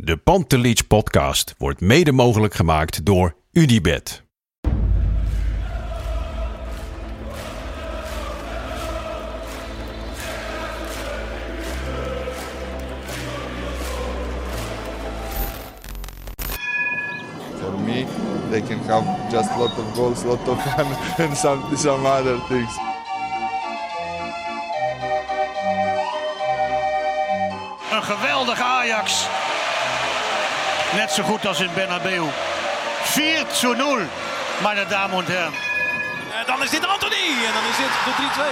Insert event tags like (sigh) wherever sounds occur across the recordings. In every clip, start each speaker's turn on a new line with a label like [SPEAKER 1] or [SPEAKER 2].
[SPEAKER 1] De Pantelich podcast wordt mede mogelijk gemaakt door UdiBet.
[SPEAKER 2] For me, they can have just lot of goals, lot of fun, (laughs) and some some other things.
[SPEAKER 3] Een geweldig Ajax. Net zo goed als in Bernabeu. 4 zu 0, meine Damen und Herren.
[SPEAKER 4] En Eh, dan is dit Anthony. En dan is dit de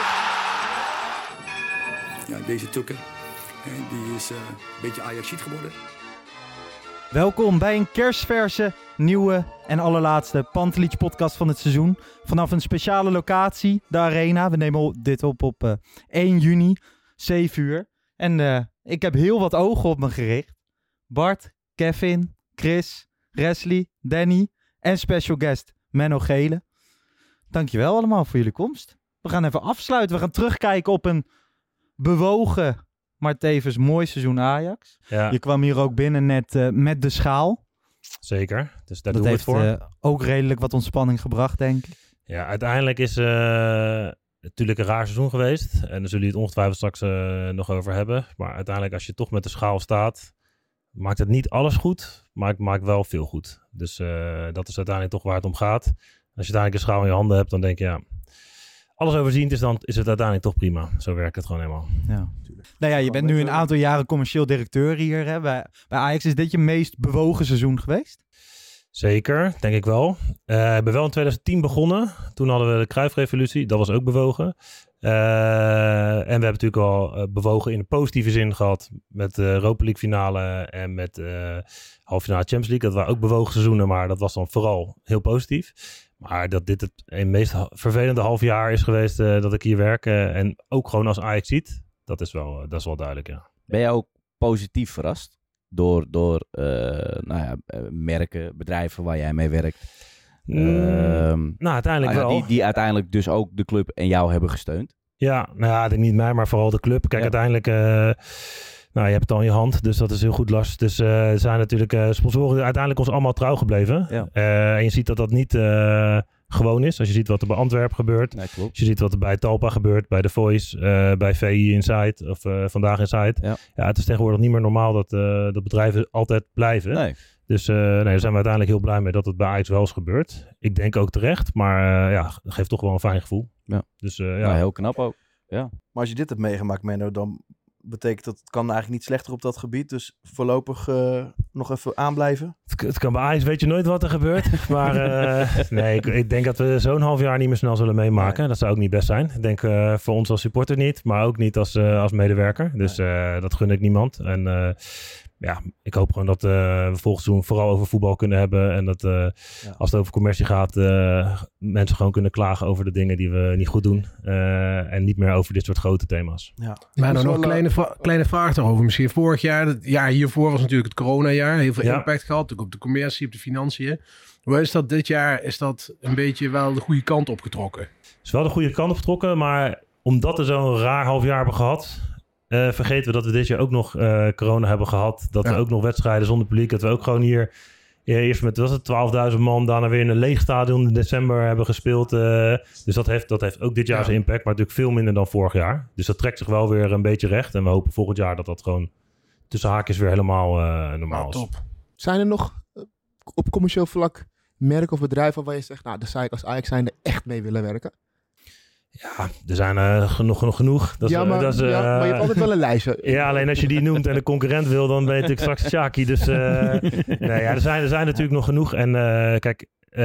[SPEAKER 4] 3-2.
[SPEAKER 5] Ja, deze Tukke, hè, die is eh, een beetje Ajaxiet geworden.
[SPEAKER 6] Welkom bij een kerstverse, nieuwe en allerlaatste Pantelich podcast van het seizoen. Vanaf een speciale locatie, de Arena. We nemen op- dit op op eh, 1 juni, 7 uur. En eh, ik heb heel wat ogen op me gericht. Bart, Kevin, Chris, Wesley, Danny en special guest Menno Gele. Dankjewel allemaal voor jullie komst. We gaan even afsluiten. We gaan terugkijken op een bewogen, maar tevens mooi seizoen Ajax.
[SPEAKER 7] Ja,
[SPEAKER 6] Je kwam hier ook binnen net eh, met de schaal.
[SPEAKER 7] zeker. Dus daar
[SPEAKER 6] dat
[SPEAKER 7] doen
[SPEAKER 6] heeft
[SPEAKER 7] we het voor.
[SPEAKER 6] eh, ook redelijk wat ontspanning gebracht, denk ik.
[SPEAKER 7] Ja, uiteindelijk is eh, het natuurlijk een raar seizoen geweest. En daar zullen jullie het ongetwijfeld straks eh, nog over hebben. Maar uiteindelijk, als je toch met de schaal staat, maakt het niet alles goed, maar het maakt wel veel goed. Dus eh, dat is uiteindelijk toch waar het om gaat. Als je uiteindelijk een schaal in je handen hebt, dan denk je ja. Alles overziend is, dan is het uiteindelijk toch prima. Zo werkt het gewoon helemaal.
[SPEAKER 6] Ja. Nou ja, je bent nu een aantal jaren commercieel directeur hier. Hè? Bij, bij Ajax is dit je meest bewogen seizoen geweest.
[SPEAKER 7] Zeker, denk ik wel. Eh ik ben wel in 2010 begonnen. Toen hadden we de Kruifrevolutie, dat was ook bewogen. Eh, en we hebben natuurlijk al eh, bewogen in de positieve zin gehad met de Europa League finale en met eh halve finale Champions League. Dat waren ook bewogen seizoenen, maar dat was dan vooral heel positief. Maar dat dit het een meest ha- vervelende half jaar is geweest eh, dat ik hier werk eh, en ook gewoon als Ajax ziet, dat is wel, eh, dat is wel duidelijk, ja.
[SPEAKER 8] Ben jij ook positief verrast door, door eh, nou ja, eh, merken, bedrijven waar jij mee werkt? Ehm,
[SPEAKER 7] Mm, nou, uiteindelijk
[SPEAKER 8] nou ja,
[SPEAKER 7] wel.
[SPEAKER 8] die, die uiteindelijk dus ook de club en jou hebben gesteund.
[SPEAKER 7] Ja, nou ja, denk niet mij, maar vooral de club. Kijk,
[SPEAKER 8] Ja.
[SPEAKER 7] uiteindelijk, eh, nou, je hebt het al in je hand, dus dat is heel goed last. Dus eh, er zijn natuurlijk eh, sponsoren die uiteindelijk ons allemaal trouw gebleven.
[SPEAKER 8] Ja.
[SPEAKER 7] Eh, en je ziet dat dat niet eh, gewoon is. Als je ziet wat er bij Antwerpen gebeurt,
[SPEAKER 8] Nee, klopt.
[SPEAKER 7] als je ziet wat er bij Talpa gebeurt, bij The Voice, eh, bij VI Inside of eh, Vandaag Inside.
[SPEAKER 8] Ja.
[SPEAKER 7] het is tegenwoordig niet meer normaal dat, eh, dat bedrijven altijd blijven.
[SPEAKER 8] Nee.
[SPEAKER 7] Dus eh, nee, daar zijn we uiteindelijk heel blij mee dat het bij Ajax wel is gebeurd. Ik denk ook terecht, maar eh, ja, geeft toch wel een fijn gevoel.
[SPEAKER 8] Ja.
[SPEAKER 7] Dus eh, ja,
[SPEAKER 8] Nou, heel knap ook.
[SPEAKER 9] Maar als je dit hebt meegemaakt, Menno, dan betekent dat het kan eigenlijk niet slechter op dat gebied. Dus voorlopig eh, nog even aanblijven.
[SPEAKER 7] Het, het kan bij Ajax, weet je nooit wat er gebeurt. (laughs) Maar eh, nee, ik, ik denk dat we zo'n half jaar niet meer snel zullen meemaken. Dat zou ook niet best zijn. Ik denk eh, voor ons als supporter niet, maar ook niet als, eh, als medewerker. Dus eh, dat gun ik niemand. En eh, ja, ik hoop gewoon dat eh, we volgend seizoen vooral over voetbal kunnen hebben. En dat eh, als het over commercie gaat, eh, mensen gewoon kunnen klagen over de dingen die we niet goed doen. Eh, en niet meer over dit soort grote thema's.
[SPEAKER 9] Ja.
[SPEAKER 10] Maar
[SPEAKER 9] Dat
[SPEAKER 10] dan
[SPEAKER 9] is
[SPEAKER 10] nog een
[SPEAKER 9] wel,
[SPEAKER 10] kleine, vra- kleine vraag daarover. Misschien vorig jaar, het jaar hiervoor was natuurlijk het coronajaar. Heel veel
[SPEAKER 7] Ja.
[SPEAKER 10] impact gehad, natuurlijk op de commercie, op de financiën. Hoe is dat dit jaar? Is dat een beetje wel de goede kant opgetrokken?
[SPEAKER 7] is wel de goede kant op getrokken, maar omdat we zo'n raar half jaar hebben gehad, eh, vergeten we dat we dit jaar ook nog eh, corona hebben gehad. Dat we
[SPEAKER 10] Ja.
[SPEAKER 7] ook nog wedstrijden zonder publiek, dat we ook gewoon hier eh, eerst met was het 12.000 man, daarna weer in een leeg stadion in december hebben gespeeld. eh. dus dat heeft, dat heeft ook dit jaar
[SPEAKER 10] Ja.
[SPEAKER 7] zijn impact, maar natuurlijk veel minder dan vorig jaar. Dus dat trekt zich wel weer een beetje recht en we hopen volgend jaar dat dat gewoon tussen haakjes weer helemaal eh, normaal
[SPEAKER 10] Nou,
[SPEAKER 7] is.
[SPEAKER 10] top.
[SPEAKER 11] Zijn er nog eh, op commercieel vlak merken of bedrijven waar je zegt, nou, daar zou ik als Ajax zijnde echt mee willen werken?
[SPEAKER 7] Ja, er zijn eh, genoeg, genoeg, genoeg. Dat is,
[SPEAKER 11] ja,
[SPEAKER 7] eh,
[SPEAKER 11] maar,
[SPEAKER 7] dat is,
[SPEAKER 11] ja, maar je
[SPEAKER 7] eh,
[SPEAKER 11] hebt altijd wel een lijstje.
[SPEAKER 7] Ja, alleen als je die noemt en de concurrent wil, dan ben je natuurlijk straks Shaki. Dus eh, (laughs) nee, ja, er, zijn, er zijn natuurlijk nog genoeg. En eh, kijk, eh,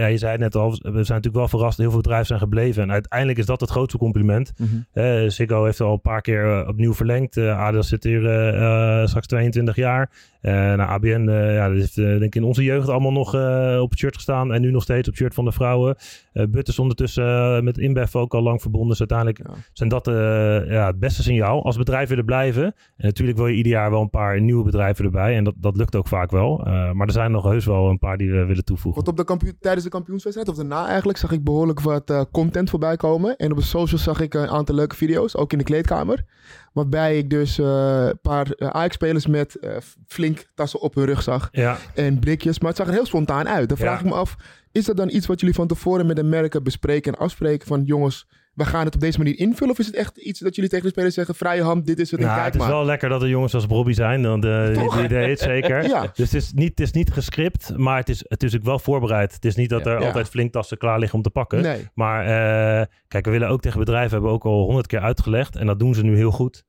[SPEAKER 7] ja, je zei het net al, we zijn natuurlijk wel verrast. Heel veel bedrijven zijn gebleven. En uiteindelijk is dat het grootste compliment. Eh Ziggo heeft al een paar keer eh, opnieuw verlengd. Eh, Adidas zit hier eh, eh, straks 22 jaar. Eh nou, ABN, eh, ja, dat heeft eh, denk ik in onze jeugd allemaal nog eh, op het shirt gestaan. En nu nog steeds op het shirt van de vrouwen. Eh But is ondertussen eh, met InBev ook al lang verbonden. Dus uiteindelijk zijn dat eh, ja, het beste signaal. Als bedrijven er blijven. En natuurlijk wil je ieder jaar wel een paar nieuwe bedrijven erbij. En dat, dat lukt ook vaak wel. Eh, maar er zijn nog heus wel een paar die we willen toevoegen.
[SPEAKER 11] Want op de kampioen, tijdens de kampioenswedstrijd, of daarna eigenlijk, zag ik behoorlijk wat eh, content voorbij komen. En op de socials zag ik een aantal leuke video's, ook in de kleedkamer. Waarbij ik dus eh, een paar eh, Ajax-spelers met eh, flink tassen op hun rug zag.
[SPEAKER 7] Ja.
[SPEAKER 11] En blikjes, maar het zag er heel spontaan uit. Dan
[SPEAKER 7] Ja.
[SPEAKER 11] vraag ik me af, is dat dan iets wat jullie van tevoren met de merken bespreken en afspreken van jongens... We gaan het op deze manier invullen. Of is het echt iets dat jullie tegen de spelers zeggen: vrije hand, dit is het. en
[SPEAKER 7] Nou,
[SPEAKER 11] kijk
[SPEAKER 7] het is
[SPEAKER 11] maar.
[SPEAKER 7] wel lekker dat er jongens als Bobby zijn. Dan de,
[SPEAKER 11] Toch?
[SPEAKER 7] die deed het zeker.
[SPEAKER 11] (laughs) Ja.
[SPEAKER 7] Dus het is, niet, het is niet gescript, maar het is, het is ook wel voorbereid. Het is niet dat er
[SPEAKER 11] Ja.
[SPEAKER 7] altijd flinktassen klaar liggen om te pakken.
[SPEAKER 11] Nee.
[SPEAKER 7] Maar eh, kijk, we willen ook tegen bedrijven, hebben we ook al honderd keer uitgelegd. En dat doen ze nu heel goed.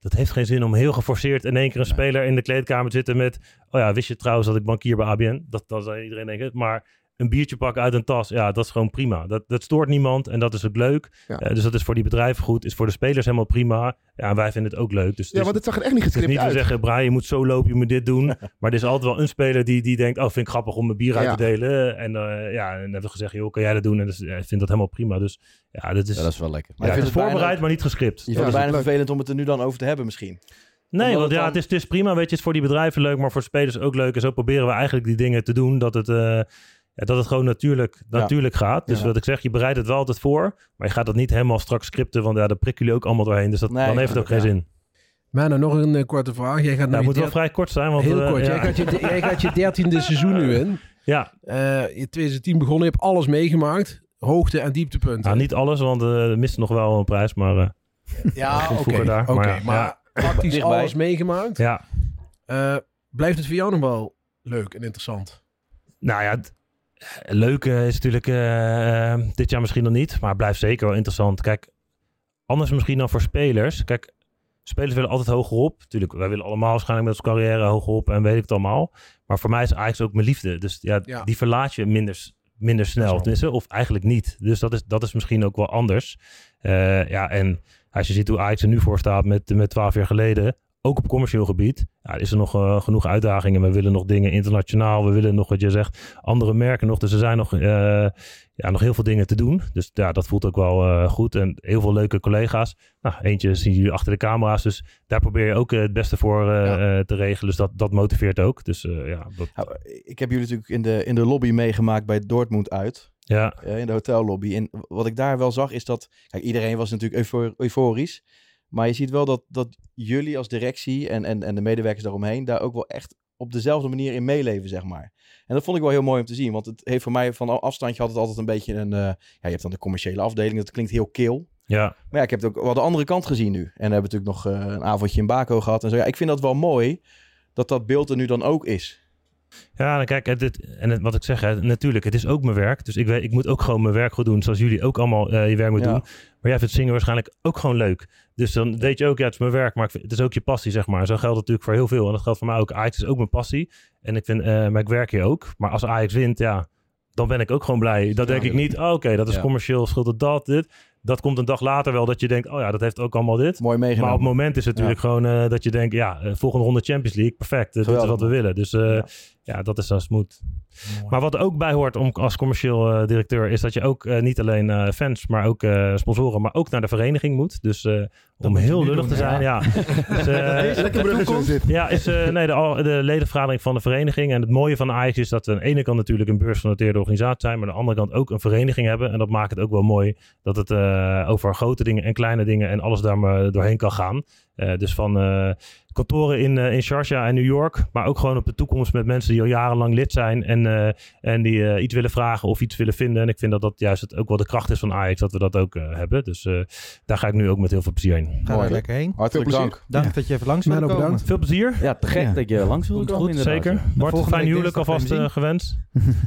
[SPEAKER 7] Dat heeft geen zin om heel geforceerd in één keer een speler in de kleedkamer te zitten met... Oh ja, wist je trouwens dat ik bankier bij ABN? Dat, dat zal iedereen denken. Maar een biertje pakken uit een tas, ja, dat is gewoon prima. Dat, dat stoort niemand en dat is ook leuk.
[SPEAKER 11] Ja.
[SPEAKER 7] Eh, dus dat is voor die bedrijven goed. Is voor de spelers helemaal prima. Ja, en wij vinden het ook leuk. Dus
[SPEAKER 11] Ja, want het zag er echt niet
[SPEAKER 7] het is
[SPEAKER 11] gescript
[SPEAKER 7] niet
[SPEAKER 11] uit.
[SPEAKER 7] te zeggen, Brian, je moet zo lopen, je moet dit
[SPEAKER 11] (laughs)
[SPEAKER 7] doen. maar er is altijd wel een speler die, die denkt, oh, vind ik grappig om mijn bier uit
[SPEAKER 11] Ja.
[SPEAKER 7] te delen. En eh, ja, en dan hebben we gezegd, joh, kan jij dat doen? En dus, ja, ik vind dat helemaal prima. Dus ja, dat is...
[SPEAKER 8] Ja, dat is wel lekker.
[SPEAKER 7] Ja, het is voorbereid, maar niet gescript. dus-
[SPEAKER 9] Je vindt het bijna vervelend om het er nu dan over te hebben misschien.
[SPEAKER 7] Nee,
[SPEAKER 9] Omdat
[SPEAKER 7] want
[SPEAKER 9] het
[SPEAKER 7] ja,
[SPEAKER 9] dan-
[SPEAKER 7] het is, het is prima. Weet je, het is voor die bedrijven leuk, maar voor spelers ook leuk. En zo proberen we eigenlijk die dingen te doen dat het, eh, ja, dat het gewoon natuurlijk,
[SPEAKER 9] Ja.
[SPEAKER 7] natuurlijk gaat. Dus
[SPEAKER 9] Ja.
[SPEAKER 7] wat ik zeg, je bereidt het wel altijd voor. Maar je gaat dat niet helemaal straks scripten, want ja, daar prikken jullie ook allemaal doorheen. Dus dat,
[SPEAKER 10] Nee,
[SPEAKER 7] dan heeft het ook geen
[SPEAKER 10] ja.
[SPEAKER 7] zin.
[SPEAKER 10] Maar nou nog een eh, korte vraag. Jij gaat
[SPEAKER 7] Ja,
[SPEAKER 10] nu
[SPEAKER 7] het moet
[SPEAKER 10] je
[SPEAKER 7] wel vrij kort zijn, want,
[SPEAKER 10] Heel
[SPEAKER 7] eh,
[SPEAKER 10] kort.
[SPEAKER 7] ja.
[SPEAKER 10] Jij, gaat je, jij gaat je
[SPEAKER 7] (laughs)
[SPEAKER 10] dertiende seizoen nu in. Eh,
[SPEAKER 7] Ja.
[SPEAKER 10] in 2010 begonnen. Je hebt alles meegemaakt. Hoogte en dieptepunten.
[SPEAKER 7] Nou, niet alles, want eh we misten nog wel een prijs, maar... eh, dat
[SPEAKER 10] Ja,
[SPEAKER 7] stond
[SPEAKER 10] Ah, oké.
[SPEAKER 7] vroeger daar,
[SPEAKER 10] oké,
[SPEAKER 7] maar ja,
[SPEAKER 10] maar
[SPEAKER 7] ja.
[SPEAKER 10] praktisch
[SPEAKER 7] Dichtbij.
[SPEAKER 10] alles meegemaakt.
[SPEAKER 7] Ja.
[SPEAKER 10] Eh, blijft het voor jou nog wel leuk en interessant?
[SPEAKER 7] Nou ja, d- leuk eh, is natuurlijk eh, eh, dit jaar misschien nog niet, maar het blijft zeker wel interessant. Kijk, anders misschien dan voor spelers. Kijk, spelers willen altijd hoger op. Tuurlijk, wij willen allemaal waarschijnlijk met onze carrière hoger op en weet ik het allemaal. Maar voor mij is Ajax ook mijn liefde. Dus ja,
[SPEAKER 10] Ja.
[SPEAKER 7] die verlaat je minder, s- minder snel. Tenminste, of eigenlijk niet. Dus dat is, dat is misschien ook wel anders. Eh, ja, en als je ziet hoe Ajax er nu voor staat met, met 12 jaar geleden, ook op commercieel gebied, ja, is er nog eh, genoeg uitdagingen. We willen nog dingen internationaal. We willen nog, wat je zegt, andere merken nog. Dus er zijn nog, eh, ja, nog heel veel dingen te doen. Dus ja, dat voelt ook wel eh, goed. En heel veel leuke collega's. Nou, eentje zien jullie achter de camera's. Dus daar probeer je ook eh, het beste voor eh, eh, te regelen. Dus dat, dat motiveert ook. Dus eh, ja, dat,
[SPEAKER 9] Nou, ik heb jullie natuurlijk in de, in de lobby meegemaakt bij Dortmund uit.
[SPEAKER 7] Ja.
[SPEAKER 9] Eh, in de hotellobby. En wat ik daar wel zag is dat... Kijk, iedereen was natuurlijk eufor- euforisch. Maar je ziet wel dat, dat jullie als directie en, en, en de medewerkers daaromheen... daar ook wel echt op dezelfde manier in meeleven, zeg maar. En dat vond ik wel heel mooi om te zien. Want het heeft voor mij van afstandje had het altijd een beetje een... eh, ja, je hebt dan de commerciële afdeling. Dat klinkt heel kil.
[SPEAKER 7] ja.
[SPEAKER 9] Maar ja, ik heb het ook wel de andere kant gezien nu. En we hebben natuurlijk nog eh, een avondje in Baco gehad. En zo. Ja, ik vind dat wel mooi dat dat beeld er nu dan ook is.
[SPEAKER 7] Ja, nou kijk, het, het- en het- wat ik zeg, hè, natuurlijk, het is ook mijn werk. Dus ik, weet, ik moet ook gewoon mijn werk goed doen, zoals jullie ook allemaal eh, je werk moeten
[SPEAKER 9] Ja.
[SPEAKER 7] doen. Maar jij vindt zingen waarschijnlijk ook gewoon leuk. Dus dan weet je ook, ja, het is mijn werk, maar ik vind- het is ook je passie, zeg maar. Zo geldt het natuurlijk voor heel veel. En dat geldt voor mij ook. Ajax is ook mijn passie. En ik vind, eh, maar ik werk hier ook. Maar als Ajax wint, ja, dan ben ik ook gewoon blij. Dan denk ik niet, oh, oké, dat is
[SPEAKER 9] Ja.
[SPEAKER 7] commercieel, schuld het dat, dit. Dat komt een dag later wel dat je denkt, oh ja, dat heeft ook allemaal dit.
[SPEAKER 9] Mooi meegenomen.
[SPEAKER 7] Maar op het moment is het natuurlijk gewoon eh, dat je denkt, ja, eh, volgende ronde Champions League, perfect. eh, dit is
[SPEAKER 9] Geweldig.
[SPEAKER 7] wat we willen. Dus eh, ja. dat is dan smooth. Maar wat er ook bij hoort om, als commercieel eh, directeur, is dat je ook eh, niet alleen eh, fans, maar ook eh, sponsoren, maar ook naar de vereniging moet. Dus eh, om heel
[SPEAKER 6] nu
[SPEAKER 7] lullig
[SPEAKER 6] doen,
[SPEAKER 7] te zijn,
[SPEAKER 6] (laughs) ja.
[SPEAKER 7] ja. Dus, eh,
[SPEAKER 6] Dat deze lekker bruggetje zit.
[SPEAKER 7] ja, is eh, nee, de, al- de ledenvergadering van de vereniging. En het mooie van Ajax is dat we aan de ene kant natuurlijk een beursgenoteerde organisatie zijn, maar aan de andere kant ook een vereniging hebben. En dat maakt het ook wel mooi dat het eh, over grote dingen en kleine dingen en alles daar maar doorheen kan gaan. Eh, dus van eh, kantoren in, eh, in Sharjah en New York, maar ook gewoon op de toekomst met mensen die al jarenlang lid zijn en, eh, en die eh, iets willen vragen of iets willen vinden. En ik vind dat dat juist het, ook wel de kracht is van Ajax, dat we dat ook eh, hebben. Dus eh, daar ga ik nu ook met heel veel plezier heen.
[SPEAKER 6] Ga daar lekker heen.
[SPEAKER 9] Hartelijk
[SPEAKER 6] Veel
[SPEAKER 9] dank.
[SPEAKER 6] plezier. Dank dat je even langs wilde
[SPEAKER 7] Menno,
[SPEAKER 6] komen.
[SPEAKER 7] bedankt. Veel plezier.
[SPEAKER 8] Ja, te gek
[SPEAKER 7] Ja.
[SPEAKER 8] dat je langs wilde
[SPEAKER 7] Komt
[SPEAKER 8] komen
[SPEAKER 7] goed,
[SPEAKER 8] inderdaad.
[SPEAKER 7] zeker.
[SPEAKER 8] ja.
[SPEAKER 7] Bart,
[SPEAKER 8] Volgende
[SPEAKER 7] fijn
[SPEAKER 8] week
[SPEAKER 7] huwelijk
[SPEAKER 8] dinsdag
[SPEAKER 7] alvast
[SPEAKER 8] gaan we
[SPEAKER 7] eh,
[SPEAKER 8] hem
[SPEAKER 7] gewenst.
[SPEAKER 8] (laughs)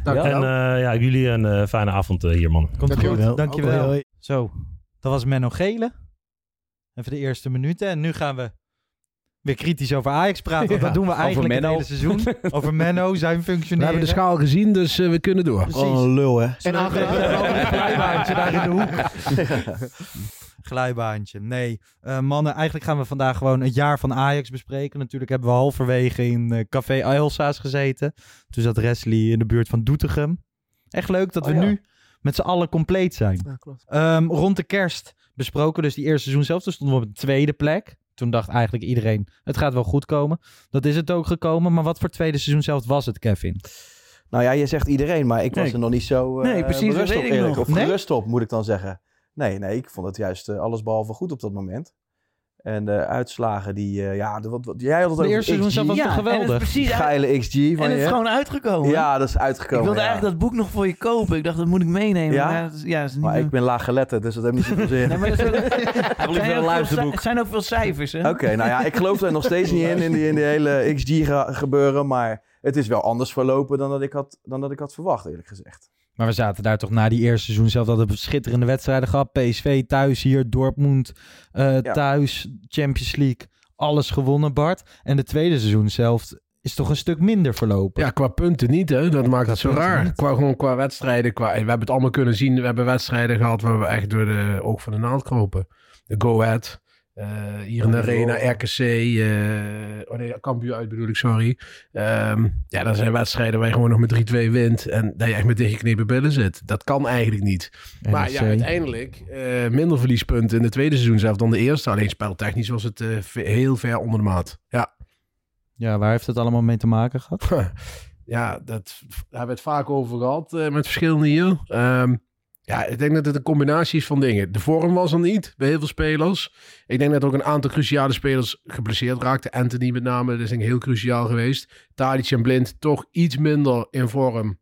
[SPEAKER 8] Dank je
[SPEAKER 7] en
[SPEAKER 8] wel.
[SPEAKER 7] eh, ja, jullie een eh, fijne avond eh, hier, man.
[SPEAKER 6] Komt
[SPEAKER 12] Dankjewel.
[SPEAKER 6] goed, dankjewel.
[SPEAKER 12] Hoi, hoi.
[SPEAKER 6] Zo, dat was Menno Gele. Even de eerste minuten. En nu gaan we weer kritisch over Ajax praten. Want
[SPEAKER 12] Ja,
[SPEAKER 6] dat doen we
[SPEAKER 12] over
[SPEAKER 6] eigenlijk het
[SPEAKER 12] Menno.
[SPEAKER 6] hele seizoen.
[SPEAKER 12] (laughs)
[SPEAKER 6] Over Menno, zijn
[SPEAKER 10] We
[SPEAKER 6] functioneren.
[SPEAKER 10] hebben de schaal gezien, dus eh, we kunnen door.
[SPEAKER 6] Precies. Oh, een lul, hè?
[SPEAKER 10] En
[SPEAKER 6] En aangenaam.
[SPEAKER 10] aangenaam.
[SPEAKER 6] daar in de hoek. Glijbaantje. Nee, Eh, mannen, eigenlijk gaan we vandaag gewoon het jaar van Ajax bespreken. Natuurlijk hebben we halverwege in eh, Café Elsa's gezeten. Toen zat Wesley in de buurt van Doetinchem. Echt leuk dat
[SPEAKER 11] Oh,
[SPEAKER 6] we
[SPEAKER 11] ja.
[SPEAKER 6] nu met z'n allen compleet zijn.
[SPEAKER 11] Ja, klopt.
[SPEAKER 6] Ehm, rond de kerst besproken we dus die eerste seizoen zelf. Toen stonden we op de tweede plek. Toen dacht eigenlijk iedereen, het gaat wel goed komen. Dat is het ook gekomen. Maar wat voor tweede seizoen zelf was het, Kevin?
[SPEAKER 9] Nou ja, je zegt iedereen, maar ik was
[SPEAKER 6] Nee.
[SPEAKER 9] er nog niet zo eh
[SPEAKER 6] Nee, precies, dat
[SPEAKER 9] berust
[SPEAKER 6] weet
[SPEAKER 9] op,
[SPEAKER 6] ik
[SPEAKER 9] eerlijk.
[SPEAKER 6] nog.
[SPEAKER 9] Of
[SPEAKER 6] Nee?
[SPEAKER 9] gerust op, moet ik dan zeggen. Nee, nee, ik vond het juist eh, allesbehalve goed op dat moment. En de uitslagen die, eh, ja, de- wat, wat, jij had het
[SPEAKER 6] De
[SPEAKER 9] over
[SPEAKER 6] eerste
[SPEAKER 9] XG.
[SPEAKER 6] seizoen zelf was toch Ja, en het is geweldig? precies
[SPEAKER 9] Die
[SPEAKER 6] uit-
[SPEAKER 9] geile XG van
[SPEAKER 12] en het
[SPEAKER 9] je.
[SPEAKER 12] is gewoon uitgekomen.
[SPEAKER 9] Ja, dat is
[SPEAKER 12] Ik
[SPEAKER 9] uitgekomen.
[SPEAKER 12] wilde
[SPEAKER 9] ja.
[SPEAKER 12] eigenlijk dat boek nog voor je kopen. Ik dacht, dat moet ik meenemen.
[SPEAKER 9] Ja?
[SPEAKER 12] Maar, dat is- ja, dat is niet
[SPEAKER 9] Maar
[SPEAKER 12] meer-
[SPEAKER 9] ik ben laag geletterd, dus dat heeft niet zoveel
[SPEAKER 6] (laughs)
[SPEAKER 9] zin.
[SPEAKER 12] Nee, maar dat is wel-
[SPEAKER 9] wil
[SPEAKER 12] Zijn
[SPEAKER 9] wel
[SPEAKER 12] ook
[SPEAKER 9] een
[SPEAKER 12] veel
[SPEAKER 9] luisterboek.
[SPEAKER 12] ci- Het zijn ook veel cijfers, hè?
[SPEAKER 9] Oké, nou ja, ik geloof er nog steeds niet in, in die, in die hele XG-gebeuren. Maar het is wel anders verlopen dan dat, ik had, dan dat ik had verwacht, eerlijk gezegd.
[SPEAKER 6] Maar we zaten daar toch na die eerste seizoen zelf dat we schitterende wedstrijden gehad. PSV thuis hier, Dortmund eh,
[SPEAKER 9] Ja.
[SPEAKER 6] thuis, Champions League. Alles gewonnen, Bart. En de tweede seizoen zelf is toch een stuk minder verlopen.
[SPEAKER 10] Ja, qua punten niet, hè. Dat maakt het zo
[SPEAKER 6] punten
[SPEAKER 10] raar.
[SPEAKER 6] niet.
[SPEAKER 10] Qua, gewoon qua wedstrijden. Qua, we hebben het allemaal kunnen zien. We hebben wedstrijden gehad waar we echt door de oog van de naald kropen. De Go Ahead. eh, hier in de Arena, RKC. eh, oh nee, Cambuur uit bedoel ik, sorry. Ehm, ja, dat zijn wedstrijden waar je gewoon nog met 3-2 wint. En dat je echt met dichtgeknepen billen zit. Dat kan eigenlijk niet. Dus, Maar ja,
[SPEAKER 12] e-
[SPEAKER 6] NEC.
[SPEAKER 10] uiteindelijk eh, minder verliespunten in het tweede seizoen zelf dan de eerste. Alleen speltechnisch was het eh, ve- heel ver onder de maat. Ja. (laughs)
[SPEAKER 6] Ja, waar heeft het allemaal mee te maken gehad?
[SPEAKER 10] Ja, dat, daar hebben we het vaak over gehad eh, met verschillende hier. Ehm, ja, ik denk dat het een combinatie is van dingen. De vorm was er niet bij heel veel spelers. Ik denk dat ook een aantal cruciale spelers geblesseerd raakten. Anthony met name, dat is denk ik heel cruciaal geweest. Tadic en Blind toch iets minder in vorm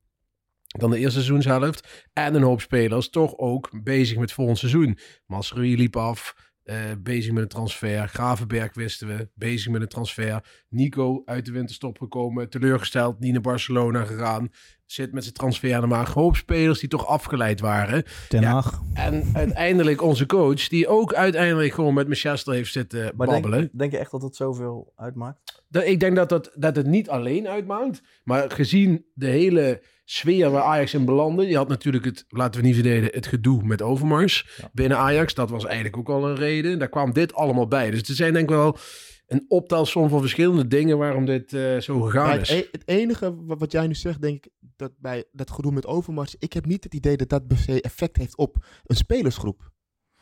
[SPEAKER 10] dan de eerste seizoenshelft. En een hoop spelers toch ook bezig met volgend seizoen. Masrui liep af, eh, bezig met een transfer. Gravenberg wisten we, bezig met een transfer. Nico uit de winterstop gekomen, teleurgesteld, niet naar Barcelona gegaan. Zit met zijn transfer, maar een hoop spelers die toch afgeleid waren.
[SPEAKER 6] Ten
[SPEAKER 10] Ja,
[SPEAKER 6] Hag.
[SPEAKER 10] en uiteindelijk onze coach, die ook uiteindelijk gewoon met Manchester heeft zitten
[SPEAKER 9] Maar
[SPEAKER 10] babbelen.
[SPEAKER 9] denk, denk je echt dat dat zoveel uitmaakt?
[SPEAKER 10] Dat- ik denk dat, dat, dat het niet alleen uitmaakt. Maar gezien de hele sfeer waar Ajax in belandde. Je had natuurlijk het, laten we niet verdelen, het gedoe met Overmars binnen Ajax. Dat was eigenlijk ook al een reden. Daar kwam dit allemaal bij. Dus er zijn denk ik wel een optelsom van verschillende dingen waarom dit eh, zo
[SPEAKER 11] Maar
[SPEAKER 10] gegaan
[SPEAKER 11] het,
[SPEAKER 10] is.
[SPEAKER 11] e- het enige wa- wat jij nu zegt, denk ik, dat bij dat gedoe met Overmars, ik heb niet het idee dat dat per se effect heeft op een spelersgroep.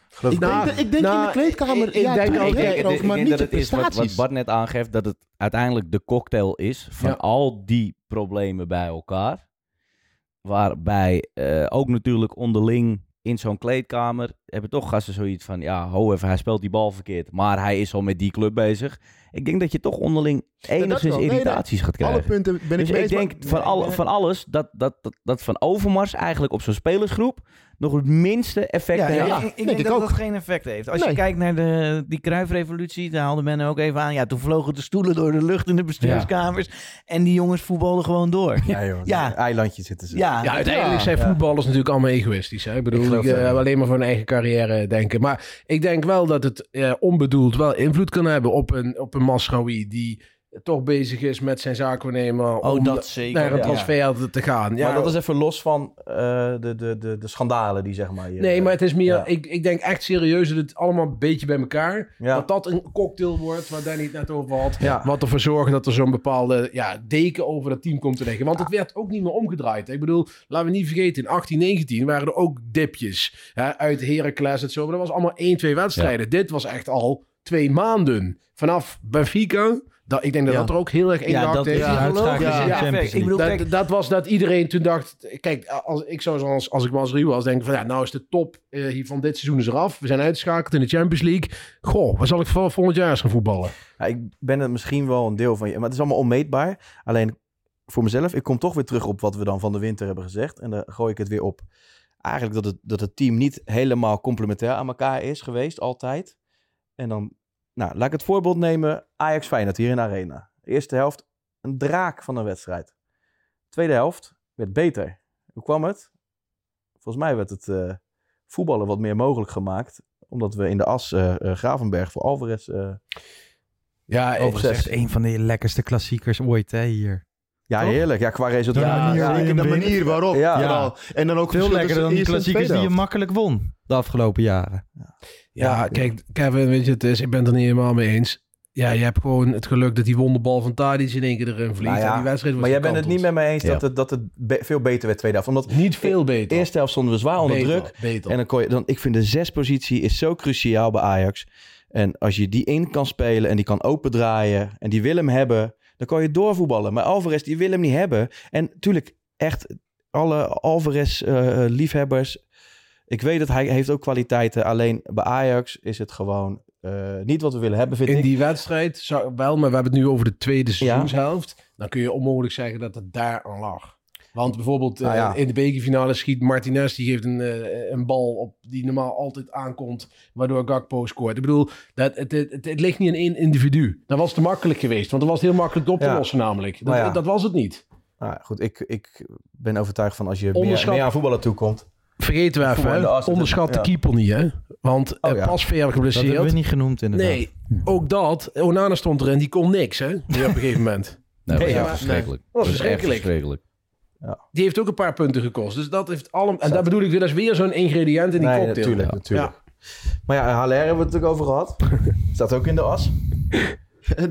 [SPEAKER 9] Geloof
[SPEAKER 11] ik
[SPEAKER 9] ik
[SPEAKER 11] denk,
[SPEAKER 9] niet.
[SPEAKER 11] dat- ik denk in
[SPEAKER 9] Nou,
[SPEAKER 11] de kleedkamer,
[SPEAKER 9] ik- ik
[SPEAKER 11] ja,
[SPEAKER 9] denk
[SPEAKER 11] tuurlijk,
[SPEAKER 9] ook-
[SPEAKER 11] je hebt
[SPEAKER 9] ik-
[SPEAKER 11] erover,
[SPEAKER 9] ik
[SPEAKER 11] maar
[SPEAKER 9] denk
[SPEAKER 11] niet
[SPEAKER 9] dat
[SPEAKER 11] de
[SPEAKER 9] het is wat-
[SPEAKER 11] prestaties.
[SPEAKER 9] wat
[SPEAKER 8] Wat Bart net aangeeft, dat het uiteindelijk de cocktail is van
[SPEAKER 11] Ja.
[SPEAKER 8] al die problemen bij elkaar. Waarbij eh, ook natuurlijk onderling in zo'n kleedkamer hebben toch gasten zoiets van... Ja, ho even, hij speelt die bal verkeerd, maar hij is al met die club bezig. Ik denk dat je toch onderling
[SPEAKER 11] dat
[SPEAKER 8] enigszins
[SPEAKER 11] wel. Nee, nee,
[SPEAKER 8] irritaties gaat
[SPEAKER 11] alle
[SPEAKER 8] krijgen.
[SPEAKER 11] punten ben ik
[SPEAKER 8] dus
[SPEAKER 11] mee
[SPEAKER 8] ik
[SPEAKER 11] eens,
[SPEAKER 8] denk
[SPEAKER 11] maar-
[SPEAKER 8] van,
[SPEAKER 11] nee,
[SPEAKER 8] alle-
[SPEAKER 11] nee.
[SPEAKER 8] van alles dat, dat, dat, dat van Overmars eigenlijk op zo'n spelersgroep... nog het minste effect
[SPEAKER 12] Ja,
[SPEAKER 8] heeft.
[SPEAKER 12] ja, ik, ik denk, dat dat geen effect heeft. Als je
[SPEAKER 8] Nee.
[SPEAKER 12] kijkt naar de, die Kruifrevolutie, daar haalde men ook even aan. Ja, toen vlogen de stoelen door de lucht in de bestuurskamers. En die jongens voetbalden gewoon door.
[SPEAKER 9] Ja, joh.
[SPEAKER 12] Ja.
[SPEAKER 9] Eilandje zitten ze.
[SPEAKER 12] Ja,
[SPEAKER 10] Ja, uiteindelijk zijn voetballers natuurlijk allemaal egoïstisch. Hè? Ik bedoel,
[SPEAKER 9] Ik
[SPEAKER 10] ik
[SPEAKER 9] geloof dat
[SPEAKER 10] eh,
[SPEAKER 9] wel.
[SPEAKER 10] alleen maar voor hun eigen carrière denken. Maar ik denk wel dat het eh, onbedoeld wel invloed kan hebben op een, op een Masraoui die toch bezig is met zijn zaakwaarnemer om
[SPEAKER 12] dat zeker,
[SPEAKER 10] naar een
[SPEAKER 9] ja.
[SPEAKER 10] transfer te gaan. Ja,
[SPEAKER 9] maar dat is even los van eh, de, de, de, de schandalen die zeg maar hier...
[SPEAKER 10] Nee, maar het is meer,
[SPEAKER 9] eh, Ja.
[SPEAKER 10] ik, ik denk echt serieus dat het allemaal een beetje bij elkaar,
[SPEAKER 9] Ja.
[SPEAKER 10] dat dat een cocktail wordt waar Danny het net over had.
[SPEAKER 9] Ja.
[SPEAKER 10] Wat ervoor zorgt dat er zo'n bepaalde ja, deken over dat team komt te liggen. Want het werd ook niet meer omgedraaid. Ik bedoel, laten we niet vergeten, in 18, 19 waren er ook dipjes hè, uit Heracles en zo. Maar dat was allemaal 1, 2 wedstrijden. Dit was echt al twee maanden. Vanaf Benfica, dat, ik denk dat
[SPEAKER 12] Ja.
[SPEAKER 10] dat er ook heel erg in
[SPEAKER 12] Ja,
[SPEAKER 10] gehakt
[SPEAKER 12] dat
[SPEAKER 10] heeft.
[SPEAKER 12] is Ja, een uitschakeling
[SPEAKER 10] Ja,
[SPEAKER 12] in de
[SPEAKER 10] ja.
[SPEAKER 12] Champions League. Ik bedoel,
[SPEAKER 10] Dat-
[SPEAKER 12] kijk,
[SPEAKER 10] dat was dat iedereen toen dacht... Kijk, als, ik zou zoals, als ik was Ruw was, denken van... Ja, nou is de top eh, hier van dit seizoen is eraf. We zijn uitgeschakeld in de Champions League. Goh, waar zal ik voor volgend jaar eens gaan voetballen?
[SPEAKER 9] Ja, ik ben het misschien wel een deel van je, maar het is allemaal onmeetbaar. Alleen voor mezelf, ik kom toch weer terug op wat we dan van de winter hebben gezegd. En daar gooi ik het weer op. Eigenlijk dat het, dat het team niet helemaal complementair aan elkaar is geweest, altijd. En dan, nou, laat ik het voorbeeld nemen. Ajax Feyenoord hier in de Arena. De eerste helft, een draak van een wedstrijd. Tweede helft werd beter. Hoe kwam het? Volgens mij werd het eh, voetballen wat meer mogelijk gemaakt. Omdat we in de as eh, eh, Gravenberg voor Alvarez eh,
[SPEAKER 10] Ja,
[SPEAKER 6] overigens echt een van de lekkerste klassiekers ooit hè, hier.
[SPEAKER 9] Ja,
[SPEAKER 6] Toch?
[SPEAKER 9] heerlijk. Ja, qua
[SPEAKER 13] Nou
[SPEAKER 9] resultaat.
[SPEAKER 6] Door de manier
[SPEAKER 9] ja,
[SPEAKER 6] waarin
[SPEAKER 9] zeker
[SPEAKER 6] je
[SPEAKER 9] de
[SPEAKER 6] hem
[SPEAKER 9] manier
[SPEAKER 6] wint.
[SPEAKER 9] waarop.
[SPEAKER 6] Ja.
[SPEAKER 9] Vooral.
[SPEAKER 6] En dan ook veel lekkerder dan die klassiekers die je makkelijk won. de afgelopen jaren.
[SPEAKER 10] Ja, kijk, Kevin, weet je, het is, ik ben het er niet helemaal mee eens. Ja, je hebt gewoon het geluk dat die wonderbal van Tadic in één keer erin vliegt.
[SPEAKER 13] Nou ja,
[SPEAKER 10] en die wedstrijd was
[SPEAKER 13] maar jij bent het
[SPEAKER 10] gekanteld.
[SPEAKER 13] niet met mij eens dat
[SPEAKER 10] Ja.
[SPEAKER 13] het, dat het be- veel beter werd tweede helft. Omdat e-,
[SPEAKER 10] niet veel beter.
[SPEAKER 13] Eerste helft stonden we zwaar onder
[SPEAKER 10] Beter,
[SPEAKER 13] druk.
[SPEAKER 10] beter.
[SPEAKER 13] En dan kon je, dan, ik vind de zespositie is zo cruciaal bij Ajax. En als je die in kan spelen en die kan opendraaien en die wil hem hebben, dan kan je doorvoetballen. Maar Alvarez, die wil hem niet hebben. En natuurlijk, echt alle Alvarez-liefhebbers, ik weet dat hij heeft ook kwaliteiten. Alleen bij Ajax is het gewoon eh, niet wat we willen hebben, vind
[SPEAKER 10] In
[SPEAKER 13] ik.
[SPEAKER 10] die wedstrijd zou, wel, maar we hebben het nu over de tweede seizoenshelft. Dan kun je onmogelijk zeggen dat het daar aan lag. Want bijvoorbeeld
[SPEAKER 13] Nou
[SPEAKER 10] eh,
[SPEAKER 13] ja.
[SPEAKER 10] in de bekerfinale schiet Martinez, die geeft een, eh, een bal op die normaal altijd aankomt, waardoor Gakpo scoort. Ik bedoel, dat, het, het, het, het ligt niet in één individu. Dat was te makkelijk geweest, want dat was heel makkelijk op te
[SPEAKER 13] Ja.
[SPEAKER 10] lossen namelijk. Dat,
[SPEAKER 13] Maar ja.
[SPEAKER 10] dat was het niet.
[SPEAKER 13] Nou, goed, ik, ik ben overtuigd van als je meer,
[SPEAKER 10] Onderschat-
[SPEAKER 13] meer aan voetballen toekomt.
[SPEAKER 10] Vergeten we even,
[SPEAKER 13] Voetbal in de
[SPEAKER 10] hè?
[SPEAKER 13] as-
[SPEAKER 10] onderschat de
[SPEAKER 13] ja.
[SPEAKER 10] keeper niet, hè? Want
[SPEAKER 13] Oh,
[SPEAKER 10] eh,
[SPEAKER 13] ja.
[SPEAKER 10] Pasveer
[SPEAKER 13] Dat
[SPEAKER 10] geblesseerd.
[SPEAKER 13] hebben we niet
[SPEAKER 6] genoemd inderdaad.
[SPEAKER 10] Nee, ook dat. Onana stond erin, die kon niks, hè? Die op een gegeven moment.
[SPEAKER 9] (laughs) Nee, dat is
[SPEAKER 10] maar-
[SPEAKER 9] echt verschrikkelijk.
[SPEAKER 10] Dat
[SPEAKER 9] Dat
[SPEAKER 10] was
[SPEAKER 9] is echt
[SPEAKER 10] Oh, verschrikkelijk.
[SPEAKER 9] verschrikkelijk.
[SPEAKER 10] Die heeft ook een paar punten gekost. Dus dat heeft allemaal... En daar bedoel ik weer, dat is weer zo'n ingrediënt in die
[SPEAKER 13] Nee,
[SPEAKER 10] cocktail.
[SPEAKER 13] natuurlijk,
[SPEAKER 10] Ja.
[SPEAKER 13] natuurlijk. Maar ja, Haller hebben we het natuurlijk over
[SPEAKER 9] (laughs)
[SPEAKER 13] gehad. Staat ook in de as.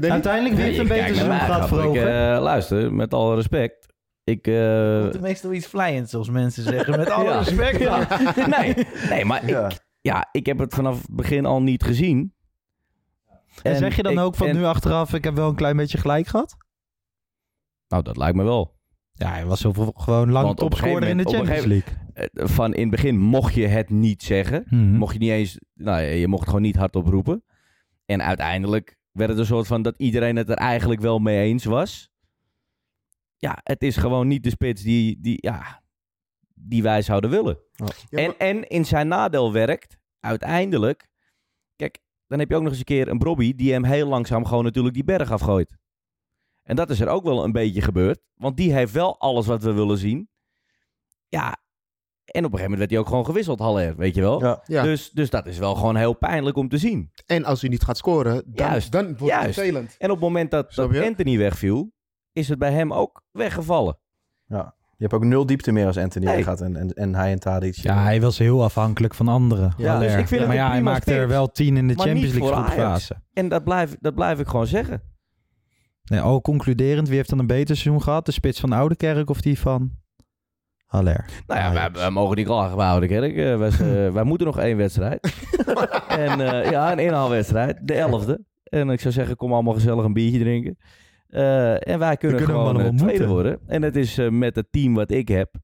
[SPEAKER 6] Uiteindelijk weer een beter seizoen gaat voor
[SPEAKER 9] Ik,
[SPEAKER 6] ogen.
[SPEAKER 9] eh, luister, met alle respect. Ik, eh,
[SPEAKER 14] Het is meestal iets vlijends, zoals mensen zeggen. Met alle
[SPEAKER 9] Ja.
[SPEAKER 14] respect.
[SPEAKER 9] Ja.
[SPEAKER 13] (laughs)
[SPEAKER 9] Nee, nee, maar ik, ja, ik heb het vanaf het begin al niet gezien.
[SPEAKER 6] (laughs) En, zeg je dan
[SPEAKER 9] ik-
[SPEAKER 6] ook van
[SPEAKER 9] en-
[SPEAKER 6] nu achteraf, ik heb wel een klein beetje gelijk gehad?
[SPEAKER 9] Nou, dat lijkt me wel.
[SPEAKER 6] Ja, hij was zoveel, gewoon lang
[SPEAKER 9] Want op een
[SPEAKER 6] topscorer
[SPEAKER 9] gegeven
[SPEAKER 6] in de
[SPEAKER 9] moment- op een
[SPEAKER 6] Champions
[SPEAKER 9] gegeven-
[SPEAKER 6] League.
[SPEAKER 9] eh, Van in het begin mocht je het niet zeggen.
[SPEAKER 6] Mhm.
[SPEAKER 9] Mocht je niet eens. Nou, ja, je mocht gewoon niet hardop roepen. En uiteindelijk werd het een soort van dat iedereen het er eigenlijk wel mee eens was. Ja, het is gewoon niet de spits die, die, ja, die wij zouden willen. en, en in zijn nadeel werkt uiteindelijk. Kijk, dan heb je ook nog eens een keer een Brobby die hem heel langzaam gewoon natuurlijk die berg afgooit. En dat is er ook wel een beetje gebeurd. Want die heeft wel alles wat we willen zien. Ja, en op een gegeven moment werd hij ook gewoon gewisseld, Haller, weet je wel.
[SPEAKER 8] Ja.
[SPEAKER 9] Dus, dus dat is wel gewoon heel pijnlijk om te zien.
[SPEAKER 8] En als hij niet gaat scoren, dan,
[SPEAKER 9] Juist.
[SPEAKER 8] dan wordt het
[SPEAKER 9] Juist. (laughs)
[SPEAKER 8] vervelend.
[SPEAKER 9] En op het moment dat, dat
[SPEAKER 8] Snap je?
[SPEAKER 9] Anthony wegviel, is het bij hem ook weggevallen.
[SPEAKER 13] Ja. Je hebt ook nul diepte meer als Anthony
[SPEAKER 9] Nee.
[SPEAKER 13] weggaat en, en, en hij en Tadic.
[SPEAKER 6] Ja, hij was heel afhankelijk van anderen.
[SPEAKER 9] Ja,
[SPEAKER 6] Haller.
[SPEAKER 9] dus ik vind
[SPEAKER 6] maar
[SPEAKER 9] het een
[SPEAKER 6] ja, hij
[SPEAKER 9] prima
[SPEAKER 6] maakte er
[SPEAKER 9] spits,
[SPEAKER 6] wel tien in de
[SPEAKER 9] maar
[SPEAKER 6] Champions
[SPEAKER 9] niet
[SPEAKER 6] League
[SPEAKER 9] voor Ajax.
[SPEAKER 6] groepfase.
[SPEAKER 9] En dat blijf, dat blijf ik gewoon zeggen.
[SPEAKER 6] Nee, al concluderend, wie heeft dan een beter seizoen gehad? De spits van Oudekerk of die van Haller?
[SPEAKER 9] Nou ja, wij, wij mogen niet klagen bij Oude Kerk. Eh, wij,
[SPEAKER 8] (laughs)
[SPEAKER 9] eh, wij moeten nog één wedstrijd. en, eh, ja, een inhaalwedstrijd. De elfde. En ik zou zeggen, kom allemaal gezellig een biertje drinken. Eh, en wij kunnen,
[SPEAKER 6] kunnen hem
[SPEAKER 9] gewoon
[SPEAKER 6] allemaal
[SPEAKER 9] eh, tweede
[SPEAKER 6] ontmoeten.
[SPEAKER 9] worden. En het is eh, met het team wat ik heb,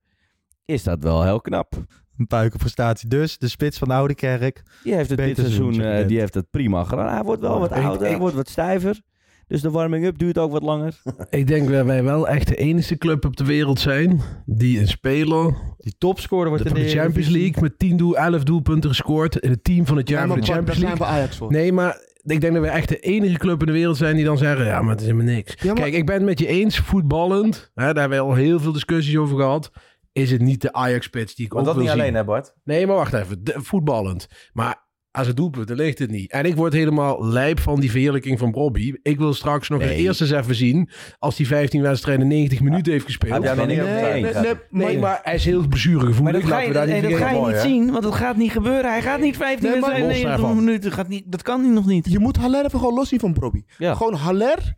[SPEAKER 9] is dat wel heel knap.
[SPEAKER 6] Een puikenprestatie. Dus de spits van Oudekerk.
[SPEAKER 9] Die heeft het
[SPEAKER 6] Beter
[SPEAKER 9] dit seizoen
[SPEAKER 6] seizoen,
[SPEAKER 9] eh,
[SPEAKER 6] Jack.
[SPEAKER 9] die heeft het prima gedaan. Hij wordt wel wat
[SPEAKER 10] ik-
[SPEAKER 9] ouder, hij
[SPEAKER 10] ik-
[SPEAKER 9] wordt wat stijver. Dus de warming-up duurt ook wat langer.
[SPEAKER 10] Ik denk dat wij wel echt de enige club op de wereld zijn die een speler
[SPEAKER 6] die topscorer wordt
[SPEAKER 10] de,
[SPEAKER 6] in de
[SPEAKER 10] Champions
[SPEAKER 6] Eredivisie.
[SPEAKER 10] League met 10 doel, 11 doelpunten gescoord in het team van het jaar
[SPEAKER 8] Ja, maar
[SPEAKER 10] voor de
[SPEAKER 8] Bart,
[SPEAKER 10] Champions
[SPEAKER 8] daar
[SPEAKER 10] League.
[SPEAKER 8] zijn we Ajax voor.
[SPEAKER 10] Nee, maar ik denk dat wij echt de enige club in de wereld zijn die dan zeggen, ja, maar het is helemaal niks. Kijk, ik ben het met je eens, voetballend, hè, daar hebben we al heel veel discussies over gehad, is het niet de Ajax-pits die ik
[SPEAKER 13] Maar
[SPEAKER 10] ook
[SPEAKER 13] dat
[SPEAKER 10] wil
[SPEAKER 13] niet
[SPEAKER 10] zien.
[SPEAKER 13] alleen, hè Bart?
[SPEAKER 10] Nee, maar wacht even. De- voetballend. Maar als het doelpunt, dan ligt het niet. En ik word helemaal lijp van die verheerlijking van Bobby. Ik wil straks nog het eerst eens even zien... als die 15 wedstrijden 90 minuten heeft gespeeld.
[SPEAKER 13] Heb jij nog niet
[SPEAKER 10] nee,
[SPEAKER 13] over
[SPEAKER 10] nee, nee,
[SPEAKER 13] nagedacht?
[SPEAKER 10] nee, nee, maar hij is heel bezurengevoelig.
[SPEAKER 14] Maar dat ga je,
[SPEAKER 10] Laten we daar
[SPEAKER 14] nee,
[SPEAKER 10] niet
[SPEAKER 14] dat ga je
[SPEAKER 10] vergeten.
[SPEAKER 14] niet zien, want dat gaat niet gebeuren. Hij gaat niet 15
[SPEAKER 8] Nee, maar-
[SPEAKER 14] wedstrijden
[SPEAKER 8] Los
[SPEAKER 14] 90
[SPEAKER 8] daarvan.
[SPEAKER 14] minuten. Gaat niet, dat kan hij nog niet.
[SPEAKER 8] Je moet Haller even gewoon los zien van Probi.
[SPEAKER 9] Ja.
[SPEAKER 8] Gewoon Haller.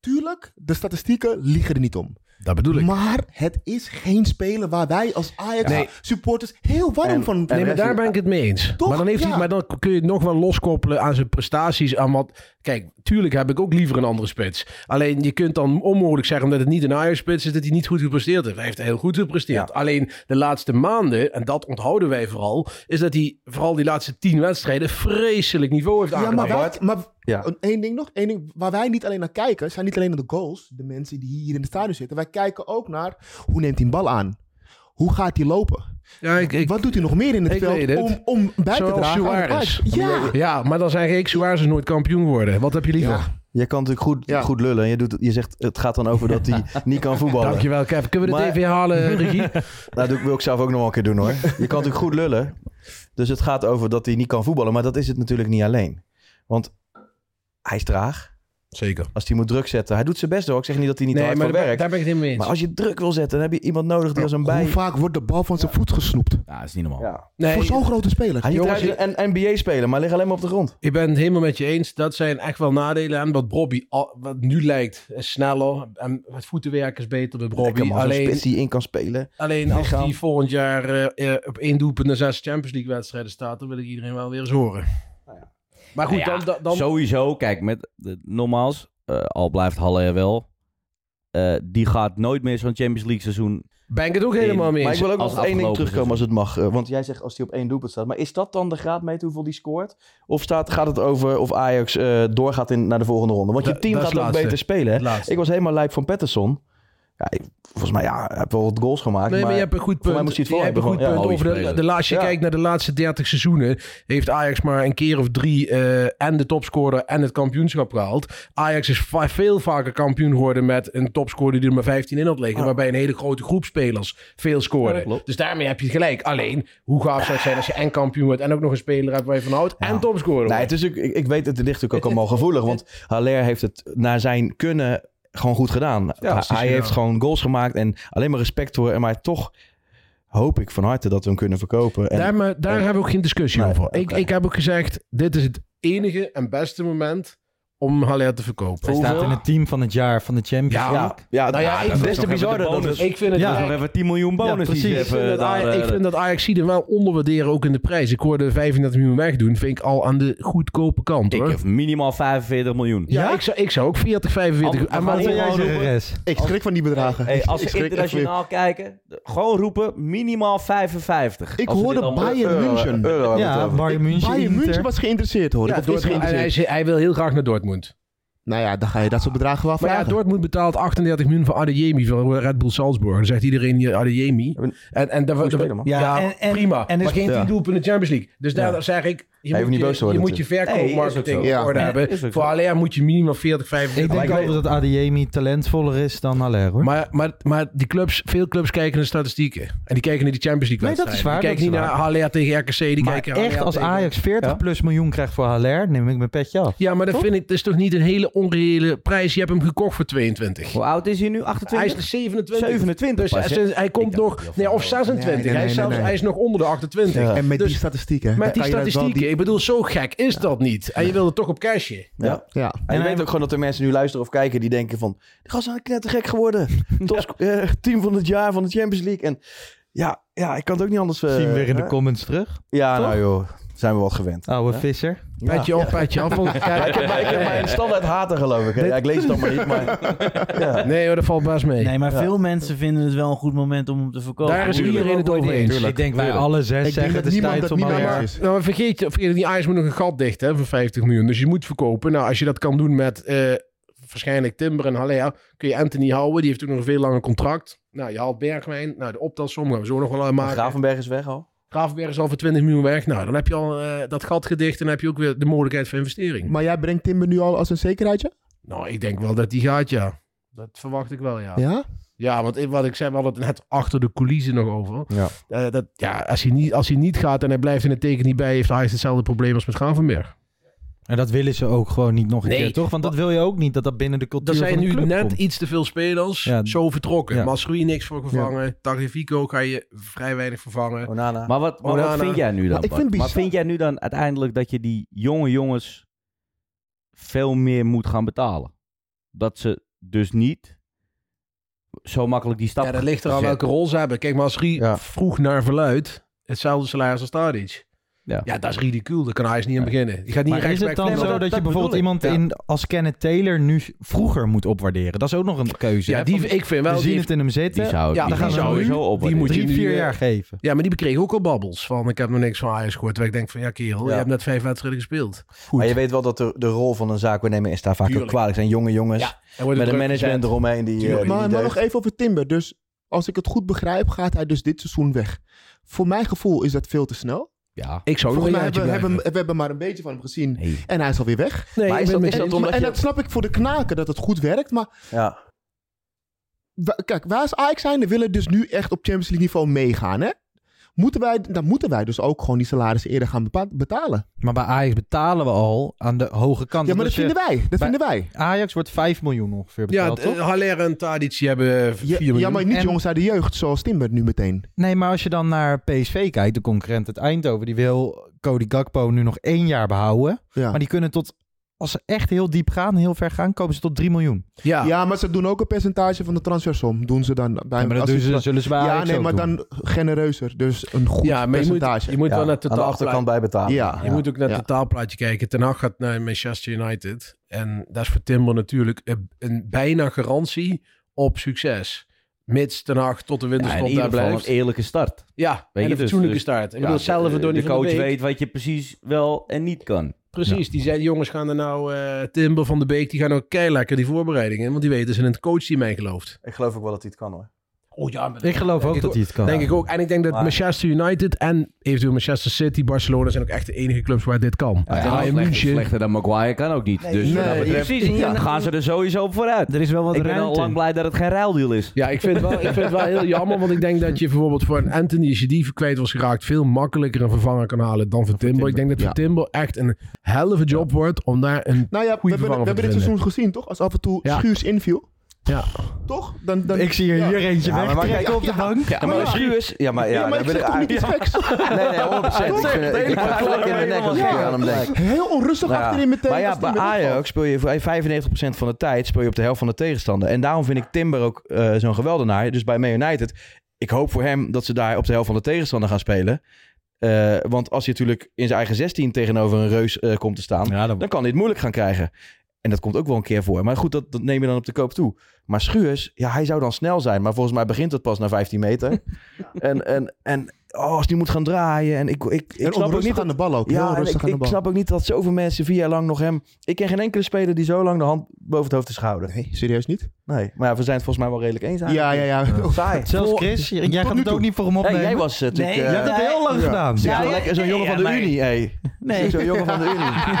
[SPEAKER 8] Tuurlijk, de statistieken liegen er niet om.
[SPEAKER 10] Dat bedoel ik.
[SPEAKER 8] Maar het is geen speler waar wij als
[SPEAKER 10] Nee.
[SPEAKER 8] Ajax-supporters heel warm van
[SPEAKER 10] Nee, maar daar ben ik het mee eens.
[SPEAKER 8] Toch?
[SPEAKER 10] Maar dan, heeft hij,
[SPEAKER 8] Ja.
[SPEAKER 10] maar dan kun je het nog wel loskoppelen aan zijn prestaties. Aan wat, kijk, tuurlijk heb ik ook liever een andere spits. Alleen je kunt dan onmogelijk zeggen, omdat het niet een Ajax-spits is, dat hij niet goed gepresteerd heeft. Hij heeft heel goed gepresteerd. Alleen de laatste maanden, en dat onthouden wij vooral, is dat hij vooral die laatste tien wedstrijden vreselijk niveau heeft
[SPEAKER 8] Ja,
[SPEAKER 10] aangenomen.
[SPEAKER 8] maar, wij, maar
[SPEAKER 13] Ja.
[SPEAKER 8] een- één ding nog. één ding, waar wij niet alleen naar kijken, zijn niet alleen naar de goals. De mensen die hier in het stadion zitten. Wij kijken ook naar hoe neemt hij een bal aan? Hoe gaat hij lopen?
[SPEAKER 10] Ja, ik, ik-
[SPEAKER 8] Wat doet hij nog meer in het
[SPEAKER 10] ik weet
[SPEAKER 8] veld om,
[SPEAKER 10] het.
[SPEAKER 8] om bij te
[SPEAKER 10] Zoals
[SPEAKER 8] dragen? aan het
[SPEAKER 10] Suarez.
[SPEAKER 8] Ajax? Ja.
[SPEAKER 10] ja, maar dan zeg ik, Suarez is nooit kampioen worden. Wat heb je liever?
[SPEAKER 13] Ja. Je kan natuurlijk goed, goed lullen. En je, doet, je zegt, het gaat dan over dat hij niet kan voetballen.
[SPEAKER 10] Dankjewel, Kev. Kunnen we dit
[SPEAKER 13] Maar-
[SPEAKER 10] even
[SPEAKER 8] (laughs)
[SPEAKER 10] halen, Regie?
[SPEAKER 13] Nou, dat wil ik zelf ook nog wel een keer doen hoor. Je kan natuurlijk goed lullen. Dus het gaat over dat hij niet kan voetballen. Maar dat is het natuurlijk niet alleen. Want hij is traag.
[SPEAKER 10] Zeker.
[SPEAKER 8] Als hij moet druk zetten. Hij doet zijn best hoor. Ik zeg niet dat hij niet
[SPEAKER 10] Nee,
[SPEAKER 8] te hard
[SPEAKER 10] maar
[SPEAKER 8] voor
[SPEAKER 10] daar ben-
[SPEAKER 8] werkt.
[SPEAKER 10] daar ben ik het niet mee eens.
[SPEAKER 8] Maar als je druk wil zetten, dan heb je iemand nodig die als een bij...
[SPEAKER 15] Hoe vaak wordt de bal van zijn voet gesnoept?
[SPEAKER 9] Ja, is niet normaal.
[SPEAKER 15] Voor zo'n grote speler.
[SPEAKER 8] Hij
[SPEAKER 10] Jongens,
[SPEAKER 8] is een NBA-speler, maar ligt alleen maar op de grond.
[SPEAKER 10] Ik ben het helemaal met je eens. Dat zijn echt wel nadelen aan wat Bobby al- wat nu lijkt. Is sneller. En het voetenwerk is beter bij
[SPEAKER 8] Lekker,
[SPEAKER 10] Bobby.
[SPEAKER 8] man, zo'n
[SPEAKER 10] Alleen,
[SPEAKER 8] spits die in kan spelen.
[SPEAKER 10] alleen als
[SPEAKER 8] Lichaam.
[SPEAKER 10] hij volgend jaar eh, eh, op één doelpunt naar zes Champions League wedstrijden staat, dan wil ik iedereen wel weer eens horen. Maar goed,
[SPEAKER 9] Nou ja,
[SPEAKER 10] dan, dan, dan-
[SPEAKER 9] Sowieso, kijk, met de, nogmaals, eh, al blijft Halle er wel. eh, die gaat nooit meer zo'n Champions League seizoen.
[SPEAKER 10] Ben ik het ook
[SPEAKER 9] in
[SPEAKER 10] helemaal mee
[SPEAKER 8] Maar
[SPEAKER 10] eens.
[SPEAKER 8] ik wil ook
[SPEAKER 9] als
[SPEAKER 8] nog één ding
[SPEAKER 9] afgelopen
[SPEAKER 8] terugkomen als het mag. eh, Want jij zegt als hij op één doelpunt staat. Maar is dat dan de graadmeter hoeveel die scoort? Of staat, gaat het over of Ajax eh, doorgaat in, naar de volgende ronde? Want je
[SPEAKER 10] Da-
[SPEAKER 8] team
[SPEAKER 10] dat is
[SPEAKER 8] gaat ook
[SPEAKER 10] laatste.
[SPEAKER 8] beter spelen. hè?
[SPEAKER 10] Laatste.
[SPEAKER 8] Ik was helemaal lijp van Patterson. Ja, ik- volgens mij, ja, hij heeft wel wat goals gemaakt.
[SPEAKER 10] Nee, maar, je hebt een goed
[SPEAKER 8] voor mij
[SPEAKER 10] punt.
[SPEAKER 8] moest hij het
[SPEAKER 10] Je
[SPEAKER 8] vol
[SPEAKER 10] hebt
[SPEAKER 8] hebben
[SPEAKER 10] een goed
[SPEAKER 8] gewoon.
[SPEAKER 10] punt
[SPEAKER 8] Ja,
[SPEAKER 10] over de,
[SPEAKER 8] speler.
[SPEAKER 10] de laatste,
[SPEAKER 8] Ja.
[SPEAKER 10] kijk naar de laatste 30 seizoenen. Heeft Ajax maar een keer of drie eh, en de topscorer en het kampioenschap gehaald. Ajax is va- veel vaker kampioen geworden met een topscorer die er maar 15 in had
[SPEAKER 8] Ah.
[SPEAKER 10] liggen. Waarbij een hele grote groep spelers veel scoorde. dus daarmee heb je gelijk. Alleen, hoe gaaf zou het zijn als je en kampioen wordt en ook nog een speler hebt waar je van houdt en topscorer
[SPEAKER 8] Nee,
[SPEAKER 10] wordt.
[SPEAKER 8] het is ook, ik, ik weet, het ligt natuurlijk ook allemaal gevoelig. Want Haller heeft het naar zijn kunnen gewoon goed gedaan. hij
[SPEAKER 10] precies, ja.
[SPEAKER 8] heeft gewoon goals gemaakt en alleen maar respect voor hem. Maar toch hoop ik van harte dat we hem kunnen verkopen. En
[SPEAKER 10] daar maar, daar hebben we ook geen discussie over. Ik,
[SPEAKER 8] oké.
[SPEAKER 10] ik heb ook gezegd, dit is het enige en beste moment om Haller te verkopen.
[SPEAKER 6] Hij staat in het team van het jaar van de Champions
[SPEAKER 10] Ja,
[SPEAKER 6] League.
[SPEAKER 8] ja,
[SPEAKER 10] nou ja, ik vind
[SPEAKER 8] des te bizarder dat we-
[SPEAKER 10] Ik vind het
[SPEAKER 6] Ja.
[SPEAKER 10] wel-
[SPEAKER 9] dus Nog even 10 miljoen bonus.
[SPEAKER 6] precies.
[SPEAKER 9] die ze
[SPEAKER 10] Ik
[SPEAKER 9] even
[SPEAKER 10] vind, dat
[SPEAKER 9] daar,
[SPEAKER 10] Aj- ik
[SPEAKER 9] eh,
[SPEAKER 10] vind dat Ajax er wel onderwaarderen, ook in de prijs. Ik hoorde 35 miljoen wegdoen, vind ik al aan de goedkope kant
[SPEAKER 9] ik
[SPEAKER 10] hoor.
[SPEAKER 9] heb minimaal 45 miljoen.
[SPEAKER 10] ja, Ik, zou, ik zou ook 40, 45
[SPEAKER 9] Ander-
[SPEAKER 10] en
[SPEAKER 9] maar
[SPEAKER 10] maar-
[SPEAKER 9] wat jij zegt,
[SPEAKER 6] Res.
[SPEAKER 15] Ik schrik van die bedragen.
[SPEAKER 9] Hey, als
[SPEAKER 15] ik
[SPEAKER 9] ze
[SPEAKER 15] schrik echt
[SPEAKER 9] internationaal kijken, de- gewoon roepen minimaal 55.
[SPEAKER 15] Ik
[SPEAKER 9] Als we dit
[SPEAKER 15] hoorde
[SPEAKER 9] allemaal- Eh,
[SPEAKER 15] Bayern
[SPEAKER 9] Euro-
[SPEAKER 15] München.
[SPEAKER 9] euro hebben we het
[SPEAKER 6] Ja,
[SPEAKER 9] over.
[SPEAKER 6] Bayern München.
[SPEAKER 15] Bayern München
[SPEAKER 6] Inter.
[SPEAKER 15] was geïnteresseerd hoor.
[SPEAKER 10] Ja,
[SPEAKER 15] of is
[SPEAKER 10] Dortmund, en hij,
[SPEAKER 15] geïnteresseerd.
[SPEAKER 10] is- hij wil heel graag naar Dortmund.
[SPEAKER 15] Nou ja, dan ga je dat soort bedragen wel
[SPEAKER 10] Maar ja,
[SPEAKER 15] vragen.
[SPEAKER 10] Dortmund betaalt 38 miljoen voor Adeyemi van Red Bull Salzburg. Dan zegt iedereen hier Adeyemi. En, en daar,
[SPEAKER 8] speler, man.
[SPEAKER 10] ja,
[SPEAKER 16] Ja, en- en-
[SPEAKER 10] prima.
[SPEAKER 16] en is-
[SPEAKER 10] maar geen
[SPEAKER 8] ja.
[SPEAKER 10] 10 doelpunten in de Champions League. Dus daar zeg ik, je
[SPEAKER 8] hoeft
[SPEAKER 10] moet
[SPEAKER 8] niet
[SPEAKER 10] je,
[SPEAKER 8] boos te worden
[SPEAKER 10] je, moet je verkoopmarketing
[SPEAKER 15] Nee, is ook zo.
[SPEAKER 10] op orde
[SPEAKER 15] Ja.
[SPEAKER 9] Is
[SPEAKER 10] hebben.
[SPEAKER 9] ook
[SPEAKER 10] Voor
[SPEAKER 9] zo.
[SPEAKER 10] Alea moet je minimaal 40, 45
[SPEAKER 6] Ik denk over dat Adeyemi talentvoller is dan Haller, hoor.
[SPEAKER 10] Maar, maar, maar die clubs, veel clubs kijken naar de statistieken. En die kijken naar die Champions League
[SPEAKER 6] Nee, dat is
[SPEAKER 10] wedstrijden.
[SPEAKER 6] waar,
[SPEAKER 10] Die
[SPEAKER 6] dat
[SPEAKER 10] kijken
[SPEAKER 6] is
[SPEAKER 10] niet naar Haller tegen RKC. Die
[SPEAKER 6] Maar
[SPEAKER 10] kijken naar
[SPEAKER 6] echt,
[SPEAKER 10] Haller
[SPEAKER 6] als
[SPEAKER 10] tegen-
[SPEAKER 6] Ajax 40 plus miljoen krijgt voor Haller, neem ik mijn petje af.
[SPEAKER 10] Ja, maar dat vind ik, dat is toch niet een hele onreële prijs. Je hebt hem gekocht voor 22.
[SPEAKER 9] Hoe oud is hij nu? 28?
[SPEAKER 10] Hij is 27.
[SPEAKER 9] 27
[SPEAKER 10] Dus
[SPEAKER 9] pas,
[SPEAKER 10] hij,
[SPEAKER 9] hè?
[SPEAKER 10] is- hij komt nog... Nee, of 26.
[SPEAKER 15] Nee, nee,
[SPEAKER 10] hij, is
[SPEAKER 15] nee,
[SPEAKER 10] zelfs,
[SPEAKER 15] nee.
[SPEAKER 10] hij is nog onder de 28.
[SPEAKER 15] En met
[SPEAKER 10] Dus
[SPEAKER 15] die statistieken.
[SPEAKER 10] met
[SPEAKER 15] dan
[SPEAKER 10] die
[SPEAKER 15] kan je dat wel
[SPEAKER 10] statistieken. Ik bedoel, zo gek is dat niet. En je wil het toch op cashje.
[SPEAKER 8] Ja.
[SPEAKER 15] die- Ja.
[SPEAKER 8] En je weet ook gewoon dat er mensen nu luisteren of kijken die denken van... De gast is knettergek
[SPEAKER 10] (laughs)
[SPEAKER 8] geworden. Top, eh, team van het jaar van de Champions League. En ja, ja ik kan het ook niet anders... eh,
[SPEAKER 6] Zien we weer in de
[SPEAKER 8] hè?
[SPEAKER 6] comments terug.
[SPEAKER 8] Ja,
[SPEAKER 6] toch?
[SPEAKER 8] nou joh. Zijn we wat gewend.
[SPEAKER 6] Oude visser.
[SPEAKER 8] Ja.
[SPEAKER 10] Petje op, petje af. want-
[SPEAKER 8] Ja, ik,
[SPEAKER 10] Kijk,
[SPEAKER 8] heb, maar- ik heb mijn standaard hater geloof ik. hè. Ja, ik lees het dan maar niet, maar... Ja.
[SPEAKER 10] Nee hoor, dat valt best mee.
[SPEAKER 16] Nee, maar veel mensen vinden het wel een goed moment om hem te verkopen.
[SPEAKER 10] Daar is
[SPEAKER 16] Hoe je
[SPEAKER 10] iedereen
[SPEAKER 16] hem
[SPEAKER 10] het
[SPEAKER 16] ook
[SPEAKER 10] over
[SPEAKER 16] waardeert.
[SPEAKER 10] eens.
[SPEAKER 6] Ik denk wij alle zes
[SPEAKER 15] Ik denk
[SPEAKER 6] zeggen
[SPEAKER 15] dat
[SPEAKER 6] het is
[SPEAKER 15] niemand
[SPEAKER 6] tijd
[SPEAKER 15] het
[SPEAKER 6] om
[SPEAKER 15] niet
[SPEAKER 6] Haller.
[SPEAKER 15] meer
[SPEAKER 6] Is.
[SPEAKER 15] is.
[SPEAKER 10] Nou, maar vergeet, je- vergeet niet, Ajax moet nog een gat dichten hè, voor 50 miljoen. Dus je moet verkopen. Nou, als je dat kan doen met eh, waarschijnlijk Timber en Haller, kun je Anthony houden. Die heeft ook nog een veel langer contract. Nou, je haalt Bergwijn. Nou, de optelsom gaan we zo nog wel aan maken.
[SPEAKER 8] Gravenberg is weg al.
[SPEAKER 10] Gravenberg is al voor 20 miljoen weg. Nou, dan heb je al eh, dat gat gedicht en dan heb je ook weer de mogelijkheid voor investering.
[SPEAKER 15] Maar jij brengt Timber nu al als een zekerheidje?
[SPEAKER 10] Nou, ik denk wel dat die gaat, ja. Dat verwacht ik wel, ja. Ja,
[SPEAKER 15] Ja?
[SPEAKER 10] want ik- wat ik zei, we hadden het net achter de coulissen nog over.
[SPEAKER 8] Ja.
[SPEAKER 10] Eh, dat, ja, als, hij niet, als hij niet gaat en hij blijft in het teken niet bij, heeft Ajax hetzelfde probleem als met Gravenberg.
[SPEAKER 6] En dat willen ze ook gewoon niet nog een
[SPEAKER 10] Nee.
[SPEAKER 6] keer, toch? Want dat wil je ook niet, dat dat binnen de
[SPEAKER 10] Er
[SPEAKER 6] cultuur van
[SPEAKER 10] zijn
[SPEAKER 6] de
[SPEAKER 10] nu
[SPEAKER 6] club
[SPEAKER 10] net
[SPEAKER 6] komt.
[SPEAKER 10] iets te veel spelers
[SPEAKER 6] Ja.
[SPEAKER 10] zo vertrokken.
[SPEAKER 6] Ja.
[SPEAKER 10] Masrui niks voor gevangen. Tagliafico kan je vrij weinig vervangen.
[SPEAKER 8] Onana.
[SPEAKER 9] (laughs) Maar wat, maar wat
[SPEAKER 10] Onana.
[SPEAKER 9] vind jij nu dan?
[SPEAKER 15] Maar ik
[SPEAKER 9] Bart?
[SPEAKER 15] vind
[SPEAKER 9] maar
[SPEAKER 15] bizar.
[SPEAKER 9] vind jij nu dan uiteindelijk dat je die jonge jongens veel meer moet gaan betalen? Dat ze dus niet zo makkelijk die stap
[SPEAKER 10] Ja, dat ligt er aan
[SPEAKER 9] zetten.
[SPEAKER 10] welke rol ze hebben. Kijk, Masrui
[SPEAKER 8] Ja.
[SPEAKER 10] vroeg naar verluid hetzelfde salaris als Tadic.
[SPEAKER 9] Ja.
[SPEAKER 10] Ja. dat is ridicuul. Daar kan Ajax niet aan beginnen. Die gaat niet
[SPEAKER 6] Maar is het
[SPEAKER 10] respect
[SPEAKER 6] dan
[SPEAKER 9] Nee,
[SPEAKER 6] zo
[SPEAKER 9] maar
[SPEAKER 6] dat,
[SPEAKER 9] dat-
[SPEAKER 6] je
[SPEAKER 9] dat
[SPEAKER 6] bijvoorbeeld
[SPEAKER 9] bedoel
[SPEAKER 6] iemand
[SPEAKER 10] Ja.
[SPEAKER 6] in, als Kenneth Taylor nu vroeger moet opwaarderen? Dat is ook nog een keuze.
[SPEAKER 10] Ja,
[SPEAKER 6] hè?
[SPEAKER 10] die,
[SPEAKER 6] Van,
[SPEAKER 10] ik vind wel...
[SPEAKER 6] we
[SPEAKER 10] die
[SPEAKER 6] zien het in hem zitten.
[SPEAKER 9] Die zou,
[SPEAKER 10] Ja,
[SPEAKER 9] die
[SPEAKER 10] dan gaan
[SPEAKER 9] zou
[SPEAKER 10] we nu-
[SPEAKER 9] sowieso op.
[SPEAKER 10] die moet je
[SPEAKER 6] drie,
[SPEAKER 10] nu,
[SPEAKER 6] vier
[SPEAKER 10] eh,
[SPEAKER 6] jaar geven.
[SPEAKER 10] Ja, maar die bekreeg ook al babbels. Van, ik heb nog niks van Ajax gehoord. Terwijl ik denk van, ja kerel,
[SPEAKER 8] Ja.
[SPEAKER 10] je hebt net vijf wedstrijden gespeeld.
[SPEAKER 8] Maar je weet wel dat de, de rol van een zaak we nemen is daar vaak ook
[SPEAKER 10] Tuurlijk.
[SPEAKER 8] kwalijk. zijn jonge jongens
[SPEAKER 10] En
[SPEAKER 8] met
[SPEAKER 10] wordt het
[SPEAKER 8] een
[SPEAKER 10] druk gezet.
[SPEAKER 8] management eromheen die, eh,
[SPEAKER 10] Tuurlijk.
[SPEAKER 8] die
[SPEAKER 15] Maar,
[SPEAKER 8] niet
[SPEAKER 15] maar nog
[SPEAKER 8] deugt.
[SPEAKER 15] even over Timber. Dus als ik het goed begrijp, gaat hij dus dit seizoen weg. Voor mijn gevoel is dat veel te snel.
[SPEAKER 9] Ja.
[SPEAKER 10] Ik zou Oh,
[SPEAKER 15] Volgens
[SPEAKER 10] nog een
[SPEAKER 15] mij
[SPEAKER 10] jaartje
[SPEAKER 15] hebben, hebben,
[SPEAKER 10] blijven.
[SPEAKER 15] we hebben maar een beetje van hem gezien.
[SPEAKER 9] Nee.
[SPEAKER 15] En hij is alweer weg.
[SPEAKER 10] Nee,
[SPEAKER 8] Maar
[SPEAKER 10] ik
[SPEAKER 8] is dat-
[SPEAKER 10] ben met
[SPEAKER 8] is
[SPEAKER 10] je
[SPEAKER 8] dat
[SPEAKER 15] en,
[SPEAKER 8] omdat
[SPEAKER 15] en
[SPEAKER 8] je-
[SPEAKER 15] dat snap ik voor de knaken, dat het goed werkt. Maar
[SPEAKER 8] Ja.
[SPEAKER 15] wa- kijk, wij als Ajax zijn, willen dus nu echt op Champions League niveau meegaan. Hè?
[SPEAKER 11] Moeten wij, dan moeten wij dus ook gewoon die salarissen eerder gaan bepa- betalen.
[SPEAKER 6] Maar bij Ajax betalen we al aan de hoge kant.
[SPEAKER 11] Ja, maar
[SPEAKER 6] Dus
[SPEAKER 11] dat
[SPEAKER 6] je-
[SPEAKER 11] vinden wij. Dat
[SPEAKER 6] bij
[SPEAKER 11] vinden wij.
[SPEAKER 6] Ajax wordt 5 miljoen ongeveer
[SPEAKER 10] Ja,
[SPEAKER 6] betaald,
[SPEAKER 10] eh,
[SPEAKER 6] toch?
[SPEAKER 10] Haller en Tadic die hebben 4
[SPEAKER 11] Ja,
[SPEAKER 10] miljoen.
[SPEAKER 11] ja, maar niet
[SPEAKER 6] En-
[SPEAKER 11] jongens uit de jeugd, zoals Timber nu
[SPEAKER 8] Mm.
[SPEAKER 11] meteen.
[SPEAKER 6] Nee, maar als je dan naar PSV kijkt, de concurrent het Eindhoven, die wil Cody Gakpo nu nog één jaar behouden.
[SPEAKER 11] Ja.
[SPEAKER 6] Maar die kunnen tot, als ze echt heel diep gaan, heel ver gaan, komen ze tot 3 miljoen.
[SPEAKER 10] Ja.
[SPEAKER 11] ja, maar ze doen ook een percentage van de transfersom. Doen ze dan bij
[SPEAKER 6] Ja, maar dat
[SPEAKER 11] als
[SPEAKER 6] doen
[SPEAKER 11] je-
[SPEAKER 6] ze- zullen ze bij
[SPEAKER 11] Ja,
[SPEAKER 6] Ajax
[SPEAKER 11] nee,
[SPEAKER 6] ook
[SPEAKER 11] maar
[SPEAKER 6] doen.
[SPEAKER 11] dan genereuzer. Dus een goed
[SPEAKER 10] Ja, maar je moet,
[SPEAKER 11] percentage.
[SPEAKER 10] je moet wel naar totaal
[SPEAKER 9] bijbetalen.
[SPEAKER 11] Ja.
[SPEAKER 10] Je moet ook naar het totaalplaatje kijken. Ten Hag gaat naar Manchester United. En dat is voor Timber natuurlijk een, een bijna garantie op succes. Mits Ten Hag tot de
[SPEAKER 8] Ja, in
[SPEAKER 10] winterstop
[SPEAKER 8] ieder
[SPEAKER 10] dus daar
[SPEAKER 8] geval
[SPEAKER 10] blijft.
[SPEAKER 8] een eerlijke start.
[SPEAKER 10] Ja, en een
[SPEAKER 8] dus-
[SPEAKER 10] fatsoenlijke
[SPEAKER 8] dus-
[SPEAKER 10] start. Ik
[SPEAKER 8] ja,
[SPEAKER 10] bedoel, hetzelfde
[SPEAKER 8] de-
[SPEAKER 10] voor Donny
[SPEAKER 8] De
[SPEAKER 10] van de
[SPEAKER 8] coach
[SPEAKER 10] Beek.
[SPEAKER 8] weet wat je precies wel en niet kan.
[SPEAKER 10] Precies, die zei, die jongens gaan er nou... eh, Timber van de Beek, die gaan ook keilekker die voorbereidingen. Want die weten, ze zijn in het coachteam mij gelooft.
[SPEAKER 9] Ik geloof ook wel dat hij het kan hoor.
[SPEAKER 10] Oh ja, maar
[SPEAKER 6] Ik geloof ook
[SPEAKER 10] ik
[SPEAKER 6] dat hij het kan.
[SPEAKER 10] Denk ik ook. En ik denk dat
[SPEAKER 9] Maar-
[SPEAKER 10] Manchester United en eventueel Manchester City, Barcelona... zijn ook echt de enige clubs waar dit kan.
[SPEAKER 8] Ja,
[SPEAKER 10] en in
[SPEAKER 8] slechter,
[SPEAKER 10] München...
[SPEAKER 8] slechter dan Maguire kan ook niet. dus wat dat betreft
[SPEAKER 12] precies. En je-
[SPEAKER 8] ja, gaan ze er sowieso op vooruit.
[SPEAKER 6] Er is wel wat
[SPEAKER 8] ik ben al
[SPEAKER 12] ruimte.
[SPEAKER 8] lang blij dat het geen ruildeal is.
[SPEAKER 10] Ja, ik vind, het wel, ik vind het wel heel jammer. Want ik denk dat je bijvoorbeeld voor een Anthony, als je die kwijt was geraakt, veel makkelijker een vervanger kan halen dan voor Timber. Ik denk dat voor Timber echt een helve job wordt om daar een
[SPEAKER 11] Nou ja, we
[SPEAKER 10] goede
[SPEAKER 11] hebben, we
[SPEAKER 10] vervanger
[SPEAKER 11] hebben
[SPEAKER 10] voor te
[SPEAKER 11] dit
[SPEAKER 10] vinden.
[SPEAKER 11] seizoen gezien, toch? Als af en toe
[SPEAKER 10] Ja.
[SPEAKER 11] Schuurs inviel.
[SPEAKER 10] Ja.
[SPEAKER 11] Toch? Dan, dan,
[SPEAKER 6] Ik zie er hier eentje
[SPEAKER 9] Ja, maar
[SPEAKER 6] weg
[SPEAKER 9] waar
[SPEAKER 6] trekken
[SPEAKER 9] kijk-
[SPEAKER 6] op de bank.
[SPEAKER 9] Ja, maar Schuurs... Ja, maar, ja,
[SPEAKER 11] Ja, maar
[SPEAKER 9] daar
[SPEAKER 11] ik
[SPEAKER 9] ben
[SPEAKER 11] zeg toch niet iets
[SPEAKER 9] eigenlijk-
[SPEAKER 11] geks?
[SPEAKER 9] Nee, nee, 100%. Ik
[SPEAKER 11] Toch?
[SPEAKER 9] vind- Ik ik ga gelijk in mijn nek als ik
[SPEAKER 11] Ja.
[SPEAKER 9] aan hem denk.
[SPEAKER 11] Heel onrustig
[SPEAKER 9] Nou ja,
[SPEAKER 11] achterin meteen.
[SPEAKER 9] Maar ja,
[SPEAKER 11] als die
[SPEAKER 9] bij
[SPEAKER 11] met opvalt.
[SPEAKER 9] Ajax speel je voor 95% van de tijd speel je op de helft van de tegenstander. En daarom vind ik Timber ook eh, zo'n geweldenaar. Dus bij Man United, ik hoop voor hem dat ze daar op de helft van de tegenstander gaan spelen. Eh, want als je natuurlijk in zijn eigen 16 tegenover een reus eh, komt te staan, dan... kan hij het moeilijk gaan krijgen. En dat komt ook wel een keer voor. Maar goed, dat, dat neem je dan op de koop toe. Maar Schuurs, ja, hij zou dan snel zijn. Maar volgens mij begint het pas na 15
[SPEAKER 11] (laughs)
[SPEAKER 9] meter. en en, en oh, als die moet gaan draaien. En ik, ik, ik
[SPEAKER 11] En
[SPEAKER 9] snap ook
[SPEAKER 11] onrustig
[SPEAKER 9] niet dat-
[SPEAKER 11] aan de bal ook.
[SPEAKER 9] ja,
[SPEAKER 11] heel
[SPEAKER 9] en
[SPEAKER 11] rustig
[SPEAKER 9] ik,
[SPEAKER 11] aan de
[SPEAKER 9] ik
[SPEAKER 11] bal.
[SPEAKER 9] snap ook niet dat zoveel mensen vier jaar lang nog hem... Ik ken geen enkele speler die zo lang de hand boven het hoofd is gehouden.
[SPEAKER 11] Nee, serieus niet?
[SPEAKER 9] Nee, maar ja, we zijn het volgens mij wel redelijk eens
[SPEAKER 11] Ja, ja, ja.
[SPEAKER 9] Saai.
[SPEAKER 6] Zelfs Chris, jij gaat het ook niet voor hem
[SPEAKER 9] Hey,
[SPEAKER 6] opnemen.
[SPEAKER 9] jij was eh, natuurlijk...
[SPEAKER 12] Nee,
[SPEAKER 9] eh,
[SPEAKER 6] Je hebt het heel lang
[SPEAKER 12] Ja.
[SPEAKER 6] gedaan.
[SPEAKER 9] zeg maar
[SPEAKER 12] Ja,
[SPEAKER 9] lekker zo'n
[SPEAKER 12] nee,
[SPEAKER 9] jongen
[SPEAKER 12] ja,
[SPEAKER 9] van de
[SPEAKER 12] maar-
[SPEAKER 9] Unie, hé.
[SPEAKER 12] Nee.
[SPEAKER 9] Zo'n jongen van de Unie.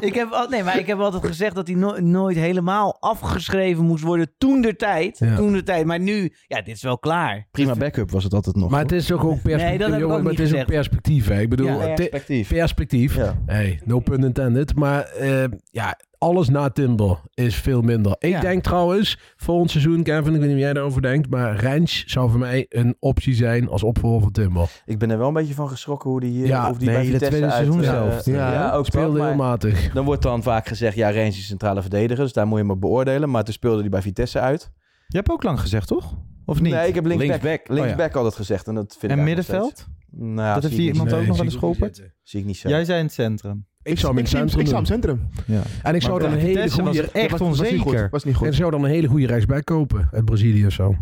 [SPEAKER 12] ik heb, al- nee, maar ik heb altijd gezegd dat hij no- nooit helemaal afgeschreven moest worden toen de tijd.
[SPEAKER 10] Ja.
[SPEAKER 12] Toen de tijd. Maar nu, ja, dit is wel klaar.
[SPEAKER 9] Prima backup was het altijd nog.
[SPEAKER 10] Maar het is toch ook perspectief.
[SPEAKER 12] Nou, Nee, dat heb ik
[SPEAKER 10] jongen,
[SPEAKER 12] ook
[SPEAKER 10] maar
[SPEAKER 12] niet
[SPEAKER 10] het is ook
[SPEAKER 12] gezegd.
[SPEAKER 10] perspectief. Hè? Ik bedoel,
[SPEAKER 12] Ja,
[SPEAKER 10] het-
[SPEAKER 9] perspectief.
[SPEAKER 10] perspectief.
[SPEAKER 9] Ja.
[SPEAKER 10] Hey, no pun intended. Maar eh, ja, alles na Timber is veel minder. Ik
[SPEAKER 12] Ja.
[SPEAKER 10] denk trouwens, volgend seizoen, Kevin, ik weet niet hoe jij daarover denkt, maar Rens zou voor mij een optie zijn als opvolger van Timber.
[SPEAKER 9] Ik ben er wel een beetje van geschrokken hoe die, eh,
[SPEAKER 10] Ja,
[SPEAKER 9] of die
[SPEAKER 10] nee,
[SPEAKER 9] bij
[SPEAKER 10] dat
[SPEAKER 9] Vitesse
[SPEAKER 10] tweede
[SPEAKER 9] uit,
[SPEAKER 10] seizoen
[SPEAKER 9] eh,
[SPEAKER 10] zelf.
[SPEAKER 9] eh,
[SPEAKER 10] Ja,
[SPEAKER 9] ook speelt,
[SPEAKER 10] Speelde heel
[SPEAKER 9] maar
[SPEAKER 10] matig.
[SPEAKER 9] Dan wordt dan vaak gezegd, ja, Rens is centrale verdediger. Dus daar moet je maar beoordelen. Maar toen speelde hij bij Vitesse uit.
[SPEAKER 6] Je hebt ook lang gezegd, toch? Of niet?
[SPEAKER 9] Nee, ik heb linksback
[SPEAKER 8] Linksback.
[SPEAKER 6] Oh, ja.
[SPEAKER 9] linksback altijd gezegd. En, dat vind
[SPEAKER 6] en
[SPEAKER 9] ik eigenlijk nog
[SPEAKER 6] middenveld?
[SPEAKER 9] steeds- Nou, ja,
[SPEAKER 6] dat
[SPEAKER 9] zie
[SPEAKER 6] heeft
[SPEAKER 9] ik
[SPEAKER 6] hier
[SPEAKER 9] niet
[SPEAKER 6] iemand
[SPEAKER 9] zo.
[SPEAKER 6] ook nog wel eens geholpen.
[SPEAKER 9] Zie ik niet zo.
[SPEAKER 6] Jij zei in het centrum.
[SPEAKER 10] Ik zou hem
[SPEAKER 11] Ik
[SPEAKER 10] in
[SPEAKER 11] zie hem-
[SPEAKER 10] het
[SPEAKER 11] ik
[SPEAKER 10] centrum
[SPEAKER 11] zou hem
[SPEAKER 10] doen.
[SPEAKER 11] centrum.
[SPEAKER 6] Ja.
[SPEAKER 10] En ik zou
[SPEAKER 6] Maar
[SPEAKER 10] dan een hele
[SPEAKER 6] Vitesse was
[SPEAKER 10] goede...
[SPEAKER 6] er echt
[SPEAKER 10] Ja,
[SPEAKER 11] was niet goed.
[SPEAKER 6] onzeker.
[SPEAKER 11] Was niet goed.
[SPEAKER 10] Ik zou dan een hele goede rechtsback kopen uit Brazilië of zo.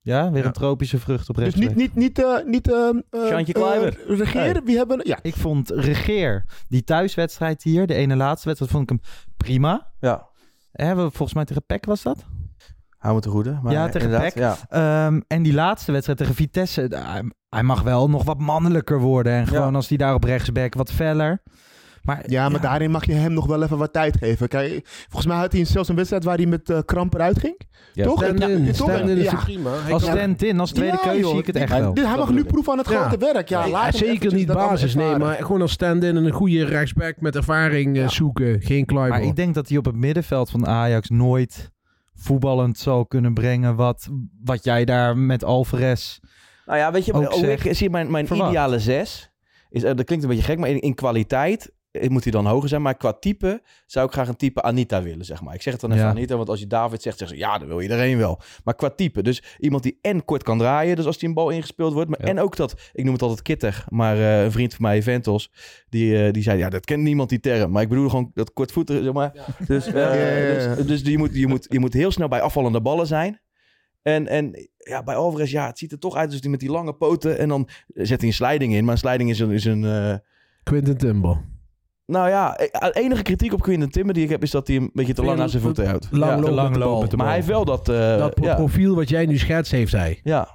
[SPEAKER 6] Ja, weer
[SPEAKER 10] Ja.
[SPEAKER 6] een tropische vrucht op
[SPEAKER 11] Dus
[SPEAKER 6] rechts.
[SPEAKER 11] niet, niet, niet, eh niet eh eh,
[SPEAKER 8] Sjantje
[SPEAKER 11] eh,
[SPEAKER 8] Kluivert.
[SPEAKER 11] regeren. Wie hebben... Ja,
[SPEAKER 6] Ik vond Regeer, die thuiswedstrijd hier, de ene laatste wedstrijd, vond ik hem prima.
[SPEAKER 9] Ja,
[SPEAKER 6] Hè, we- volgens mij tegen PEC was dat.
[SPEAKER 9] hou me te goede. Maar
[SPEAKER 6] Ja, tegen
[SPEAKER 9] inderdaad,
[SPEAKER 6] Beck.
[SPEAKER 9] Ja.
[SPEAKER 6] Ehm, en die laatste wedstrijd tegen Vitesse, eh, hij, hij mag wel nog wat mannelijker worden. En gewoon
[SPEAKER 9] Ja.
[SPEAKER 6] als hij daar op rechtsback wat feller. Maar,
[SPEAKER 11] ja maar daarin mag je hem nog wel even wat tijd geven. Kijk, volgens mij had hij zelfs een wedstrijd waar hij met eh, kramp eruit ging.
[SPEAKER 8] Ja.
[SPEAKER 11] Toch? En-
[SPEAKER 10] Stand-in
[SPEAKER 11] ja, toch?
[SPEAKER 10] stand-in is
[SPEAKER 11] Ja.
[SPEAKER 10] toch prima. Hij
[SPEAKER 6] als
[SPEAKER 10] kan-
[SPEAKER 6] stand-in, als tweede
[SPEAKER 11] Ja,
[SPEAKER 6] keuze
[SPEAKER 11] joh,
[SPEAKER 6] zie ik het
[SPEAKER 11] die-
[SPEAKER 6] echt wel.
[SPEAKER 11] Dit, hij mag nu proeven aan het
[SPEAKER 10] Ja.
[SPEAKER 11] grote werk. Ja,
[SPEAKER 10] Nee,
[SPEAKER 11] laat hem
[SPEAKER 10] zeker
[SPEAKER 11] eventjes
[SPEAKER 10] niet
[SPEAKER 11] dat allemaal
[SPEAKER 10] basis, nee,
[SPEAKER 11] ervaren.
[SPEAKER 10] maar gewoon als stand-in en een goede rechtsback met ervaring eh, zoeken. Geen
[SPEAKER 6] Maar
[SPEAKER 10] Kluiber.
[SPEAKER 6] ik denk dat hij op het middenveld van Ajax nooit voetballend zal kunnen brengen wat, wat jij daar met Alvarez...
[SPEAKER 9] Nou ja, weet je,
[SPEAKER 6] Ook
[SPEAKER 9] maar hoe
[SPEAKER 6] zeg,
[SPEAKER 9] ik zie mijn, mijn
[SPEAKER 6] verwacht.
[SPEAKER 9] ideale zes. Is, eh, dat klinkt een beetje gek, maar in, in kwaliteit eh, moet hij dan hoger zijn. Maar qua type zou ik graag een type Anita willen, zeg maar. Ik zeg het dan even
[SPEAKER 6] Ja.
[SPEAKER 9] Anita, want als je David zegt, zeggen ze ja, dat wil iedereen wel. Maar qua type, dus iemand die en kort kan draaien, dus als die een bal ingespeeld wordt. Maar,
[SPEAKER 8] Ja.
[SPEAKER 9] En ook dat, ik noem het altijd kittig, maar eh, een vriend van mij, Ventos, die, eh, die zei, ja, dat kent niemand die term. Maar ik bedoel gewoon dat kortvoetig, zeg maar. Dus, eh,
[SPEAKER 11] Ja, ja, ja.
[SPEAKER 9] dus, dus je, moet, je, moet, je moet heel snel bij afvallende ballen zijn. En, en ja, bij Alvarez, ja, het ziet er toch uit alsof hij met die lange poten... en dan zet hij een sliding in. Maar een sliding is een... Is een eh,
[SPEAKER 10] Quinten Timber.
[SPEAKER 9] nou ja, eh, enige kritiek op Quinten Timber die ik heb... is dat hij een beetje te lang aan zijn voeten houdt.
[SPEAKER 10] Lang
[SPEAKER 9] ja,
[SPEAKER 10] lopen
[SPEAKER 6] lang
[SPEAKER 10] met de bal.
[SPEAKER 6] lopen.
[SPEAKER 9] Maar hij heeft wel dat... eh,
[SPEAKER 10] Dat pro-
[SPEAKER 9] ja,
[SPEAKER 10] profiel wat jij nu schetst, heeft hij.
[SPEAKER 9] ja.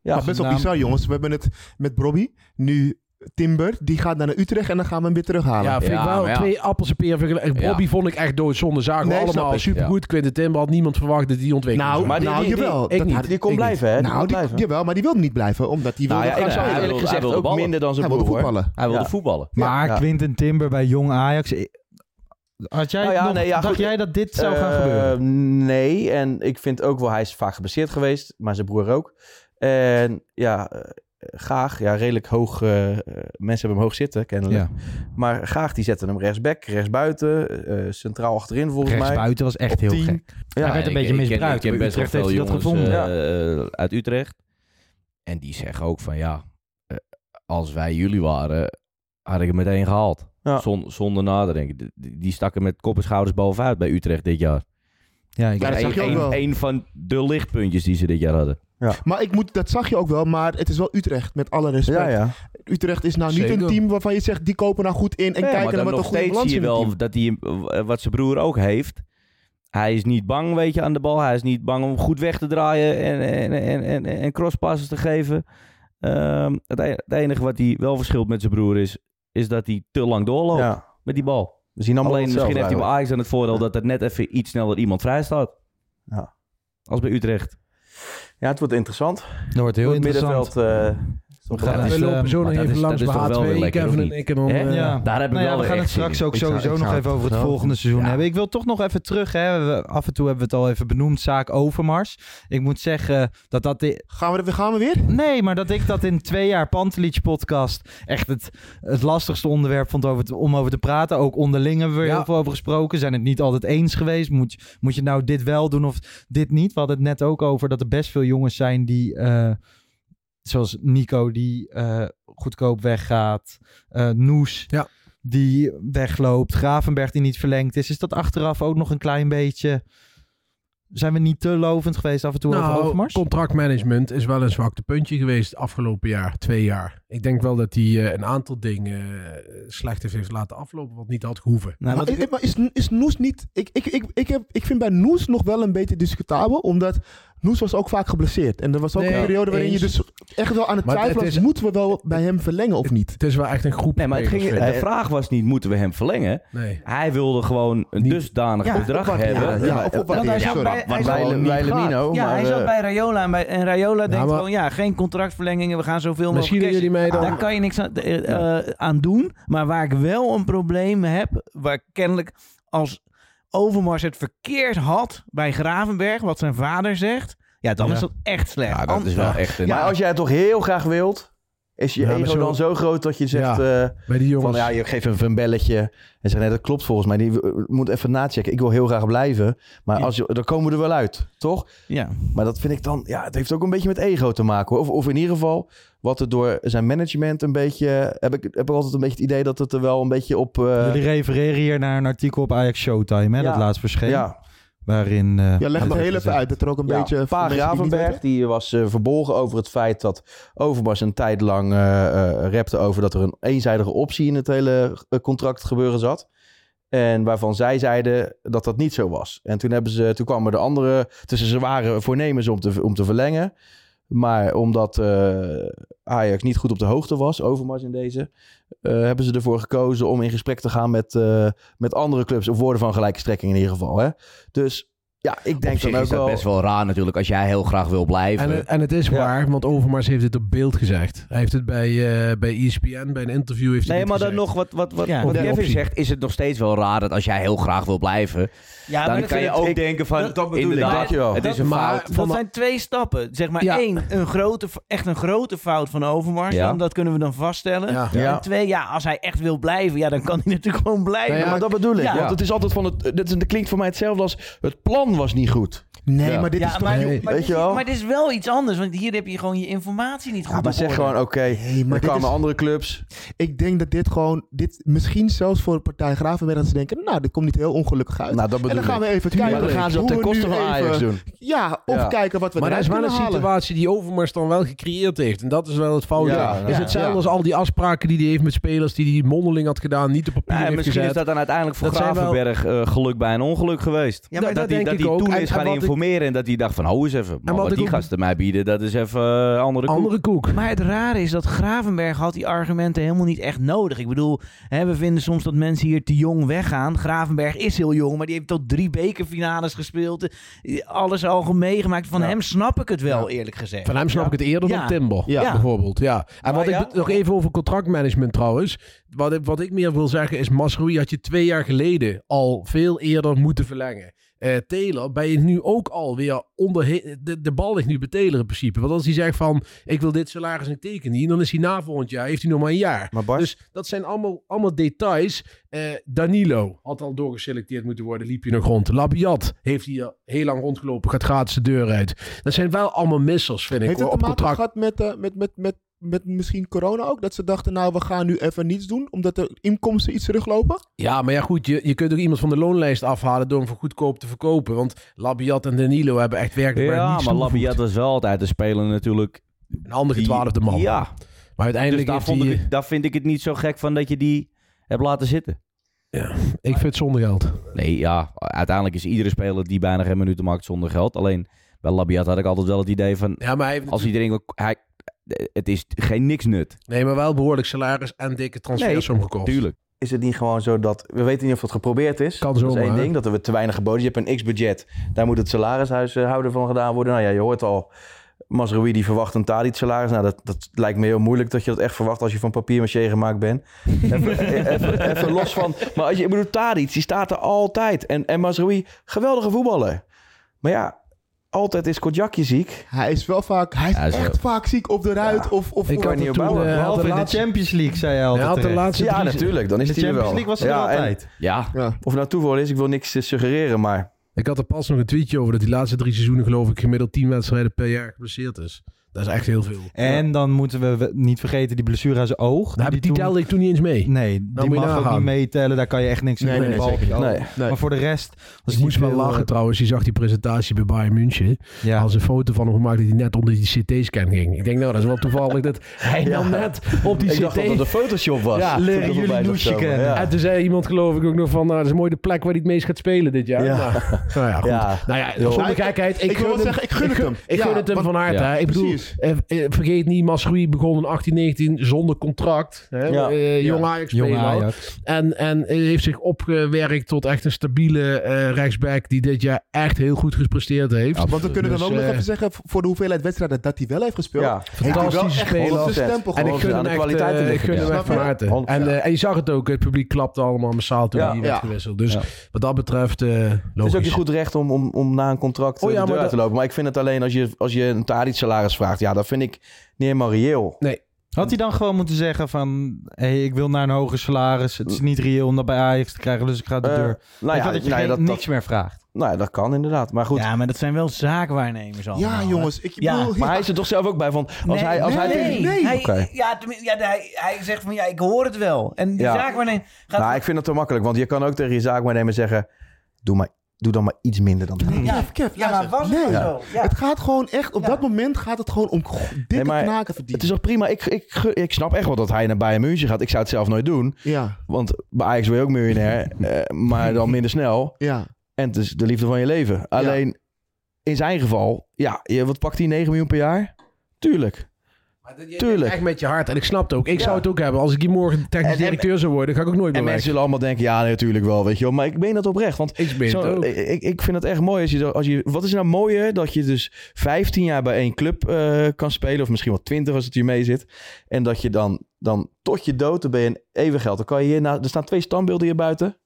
[SPEAKER 9] Ja,
[SPEAKER 11] Maar best wel
[SPEAKER 6] naam-
[SPEAKER 11] bizar, jongens. We hebben het met Bobby. Nu eh, Timber, die gaat naar Utrecht en dan gaan we hem weer terughalen.
[SPEAKER 10] Ja, vind ik wel twee appels en peren. vind ik-
[SPEAKER 11] Ja.
[SPEAKER 10] Bobby vond ik echt doodzonde. Zagen
[SPEAKER 11] Nee,
[SPEAKER 10] we
[SPEAKER 11] snap
[SPEAKER 10] allemaal
[SPEAKER 11] ik,
[SPEAKER 10] supergoed. Quinten Timber had niemand verwacht dat die ontwikkeld
[SPEAKER 11] Nou,
[SPEAKER 10] zou
[SPEAKER 11] maar
[SPEAKER 10] worden.
[SPEAKER 11] nou jawel.
[SPEAKER 10] Ik
[SPEAKER 11] dat
[SPEAKER 10] niet.
[SPEAKER 11] had
[SPEAKER 10] Ik niet.
[SPEAKER 11] Nou, die, jawel, maar die wilde niet blijven, omdat die
[SPEAKER 9] Nou
[SPEAKER 11] wilde
[SPEAKER 9] ja, ik
[SPEAKER 11] gaan
[SPEAKER 9] zou
[SPEAKER 11] spelen.
[SPEAKER 9] eerlijk gezegd ook minder dan zijn
[SPEAKER 11] Hij wilde
[SPEAKER 9] broer, hoor.
[SPEAKER 11] voetballen.
[SPEAKER 8] Hij wilde
[SPEAKER 9] Ja.
[SPEAKER 8] voetballen.
[SPEAKER 6] Maar
[SPEAKER 9] Ja.
[SPEAKER 6] Quinten Timber bij jong Ajax. eh, Had jij
[SPEAKER 9] Nou ja,
[SPEAKER 6] nog-
[SPEAKER 9] nee, ja,
[SPEAKER 6] dacht
[SPEAKER 9] goed.
[SPEAKER 6] jij dat dit zou gaan
[SPEAKER 9] Eh,
[SPEAKER 6] gebeuren?
[SPEAKER 9] Nee, en ik vind ook wel, hij is vaak geblesseerd geweest, maar zijn broer ook. En ja, eh, Gaag, ja, redelijk hoog, eh, eh, mensen hebben hem hoog zitten, kennelijk. Maar Gaag, die zetten hem rechtsback, rechtsbuiten, eh centraal achterin volgens mij.
[SPEAKER 6] Rechtsbuiten was echt
[SPEAKER 9] Op
[SPEAKER 6] heel
[SPEAKER 9] tien.
[SPEAKER 6] gek. Hij werd een
[SPEAKER 8] ik-
[SPEAKER 6] beetje
[SPEAKER 8] ik ken-
[SPEAKER 6] misbruikt,
[SPEAKER 8] Ik ken
[SPEAKER 6] maar
[SPEAKER 8] best wel
[SPEAKER 6] Utrecht heeft
[SPEAKER 8] veel
[SPEAKER 6] hij dat
[SPEAKER 8] jongens
[SPEAKER 6] gevonden.
[SPEAKER 8] eh, eh, uit Utrecht. En die zeggen ook van ja, eh, als wij jullie waren, had ik hem meteen gehaald.
[SPEAKER 9] Ja.
[SPEAKER 8] Zon- zonder nadenken. D- Die, die stakken met kop en schouders bovenuit bij Utrecht dit jaar.
[SPEAKER 6] Ja,
[SPEAKER 11] Ja, dat zag je ook wel.
[SPEAKER 8] Een van de lichtpuntjes die ze dit jaar hadden.
[SPEAKER 11] Maar ik moet, dat zag je ook wel, maar het is wel Utrecht, met alle respect.
[SPEAKER 8] Ja, ja.
[SPEAKER 11] Utrecht is nou niet
[SPEAKER 8] Zeker.
[SPEAKER 11] een team waarvan je zegt, die kopen nou goed in en
[SPEAKER 8] Ja,
[SPEAKER 11] kijken naar
[SPEAKER 8] maar dan
[SPEAKER 11] wat een
[SPEAKER 8] nog
[SPEAKER 11] goede
[SPEAKER 8] steeds
[SPEAKER 11] balans
[SPEAKER 8] zie je
[SPEAKER 11] in het team.
[SPEAKER 8] wel dat hij, eh, wat zijn broer ook heeft. Hij is niet bang, weet je, aan de bal. Hij is niet bang om goed weg te draaien en, en, en, en, en crosspasses te geven. Ehm, het, e- het enige wat hij wel verschilt met zijn broer is, is dat hij te lang doorloopt
[SPEAKER 9] Ja.
[SPEAKER 8] met die bal.
[SPEAKER 9] We zien allemaal
[SPEAKER 8] Alleen misschien
[SPEAKER 9] hetzelfde
[SPEAKER 8] heeft hij bij
[SPEAKER 9] eigenlijk.
[SPEAKER 8] Ajax aan het voordeel dat er net even iets sneller iemand vrij staat.
[SPEAKER 9] Ja.
[SPEAKER 8] Als bij Utrecht.
[SPEAKER 9] Ja, het wordt interessant.
[SPEAKER 6] Dat wordt heel
[SPEAKER 9] Op het
[SPEAKER 6] interessant.
[SPEAKER 9] middenveld, eh,
[SPEAKER 6] We
[SPEAKER 9] soms-
[SPEAKER 6] gaan het, eh,
[SPEAKER 10] zo nog
[SPEAKER 8] Maar dat
[SPEAKER 10] even
[SPEAKER 8] is-
[SPEAKER 10] langs
[SPEAKER 8] dat is
[SPEAKER 10] de
[SPEAKER 8] toch wel
[SPEAKER 10] H2,
[SPEAKER 8] weer lekker,
[SPEAKER 10] Kevin
[SPEAKER 8] of
[SPEAKER 10] en
[SPEAKER 8] niet?
[SPEAKER 10] ik en dan,
[SPEAKER 8] Hè?
[SPEAKER 10] eh,
[SPEAKER 6] Ja.
[SPEAKER 8] Daar heb ik
[SPEAKER 6] Nou ja,
[SPEAKER 8] wel
[SPEAKER 6] we
[SPEAKER 8] weer
[SPEAKER 6] gaan
[SPEAKER 8] echt
[SPEAKER 6] het straks
[SPEAKER 8] zin in.
[SPEAKER 6] ook
[SPEAKER 8] Ik zou-
[SPEAKER 6] sowieso
[SPEAKER 8] ik
[SPEAKER 6] nog
[SPEAKER 8] zou
[SPEAKER 6] even
[SPEAKER 8] het
[SPEAKER 6] over het
[SPEAKER 8] wel-
[SPEAKER 6] volgende seizoen hebben. Ik wil toch nog even terug. Hè. We- Af en toe hebben we het al even benoemd, zaak Overmars. Ik moet zeggen dat dat...
[SPEAKER 11] Gaan we, gaan we weer?
[SPEAKER 6] Nee, maar dat ik dat in twee jaar Pantelich podcast echt het, het lastigste onderwerp vond over te- om over te praten. Ook onderling hebben we er
[SPEAKER 10] Ja.
[SPEAKER 6] heel veel over gesproken. Zijn het niet altijd eens geweest. Moet, je- moet je nou dit wel doen of dit niet? We hadden het net ook over dat er best veel jongens zijn die... eh, zoals Nico die eh, goedkoop weggaat. eh Noes die wegloopt. Gravenberg die niet verlengd is. Is dat achteraf ook nog een klein beetje... Zijn we niet te lovend geweest af en toe over
[SPEAKER 10] Nou,
[SPEAKER 6] Overmars?
[SPEAKER 10] contractmanagement is wel een zwakte puntje geweest afgelopen jaar, twee jaar. Ik denk wel dat hij eh, een aantal dingen eh, slecht heeft- heeft laten aflopen, wat niet had
[SPEAKER 6] Nou,
[SPEAKER 10] gehoeven.
[SPEAKER 11] maar, is- maar is, is Noes niet... Ik, ik, ik, ik, heb, ik vind bij Noes nog wel een beetje discutabel, omdat Noes was ook vaak geblesseerd. En er was ook
[SPEAKER 10] Nee,
[SPEAKER 11] een periode waarin je
[SPEAKER 10] eens.
[SPEAKER 11] dus echt wel aan het
[SPEAKER 10] Maar het-
[SPEAKER 11] twijfelen
[SPEAKER 10] het
[SPEAKER 11] was, moeten we wel bij hem verlengen of niet?
[SPEAKER 10] Het is wel echt een groep.
[SPEAKER 8] Nee, maar het ging, de vraag was niet, moeten we hem verlengen?
[SPEAKER 10] Nee.
[SPEAKER 8] Hij wilde gewoon een dusdanig
[SPEAKER 12] Ja,
[SPEAKER 8] bedrag
[SPEAKER 12] opwaarderen.
[SPEAKER 8] hebben.
[SPEAKER 12] Ja, ja, opwaarderen,
[SPEAKER 8] wat-
[SPEAKER 12] sorry.
[SPEAKER 8] wat-
[SPEAKER 12] Hij
[SPEAKER 8] wat
[SPEAKER 12] zou-
[SPEAKER 8] gewoon niet
[SPEAKER 9] bij
[SPEAKER 8] gaat.
[SPEAKER 9] Lemino,
[SPEAKER 12] ja,
[SPEAKER 9] maar,
[SPEAKER 12] hij zat
[SPEAKER 9] eh,
[SPEAKER 12] bij Rayola en, bij, en Rayola denkt
[SPEAKER 9] maar-
[SPEAKER 12] gewoon, ja, geen contractverlengingen, we gaan zoveel mogelijk
[SPEAKER 10] Misschien dat
[SPEAKER 12] cashen.
[SPEAKER 10] jullie mij dan-
[SPEAKER 12] Daar kan je niks aan, eh, eh, aan doen, maar waar ik wel een probleem heb, waar kennelijk als Overmars het verkeerd had bij Gravenberg, wat zijn vader zegt, ja, dan
[SPEAKER 9] Ja.
[SPEAKER 12] is dat echt slecht.
[SPEAKER 8] Ja, dat is wel echt een-
[SPEAKER 9] Maar als jij het toch heel graag wilt, is je
[SPEAKER 10] Ja, maar
[SPEAKER 9] ego
[SPEAKER 10] zo-
[SPEAKER 9] dan zo groot dat je zegt...
[SPEAKER 10] Ja,
[SPEAKER 9] eh,
[SPEAKER 10] bij die jongens.
[SPEAKER 9] Van, ja, je geeft even een belletje en zegt, nee, dat klopt volgens mij. Die eh, moet even nachecken. Ik wil heel graag blijven. Maar als je, dan komen we er wel uit, toch?
[SPEAKER 12] Ja.
[SPEAKER 9] Maar dat vind ik dan... Ja, het heeft ook een beetje met ego te maken. Hoor. Of, of in ieder geval, wat er door zijn management een beetje... Heb ik, heb ik altijd een beetje het idee dat het er wel een beetje op... eh,
[SPEAKER 6] Jullie refereren hier naar een artikel op Ajax Showtime, hè,
[SPEAKER 9] Ja.
[SPEAKER 6] dat laatst verscheen.
[SPEAKER 9] Ja.
[SPEAKER 6] Waarin... eh,
[SPEAKER 11] Ja, leg het
[SPEAKER 6] werd
[SPEAKER 11] heel even
[SPEAKER 6] gezegd-
[SPEAKER 11] uit, dat er ook een
[SPEAKER 9] Ja,
[SPEAKER 11] beetje...
[SPEAKER 9] Pa
[SPEAKER 11] mensen die het niet
[SPEAKER 9] Gravenberg
[SPEAKER 11] weten.
[SPEAKER 9] die was eh, verbolgen over het feit dat Overmars een tijd lang eh eh, repte over dat er een eenzijdige optie in het hele eh, contract gebeuren zat. En waarvan zij zeiden dat dat niet zo was. En toen, hebben ze, toen kwamen de andere. Tussen ze waren voornemens om te, om te verlengen. Maar omdat eh, Ajax niet goed op de hoogte was, Overmars in deze, eh, hebben ze ervoor gekozen om in gesprek te gaan met, eh, met andere clubs. Of woorden van gelijke strekking in ieder geval. Hè? Dus ja, ik denk
[SPEAKER 8] Op zich
[SPEAKER 9] dan ook
[SPEAKER 8] is dat
[SPEAKER 9] wel.
[SPEAKER 8] best wel raar natuurlijk als jij heel graag wil blijven.
[SPEAKER 10] En, eh, en het is waar, want Overmars heeft het op beeld gezegd. Hij heeft het bij, eh, bij ESPN, bij een interview heeft hij
[SPEAKER 8] nee,
[SPEAKER 10] dit
[SPEAKER 8] maar dan
[SPEAKER 10] gezegd.
[SPEAKER 8] nog wat, wat, wat,
[SPEAKER 10] Ja,
[SPEAKER 8] wat
[SPEAKER 10] de
[SPEAKER 8] Kevin
[SPEAKER 10] optie.
[SPEAKER 8] zegt, is het nog steeds wel raar dat als jij heel graag wil blijven,
[SPEAKER 12] Ja, maar
[SPEAKER 8] dan
[SPEAKER 12] dat
[SPEAKER 8] kan je
[SPEAKER 12] vind ik-
[SPEAKER 8] ook
[SPEAKER 12] ik-
[SPEAKER 8] denken van,
[SPEAKER 12] dat- dat bedoel ik.
[SPEAKER 8] inderdaad,
[SPEAKER 12] Dankjewel.
[SPEAKER 8] het is een
[SPEAKER 12] Maar
[SPEAKER 8] fout.
[SPEAKER 12] dat zijn twee stappen. Zeg maar
[SPEAKER 8] Ja.
[SPEAKER 12] één, een grote, echt een grote fout van Overmars.
[SPEAKER 8] Ja.
[SPEAKER 12] Dan, dat kunnen we dan vaststellen.
[SPEAKER 9] Ja. Ja.
[SPEAKER 12] En twee, ja, als hij echt wil blijven, ja, dan kan hij (laughs) natuurlijk gewoon blijven.
[SPEAKER 9] Nee, maar dat bedoel ik.
[SPEAKER 12] Ja.
[SPEAKER 9] Want het is altijd van het. Dit, is- dit klinkt voor mij hetzelfde als. Het plan was niet goed.
[SPEAKER 11] Nee,
[SPEAKER 12] Ja.
[SPEAKER 11] maar dit
[SPEAKER 12] Ja,
[SPEAKER 11] is toch...
[SPEAKER 12] maar,
[SPEAKER 9] Nee.
[SPEAKER 12] maar
[SPEAKER 9] Weet
[SPEAKER 12] dit,
[SPEAKER 9] je wel?
[SPEAKER 12] maar dit is wel iets anders, want hier heb je gewoon je informatie niet goed
[SPEAKER 9] Ja, maar
[SPEAKER 12] op
[SPEAKER 9] zeg
[SPEAKER 12] orde.
[SPEAKER 9] gewoon oké.
[SPEAKER 11] maar
[SPEAKER 9] er
[SPEAKER 11] dit
[SPEAKER 9] kwamen
[SPEAKER 11] is-
[SPEAKER 9] andere clubs.
[SPEAKER 11] Ik denk dat dit gewoon, dit, misschien zelfs voor partij Gravenberg, dat ze denken, nou, dit komt niet heel ongelukkig uit.
[SPEAKER 9] Nou, dat
[SPEAKER 11] en
[SPEAKER 9] bedoel
[SPEAKER 11] dan gaan
[SPEAKER 9] ik.
[SPEAKER 11] we even
[SPEAKER 9] Tuurlijk.
[SPEAKER 11] kijken.
[SPEAKER 9] Maar dan gaan ze
[SPEAKER 11] hoe
[SPEAKER 9] dat ten
[SPEAKER 11] we nu
[SPEAKER 9] koste van Ajax
[SPEAKER 11] even-
[SPEAKER 9] doen.
[SPEAKER 11] Ja, of
[SPEAKER 9] Ja.
[SPEAKER 11] kijken wat we
[SPEAKER 10] Maar dat
[SPEAKER 11] eruit
[SPEAKER 10] is wel een
[SPEAKER 11] kunnen halen.
[SPEAKER 10] situatie die Overmars dan wel gecreëerd heeft. En dat is wel het fout.
[SPEAKER 9] Ja,
[SPEAKER 10] Het
[SPEAKER 9] ja.
[SPEAKER 10] is hetzelfde
[SPEAKER 9] Ja.
[SPEAKER 10] als al die afspraken die hij heeft met spelers die hij mondeling had gedaan, niet op papier
[SPEAKER 8] Nou, en
[SPEAKER 10] heeft
[SPEAKER 8] misschien
[SPEAKER 10] gezet.
[SPEAKER 8] is dat dan uiteindelijk voor
[SPEAKER 10] Dat zijn wel-
[SPEAKER 8] Gravenberg eh, geluk bij een ongeluk geweest.
[SPEAKER 10] Ja, maar dat
[SPEAKER 8] hij,
[SPEAKER 10] denk
[SPEAKER 8] dat
[SPEAKER 10] ik
[SPEAKER 8] hij
[SPEAKER 10] ook.
[SPEAKER 8] toen
[SPEAKER 10] En-
[SPEAKER 8] is
[SPEAKER 10] en
[SPEAKER 8] gaan
[SPEAKER 10] wat ik-
[SPEAKER 8] informeren en dat hij dacht van, hou eens even, maar
[SPEAKER 12] wat
[SPEAKER 8] wat
[SPEAKER 12] ik
[SPEAKER 8] die
[SPEAKER 12] ook-
[SPEAKER 8] gasten mij bieden, dat is even eh, andere koek.
[SPEAKER 12] koek. Maar het rare is dat Gravenberg had die argumenten helemaal niet echt nodig. Ik bedoel, hè, we vinden soms dat mensen hier te jong weggaan. Gravenberg is heel jong, maar die heeft tot drie bekerfinales gespeeld. Eh, Alles al meegemaakt. Van hem snap ik het wel, eerlijk gezegd.
[SPEAKER 10] Van hem snap
[SPEAKER 12] Ja.
[SPEAKER 10] ik het eerder
[SPEAKER 12] Ja. Ah,
[SPEAKER 10] dan Timber, bijvoorbeeld. Ja. En wat
[SPEAKER 12] ja?
[SPEAKER 10] ik nog even over contractmanagement trouwens. Wat ik, wat ik meer wil zeggen is, Masroei had je twee jaar geleden al veel eerder moeten verlengen. Eh Taylor ben je nu ook alweer onder... De, de bal ligt nu bij Taylor in principe. Want als hij zegt van, ik wil dit salaris en ik teken niet, dan is hij na volgend jaar, heeft hij nog maar een jaar. Dus dat zijn allemaal, allemaal details. Eh, Danilo had al doorgeselecteerd moeten worden, liep je nog rond. Labiat heeft hier heel lang rondgelopen, gaat gratis de deur uit. Dat zijn wel allemaal missers, vind ik,
[SPEAKER 11] Heeft
[SPEAKER 10] hoor,
[SPEAKER 11] het te
[SPEAKER 10] op
[SPEAKER 11] maken
[SPEAKER 10] contract.
[SPEAKER 11] gehad met, eh, met, met, met, met misschien corona ook? Dat ze dachten, nou, we gaan nu even niets doen, omdat de inkomsten iets teruglopen?
[SPEAKER 10] Ja, maar ja, goed, je, je kunt ook iemand van de loonlijst afhalen door hem voor goedkoop te verkopen. Want Labiat en Danilo hebben echt werkelijk
[SPEAKER 8] Ja,
[SPEAKER 10] niets
[SPEAKER 8] maar
[SPEAKER 10] toegevoegd.
[SPEAKER 8] Labiat was wel altijd de speler natuurlijk.
[SPEAKER 10] Een andere twaalfde man.
[SPEAKER 8] Ja.
[SPEAKER 10] Maar uiteindelijk
[SPEAKER 8] dus daar, vond
[SPEAKER 10] heeft hij- eh,
[SPEAKER 8] ik, het- daar vind ik het niet zo gek van dat je die hebt laten zitten.
[SPEAKER 10] Ik vind het zonder geld.
[SPEAKER 8] Nee, ja, uiteindelijk is iedere speler die bijna geen minuten maakt zonder geld. Alleen bij Labiat had ik altijd wel het idee van,
[SPEAKER 10] Ja, maar hij heeft
[SPEAKER 8] als iedereen... wil- Hij, het is geen niks nut.
[SPEAKER 10] Nee, maar wel behoorlijk salaris en dikke transfersom gekost.
[SPEAKER 8] Tuurlijk.
[SPEAKER 9] Is het niet gewoon zo dat... We weten niet of dat geprobeerd is.
[SPEAKER 10] Kan
[SPEAKER 9] Dat
[SPEAKER 10] zomaar,
[SPEAKER 9] is één
[SPEAKER 10] hè?
[SPEAKER 9] ding, dat er te weinig geboden is. Je hebt een x-budget. Daar moet het salarishuishouden van gedaan worden. Nou ja, je hoort al... Masrowi die verwacht een Tadic salaris. Nou, dat, dat lijkt me heel moeilijk dat je dat echt verwacht als je van papier maché gemaakt
[SPEAKER 6] (laughs)
[SPEAKER 9] bent. even, even, even los van... Maar als je, ik bedoel, Tadic, die staat er altijd. En, en Masrowi, geweldige voetballer. Maar ja, altijd is Kodjakje ziek.
[SPEAKER 11] Hij is wel vaak... Hij is
[SPEAKER 9] Ja, zo.
[SPEAKER 11] echt vaak ziek op de ruit of... of
[SPEAKER 9] Ik
[SPEAKER 11] of-
[SPEAKER 9] kan
[SPEAKER 11] of-
[SPEAKER 9] niet opbouwen.
[SPEAKER 11] eh,
[SPEAKER 9] Behalve
[SPEAKER 11] had de
[SPEAKER 9] in de
[SPEAKER 11] laatste-
[SPEAKER 6] Champions League, zei hij altijd.
[SPEAKER 9] Ja,
[SPEAKER 6] terecht.
[SPEAKER 9] ja natuurlijk. Dan is
[SPEAKER 6] de
[SPEAKER 9] hij er wel.
[SPEAKER 6] Champions League was er
[SPEAKER 9] ja, en-
[SPEAKER 6] altijd.
[SPEAKER 8] Ja.
[SPEAKER 9] Of het nou toeval is, ik wil niks eh, suggereren, maar...
[SPEAKER 10] Ik had er pas nog een tweetje over dat die laatste drie seizoenen geloof ik gemiddeld 10 wedstrijden per jaar geblesseerd is. Dat is echt heel veel.
[SPEAKER 6] En dan moeten we we niet vergeten die blessure aan zijn oog.
[SPEAKER 10] Nou, die telde ik toen niet eens mee.
[SPEAKER 6] Nee,
[SPEAKER 10] moet
[SPEAKER 6] die
[SPEAKER 10] je
[SPEAKER 6] mag ook
[SPEAKER 10] nagaan.
[SPEAKER 6] niet meetellen. Daar kan je echt niks aan
[SPEAKER 10] Nee,
[SPEAKER 6] doen.
[SPEAKER 10] nee,
[SPEAKER 6] Behalve
[SPEAKER 10] zeker
[SPEAKER 6] je
[SPEAKER 10] niet.
[SPEAKER 6] oog.
[SPEAKER 10] Nee, nee.
[SPEAKER 6] Maar voor de rest... Was
[SPEAKER 10] ik moest wel
[SPEAKER 6] veel,
[SPEAKER 10] lachen
[SPEAKER 6] eh,
[SPEAKER 10] trouwens. Die zag die presentatie bij Bayern München.
[SPEAKER 6] Ja.
[SPEAKER 10] Als een foto van hem gemaakt dat hij net onder die CT-scan ging. Ik denk, nou, dat is wel toevallig dat hij dan
[SPEAKER 9] (laughs) Ja.
[SPEAKER 10] net op die
[SPEAKER 9] Ik
[SPEAKER 10] CT...
[SPEAKER 9] dacht dat het een Photoshop was.
[SPEAKER 10] Ja,
[SPEAKER 9] Leren jullie
[SPEAKER 10] Toevallig of
[SPEAKER 9] Noesje
[SPEAKER 10] zo,
[SPEAKER 9] kennen.
[SPEAKER 10] ja. En toen zei iemand, geloof ik, ook nog van... Nou, dat is mooi de plek waar hij het meest gaat spelen dit jaar.
[SPEAKER 9] Ja.
[SPEAKER 10] Nou,
[SPEAKER 11] (laughs)
[SPEAKER 10] nou ja, goed.
[SPEAKER 9] Ja.
[SPEAKER 10] Nou ja,
[SPEAKER 9] Joh.
[SPEAKER 10] zonder gekheid. Ik,
[SPEAKER 11] Ik wil
[SPEAKER 10] gun
[SPEAKER 11] zeggen, ik gun het hem.
[SPEAKER 10] Ik
[SPEAKER 11] Ja,
[SPEAKER 10] gun het hem
[SPEAKER 11] want-
[SPEAKER 10] van harte.
[SPEAKER 11] Ja,
[SPEAKER 10] hè. Ik bedoel,
[SPEAKER 11] precies.
[SPEAKER 10] eh, eh, vergeet niet, Masroei begon in 1819 zonder contract. Hè?
[SPEAKER 11] Ja.
[SPEAKER 10] Eh, jong
[SPEAKER 11] Ja.
[SPEAKER 10] Ajax
[SPEAKER 6] Jong
[SPEAKER 10] speler.
[SPEAKER 6] Ajax.
[SPEAKER 10] En, en heeft zich opgewerkt tot echt een stabiele eh rechtsback... die dit jaar echt heel goed gepresteerd heeft.
[SPEAKER 11] Want we kunnen
[SPEAKER 10] Dus,
[SPEAKER 11] dan ook nog
[SPEAKER 10] eh,
[SPEAKER 11] even zeggen, voor de hoeveelheid wedstrijden dat hij wel heeft gespeeld.
[SPEAKER 10] Ja,
[SPEAKER 11] heeft hij wel
[SPEAKER 10] fantastische
[SPEAKER 11] echt wel
[SPEAKER 10] speler.
[SPEAKER 11] zijn stempel
[SPEAKER 10] En ik
[SPEAKER 11] gewoon gezet.
[SPEAKER 10] gun hem echt, eh, ik gun hem echt van harte.
[SPEAKER 11] Snap je?
[SPEAKER 10] En, eh, en je zag het ook, het publiek klapte allemaal massaal toen
[SPEAKER 9] Ja.
[SPEAKER 10] hij werd
[SPEAKER 9] Ja.
[SPEAKER 10] gewisseld. Dus
[SPEAKER 9] Ja.
[SPEAKER 10] wat dat betreft, eh,
[SPEAKER 9] Het is ook
[SPEAKER 10] logisch.
[SPEAKER 9] je goed recht om, om, om na een contract
[SPEAKER 10] Oh
[SPEAKER 9] oh,
[SPEAKER 10] ja, maar
[SPEAKER 9] uit te
[SPEAKER 10] dat-
[SPEAKER 9] lopen. Maar ik vind het alleen als je, als je een Tadic salaris vraagt. Ja, dat vind ik niet helemaal reëel.
[SPEAKER 10] Nee.
[SPEAKER 6] Had hij dan gewoon moeten zeggen van... hey, ik wil naar een hoger salaris. Het is niet reëel om dat bij Ajax te krijgen. Dus ik ga de
[SPEAKER 9] Eh,
[SPEAKER 6] deur.
[SPEAKER 9] nou
[SPEAKER 6] Ik
[SPEAKER 9] ja,
[SPEAKER 6] wil dat je
[SPEAKER 9] nou
[SPEAKER 6] geen-
[SPEAKER 9] ja, dat-
[SPEAKER 6] niks meer vraagt.
[SPEAKER 9] Nou ja, dat kan inderdaad. Maar goed.
[SPEAKER 12] Ja, maar dat zijn wel zaakwaarnemers allemaal. hè?
[SPEAKER 9] Maar hij is er toch zelf ook bij van... Als
[SPEAKER 12] Nee,
[SPEAKER 9] hij, als hij
[SPEAKER 12] nee, nee. Hij-
[SPEAKER 9] Oké.
[SPEAKER 12] ja, tenmin- ja, hij, hij zegt van ja, ik hoor het wel. En die
[SPEAKER 9] Ja.
[SPEAKER 12] zaakwaarnemer gaat
[SPEAKER 9] Nou, ik vind dat te makkelijk. Want je kan ook tegen je zaakwaarnemer zeggen... Doe, maar, doe dan maar iets minder dan Tadic.
[SPEAKER 11] Ja, Kev, ja, maar was
[SPEAKER 12] het
[SPEAKER 11] nee.
[SPEAKER 9] wel zo?
[SPEAKER 11] Het gaat gewoon echt, op dat moment gaat het gewoon om go- dikke
[SPEAKER 9] Nee, maar
[SPEAKER 11] knaken verdienen.
[SPEAKER 9] Het is toch prima. Ik, ik, ge- ik snap echt wel dat hij naar Bayern München gaat. Ik zou het zelf nooit doen.
[SPEAKER 11] Ja.
[SPEAKER 9] Want bij Ajax ben je ook miljonair. eh, maar dan minder snel.
[SPEAKER 11] Ja.
[SPEAKER 9] En het is de liefde van je leven. Alleen in zijn geval. Ja, je, wat pakt hij? 9 miljoen per jaar? Tuurlijk. Tuurlijk.
[SPEAKER 10] Echt met je hart. En ik snap het ook. Ik zou het ook hebben. Als ik hier morgen technisch directeur zou worden, ga ik ook nooit meer
[SPEAKER 9] En mensen
[SPEAKER 10] weg.
[SPEAKER 9] zullen allemaal denken, ja, nee, natuurlijk wel, weet je wel. Maar ik meen dat oprecht. Want
[SPEAKER 10] Ik meen het ook.
[SPEAKER 9] Ik, ik vind het echt mooi. Als je, zo- als je, wat is nou mooier dat je dus 15 jaar bij één club eh, kan spelen. Of misschien wel 20 als het hier mee zit. En dat je dan, dan tot je dood, dan ben je een eeuwig geld. Dan kan je hier, na- er staan twee standbeelden hier buiten.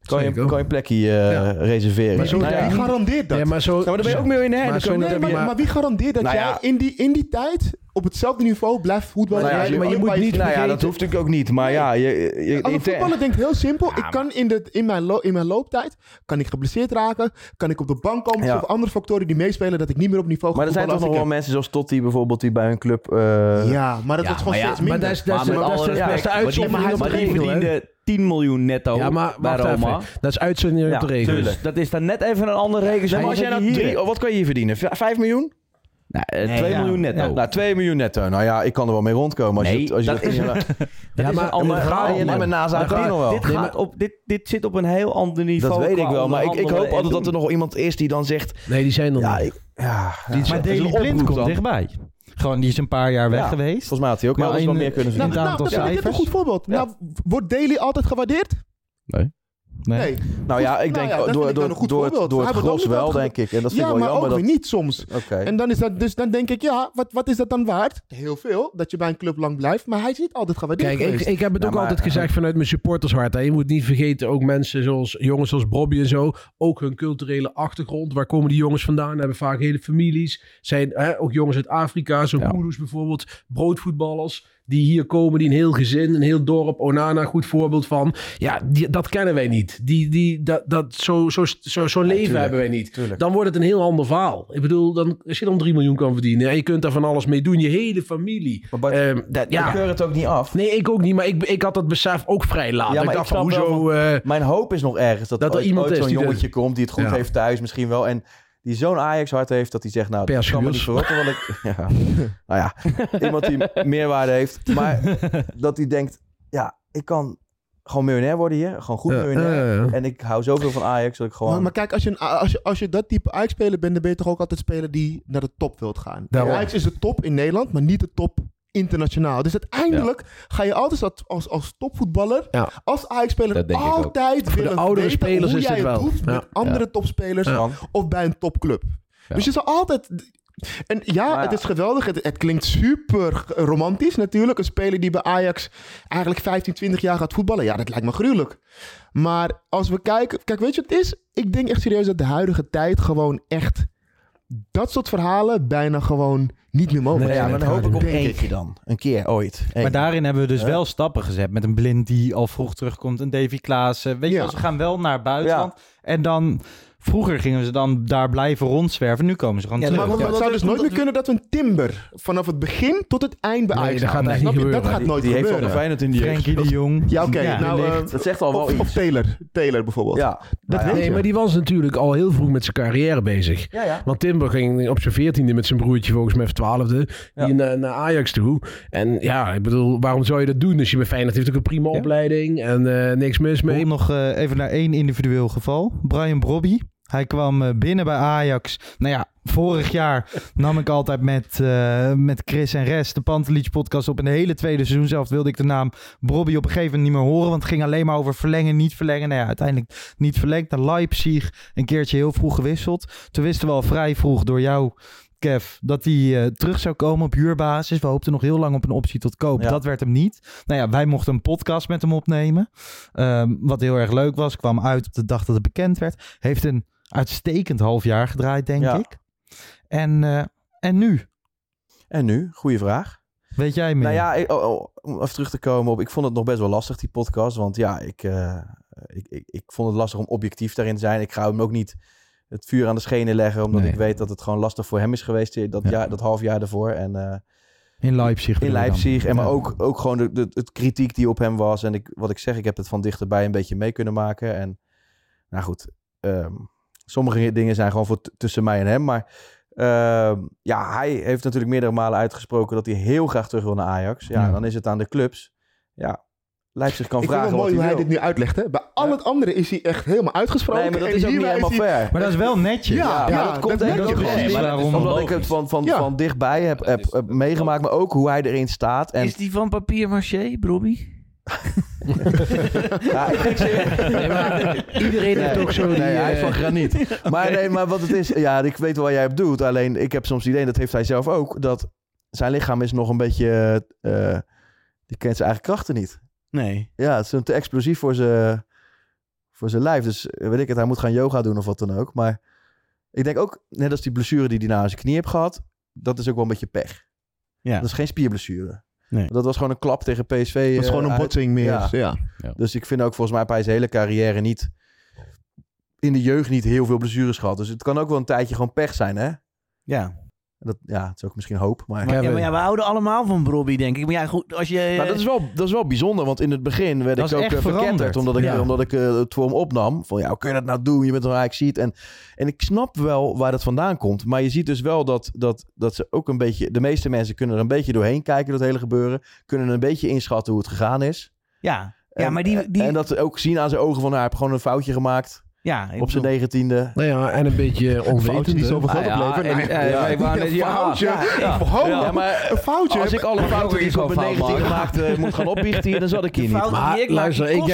[SPEAKER 9] Kan je,
[SPEAKER 10] Zeker.
[SPEAKER 9] kan je een plekje eh, reserveren.
[SPEAKER 11] Maar zo-
[SPEAKER 9] Nou ja.
[SPEAKER 11] wie garandeert dat?
[SPEAKER 10] Ja, maar zo-
[SPEAKER 11] Nou,
[SPEAKER 9] dan ben je ook miljonair.
[SPEAKER 11] Maar,
[SPEAKER 9] Dan kun je-
[SPEAKER 11] nee, maar,
[SPEAKER 9] maar-
[SPEAKER 11] maar wie garandeert dat
[SPEAKER 9] Nou
[SPEAKER 11] jij
[SPEAKER 9] ja.
[SPEAKER 11] in die, in die tijd op hetzelfde niveau blijft voetballen?
[SPEAKER 9] Nou ja,
[SPEAKER 11] Jij- waar
[SPEAKER 9] Nou ja, dat hoeft natuurlijk ook niet. Maar ja, je, je, je-
[SPEAKER 11] Als een
[SPEAKER 9] inter-
[SPEAKER 11] voetballer denkt heel simpel. ik kan in, de, in, mijn lo- in mijn looptijd kan ik geblesseerd raken. Kan ik op de bank komen.
[SPEAKER 9] Ja.
[SPEAKER 11] Of andere factoren die meespelen dat ik niet meer op niveau ga
[SPEAKER 9] Maar er zijn toch nog wel
[SPEAKER 11] voetballen
[SPEAKER 9] mensen zoals Totti bijvoorbeeld die bij hun club... eh,
[SPEAKER 11] Ja, maar dat wordt gewoon steeds minder.
[SPEAKER 8] Maar die verdiende 10 miljoen netto
[SPEAKER 10] Ja, maar
[SPEAKER 8] bij
[SPEAKER 10] wacht
[SPEAKER 8] Roma.
[SPEAKER 10] even. Dat is uitzondering op de regel.
[SPEAKER 8] dus dat is dan net even een andere regel.
[SPEAKER 9] Nee, maar als jij nou drie, oh, wat kan je hier verdienen? V- Vijf miljoen?
[SPEAKER 8] Nou,
[SPEAKER 9] Nee, 2 ja. miljoen netto. Nou, 2 miljoen netto. Nou ja, ik kan er wel mee rondkomen. Als
[SPEAKER 8] Nee,
[SPEAKER 9] je, als je
[SPEAKER 8] dat is- dat
[SPEAKER 9] (laughs) ja,
[SPEAKER 8] is een ander verhaal, man.
[SPEAKER 9] Maar naast
[SPEAKER 8] Dit gaat-
[SPEAKER 9] nog wel.
[SPEAKER 8] Dit, gaat op, dit, dit zit op een heel ander niveau.
[SPEAKER 9] Dat weet
[SPEAKER 8] qua
[SPEAKER 9] ik wel, maar ik, ik hoop
[SPEAKER 8] onderhandelen en
[SPEAKER 9] altijd dat er
[SPEAKER 8] doen.
[SPEAKER 9] nog wel iemand is die dan zegt...
[SPEAKER 10] Nee, die zijn dan
[SPEAKER 9] ja, ik, ja, ja.
[SPEAKER 6] maar
[SPEAKER 9] Dat is een
[SPEAKER 6] Daily Blind
[SPEAKER 9] oproep
[SPEAKER 6] komt
[SPEAKER 9] dan.
[SPEAKER 6] dichtbij. Gewoon, die is een paar jaar weg
[SPEAKER 9] Ja,
[SPEAKER 6] geweest.
[SPEAKER 9] Volgens mij had hij ook
[SPEAKER 6] Maar
[SPEAKER 9] wel eens wat
[SPEAKER 6] in-
[SPEAKER 9] meer kunnen
[SPEAKER 6] in
[SPEAKER 9] verdienen.
[SPEAKER 11] Nou,
[SPEAKER 6] het
[SPEAKER 11] dat
[SPEAKER 6] aantal
[SPEAKER 11] vind ik net een
[SPEAKER 6] cijfers.
[SPEAKER 11] goed voorbeeld. Nou, wordt Daily altijd gewaardeerd?
[SPEAKER 6] Nee.
[SPEAKER 11] Nee.
[SPEAKER 9] Nou ja, ik
[SPEAKER 11] Nou
[SPEAKER 9] denk
[SPEAKER 11] ja, dat
[SPEAKER 9] door,
[SPEAKER 11] vind ik dan
[SPEAKER 9] door,
[SPEAKER 11] een
[SPEAKER 9] door,
[SPEAKER 11] goed
[SPEAKER 9] door
[SPEAKER 11] voorbeeld.
[SPEAKER 9] het, door
[SPEAKER 11] Hij
[SPEAKER 9] het
[SPEAKER 11] wordt ook
[SPEAKER 9] gros
[SPEAKER 11] niet
[SPEAKER 9] wel,
[SPEAKER 11] altijd
[SPEAKER 9] denk ik. En dat vind
[SPEAKER 11] ja,
[SPEAKER 9] ik wel
[SPEAKER 11] maar
[SPEAKER 9] jammer.
[SPEAKER 11] ook
[SPEAKER 9] dat-
[SPEAKER 11] weer niet soms.
[SPEAKER 9] Oké.
[SPEAKER 11] En dan, is dat, dus dan denk ik, ja, wat, wat is dat dan waard? Heel veel, dat je bij een club lang blijft. Maar hij is niet altijd gewaardeerd
[SPEAKER 10] Kijk, ik,
[SPEAKER 11] geweest.
[SPEAKER 10] ik heb
[SPEAKER 9] Nou,
[SPEAKER 10] het ook altijd gezegd vanuit mijn supportershart. Hè. Je moet niet vergeten, ook mensen zoals jongens zoals Bobby en zo, ook hun culturele achtergrond. Waar komen die jongens vandaan? Hebben vaak hele families. Zijn hè, ook jongens uit Afrika, zo'n Kudus bijvoorbeeld, broodvoetballers. Die hier komen, die een heel gezin, een heel dorp, Onana, goed voorbeeld van. Ja, die, dat kennen wij niet. Die, die, dat, dat, Zo'n zo, zo, zo, zo'n leven
[SPEAKER 9] tuurlijk,
[SPEAKER 10] hebben wij niet.
[SPEAKER 9] tuurlijk.
[SPEAKER 10] Dan wordt het een heel ander verhaal. Ik bedoel, dan, als je dan 3 miljoen kan verdienen en je kunt daar van alles mee doen, je hele familie. Ehm, dat, ja.
[SPEAKER 9] Ik keur het ook niet af.
[SPEAKER 10] Nee, ik ook niet. Maar ik, ik had dat besef ook vrij laat.
[SPEAKER 9] Ja,
[SPEAKER 10] ik
[SPEAKER 9] maar
[SPEAKER 10] dacht
[SPEAKER 9] ik
[SPEAKER 10] van,
[SPEAKER 9] snap wel
[SPEAKER 10] hoezo... eh,
[SPEAKER 9] Mijn hoop is nog ergens dat,
[SPEAKER 10] dat er
[SPEAKER 9] ooit-
[SPEAKER 10] iemand
[SPEAKER 9] ooit
[SPEAKER 10] is
[SPEAKER 9] zo'n
[SPEAKER 10] die dit-
[SPEAKER 9] jongetje komt die het goed
[SPEAKER 10] Ja.
[SPEAKER 9] heeft thuis misschien wel. En die zo'n Ajax hart heeft dat hij zegt, nou,
[SPEAKER 10] Per
[SPEAKER 9] dat kan me niet
[SPEAKER 10] Schuurs.
[SPEAKER 9] verrotten. Want
[SPEAKER 10] (laughs)
[SPEAKER 9] ik, ja, nou ja, iemand die meerwaarde heeft. Maar dat hij denkt, ja, ik kan gewoon miljonair worden hier. Gewoon goed
[SPEAKER 10] Ja,
[SPEAKER 9] miljonair.
[SPEAKER 10] ja, ja.
[SPEAKER 9] En ik hou zoveel van Ajax dat ik gewoon...
[SPEAKER 11] Maar, maar kijk, als je, een, als, je, als je dat type Ajax-speler bent, dan ben je toch ook altijd speler die naar de top wilt gaan.
[SPEAKER 10] Daarom.
[SPEAKER 11] Ajax is de top in Nederland, maar niet de top internationaal. Dus uiteindelijk ga je altijd als, als, als topvoetballer,
[SPEAKER 10] Ja.
[SPEAKER 11] als Ajax-speler,
[SPEAKER 8] Dat denk ik ook.
[SPEAKER 11] altijd
[SPEAKER 10] Voor de
[SPEAKER 11] willen
[SPEAKER 10] oudere
[SPEAKER 11] weten
[SPEAKER 10] spelers
[SPEAKER 11] hoe
[SPEAKER 10] is
[SPEAKER 11] jij
[SPEAKER 10] dit wel.
[SPEAKER 11] het doet met
[SPEAKER 10] Ja.
[SPEAKER 11] andere
[SPEAKER 8] Ja.
[SPEAKER 11] topspelers
[SPEAKER 10] Ja.
[SPEAKER 11] of bij een topclub. Dus je zal altijd... En ja,
[SPEAKER 9] Maar ja.
[SPEAKER 11] het is geweldig. Het, het klinkt super romantisch natuurlijk. Een speler die bij Ajax eigenlijk 15, 20 jaar gaat voetballen. Ja, dat lijkt me gruwelijk. Maar als we kijken... Kijk, weet je wat het is? Ik denk echt serieus dat de huidige tijd gewoon echt... Dat soort verhalen bijna gewoon niet meer mogelijk
[SPEAKER 9] ja,
[SPEAKER 11] zijn.
[SPEAKER 9] maar dan hoop ik op
[SPEAKER 11] Denk
[SPEAKER 9] één
[SPEAKER 11] ik.
[SPEAKER 9] keer dan. Een keer ooit. Eén.
[SPEAKER 6] Maar daarin hebben we dus
[SPEAKER 9] Ja.
[SPEAKER 6] wel stappen gezet. Met een blind die al vroeg terugkomt. Een Davy Klaassen. Weet je wel, ze gaan wel naar buitenland. En dan... Vroeger gingen ze dan daar blijven rondzwerven. Nu komen ze gewoon
[SPEAKER 11] Ja, maar,
[SPEAKER 6] terug.
[SPEAKER 11] maar
[SPEAKER 6] Ja.
[SPEAKER 11] het zou dus nooit meer kunnen dat we een Timber vanaf het begin tot het eind bij
[SPEAKER 10] Nee,
[SPEAKER 11] Ajax
[SPEAKER 10] dat gaat
[SPEAKER 11] houden.
[SPEAKER 10] echt niet
[SPEAKER 11] Snap je?
[SPEAKER 10] gebeuren.
[SPEAKER 11] Dat gaat nooit
[SPEAKER 9] die heeft al
[SPEAKER 11] gebeuren.
[SPEAKER 9] de Feyenoord in die jeugd.
[SPEAKER 6] Frenkie de Jong.
[SPEAKER 11] Ja, oké.
[SPEAKER 6] Ja.
[SPEAKER 11] nou, eh,
[SPEAKER 9] Dat zegt al wel
[SPEAKER 11] of,
[SPEAKER 9] iets.
[SPEAKER 11] of Taylor. Taylor bijvoorbeeld.
[SPEAKER 9] Ja.
[SPEAKER 11] Dat weet
[SPEAKER 10] nee,
[SPEAKER 11] je.
[SPEAKER 10] maar die was natuurlijk al heel vroeg met zijn carrière bezig.
[SPEAKER 9] Ja, ja.
[SPEAKER 10] Want Timber ging op zijn veertiende met zijn broertje, volgens mij, of twaalfde,
[SPEAKER 9] Ja.
[SPEAKER 10] die naar, naar Ajax toe. En ja, ik bedoel, waarom zou je dat doen? Dus je bent Feyenoord heeft ook een prima opleiding en eh, niks mis mee.
[SPEAKER 6] Om nog eh, even naar één individueel geval. Brian Brobby. Hij kwam eh, binnen bij Ajax. Nou ja, vorig jaar nam ik altijd met, eh, met Chris en Rest de Pantelich podcast op. In de hele tweede seizoen zelf wilde ik de naam Brobby op een gegeven moment niet meer horen. Want het ging alleen maar over verlengen, niet verlengen. Nou ja, uiteindelijk niet verlengd. Naar Leipzig een keertje heel vroeg gewisseld. Toen wisten we al vrij vroeg door jou... Kev, dat hij eh, terug zou komen op huurbasis. We hoopten nog heel lang op een optie tot koop.
[SPEAKER 9] Ja.
[SPEAKER 6] Dat werd hem niet. Nou ja, wij mochten een podcast met hem opnemen. Ehm, wat heel erg leuk was. Kwam uit op de dag dat het bekend werd. Heeft een uitstekend half jaar gedraaid, denk
[SPEAKER 9] Ja.
[SPEAKER 6] ik. En, eh, en nu?
[SPEAKER 9] En nu? Goeie vraag.
[SPEAKER 6] Weet jij meer?
[SPEAKER 9] Nou ja, ik- oh, oh, om even terug te komen op. Ik vond het nog best wel lastig, die podcast. Want ja, ik, eh, ik, ik, ik vond het lastig om objectief daarin te zijn. Ik ga hem ook niet het vuur aan de schenen leggen. Omdat
[SPEAKER 8] Nee.
[SPEAKER 9] ik weet dat het gewoon lastig voor hem is geweest. eh, Dat,
[SPEAKER 8] Ja.
[SPEAKER 9] jaar, dat half jaar daarvoor. En, eh,
[SPEAKER 6] in Leipzig.
[SPEAKER 9] in
[SPEAKER 6] bedoel je dan?
[SPEAKER 9] Leipzig. En maar
[SPEAKER 6] Ja.
[SPEAKER 9] ook, ook gewoon de, de het kritiek die op hem was. En ik, wat ik zeg, ik heb het van dichterbij een beetje mee kunnen maken. En nou goed, ehm, sommige dingen zijn gewoon voor t- tussen mij en hem. Maar ehm, ja, hij heeft natuurlijk meerdere malen uitgesproken dat hij heel graag terug wil naar Ajax. Ja,
[SPEAKER 6] Ja.
[SPEAKER 9] dan is het aan de clubs. Ja, Leipzig kan
[SPEAKER 11] Ik vind
[SPEAKER 9] vragen
[SPEAKER 11] het wel mooi
[SPEAKER 9] wat
[SPEAKER 11] hoe
[SPEAKER 9] hij
[SPEAKER 11] hij
[SPEAKER 9] wil.
[SPEAKER 11] dit nu uitlegt. Hè? Bij al het andere is hij echt helemaal uitgesproken.
[SPEAKER 9] Nee, maar dat
[SPEAKER 11] en
[SPEAKER 9] is ook niet
[SPEAKER 11] hierbij
[SPEAKER 9] helemaal
[SPEAKER 11] hij-
[SPEAKER 9] fair.
[SPEAKER 6] Maar dat is wel netjes.
[SPEAKER 11] Ja, ja,
[SPEAKER 9] Ja, maar dat komt denk
[SPEAKER 11] merk je
[SPEAKER 9] ik gewoon.
[SPEAKER 11] gewoon.
[SPEAKER 6] precies
[SPEAKER 9] Maar dat is
[SPEAKER 6] waarom-
[SPEAKER 9] Omdat ik het van, van,
[SPEAKER 11] Ja.
[SPEAKER 9] van dichtbij heb, heb, heb meegemaakt, maar ook hoe hij erin staat. En
[SPEAKER 12] Is die van papier maché, Brobby?
[SPEAKER 9] Ja, ik denk serieus-
[SPEAKER 10] Iedereen heeft
[SPEAKER 9] (laughs) Nee,
[SPEAKER 10] ook zo
[SPEAKER 9] nee,
[SPEAKER 10] die,
[SPEAKER 9] hij is
[SPEAKER 10] eh,
[SPEAKER 9] van graniet. Maar nee, maar wat het is, ja, ik weet wel wat jij hebt doet. Alleen ik heb soms het idee, dat heeft hij zelf ook, dat zijn lichaam is nog een beetje, eh, die kent zijn eigen krachten niet.
[SPEAKER 8] Nee.
[SPEAKER 9] Ja, het is een te explosief voor zijn, voor zijn lijf. Dus eh, weet ik het, hij moet gaan yoga doen of wat dan ook. Maar ik denk ook, net als die blessure die hij nou aan zijn knie heeft gehad, dat is ook wel een beetje pech.
[SPEAKER 8] Ja.
[SPEAKER 9] Dat is geen spierblessure.
[SPEAKER 8] Nee.
[SPEAKER 9] Dat was gewoon een klap tegen PSV.
[SPEAKER 11] Dat is
[SPEAKER 9] eh,
[SPEAKER 11] gewoon een
[SPEAKER 9] uit.
[SPEAKER 11] botsing meer.
[SPEAKER 9] Ja.
[SPEAKER 11] Ja.
[SPEAKER 9] Dus ik vind ook volgens mij heb hij zijn hele carrière niet in de jeugd niet heel veel blessures gehad. Dus het kan ook wel een tijdje gewoon pech zijn, hè?
[SPEAKER 8] Ja.
[SPEAKER 9] Dat, ja, het is ook misschien hoop. Maar,
[SPEAKER 12] ja, maar ja, we houden allemaal van Robbie, denk ik. Maar ja, goed, als je...
[SPEAKER 9] Maar Nou, dat is, wel, dat is wel bijzonder, want in het begin werd
[SPEAKER 12] Dat
[SPEAKER 9] ik
[SPEAKER 12] is
[SPEAKER 9] ook
[SPEAKER 12] echt
[SPEAKER 9] eh, verketterd.
[SPEAKER 12] veranderd.
[SPEAKER 9] Omdat ik,
[SPEAKER 12] Ja.
[SPEAKER 9] omdat ik eh, het voor hem opnam. Van ja, hoe kun je dat nou doen? Je bent een ajax ziet. En, en ik snap wel waar dat vandaan komt. Maar je ziet dus wel dat, dat, dat ze ook een beetje... De meeste mensen kunnen er een beetje doorheen kijken, dat hele gebeuren. Kunnen een beetje inschatten hoe het gegaan is.
[SPEAKER 12] Ja, ja
[SPEAKER 9] En-
[SPEAKER 12] maar die... die
[SPEAKER 9] En dat ze ook zien aan zijn ogen van... Nou, hij heeft gewoon een foutje gemaakt.
[SPEAKER 12] ja, ik
[SPEAKER 9] op zijn negentiende.
[SPEAKER 10] Nou ja, en een beetje onwetend.
[SPEAKER 9] Foutje die zoveel geld
[SPEAKER 10] Ah, ja,
[SPEAKER 9] opleveren.
[SPEAKER 10] en-
[SPEAKER 9] Nee,
[SPEAKER 10] eh,
[SPEAKER 9] ja.
[SPEAKER 10] ik wou net-
[SPEAKER 9] Een
[SPEAKER 10] ja,
[SPEAKER 9] foutje.
[SPEAKER 10] ja, ja.
[SPEAKER 9] Ho,
[SPEAKER 10] Ja,
[SPEAKER 9] Oh, maar een foutje. Als ik alle fouten die ik op mijn 19 gemaakt eh, moet gaan opbiechten, hier, dan zat ik hier niet.
[SPEAKER 10] Maar luister, ik denk,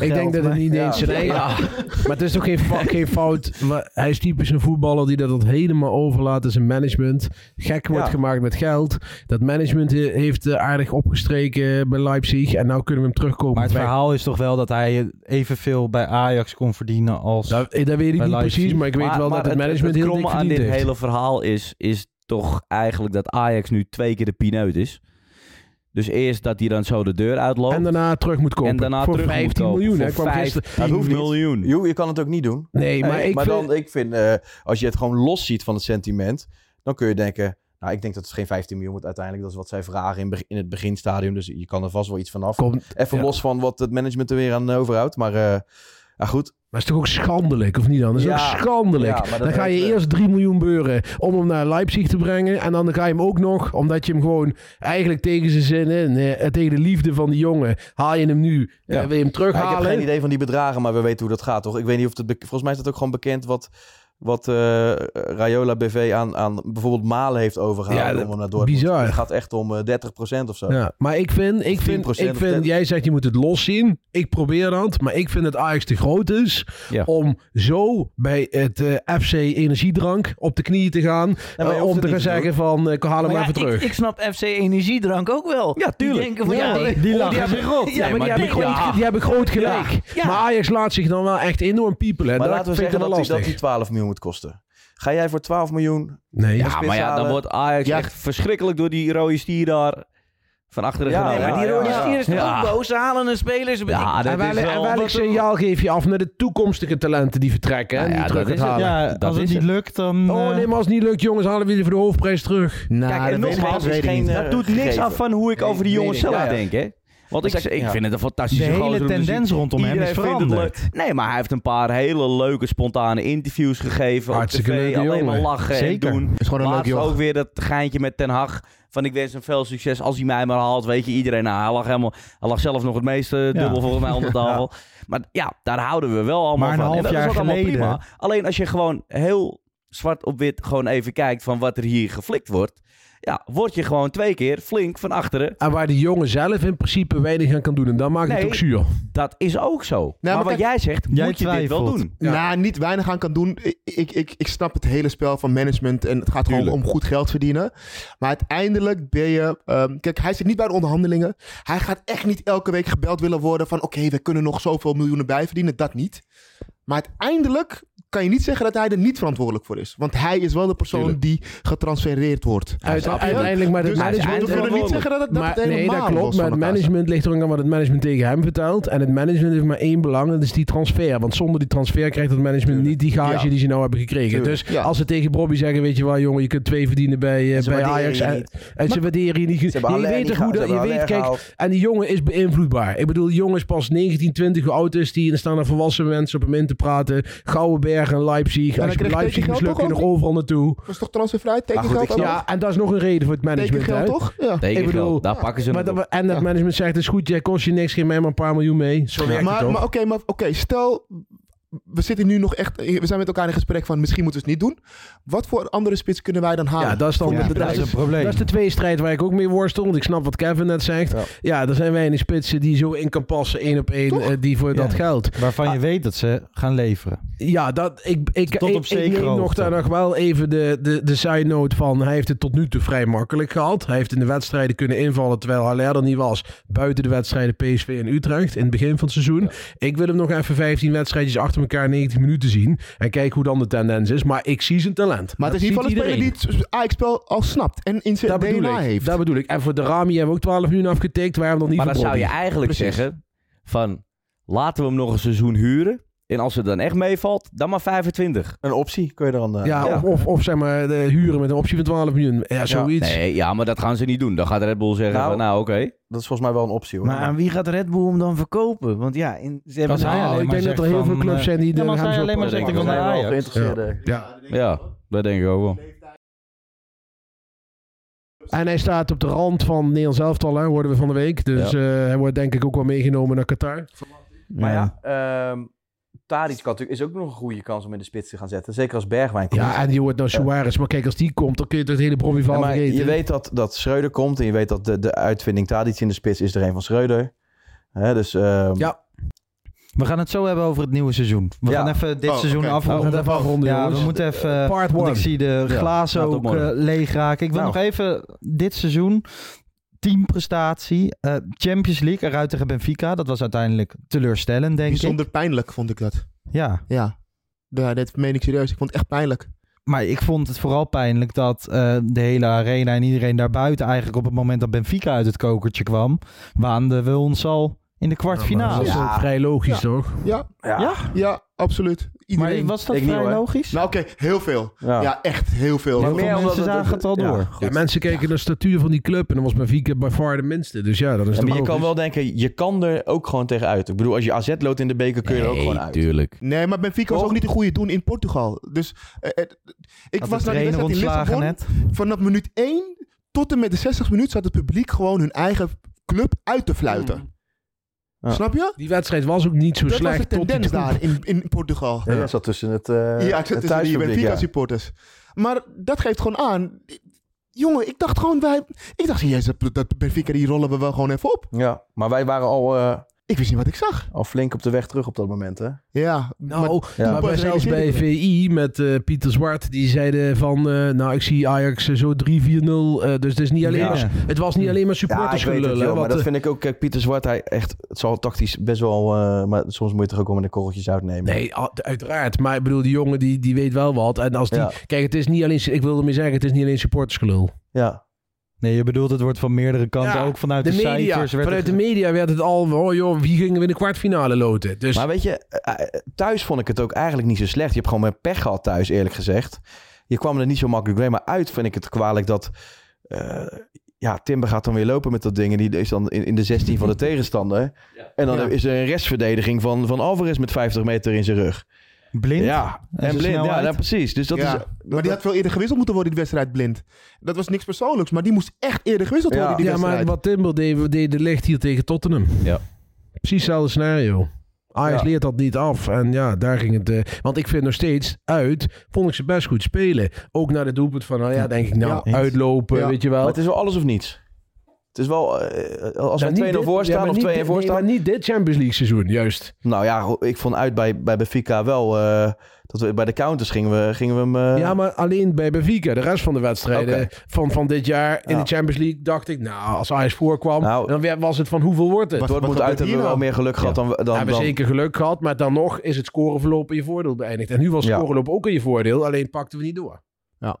[SPEAKER 10] ik denk dat het niet eens zijn eigen- (laughs) Maar het is toch geen, fa- geen fout. Maar hij is typisch een voetballer die dat het helemaal overlaat aan zijn management. Gek wordt
[SPEAKER 9] Ja.
[SPEAKER 10] gemaakt met geld. Dat management he- heeft eh, aardig opgestreken bij Leipzig. En nou kunnen we hem terugkomen.
[SPEAKER 6] Maar het
[SPEAKER 10] Wij-
[SPEAKER 6] verhaal is toch wel dat hij evenveel bij Ajax kon verdienen als. Dat,
[SPEAKER 10] dat weet Nou, ik niet precies, maar ik weet wel dat het management heel dik
[SPEAKER 8] kromme aan dit
[SPEAKER 10] verdiend heeft.
[SPEAKER 8] hele verhaal is, is toch eigenlijk dat Ajax nu twee keer de pineut is. Dus eerst dat hij dan zo de deur uitloopt.
[SPEAKER 10] En daarna terug moet kopen.
[SPEAKER 8] En daarna
[SPEAKER 10] Voor
[SPEAKER 8] terug moet
[SPEAKER 10] 15
[SPEAKER 8] kopen.
[SPEAKER 10] miljoen,
[SPEAKER 8] Voor
[SPEAKER 10] hè, kwam
[SPEAKER 8] 15
[SPEAKER 10] gisteren. Dat hoeft niet.
[SPEAKER 8] miljoen.
[SPEAKER 9] Jo, je kan het ook niet doen.
[SPEAKER 10] Nee, maar ik vind-
[SPEAKER 9] dan, ik vind eh, als je het gewoon los ziet van het sentiment, dan kun je denken, nou, ik denk dat het geen 15 miljoen wordt uiteindelijk. Dat is wat zij vragen in, be- in het beginstadium, dus je kan er vast wel iets vanaf.
[SPEAKER 10] Komt-
[SPEAKER 9] Even
[SPEAKER 10] ja.
[SPEAKER 9] los van wat het management er weer aan overhoudt, maar eh, ja, goed.
[SPEAKER 10] Maar het is toch ook schandelijk, of niet dan? Dat is
[SPEAKER 9] Ja.
[SPEAKER 10] ook schandelijk.
[SPEAKER 9] Ja, maar dat
[SPEAKER 10] dan ga je
[SPEAKER 9] heeft, eh,
[SPEAKER 10] eerst 3 miljoen beuren om hem naar Leipzig te brengen. En dan ga je hem ook nog, omdat je hem gewoon eigenlijk tegen zijn zin in, eh, tegen de liefde van die jongen, haal je hem nu, eh, wil je hem
[SPEAKER 9] Ja, ik
[SPEAKER 10] terughalen.
[SPEAKER 9] heb geen idee van die bedragen, maar we weten hoe dat gaat, toch? Ik weet niet of het... be- Volgens mij is dat ook gewoon bekend wat, wat eh Rayola BV aan, aan bijvoorbeeld Malen heeft overgehaald
[SPEAKER 10] Ja,
[SPEAKER 9] om hem naar Dortmund.
[SPEAKER 10] bizar.
[SPEAKER 9] Het gaat echt om eh, 30% of zo.
[SPEAKER 10] Ja, maar ik vind, ik vind,
[SPEAKER 9] 10%
[SPEAKER 10] ik vind
[SPEAKER 9] of-
[SPEAKER 10] jij zegt je moet het los zien. Ik probeer dat, maar ik vind dat Ajax te groot is om zo bij het eh, FC Energiedrank op de knieën te gaan.
[SPEAKER 12] maar je
[SPEAKER 10] eh,
[SPEAKER 12] hoeft
[SPEAKER 10] om
[SPEAKER 12] het
[SPEAKER 10] te gaan
[SPEAKER 12] niet te
[SPEAKER 10] zeggen van, eh, ik haal hem
[SPEAKER 12] Maar
[SPEAKER 10] maar
[SPEAKER 12] ja,
[SPEAKER 10] even terug.
[SPEAKER 12] Ik, ik snap FC Energiedrank ook wel. Ja,
[SPEAKER 10] tuurlijk.
[SPEAKER 12] Die denken van,
[SPEAKER 10] Ja,
[SPEAKER 12] ja,
[SPEAKER 10] die- die lachen zich rot.
[SPEAKER 12] Ja,
[SPEAKER 10] Nee,
[SPEAKER 12] maar die hebben
[SPEAKER 10] groot-
[SPEAKER 12] groot-
[SPEAKER 10] die hebben groot gelijk.
[SPEAKER 12] Ja.
[SPEAKER 10] Maar Ajax laat zich dan wel echt enorm piepelen.
[SPEAKER 9] Maar
[SPEAKER 10] Dat
[SPEAKER 9] laten we
[SPEAKER 10] vind ik
[SPEAKER 9] zeggen
[SPEAKER 10] wel
[SPEAKER 9] dat die, dat
[SPEAKER 10] lastig.
[SPEAKER 9] die 12 miljoen moet kosten. Ga jij voor 12 miljoen...
[SPEAKER 10] Nee.
[SPEAKER 9] een
[SPEAKER 8] Ja,
[SPEAKER 9] spits
[SPEAKER 8] maar ja, dan
[SPEAKER 9] halen?
[SPEAKER 8] wordt Ajax echt verschrikkelijk door die rode stier daar van achteren
[SPEAKER 9] Ja,
[SPEAKER 8] genomen.
[SPEAKER 9] nee, maar die rode
[SPEAKER 8] ja.
[SPEAKER 12] Hier is het ook boos. Ze halen een speler. Ze
[SPEAKER 8] Ah. Ja, dat
[SPEAKER 10] en welk,
[SPEAKER 8] is
[SPEAKER 10] en
[SPEAKER 8] wel-
[SPEAKER 10] welk
[SPEAKER 8] dat-
[SPEAKER 10] signaal geef je af naar de toekomstige talenten die vertrekken en
[SPEAKER 8] Nou ja,
[SPEAKER 10] die terug
[SPEAKER 8] dat
[SPEAKER 10] gaat
[SPEAKER 8] is het.
[SPEAKER 10] halen?
[SPEAKER 6] Ja, als het niet lukt, dan.
[SPEAKER 9] eh,
[SPEAKER 10] Oh nee, maar als het niet lukt, jongens, halen we die voor de hoofdprijs terug.
[SPEAKER 8] Kijk, en nogmaals, is geen, dat doet niks af van hoe ik over die jongen zelf denk, hè? Want ik,
[SPEAKER 9] Dus ik-
[SPEAKER 8] ik
[SPEAKER 9] ja.
[SPEAKER 8] vind het een fantastische
[SPEAKER 6] De hele
[SPEAKER 8] gozer om te zien.
[SPEAKER 6] tendens rondom hem
[SPEAKER 8] Iedereen
[SPEAKER 6] is
[SPEAKER 8] vindt het
[SPEAKER 6] veranderd.
[SPEAKER 8] leuk. Nee, maar hij heeft een paar hele leuke spontane interviews gegeven.
[SPEAKER 10] Hartstikke
[SPEAKER 8] op tv,
[SPEAKER 10] leuke
[SPEAKER 8] alleen
[SPEAKER 10] jongen.
[SPEAKER 8] maar lachen
[SPEAKER 10] Zeker.
[SPEAKER 8] en doen.
[SPEAKER 10] Is gewoon een leuk
[SPEAKER 8] Laatst
[SPEAKER 10] joch.
[SPEAKER 8] ook weer dat geintje met Ten Hag. Van ik wens hem veel succes als hij mij maar haalt. Weet je, iedereen. Nou, hij lag helemaal. Hij lag zelf nog het meeste dubbel volgens mij
[SPEAKER 10] (laughs)
[SPEAKER 8] onder de tafel. Maar ja, daar houden we wel allemaal
[SPEAKER 6] Maar
[SPEAKER 8] van.
[SPEAKER 6] een
[SPEAKER 8] En
[SPEAKER 6] half
[SPEAKER 8] dat is
[SPEAKER 6] jaar
[SPEAKER 8] ook allemaal
[SPEAKER 6] geleden-
[SPEAKER 8] prima. Alleen als je gewoon heel zwart op wit gewoon even kijkt van wat er hier geflikt wordt. Ja, word je gewoon twee keer flink van achteren.
[SPEAKER 10] En waar de jongen zelf in principe weinig aan kan doen. En dan maakt het
[SPEAKER 8] Nee.
[SPEAKER 10] ook zuur.
[SPEAKER 8] Dat is ook zo. maar,
[SPEAKER 11] maar
[SPEAKER 8] wat
[SPEAKER 11] kijk,
[SPEAKER 8] jij zegt,
[SPEAKER 6] jij
[SPEAKER 8] moet je dit wel
[SPEAKER 6] twijfelt.
[SPEAKER 8] doen.
[SPEAKER 11] Nou, niet weinig aan kan doen. Ik, ik, ik, ik snap het hele spel van management en het gaat gewoon om goed geld verdienen. Maar uiteindelijk ben je... ehm, kijk, hij zit niet bij de onderhandelingen. Hij gaat echt niet elke week gebeld willen worden van... oké, we kunnen nog zoveel miljoenen bijverdienen. Dat niet. Maar uiteindelijk kan je niet zeggen dat hij er niet verantwoordelijk voor is. Want hij is wel de persoon die getransfereerd wordt.
[SPEAKER 10] Uit-
[SPEAKER 11] Snap je?
[SPEAKER 10] uiteindelijk, maar het
[SPEAKER 11] dus
[SPEAKER 10] management...
[SPEAKER 11] we kunnen niet zeggen dat het, dat
[SPEAKER 10] Maar-
[SPEAKER 11] het
[SPEAKER 10] Nee,
[SPEAKER 11] helemaal
[SPEAKER 10] dat klopt.
[SPEAKER 11] los
[SPEAKER 10] Maar
[SPEAKER 11] van
[SPEAKER 10] het
[SPEAKER 11] elkaar staat.
[SPEAKER 10] management ligt er ook aan wat het management tegen hem vertelt. En het management heeft maar één belang, en dat is die transfer. Want zonder die transfer krijgt het management niet die gage
[SPEAKER 11] Ja.
[SPEAKER 10] die ze nou hebben gekregen.
[SPEAKER 11] Tuurlijk,
[SPEAKER 10] Dus
[SPEAKER 11] ja.
[SPEAKER 10] als ze tegen Bobby zeggen, weet je wel, jongen, je kunt twee verdienen bij, eh,
[SPEAKER 9] ze
[SPEAKER 10] bij
[SPEAKER 9] waarderen
[SPEAKER 10] Ajax.
[SPEAKER 9] je
[SPEAKER 10] En,
[SPEAKER 9] niet.
[SPEAKER 10] en ze waarderen je niet. goed.
[SPEAKER 9] hebben
[SPEAKER 10] Nee, je
[SPEAKER 9] Haller
[SPEAKER 10] weet
[SPEAKER 9] niet
[SPEAKER 10] toch hoe
[SPEAKER 9] gehaald,
[SPEAKER 10] dat,
[SPEAKER 9] ze
[SPEAKER 10] je
[SPEAKER 9] hebben
[SPEAKER 10] weet,
[SPEAKER 9] Haller
[SPEAKER 10] kijk, en
[SPEAKER 9] gehaald.
[SPEAKER 10] die jongen is beïnvloedbaar. Ik bedoel, die jongen is pas 19, 20, hoe oud is die? En staan er volwassen mensen op hem in te praten. Gouwenberg en Leipzig.
[SPEAKER 11] dan
[SPEAKER 10] Als je bij
[SPEAKER 11] kreeg
[SPEAKER 10] Leipzig
[SPEAKER 11] Tekengeld
[SPEAKER 10] mislukt, kun je
[SPEAKER 11] toch
[SPEAKER 10] nog overal naartoe.
[SPEAKER 11] Dat is toch transfervrij?
[SPEAKER 9] Maar goed,
[SPEAKER 11] Tekengeld
[SPEAKER 9] ik
[SPEAKER 11] ook?
[SPEAKER 9] snap-
[SPEAKER 10] Ja, en dat is nog een reden voor het management.
[SPEAKER 11] Tekengeld,
[SPEAKER 10] hè?
[SPEAKER 11] toch? Ja.
[SPEAKER 10] Ik
[SPEAKER 8] Tekengeld,
[SPEAKER 10] bedoel,
[SPEAKER 8] daar pakken ze
[SPEAKER 10] maar
[SPEAKER 8] hem
[SPEAKER 10] dat,
[SPEAKER 8] op.
[SPEAKER 10] we- en dat management zegt, is goed, jij kost je niks, geef mij maar een paar miljoen mee. Zo werkt het
[SPEAKER 11] maar,
[SPEAKER 10] toch?
[SPEAKER 11] maar oké, maar oké, stel, we zitten nu nog echt, we zijn met elkaar in gesprek van misschien moeten we het niet doen. Wat voor andere spits kunnen wij dan halen?
[SPEAKER 10] ja, dat is dan
[SPEAKER 11] Voor dit
[SPEAKER 10] dat
[SPEAKER 11] bedrijf.
[SPEAKER 10] is- Dat is de tweestrijd waar ik ook mee worstel. Want ik snap wat Kevin net zegt. Ja, er zijn weinig spitsen die zo in kan passen, één op één, eh, die voor dat geld. Ah.
[SPEAKER 6] Waarvan je weet dat ze gaan leveren.
[SPEAKER 10] Ja, dat, ik, ik,
[SPEAKER 6] Tot op
[SPEAKER 10] ik- ik,
[SPEAKER 6] zekere
[SPEAKER 10] neem nog
[SPEAKER 6] hoogte.
[SPEAKER 10] daar nog wel even de, de, de side note van. Hij heeft het tot nu toe vrij makkelijk gehad. Hij heeft in de wedstrijden kunnen invallen terwijl Haller er niet was. Buiten de wedstrijden PSV en Utrecht in het begin van het seizoen. Ik wil hem nog even 15 wedstrijdjes achter elkaar 90 minuten zien. En kijken hoe dan de tendens is. Maar ik zie zijn talent.
[SPEAKER 11] Maar het is in ieder geval een
[SPEAKER 10] iedereen.
[SPEAKER 11] speler die het Ajax-spel al snapt en in zijn
[SPEAKER 10] Dat bedoel,
[SPEAKER 11] DNA
[SPEAKER 10] ik,
[SPEAKER 11] heeft.
[SPEAKER 10] dat bedoel ik. En voor de Rami hebben we ook 12 miljoen afgetikt. Waarom dan niet
[SPEAKER 8] Maar
[SPEAKER 10] voor
[SPEAKER 8] dan zou je
[SPEAKER 10] Brobbey?
[SPEAKER 8] eigenlijk
[SPEAKER 10] Precies.
[SPEAKER 8] zeggen van laten we hem nog een seizoen huren. En als het dan echt meevalt, dan maar 25.
[SPEAKER 9] Een optie kun je dan... eh,
[SPEAKER 10] Ja, Of, of, of zeg maar de huren met een optie van 12 miljoen. Ja, zoiets.
[SPEAKER 8] Nee, ja, maar dat gaan ze niet doen. Dan gaat Red Bull zeggen
[SPEAKER 10] Nou,
[SPEAKER 8] van, nou oké.
[SPEAKER 9] Dat is volgens mij wel een optie hoor.
[SPEAKER 12] Maar aan wie gaat Red Bull hem dan verkopen? Want ja, in, ze hebben
[SPEAKER 10] Dat zou-
[SPEAKER 12] nou,
[SPEAKER 10] ik denk dat er heel veel clubs zijn die de-
[SPEAKER 12] ja, maar
[SPEAKER 10] gaan
[SPEAKER 12] zij
[SPEAKER 10] ze
[SPEAKER 12] alleen maar
[SPEAKER 10] oppakken.
[SPEAKER 12] zegt, ik wil
[SPEAKER 10] Ja.
[SPEAKER 12] naar
[SPEAKER 11] eh,
[SPEAKER 12] Ajax.
[SPEAKER 9] geïnteresseerden.
[SPEAKER 10] Ja.
[SPEAKER 8] Ja, dat denk ik ook wel.
[SPEAKER 10] En hij staat op de rand van Nederlands elftal, hè, hoorden we van de week. Dus
[SPEAKER 9] Ja.
[SPEAKER 10] eh, hij wordt denk ik ook wel meegenomen naar Qatar.
[SPEAKER 9] Maar ja, ehm Tadic kan natuurlijk, is ook nog een goede kans om in de spits te gaan zetten. Zeker als Bergwijn komt.
[SPEAKER 10] Ja, en die wordt nou Suarez. Maar kijk, als die komt, dan kun je het hele Bobby
[SPEAKER 9] Ja,
[SPEAKER 10] van
[SPEAKER 9] maar
[SPEAKER 10] vergeten.
[SPEAKER 9] je weet dat, dat Schreuder komt en je weet dat de, de uitvinding Tadic in de spits is er een van Schreuder. Hè, dus, ja.
[SPEAKER 6] We gaan het zo hebben over het nieuwe seizoen. We
[SPEAKER 9] Ja.
[SPEAKER 6] gaan even dit
[SPEAKER 9] Oh,
[SPEAKER 6] seizoen
[SPEAKER 9] oké.
[SPEAKER 10] Nou,
[SPEAKER 6] afronden.
[SPEAKER 9] We gaan het even afronden,
[SPEAKER 6] ja,
[SPEAKER 9] jongens.
[SPEAKER 6] we moeten even...
[SPEAKER 9] Eh, part
[SPEAKER 6] want
[SPEAKER 9] one.
[SPEAKER 6] ik zie de
[SPEAKER 9] Ja,
[SPEAKER 6] glazen
[SPEAKER 9] nou, tot
[SPEAKER 6] ook eh,
[SPEAKER 9] morgen.
[SPEAKER 6] leeg raken. Ik wil
[SPEAKER 9] Nou.
[SPEAKER 6] nog even dit seizoen... Teamprestatie, eh, Champions League eruit tegen Benfica. Dat was uiteindelijk teleurstellend, denk
[SPEAKER 11] Bijzonder
[SPEAKER 6] ik.
[SPEAKER 11] pijnlijk vond ik dat.
[SPEAKER 6] Ja.
[SPEAKER 11] Ja. Ja, dat meen ik serieus. Ik vond het echt pijnlijk.
[SPEAKER 6] Maar ik vond het vooral pijnlijk dat eh, de hele arena en iedereen daarbuiten eigenlijk op het moment dat Benfica uit het kokertje kwam, waanden we ons al in de kwartfinale.
[SPEAKER 10] dat is ook vrij logisch, toch?
[SPEAKER 11] Ja.
[SPEAKER 9] Ja.
[SPEAKER 6] Ja?
[SPEAKER 11] Ja, absoluut. Iedereen.
[SPEAKER 6] Maar was dat Ik niet, vrij hoor. logisch?
[SPEAKER 11] Nou oké, heel veel.
[SPEAKER 9] Ja.
[SPEAKER 11] Ja. echt heel veel.
[SPEAKER 6] Maar
[SPEAKER 11] Heel
[SPEAKER 6] meer
[SPEAKER 11] veel
[SPEAKER 6] omdat het- het- ja,
[SPEAKER 10] Ja, mensen kijken naar de statuur van die club. En dan was Benfica by far de minste. Dus ja, dat is
[SPEAKER 9] Ja,
[SPEAKER 10] toch
[SPEAKER 9] maar je
[SPEAKER 10] logisch.
[SPEAKER 9] kan wel denken, je kan er ook gewoon tegen uit. Ik bedoel, als je AZ loopt in de beker, kun je er ook gewoon uit.
[SPEAKER 8] tuurlijk.
[SPEAKER 11] Nee, maar Benfica was ook niet de goede doen in Portugal. Dus eh, eh, ik
[SPEAKER 6] Had
[SPEAKER 11] was
[SPEAKER 6] de
[SPEAKER 11] naar die
[SPEAKER 6] trainer
[SPEAKER 11] wedstrijd in
[SPEAKER 6] ontslagen
[SPEAKER 11] Lissabon. Vanaf minuut 1 tot en met de 60 minuut zat het publiek gewoon hun eigen club uit te fluiten.
[SPEAKER 9] Ja.
[SPEAKER 11] Snap je?
[SPEAKER 10] Die wedstrijd was ook niet zo
[SPEAKER 11] dat was
[SPEAKER 10] slecht.
[SPEAKER 11] de
[SPEAKER 10] tot die
[SPEAKER 11] tendens
[SPEAKER 10] doelpunt.
[SPEAKER 11] daar in, in Portugal.
[SPEAKER 9] Ja, dat zat tussen het, eh
[SPEAKER 11] Ja, het
[SPEAKER 9] het
[SPEAKER 11] is die
[SPEAKER 9] thuispubliek,
[SPEAKER 11] Benfica
[SPEAKER 9] ja.
[SPEAKER 11] supporters. Maar dat geeft gewoon aan. Jongen, ik dacht gewoon wij. Ik dacht, jezus, dat- dat Benfica die rollen we wel gewoon even op.
[SPEAKER 9] Ja, maar wij waren al, eh,
[SPEAKER 11] Ik wist niet wat ik zag.
[SPEAKER 9] al flink op de weg terug op dat moment, hè?
[SPEAKER 11] Ja,
[SPEAKER 10] Nou,
[SPEAKER 11] maar-
[SPEAKER 10] maar, bij- zelfs bij VI met eh, Pieter Zwart, die zeiden van, eh, nou ik zie Ajax eh, zo 3-4-0, eh, dus het, is niet alleen
[SPEAKER 9] Ja.
[SPEAKER 10] maar, het was niet alleen maar supporters
[SPEAKER 9] ja, ik weet het,
[SPEAKER 10] gelul, hè,
[SPEAKER 9] joh, maar
[SPEAKER 10] want,
[SPEAKER 9] dat
[SPEAKER 10] eh,
[SPEAKER 9] vind ik ook... Kijk, Pieter Zwart, hij echt... Het zal tactisch best wel... eh, maar soms moet je toch ook wel met de korreltjes uitnemen.
[SPEAKER 10] Nee, a- uiteraard. Maar ik bedoel, die jongen die, die weet wel wat. En als die.
[SPEAKER 9] Ja.
[SPEAKER 10] Kijk, het is niet alleen. Ik wilde meer zeggen, het is niet alleen supportersgelul.
[SPEAKER 9] Ja.
[SPEAKER 6] Nee, je bedoelt het wordt van meerdere kanten, ook vanuit de,
[SPEAKER 10] media.
[SPEAKER 6] cijfers. Werd
[SPEAKER 10] vanuit
[SPEAKER 6] er-
[SPEAKER 10] de media werd het al. Oh joh, wie gingen we in de kwartfinale loten? Dus
[SPEAKER 9] Maar weet je, eh, eh, thuis vond ik het ook eigenlijk niet zo slecht. Je hebt gewoon meer pech gehad thuis, eerlijk gezegd. Je kwam er niet zo makkelijk doorheen. Maar uit vind ik het kwalijk dat... eh, ja, Timber gaat dan weer lopen met dat ding. En die is dan in, in de 16 van de tegenstander. En dan
[SPEAKER 6] Ja.
[SPEAKER 9] is er een restverdediging van, van Alvarez met 50 meter in zijn rug.
[SPEAKER 6] Blind?
[SPEAKER 9] Ja,
[SPEAKER 6] En
[SPEAKER 9] en,
[SPEAKER 6] zijn
[SPEAKER 9] blind. Ja,
[SPEAKER 6] snelheid?
[SPEAKER 9] nou, precies. Dus dat
[SPEAKER 11] Ja,
[SPEAKER 9] is...
[SPEAKER 11] eh, maar die had veel eerder gewisseld moeten worden, die wedstrijd blind. Dat was niks persoonlijks, maar die moest echt eerder gewisseld worden, die
[SPEAKER 10] ja, maar
[SPEAKER 11] wedstrijd.
[SPEAKER 10] wat Timber deed, deed de licht hier tegen Tottenham.
[SPEAKER 9] Ja.
[SPEAKER 10] Precies hetzelfde scenario. Ajax
[SPEAKER 9] Ja.
[SPEAKER 10] leert dat niet af. En ja, daar ging het. eh, want ik vind nog steeds uit. Vond ik ze best goed spelen. Ook naar de doelpunt van. Nou ja, denk ik nou.
[SPEAKER 6] eens.
[SPEAKER 10] Uitlopen,
[SPEAKER 9] Ja.
[SPEAKER 10] weet je wel.
[SPEAKER 9] Maar het is wel alles of niets. Het is wel, eh, als
[SPEAKER 10] Nou, niet
[SPEAKER 9] we 2-0
[SPEAKER 10] dit-
[SPEAKER 9] voor
[SPEAKER 10] ja,
[SPEAKER 9] staan
[SPEAKER 10] maar
[SPEAKER 9] of
[SPEAKER 10] niet
[SPEAKER 9] 2-1
[SPEAKER 10] dit-
[SPEAKER 9] voor
[SPEAKER 10] nee,
[SPEAKER 9] staan.
[SPEAKER 10] maar niet dit Champions League seizoen, juist.
[SPEAKER 9] Nou ja, ik vond uit bij, bij Benfica wel eh, dat we bij de counters gingen we, gingen we hem... eh,
[SPEAKER 10] Ja, maar alleen bij Benfica. De rest van de wedstrijden
[SPEAKER 9] Oké.
[SPEAKER 10] van, van dit jaar in
[SPEAKER 9] Ja.
[SPEAKER 10] de Champions League dacht ik, nou, als Ajax voorkwam,
[SPEAKER 9] Nou,
[SPEAKER 10] dan werd- was het van hoeveel wordt het?
[SPEAKER 11] Wat-
[SPEAKER 9] Dortmund
[SPEAKER 11] gebeurt
[SPEAKER 9] uit hebben
[SPEAKER 11] hier
[SPEAKER 9] we wel
[SPEAKER 11] nou?
[SPEAKER 9] meer geluk gehad dan... dan,
[SPEAKER 10] We
[SPEAKER 9] dan
[SPEAKER 10] hebben zeker geluk gehad, maar dan nog is het scoreverloop in je voordeel beëindigd. En nu was het
[SPEAKER 9] Ja.
[SPEAKER 10] scoreverloop ook in je voordeel, alleen pakten we niet door.
[SPEAKER 11] Ja.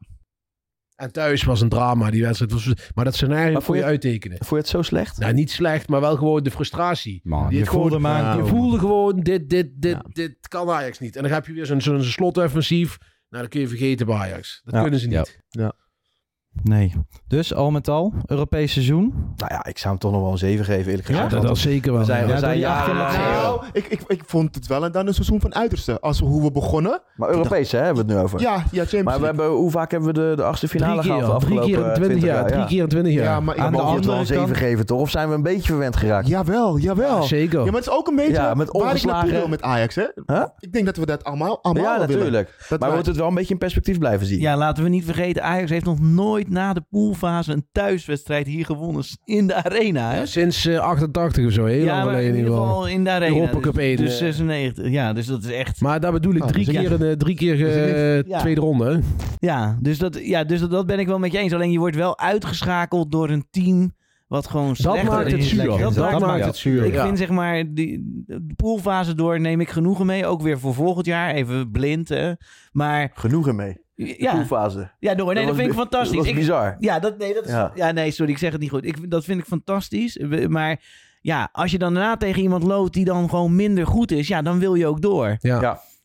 [SPEAKER 10] En thuis was een drama, die wedstrijd. Was, maar dat scenario
[SPEAKER 9] Maar
[SPEAKER 10] kon
[SPEAKER 9] vond
[SPEAKER 10] je
[SPEAKER 9] je-
[SPEAKER 10] uittekenen.
[SPEAKER 9] Vond je het zo slecht?
[SPEAKER 10] Nou, niet slecht, maar wel gewoon de frustratie.
[SPEAKER 8] Man,
[SPEAKER 10] Die
[SPEAKER 6] je
[SPEAKER 10] het gewoon-
[SPEAKER 6] voelde hem
[SPEAKER 10] Je
[SPEAKER 6] aankomen.
[SPEAKER 10] voelde gewoon, dit, dit, dit, dit kan Ajax niet. En dan heb je weer zo'n zo'n slotoffensief. Nou, dat kun je vergeten bij Ajax. Dat
[SPEAKER 6] Ja.
[SPEAKER 10] kunnen ze niet.
[SPEAKER 8] Ja.
[SPEAKER 6] Nee. Dus al met al, Europees seizoen.
[SPEAKER 9] Nou ja, ik zou hem toch nog wel een 7 geven, eerlijk gezegd.
[SPEAKER 10] dat
[SPEAKER 9] Want
[SPEAKER 10] is zeker wel.
[SPEAKER 9] We zijn, we
[SPEAKER 6] Ja,
[SPEAKER 9] zijn
[SPEAKER 6] dan
[SPEAKER 9] ja,
[SPEAKER 6] jaagt hij
[SPEAKER 9] ja,
[SPEAKER 6] hem
[SPEAKER 9] ja.
[SPEAKER 11] Nou, ik, ik, ik vond het wel en dan een seizoen van uiterste. Als we hoe we begonnen.
[SPEAKER 9] Maar Europees hè, hebben we het nu over.
[SPEAKER 11] Ja, ja Champions
[SPEAKER 9] Maar we
[SPEAKER 11] League.
[SPEAKER 9] hebben, hoe vaak hebben we de, de achtste finale
[SPEAKER 10] Drie keer,
[SPEAKER 9] gehad? de
[SPEAKER 10] al. drie
[SPEAKER 9] afgelopen eh,
[SPEAKER 10] keer in 20 jaar. Drie keer in 20 jaar.
[SPEAKER 11] Ja, maar ik
[SPEAKER 6] Aan de
[SPEAKER 9] Mogen we het wel een
[SPEAKER 6] andere
[SPEAKER 9] 7
[SPEAKER 6] kant-
[SPEAKER 9] geven, toch? Of zijn we een beetje verwend geraakt?
[SPEAKER 11] Jawel, jawel.
[SPEAKER 10] Zeker.
[SPEAKER 11] Ja, maar het is ook een beetje
[SPEAKER 9] Ja, met
[SPEAKER 11] waar ik naartoe
[SPEAKER 9] ongeslagen-
[SPEAKER 11] wil met Ajax, hè?
[SPEAKER 9] Huh?
[SPEAKER 11] Ik denk dat we dat allemaal, allemaal
[SPEAKER 9] Ja,
[SPEAKER 11] wel willen.
[SPEAKER 9] natuurlijk.
[SPEAKER 11] Dat
[SPEAKER 9] Maar we
[SPEAKER 11] wij-
[SPEAKER 9] moeten het wel een beetje in perspectief blijven zien.
[SPEAKER 12] Ja, laten we niet vergeten, Ajax heeft nog nooit na de poolfase een thuiswedstrijd hier gewonnen in de arena. Hè?
[SPEAKER 10] Ja, sinds eh, 88 of zo, heel
[SPEAKER 12] Ja,
[SPEAKER 10] lang
[SPEAKER 12] maar
[SPEAKER 10] geleden
[SPEAKER 12] in ieder geval in de arena.
[SPEAKER 10] Europa Cup
[SPEAKER 12] dus,
[SPEAKER 10] één,
[SPEAKER 12] dus
[SPEAKER 10] eh.
[SPEAKER 12] 96. Ja, dus dat is echt.
[SPEAKER 10] Maar daar bedoel ik
[SPEAKER 11] Ah,
[SPEAKER 10] drie
[SPEAKER 11] dus ik-
[SPEAKER 10] keer, eh, drie keer
[SPEAKER 11] Dus ik-
[SPEAKER 10] eh,
[SPEAKER 12] Ja.
[SPEAKER 10] tweede ronde. hè?
[SPEAKER 12] Ja, dus, dat, ja, dus dat, dat ben ik wel met je eens. Alleen je wordt wel uitgeschakeld door een team wat gewoon
[SPEAKER 10] Dat
[SPEAKER 12] slechter
[SPEAKER 10] maakt het
[SPEAKER 12] is.
[SPEAKER 10] zuur.
[SPEAKER 12] Dat
[SPEAKER 10] Dat,
[SPEAKER 12] maakt-
[SPEAKER 10] maakt
[SPEAKER 12] ja.
[SPEAKER 10] het zuur.
[SPEAKER 12] Ik
[SPEAKER 10] Ja.
[SPEAKER 12] vind zeg maar, die, de poolfase door neem ik genoegen mee. Ook weer voor volgend jaar. Even blind, hè. Maar
[SPEAKER 9] Genoegen mee. De
[SPEAKER 12] ja,
[SPEAKER 9] poolfase.
[SPEAKER 12] ja door. Oh, Nee, dat,
[SPEAKER 9] was
[SPEAKER 12] vind ik
[SPEAKER 9] bi-
[SPEAKER 12] fantastisch.
[SPEAKER 9] Dat was
[SPEAKER 12] Ik-
[SPEAKER 9] bizar.
[SPEAKER 12] Ja, dat, nee, dat is, ja.
[SPEAKER 9] Ja.
[SPEAKER 12] nee, sorry, ik zeg het niet goed. Ik, vind- dat vind ik fantastisch. We- Maar Ja, als je dan daarna tegen iemand loopt die dan gewoon minder goed is, ja, dan wil je ook door.
[SPEAKER 10] Ja.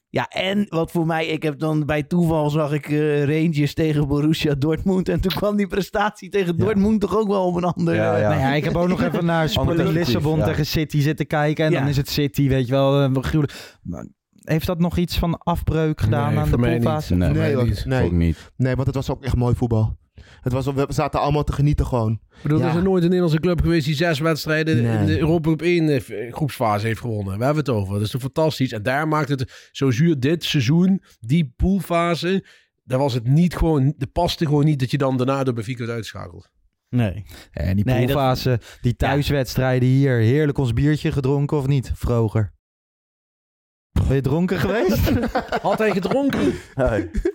[SPEAKER 9] ja.
[SPEAKER 12] en wat voor mij, ik heb dan bij toeval zag ik eh, Rangers tegen Borussia Dortmund. En toen kwam die prestatie tegen Dortmund toch ook wel op een ander.
[SPEAKER 6] Ja,
[SPEAKER 12] eh,
[SPEAKER 6] Nou ja, ik heb ook nog even naar Sporting Lissabon tegen City zitten kijken. En
[SPEAKER 12] Ja.
[SPEAKER 6] dan is het City, weet je wel. eh, gruwelijk. Maar Heeft dat nog iets van afbreuk gedaan aan de poolfase?
[SPEAKER 11] Nee, hoor, nee. nee, want het was ook echt mooi voetbal. Het was, we zaten allemaal te genieten gewoon.
[SPEAKER 10] Ik bedoel,
[SPEAKER 11] Ja.
[SPEAKER 10] er is er nooit een Nederlandse club geweest die zes wedstrijden in
[SPEAKER 11] Nee.
[SPEAKER 10] de Europa Cup 1 eh, groepsfase heeft gewonnen. We hebben het over. Dat is toch fantastisch. En daar maakt het zo zuur dit seizoen, die poolfase. Daar was het niet gewoon, er paste gewoon niet dat je dan daarna door Benfica werd uitschakeld.
[SPEAKER 12] Nee.
[SPEAKER 6] En die
[SPEAKER 10] Nee, dat-
[SPEAKER 6] poolfase, die thuiswedstrijden hier. Heerlijk ons biertje gedronken of niet, Vroger? Ben je dronken geweest?
[SPEAKER 10] (laughs) Had hij gedronken?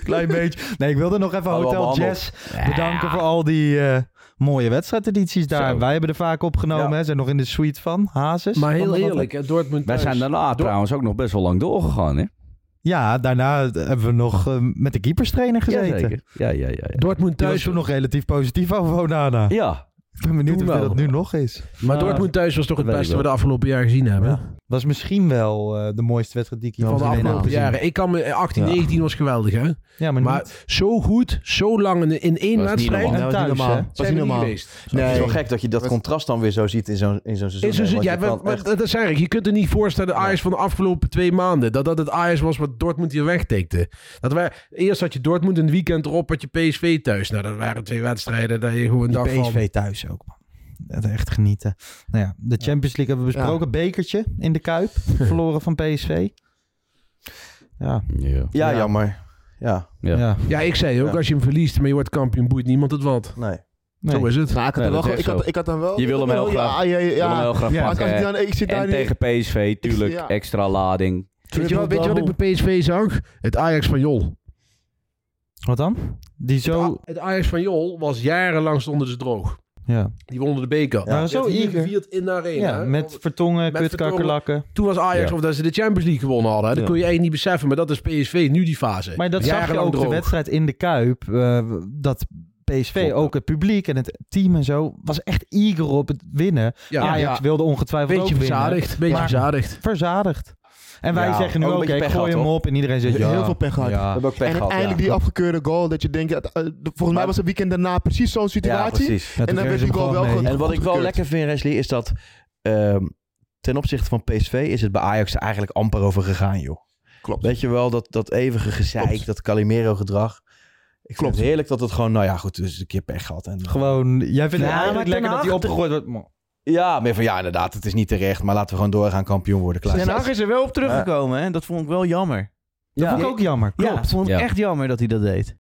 [SPEAKER 6] Klein beetje. Nee, ik wilde nog even
[SPEAKER 10] Hadden we al
[SPEAKER 6] Hotel Jazz
[SPEAKER 10] behandeld.
[SPEAKER 8] Ah,
[SPEAKER 6] bedanken voor al die eh, mooie wedstrijdedities daar.
[SPEAKER 10] Zo.
[SPEAKER 6] Wij hebben er vaak opgenomen.
[SPEAKER 8] Ja.
[SPEAKER 6] Hè, zijn nog in de suite van Hazes.
[SPEAKER 10] (laughs) Maar heel
[SPEAKER 6] Van de-
[SPEAKER 10] eerlijk, hè, Dortmund
[SPEAKER 8] Wij
[SPEAKER 10] thuis.
[SPEAKER 8] zijn daarna
[SPEAKER 10] Dor-
[SPEAKER 8] trouwens ook nog best wel lang doorgegaan, hè?
[SPEAKER 6] Ja, daarna hebben we nog eh, met de keeperstrainer gezeten.
[SPEAKER 8] Jazeker. Ja, ja, ja. ja.
[SPEAKER 10] Dortmund
[SPEAKER 6] Die was
[SPEAKER 10] thuis.
[SPEAKER 6] toen nog relatief positief over Onana.
[SPEAKER 8] Ja.
[SPEAKER 6] Ik ben benieuwd
[SPEAKER 10] Toen
[SPEAKER 6] of
[SPEAKER 10] wel.
[SPEAKER 6] dat nu nog is.
[SPEAKER 10] Maar
[SPEAKER 6] Ja.
[SPEAKER 10] Dortmund thuis was toch het
[SPEAKER 6] Weet ik
[SPEAKER 10] beste wat we
[SPEAKER 6] wel.
[SPEAKER 10] de afgelopen jaren gezien hebben.
[SPEAKER 6] Was misschien wel eh, de mooiste wedstrijd die ik hier
[SPEAKER 10] Van de
[SPEAKER 6] gezien heb.
[SPEAKER 10] afgelopen jaren. Ik kan me, eh, 18, 19 was geweldig, hè?
[SPEAKER 6] Ja, maar,
[SPEAKER 10] zo goed, zo lang in, in één
[SPEAKER 9] niet
[SPEAKER 10] wedstrijd.
[SPEAKER 9] normaal.
[SPEAKER 10] en
[SPEAKER 9] Dat was
[SPEAKER 10] thuis,
[SPEAKER 9] niet normaal.
[SPEAKER 10] hè?
[SPEAKER 9] Dat was
[SPEAKER 10] Zijn
[SPEAKER 9] niet
[SPEAKER 10] we
[SPEAKER 9] normaal.
[SPEAKER 10] geweest.
[SPEAKER 9] Het is wel gek dat je dat contrast dan weer zo ziet in zo'n in zo'n seizoen.
[SPEAKER 10] Is een,
[SPEAKER 9] hè, want
[SPEAKER 10] ja,
[SPEAKER 9] je
[SPEAKER 10] maar,
[SPEAKER 9] kan
[SPEAKER 10] maar
[SPEAKER 9] echt-
[SPEAKER 10] dat zei ik. Je kunt er niet voorstellen, de Ajax van de afgelopen twee maanden. Dat dat het Ajax was wat Dortmund hier wegtikte. Dat wij, eerst had je Dortmund een weekend erop, had je PSV thuis. Nou, dat waren twee wedstrijden dat je gewoon dacht
[SPEAKER 6] Die
[SPEAKER 10] van...
[SPEAKER 6] PSV thuis ook, man. Dat Echt genieten. Nou ja, de Champions League hebben we besproken. Bekertje in de
[SPEAKER 10] (laughs)
[SPEAKER 6] Kuip. Verloren van PSV. Ja.
[SPEAKER 8] Ja,
[SPEAKER 9] ja, jammer. Ja.
[SPEAKER 8] Ja.
[SPEAKER 6] Ja.
[SPEAKER 10] Ja, ik zei ook,
[SPEAKER 9] Ja.
[SPEAKER 10] als je hem verliest, maar je wordt kampioen, boeit niemand het wat.
[SPEAKER 9] Nee.
[SPEAKER 10] Zo is het.
[SPEAKER 11] Nou, ik, had
[SPEAKER 8] Nee,
[SPEAKER 11] dan
[SPEAKER 8] dat
[SPEAKER 11] wel,
[SPEAKER 8] is
[SPEAKER 11] ik,
[SPEAKER 8] zo.
[SPEAKER 11] had, ik had dan wel...
[SPEAKER 8] Je wil hem heel
[SPEAKER 11] ja,
[SPEAKER 8] graag,
[SPEAKER 11] Ja, ja,
[SPEAKER 8] je wil hem heel graag
[SPEAKER 11] Ja, als- als
[SPEAKER 8] pakken,
[SPEAKER 11] ik
[SPEAKER 8] hè?
[SPEAKER 11] dan- ik zit daar
[SPEAKER 8] en
[SPEAKER 11] niet-
[SPEAKER 8] tegen PSV, tuurlijk,
[SPEAKER 11] ja.
[SPEAKER 8] extra lading.
[SPEAKER 10] Weet je, wat, weet je wat ik bij PSV zag? Het Ajax van Jol.
[SPEAKER 6] Wat dan? Die zo...
[SPEAKER 10] Het Ajax van Jol was jarenlang onder de droog.
[SPEAKER 6] Ja.
[SPEAKER 10] Die wonnen de beker.
[SPEAKER 6] Ja,
[SPEAKER 10] Die
[SPEAKER 6] zo
[SPEAKER 10] werd hier
[SPEAKER 6] eager.
[SPEAKER 10] gevierd in de arena.
[SPEAKER 6] Ja,
[SPEAKER 10] hè?
[SPEAKER 6] met vertongen,
[SPEAKER 10] Met
[SPEAKER 6] kutkakkerlakken.
[SPEAKER 10] Toen was Ajax
[SPEAKER 6] Ja.
[SPEAKER 10] of dat ze de Champions League gewonnen hadden. hè. Dat
[SPEAKER 6] Ja.
[SPEAKER 10] kun je eigenlijk niet beseffen, maar dat is PSV nu die fase.
[SPEAKER 6] Maar dat zag je
[SPEAKER 10] Jarenlang
[SPEAKER 6] ook de
[SPEAKER 10] droog.
[SPEAKER 6] wedstrijd in de Kuip. eh, dat PSV, ook het publiek en het team en zo, was echt eager op het winnen.
[SPEAKER 10] Ja.
[SPEAKER 6] Ajax
[SPEAKER 10] Ja.
[SPEAKER 6] wilde ongetwijfeld
[SPEAKER 10] Beetje
[SPEAKER 6] ook winnen.
[SPEAKER 10] verzadigd, beetje
[SPEAKER 6] Maar
[SPEAKER 10] verzadigd.
[SPEAKER 6] Verzadigd. En wij
[SPEAKER 11] Ja,
[SPEAKER 6] zeggen nu
[SPEAKER 11] ook
[SPEAKER 6] ook,
[SPEAKER 11] een
[SPEAKER 6] ik
[SPEAKER 11] beetje
[SPEAKER 6] gooi
[SPEAKER 11] pech gehad,
[SPEAKER 6] hem
[SPEAKER 11] hoor.
[SPEAKER 6] op. En iedereen zegt, ja.
[SPEAKER 11] Heel veel pech gehad.
[SPEAKER 6] Ja.
[SPEAKER 11] en uiteindelijk die afgekeurde goal, dat je denkt, dat, eh, de- volgens mij was het weekend daarna precies zo'n situatie. en dan werd die goal wel goed
[SPEAKER 9] En wat ik wel
[SPEAKER 11] goedgekeurd.
[SPEAKER 9] lekker vind, Wesley, is dat ehm, ten opzichte van PSV is het bij Ajax er eigenlijk amper over gegaan, joh.
[SPEAKER 11] Klopt.
[SPEAKER 9] Weet je wel, dat, dat eeuwige gezeik,
[SPEAKER 11] Klopt.
[SPEAKER 9] dat Calimero-gedrag. Ik
[SPEAKER 11] Klopt.
[SPEAKER 9] vind het heerlijk dat het gewoon, nou ja, goed, dus een keer pech gehad. En,
[SPEAKER 6] Gewoon, jij vindt
[SPEAKER 9] Ja,
[SPEAKER 6] het
[SPEAKER 9] maar
[SPEAKER 6] eigenlijk
[SPEAKER 9] Ten
[SPEAKER 6] lekker dat hij
[SPEAKER 9] Hag-
[SPEAKER 6] opgegooid wordt. Man.
[SPEAKER 9] ja, meer van, ja, inderdaad, het is niet terecht, maar laten we gewoon doorgaan kampioen worden. Klaar.
[SPEAKER 12] Ten Hag is er wel op teruggekomen, hè? Dat vond ik wel jammer.
[SPEAKER 6] Dat vond ik ook jammer.
[SPEAKER 12] Ja,
[SPEAKER 6] Klopt.
[SPEAKER 12] dat vond ik
[SPEAKER 6] Ja.
[SPEAKER 12] echt jammer dat hij dat deed.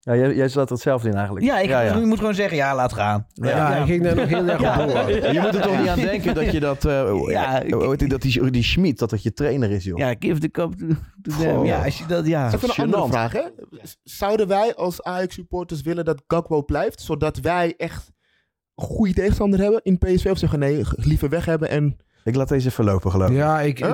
[SPEAKER 9] Ja, jij, jij zat hetzelfde in eigenlijk.
[SPEAKER 12] Ja, ik je moet gewoon zeggen, ja, laat gaan.
[SPEAKER 9] Ja, hij ging daar nog heel erg op door. Je moet er toch niet aan denken dat je dat... eh, (laughs) hoe-
[SPEAKER 12] Ja, ik-
[SPEAKER 9] hoe heet die- dat die, die Schmid, dat dat je trainer is, joh.
[SPEAKER 12] Ja, give the cup to, to them.
[SPEAKER 9] Goh.
[SPEAKER 12] Ja, als je dat, ja.
[SPEAKER 9] Dat
[SPEAKER 11] Even een andere
[SPEAKER 9] Gênant.
[SPEAKER 11] vraag, hè? Zouden wij als Ajax-supporters willen dat Gakpo blijft, zodat wij echt een goede tegenstander hebben in PSV? Of zeggen nee, g- liever weg hebben en...
[SPEAKER 9] Ik laat deze verlopen, geloof ik.
[SPEAKER 10] Ja, ik...
[SPEAKER 11] Huh?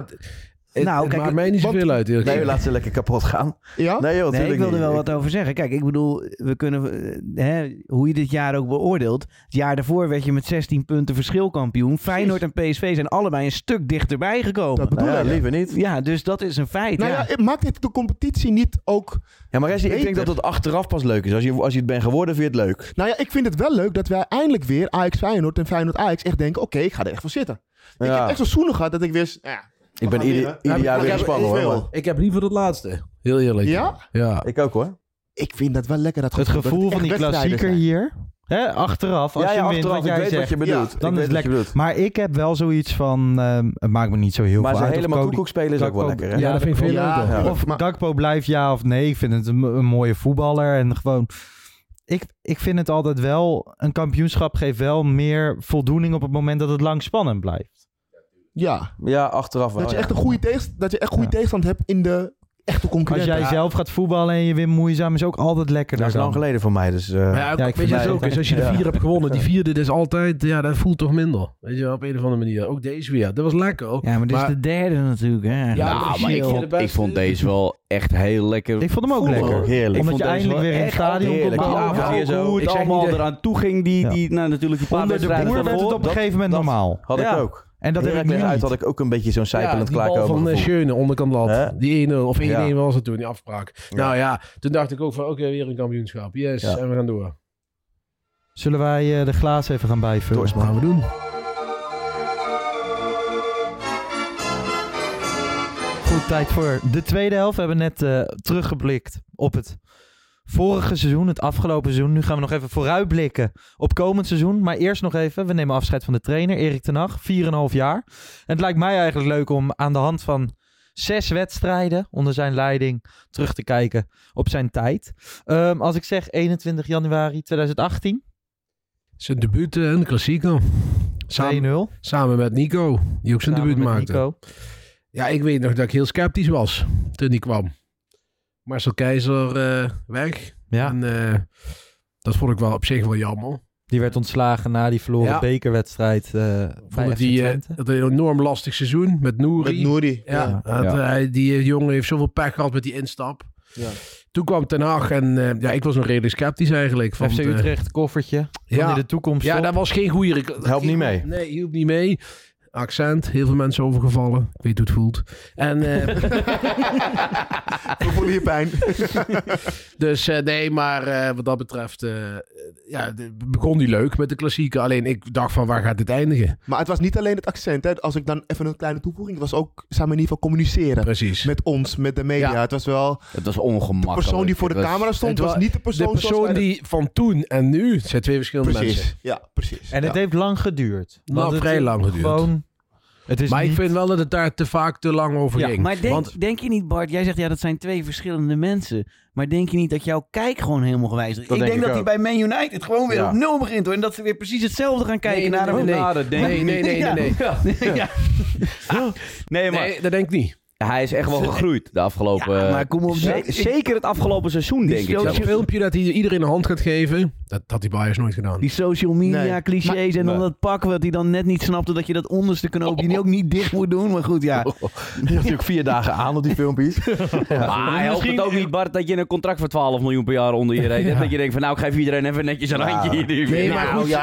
[SPEAKER 10] Het, nou, kijk, maakt mij niet zoveel uit. eerlijk
[SPEAKER 9] Nee,
[SPEAKER 10] gezegd.
[SPEAKER 9] laat ze lekker kapot gaan.
[SPEAKER 11] Ja?
[SPEAKER 9] Nee,
[SPEAKER 12] Nee,
[SPEAKER 9] joh,
[SPEAKER 12] ik
[SPEAKER 9] natuurlijk
[SPEAKER 12] wil er
[SPEAKER 9] niet.
[SPEAKER 12] wel
[SPEAKER 9] Ik-
[SPEAKER 12] wat over zeggen. Kijk, ik bedoel, we kunnen, eh, hè, hoe je dit jaar ook beoordeelt. Het jaar daarvoor werd je met 16 punten verschilkampioen. Feyenoord en PSV zijn allebei een stuk dichterbij gekomen. Dat
[SPEAKER 9] bedoel Nou ja, ik. liever niet.
[SPEAKER 12] Ja, dus dat is een feit.
[SPEAKER 11] Nou
[SPEAKER 12] ja.
[SPEAKER 11] ja, maakt het de competitie niet ook...
[SPEAKER 9] Ja, maar Wesley, ik denk
[SPEAKER 11] beter?
[SPEAKER 9] dat het achteraf pas leuk is. Als je, als je het bent geworden, vind je het leuk.
[SPEAKER 11] Nou ja, ik vind het wel leuk dat wij eindelijk weer Ajax-Feyenoord en Feyenoord-Ajax echt denken... Oké, ik ga er echt voor zitten. Ik
[SPEAKER 9] Ja.
[SPEAKER 11] heb echt zo'n zoenen gehad dat ik wist... nou Ja,
[SPEAKER 9] Ik ben ieder,
[SPEAKER 11] weer, hè?
[SPEAKER 9] ieder
[SPEAKER 11] Ja,
[SPEAKER 9] jaar
[SPEAKER 11] ik
[SPEAKER 9] weer
[SPEAKER 11] heb-
[SPEAKER 9] gespannen,
[SPEAKER 11] ik wil.
[SPEAKER 9] hoor. maar-
[SPEAKER 10] Ik heb liever dat laatste. Heel eerlijk.
[SPEAKER 11] Ja?
[SPEAKER 10] Ja.
[SPEAKER 9] Ik ook, hoor.
[SPEAKER 11] Ik vind dat wel lekker, dat
[SPEAKER 6] Het
[SPEAKER 11] gevoel. dat
[SPEAKER 6] gevoel
[SPEAKER 11] het
[SPEAKER 6] van
[SPEAKER 11] echt
[SPEAKER 6] die
[SPEAKER 11] wedstrijden
[SPEAKER 6] klassieker
[SPEAKER 11] zijn.
[SPEAKER 6] hier. Hè, achteraf, als
[SPEAKER 9] Ja, ja,
[SPEAKER 6] je wint
[SPEAKER 9] achteraf,
[SPEAKER 6] wat
[SPEAKER 9] ik
[SPEAKER 6] jij
[SPEAKER 9] weet wat
[SPEAKER 6] zegt.
[SPEAKER 9] je bedoelt.
[SPEAKER 6] Ja, dan
[SPEAKER 9] Ik
[SPEAKER 6] is het
[SPEAKER 9] weet wat je
[SPEAKER 6] lekker.
[SPEAKER 9] bedoelt.
[SPEAKER 6] Maar ik heb wel zoiets van... ehm, het maakt me niet zo heel
[SPEAKER 9] Maar
[SPEAKER 6] veel
[SPEAKER 9] zijn
[SPEAKER 6] uit. of
[SPEAKER 9] helemaal
[SPEAKER 6] Cody-
[SPEAKER 9] koekoekspelen is ook wel
[SPEAKER 6] Gakpo-
[SPEAKER 9] lekker, hè?
[SPEAKER 10] Ja, dat vind ik veel
[SPEAKER 6] klopt.
[SPEAKER 10] leuker.
[SPEAKER 6] Of Gakpo blijft ja of nee. Ik vind het een, een mooie voetballer. En gewoon... Ik, ik vind het altijd wel... Een kampioenschap geeft wel meer voldoening op het moment dat het lang spannend blijft.
[SPEAKER 11] Ja.
[SPEAKER 9] Ja, achteraf wel.
[SPEAKER 11] Dat je
[SPEAKER 9] Oh, ja.
[SPEAKER 11] echt een goede, tegenst- dat je echt goede tegenstand hebt in de echte
[SPEAKER 6] Als
[SPEAKER 11] concurrent.
[SPEAKER 6] jij
[SPEAKER 11] Ja.
[SPEAKER 6] zelf gaat voetballen en je wint moeizaam, is ook altijd lekker.
[SPEAKER 9] Dat is lang geleden voor mij, dus... eh,
[SPEAKER 10] Maar ja, ook- weet je wat het ook is? Als je de vier hebt gewonnen, die vierde, dat is altijd, ja, dat voelt toch minder. Weet je wel, op een of andere manier. Ook deze weer. Dat was lekker. Ook.
[SPEAKER 12] Ja, maar dit is de derde natuurlijk, hè.
[SPEAKER 10] Ja,
[SPEAKER 8] nou, maar ik vond, ik vond deze wel echt heel lekker.
[SPEAKER 6] Ik vond hem ook
[SPEAKER 8] voetbal.
[SPEAKER 6] lekker.
[SPEAKER 8] Heerlijk.
[SPEAKER 6] Omdat
[SPEAKER 8] Ik vond
[SPEAKER 6] je
[SPEAKER 8] deze
[SPEAKER 6] eindelijk
[SPEAKER 8] wel
[SPEAKER 6] weer in het
[SPEAKER 8] echt
[SPEAKER 6] stadion kon
[SPEAKER 8] heerlijk. Die
[SPEAKER 6] komen.
[SPEAKER 8] avond weer zo.
[SPEAKER 6] Hoe het
[SPEAKER 8] Ik zeg
[SPEAKER 6] allemaal
[SPEAKER 8] niet
[SPEAKER 6] er-
[SPEAKER 8] eraan toe ging, die, die nou, natuurlijk die paar
[SPEAKER 6] Onder de
[SPEAKER 8] wedstrijden
[SPEAKER 6] boer werd het
[SPEAKER 8] daarvoor,
[SPEAKER 6] op een
[SPEAKER 11] (laughs)
[SPEAKER 8] dat-
[SPEAKER 6] gegeven moment normaal.
[SPEAKER 9] Had
[SPEAKER 8] Ja.
[SPEAKER 9] ik ook.
[SPEAKER 6] En dat heb ik
[SPEAKER 9] Heracles
[SPEAKER 6] nu
[SPEAKER 9] uit
[SPEAKER 6] niet.
[SPEAKER 9] had ik ook een beetje zo'n
[SPEAKER 10] Ja,
[SPEAKER 9] zijpelend
[SPEAKER 10] die bal
[SPEAKER 9] klaarkomen
[SPEAKER 10] van eh,
[SPEAKER 9] gevoel.
[SPEAKER 10] Schöne, onderkant lat.
[SPEAKER 9] Hè?
[SPEAKER 10] Die 1-0 of 1-1
[SPEAKER 9] Ja.
[SPEAKER 10] was het toen, die afspraak. Nou ja, toen dacht ik ook van, oké, weer een kampioenschap. Yes,
[SPEAKER 6] Ja.
[SPEAKER 10] en we gaan door.
[SPEAKER 6] Zullen wij eh, de glazen even gaan bijvullen?
[SPEAKER 10] Dat gaan we doen.
[SPEAKER 6] Goed, tijd voor de tweede helft. We hebben net eh, teruggeblikt op het vorige seizoen, het afgelopen seizoen. Nu gaan we nog even vooruitblikken op komend seizoen. Maar eerst nog even, we nemen afscheid van de trainer, Erik ten Hag, 4,5 jaar. En het lijkt mij eigenlijk leuk om aan de hand van zes wedstrijden onder zijn leiding terug te kijken op zijn tijd. Ehm, als ik zeg 21 januari 2018,
[SPEAKER 10] Zijn debuut eh, en klassieker. Samen,
[SPEAKER 6] 2-0.
[SPEAKER 10] samen met Nico, die ook zijn
[SPEAKER 6] Samen
[SPEAKER 10] debuut
[SPEAKER 6] met
[SPEAKER 10] maakte.
[SPEAKER 6] Nico.
[SPEAKER 10] Ja, ik weet nog dat ik heel sceptisch was toen die kwam. Marcel Keizer eh, weg.
[SPEAKER 6] Ja.
[SPEAKER 10] En eh, dat vond ik wel op zich wel jammer.
[SPEAKER 6] die werd ontslagen na die verloren
[SPEAKER 10] Ja.
[SPEAKER 6] bekerwedstrijd eh bij
[SPEAKER 10] Vond
[SPEAKER 6] FC
[SPEAKER 10] het die, eh,
[SPEAKER 6] Twente.
[SPEAKER 10] dat een enorm lastig seizoen met Nouri.
[SPEAKER 11] Met Nouri,
[SPEAKER 10] Ja,
[SPEAKER 11] ja.
[SPEAKER 10] Dat,
[SPEAKER 11] Ja.
[SPEAKER 10] hij- die jongen heeft zoveel pech gehad met die instap.
[SPEAKER 11] Ja.
[SPEAKER 10] Toen kwam Ten Hag en eh, ja, ik was nog redelijk sceptisch eigenlijk. Van,
[SPEAKER 6] FC
[SPEAKER 10] eh,
[SPEAKER 6] Utrecht koffertje. Ja. In de toekomst.
[SPEAKER 10] Ja,
[SPEAKER 6] op.
[SPEAKER 10] dat was geen goede reclame.
[SPEAKER 6] Helpt niet mee.
[SPEAKER 10] Nee, hielp niet mee. Accent, heel veel mensen overgevallen. Ik weet hoe het voelt. En, eh
[SPEAKER 11] We voelen je pijn.
[SPEAKER 10] dus eh, nee, maar eh, wat dat betreft eh, ja, de- begon die leuk met de klassieke. Alleen ik dacht van, waar gaat dit eindigen?
[SPEAKER 11] Maar het was niet alleen het accent. Hè. Als ik dan even een kleine toevoeging. Het was ook zijn manier van communiceren.
[SPEAKER 10] Precies.
[SPEAKER 11] Met ons, met de media. Het was wel...
[SPEAKER 8] Het was ongemakkelijk.
[SPEAKER 11] De persoon die voor de
[SPEAKER 8] Het was-
[SPEAKER 11] camera stond,
[SPEAKER 10] Het
[SPEAKER 11] was,
[SPEAKER 10] wa-
[SPEAKER 11] niet de persoon,
[SPEAKER 10] de persoon
[SPEAKER 11] zoals wij dat-
[SPEAKER 10] die van toen en nu het zijn twee verschillende
[SPEAKER 11] Precies.
[SPEAKER 10] mensen.
[SPEAKER 11] Ja, precies.
[SPEAKER 6] En het
[SPEAKER 10] Ja.
[SPEAKER 6] heeft lang geduurd.
[SPEAKER 10] Nou,
[SPEAKER 6] Want het
[SPEAKER 10] vrij
[SPEAKER 6] is
[SPEAKER 10] lang geduurd.
[SPEAKER 6] Gewoon, het is
[SPEAKER 10] maar ik
[SPEAKER 6] niet-
[SPEAKER 10] vind wel dat het daar te vaak te lang over
[SPEAKER 6] Ja,
[SPEAKER 10] ging.
[SPEAKER 6] maar
[SPEAKER 12] Denk,
[SPEAKER 10] Want
[SPEAKER 12] denk je niet, Bart, jij zegt ja, dat zijn twee verschillende mensen. Maar denk je niet dat jouw kijk gewoon helemaal gewijzigd is?
[SPEAKER 10] Dat
[SPEAKER 12] ik
[SPEAKER 10] denk
[SPEAKER 12] denk
[SPEAKER 10] ik
[SPEAKER 12] dat hij
[SPEAKER 10] ook.
[SPEAKER 12] bij Man United gewoon weer
[SPEAKER 10] Ja.
[SPEAKER 12] op nul begint hoor. En dat ze weer precies hetzelfde gaan kijken
[SPEAKER 10] Nee,
[SPEAKER 12] naar
[SPEAKER 10] nee,
[SPEAKER 12] hem.
[SPEAKER 10] nee,
[SPEAKER 12] Ja,
[SPEAKER 10] nee. Nee, nee, nee,
[SPEAKER 12] Ja.
[SPEAKER 10] nee,
[SPEAKER 12] (laughs)
[SPEAKER 10] nee.
[SPEAKER 12] Ja. Ja.
[SPEAKER 8] Nee, maar...
[SPEAKER 10] dat denk ik niet.
[SPEAKER 8] Hij is echt wel gegroeid de afgelopen...
[SPEAKER 10] maar kom op,
[SPEAKER 8] Ze-
[SPEAKER 10] ik-
[SPEAKER 8] zeker het afgelopen seizoen, denk ik.
[SPEAKER 10] dat
[SPEAKER 8] zelfs.
[SPEAKER 10] filmpje dat hij iedereen een hand gaat geven, dat had die Bayers nooit gedaan.
[SPEAKER 12] Die social media
[SPEAKER 10] Nee.
[SPEAKER 12] clichés
[SPEAKER 10] Maar-
[SPEAKER 12] en dan
[SPEAKER 10] Nee.
[SPEAKER 12] dat pak wat hij dan net niet snapte dat je dat onderste knoop die hij ook niet dicht moet doen. Maar goed,
[SPEAKER 8] (laughs)
[SPEAKER 12] ja.
[SPEAKER 9] Die had hij ook vier dagen aan op die filmpjes.
[SPEAKER 8] Maar Ah, helpt het ook niet, Bart, dat je een contract voor 12 miljoen per jaar onder je reed hebt? Dat je denkt van, nou, ik geef iedereen even netjes een randje hier. nu.
[SPEAKER 10] Nee, maar
[SPEAKER 8] Nou,
[SPEAKER 10] goed.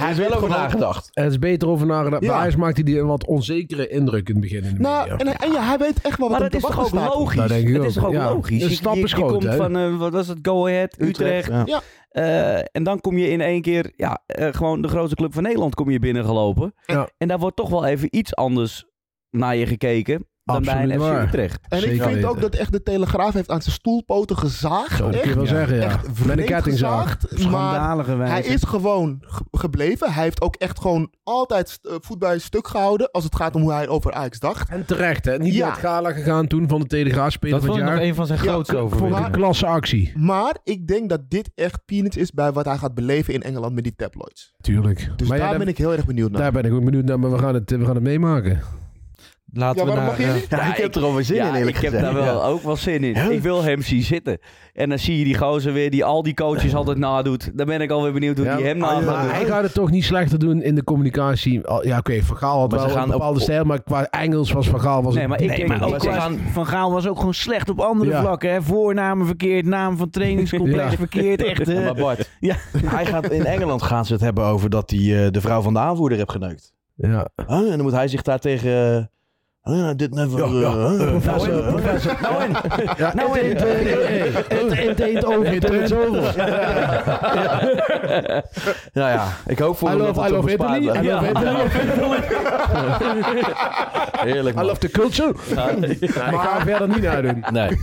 [SPEAKER 9] Hij is wel over nagedacht.
[SPEAKER 10] Er is beter over nagedacht.
[SPEAKER 11] Ja.
[SPEAKER 10] Bij Ajax maakte hij een wat onzekere indruk in het begin. In de
[SPEAKER 11] Nou,
[SPEAKER 10] media.
[SPEAKER 11] en, en ja, hij weet echt wel
[SPEAKER 8] Maar
[SPEAKER 11] wat
[SPEAKER 8] dat
[SPEAKER 11] hem
[SPEAKER 8] is
[SPEAKER 11] te
[SPEAKER 8] toch
[SPEAKER 11] wachten
[SPEAKER 8] ook
[SPEAKER 11] staat.
[SPEAKER 8] logisch?
[SPEAKER 10] Nou, denk ik
[SPEAKER 8] het is
[SPEAKER 10] ook.
[SPEAKER 8] toch ook
[SPEAKER 10] Ja.
[SPEAKER 8] logisch?
[SPEAKER 10] De
[SPEAKER 8] Je-
[SPEAKER 10] stap
[SPEAKER 8] je,
[SPEAKER 10] is
[SPEAKER 8] je
[SPEAKER 10] groot,
[SPEAKER 8] komt
[SPEAKER 10] hè?
[SPEAKER 8] van, eh, wat was het, Go Ahead, Utrecht.
[SPEAKER 11] Ja. Ja.
[SPEAKER 8] Eh, en dan kom je in één keer, ja, eh, gewoon de grootste club van Nederland kom je binnengelopen.
[SPEAKER 10] Ja.
[SPEAKER 8] En daar wordt toch wel even iets anders naar je gekeken dan bij
[SPEAKER 10] Absoluut
[SPEAKER 8] een
[SPEAKER 10] waar.
[SPEAKER 8] FC Utrecht.
[SPEAKER 11] En ik
[SPEAKER 10] Zeker
[SPEAKER 11] vind ook
[SPEAKER 10] weten.
[SPEAKER 11] dat echt de Telegraaf heeft aan zijn stoelpoten gezaagd.
[SPEAKER 10] Zo, dat kun je
[SPEAKER 11] Echt.
[SPEAKER 10] wel zeggen, ja.
[SPEAKER 11] Echt
[SPEAKER 10] Met een
[SPEAKER 11] vreemd
[SPEAKER 10] kettingzaag.
[SPEAKER 11] gezaagd, Maar
[SPEAKER 12] Schandalige wijze.
[SPEAKER 11] hij is gewoon ge- gebleven. Hij heeft ook echt gewoon altijd eh, voet bij stuk gehouden. Als het gaat om hoe hij over Ajax dacht.
[SPEAKER 10] En terecht, hè? Niet
[SPEAKER 11] Ja.
[SPEAKER 10] naar het gala gegaan toen van de Telegraaf speler
[SPEAKER 6] Dat
[SPEAKER 10] van
[SPEAKER 6] vond
[SPEAKER 10] het
[SPEAKER 6] ik nog
[SPEAKER 10] jaar.
[SPEAKER 6] een van zijn
[SPEAKER 11] Ja,
[SPEAKER 6] grootste
[SPEAKER 10] Voor die
[SPEAKER 6] overwinningen.
[SPEAKER 10] klasse actie.
[SPEAKER 11] Maar ik denk dat dit echt peanuts is bij wat hij gaat beleven in Engeland met die tabloids.
[SPEAKER 10] Tuurlijk.
[SPEAKER 11] Dus
[SPEAKER 10] Maar ja,
[SPEAKER 11] daar
[SPEAKER 10] daar-
[SPEAKER 11] ben ik heel erg benieuwd naar.
[SPEAKER 10] Daar ben ik ook benieuwd naar, maar we gaan het, we gaan het meemaken.
[SPEAKER 11] Ja,
[SPEAKER 6] Laten we
[SPEAKER 11] waarom
[SPEAKER 6] naar...
[SPEAKER 11] mag je
[SPEAKER 6] eh,
[SPEAKER 11] niet?
[SPEAKER 9] Ja, ik heb er al wel zin in, eerlijk
[SPEAKER 8] ik heb
[SPEAKER 9] gezegd.
[SPEAKER 8] daar wel
[SPEAKER 9] Ja.
[SPEAKER 8] ook wel zin in. Ik wil hem zien zitten. En dan zie je die gozer weer die al die coaches altijd nadoet. Dan ben ik alweer benieuwd hoe
[SPEAKER 10] Ja,
[SPEAKER 8] die hem nou
[SPEAKER 10] maar-
[SPEAKER 8] nadoet.
[SPEAKER 10] maar hij gaat het toch niet slechter doen in de communicatie. Al- Ja, oké, Van Gaal had
[SPEAKER 8] Maar ze
[SPEAKER 10] wel een
[SPEAKER 8] gaan op-
[SPEAKER 10] bepaalde stijl, maar qua Engels was Van Gaal was
[SPEAKER 8] Nee,
[SPEAKER 10] het-
[SPEAKER 8] maar ik
[SPEAKER 12] Nee,
[SPEAKER 8] denk
[SPEAKER 12] maar
[SPEAKER 8] dat
[SPEAKER 12] ook
[SPEAKER 8] ze
[SPEAKER 12] qua-
[SPEAKER 8] gaan-
[SPEAKER 12] Van Gaal was ook gewoon slecht op andere
[SPEAKER 10] Ja.
[SPEAKER 12] vlakken. Hè? Voornamen verkeerd, naam van trainingscomplex
[SPEAKER 10] Ja.
[SPEAKER 12] verkeerd. Echt, eh,
[SPEAKER 9] Maar Bart,
[SPEAKER 12] ja.
[SPEAKER 9] hij gaat, in Engeland gaan ze het hebben over dat hij eh, de vrouw van de aanvoerder heeft geneukt.
[SPEAKER 10] Ja.
[SPEAKER 9] Huh? En dan moet hij zich daar tegen... eh, huh, dit never...
[SPEAKER 10] Ja, ja.
[SPEAKER 9] eh, huh?
[SPEAKER 10] Nou, en-
[SPEAKER 8] Nou en,
[SPEAKER 10] Ja,
[SPEAKER 8] nou en.
[SPEAKER 10] Het eet over, het eet over.
[SPEAKER 9] Nou ja, ik hoop voor
[SPEAKER 10] I
[SPEAKER 9] hem dat
[SPEAKER 10] love, I
[SPEAKER 9] het hem
[SPEAKER 10] love
[SPEAKER 9] bespaard
[SPEAKER 10] Italy. I
[SPEAKER 9] blijft.
[SPEAKER 10] love
[SPEAKER 9] Ja.
[SPEAKER 10] Italy.
[SPEAKER 9] Heerlijk,
[SPEAKER 10] I
[SPEAKER 9] man.
[SPEAKER 10] love the culture. ik ga er verder niet naar doen.
[SPEAKER 9] Nee.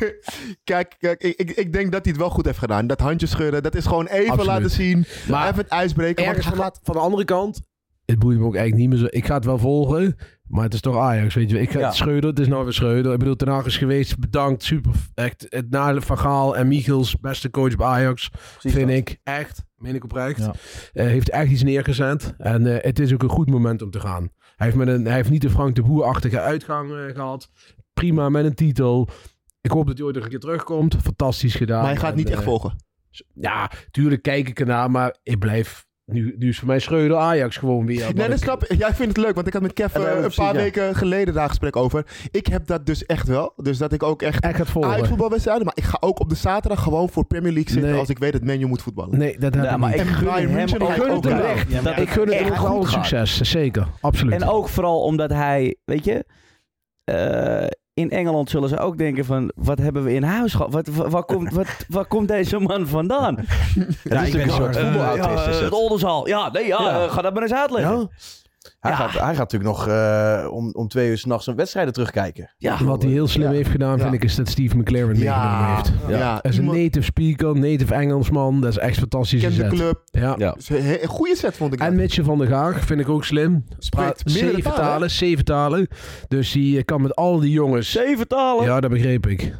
[SPEAKER 11] Kijk, kijk ik, ik, ik denk dat hij het wel goed heeft gedaan. Dat handje schudden, dat is gewoon even
[SPEAKER 10] Absoluut.
[SPEAKER 11] laten zien.
[SPEAKER 10] Maar
[SPEAKER 11] even het ijsbreken. want
[SPEAKER 10] Ergens
[SPEAKER 11] hij
[SPEAKER 10] van,
[SPEAKER 11] gaat-
[SPEAKER 10] van de andere kant. Het boeit me ook eigenlijk niet meer zo. Ik ga het wel volgen. Maar het is toch Ajax, weet je. wel. Ik ga
[SPEAKER 9] Ja.
[SPEAKER 10] Schreuder, het is nou weer Schreuder. Ik bedoel, Ten Hag is geweest. Bedankt. Super. Echt. Het nadeel van Gaal en Michels. Beste coach bij Ajax. vind ik. Echt. Meen ik oprecht.
[SPEAKER 9] Ja.
[SPEAKER 10] Eh, heeft echt iets neergezet. En eh, het is ook een goed moment om te gaan. Hij heeft, met een, hij heeft niet de Frank de Boer-achtige uitgang eh, gehad. Prima met een titel. Ik hoop dat hij ooit nog een keer terugkomt. Fantastisch gedaan.
[SPEAKER 17] Maar hij gaat
[SPEAKER 10] En,
[SPEAKER 17] niet echt
[SPEAKER 10] eh,
[SPEAKER 17] volgen.
[SPEAKER 10] Ja, tuurlijk kijk ik ernaar, maar ik blijf... Nu, nu is voor mij Schreuder Ajax gewoon weer.
[SPEAKER 17] nee,
[SPEAKER 10] wat
[SPEAKER 17] dat
[SPEAKER 10] ik-
[SPEAKER 17] snap ik. Jij vindt het leuk, want ik had met Kev
[SPEAKER 10] Ja, nee,
[SPEAKER 17] eh, een
[SPEAKER 10] precies,
[SPEAKER 17] paar
[SPEAKER 10] ja.
[SPEAKER 17] weken geleden daar een gesprek over. Ik heb dat dus echt wel. Dus dat ik ook echt uitvoetbalwedstrijden, maar ik ga ook op de zaterdag gewoon voor Premier League zitten
[SPEAKER 10] Nee.
[SPEAKER 17] als ik weet dat menu moet voetballen.
[SPEAKER 10] Nee, dat heb
[SPEAKER 17] Ja,
[SPEAKER 10] ik
[SPEAKER 17] maar
[SPEAKER 10] niet.
[SPEAKER 17] ik gun hem ook
[SPEAKER 10] ik gun het hem
[SPEAKER 17] wel.
[SPEAKER 10] echt.
[SPEAKER 17] Ja, maar
[SPEAKER 10] ik gun het
[SPEAKER 8] echt
[SPEAKER 10] hem echt
[SPEAKER 8] goed
[SPEAKER 10] al
[SPEAKER 8] gaat.
[SPEAKER 10] succes, zeker. Absoluut.
[SPEAKER 8] En ook vooral omdat hij, weet je, eh, in Engeland zullen ze ook denken van, wat hebben we in huis gehad? Wat, wa- waar, komt, wat, waar komt deze man vandaan?
[SPEAKER 9] Ja, ik ben een soort voetbalautist, is
[SPEAKER 8] Het
[SPEAKER 9] het.
[SPEAKER 8] Oldenzaal. Ja, nee, ja,
[SPEAKER 9] Ja.
[SPEAKER 8] eh, ga dat maar eens uitleggen.
[SPEAKER 9] Ja. Hij, gaat, hij gaat natuurlijk nog eh, om, om twee uur s'nachts een wedstrijden terugkijken.
[SPEAKER 10] Wat hij heel slim heeft gedaan, vind
[SPEAKER 9] Ja.
[SPEAKER 10] ik, is dat Steve McLaren
[SPEAKER 9] Ja.
[SPEAKER 10] meegenomen heeft.
[SPEAKER 9] Ja.
[SPEAKER 10] Dat is een native speaker, native Engelsman. Dat is echt fantastisch.
[SPEAKER 17] Kent de
[SPEAKER 10] zet.
[SPEAKER 17] club.
[SPEAKER 10] Ja.
[SPEAKER 17] Dus een he- een goede set vond ik.
[SPEAKER 10] En Mitchell van der Gaag vind ik ook slim. Praat
[SPEAKER 17] meerdere
[SPEAKER 10] zeven
[SPEAKER 17] talen,
[SPEAKER 10] talen,
[SPEAKER 17] hè?
[SPEAKER 10] zeven talen. Dus die eh, kan met al die jongens...
[SPEAKER 8] Zeven talen?
[SPEAKER 10] Ja, dat begreep ik.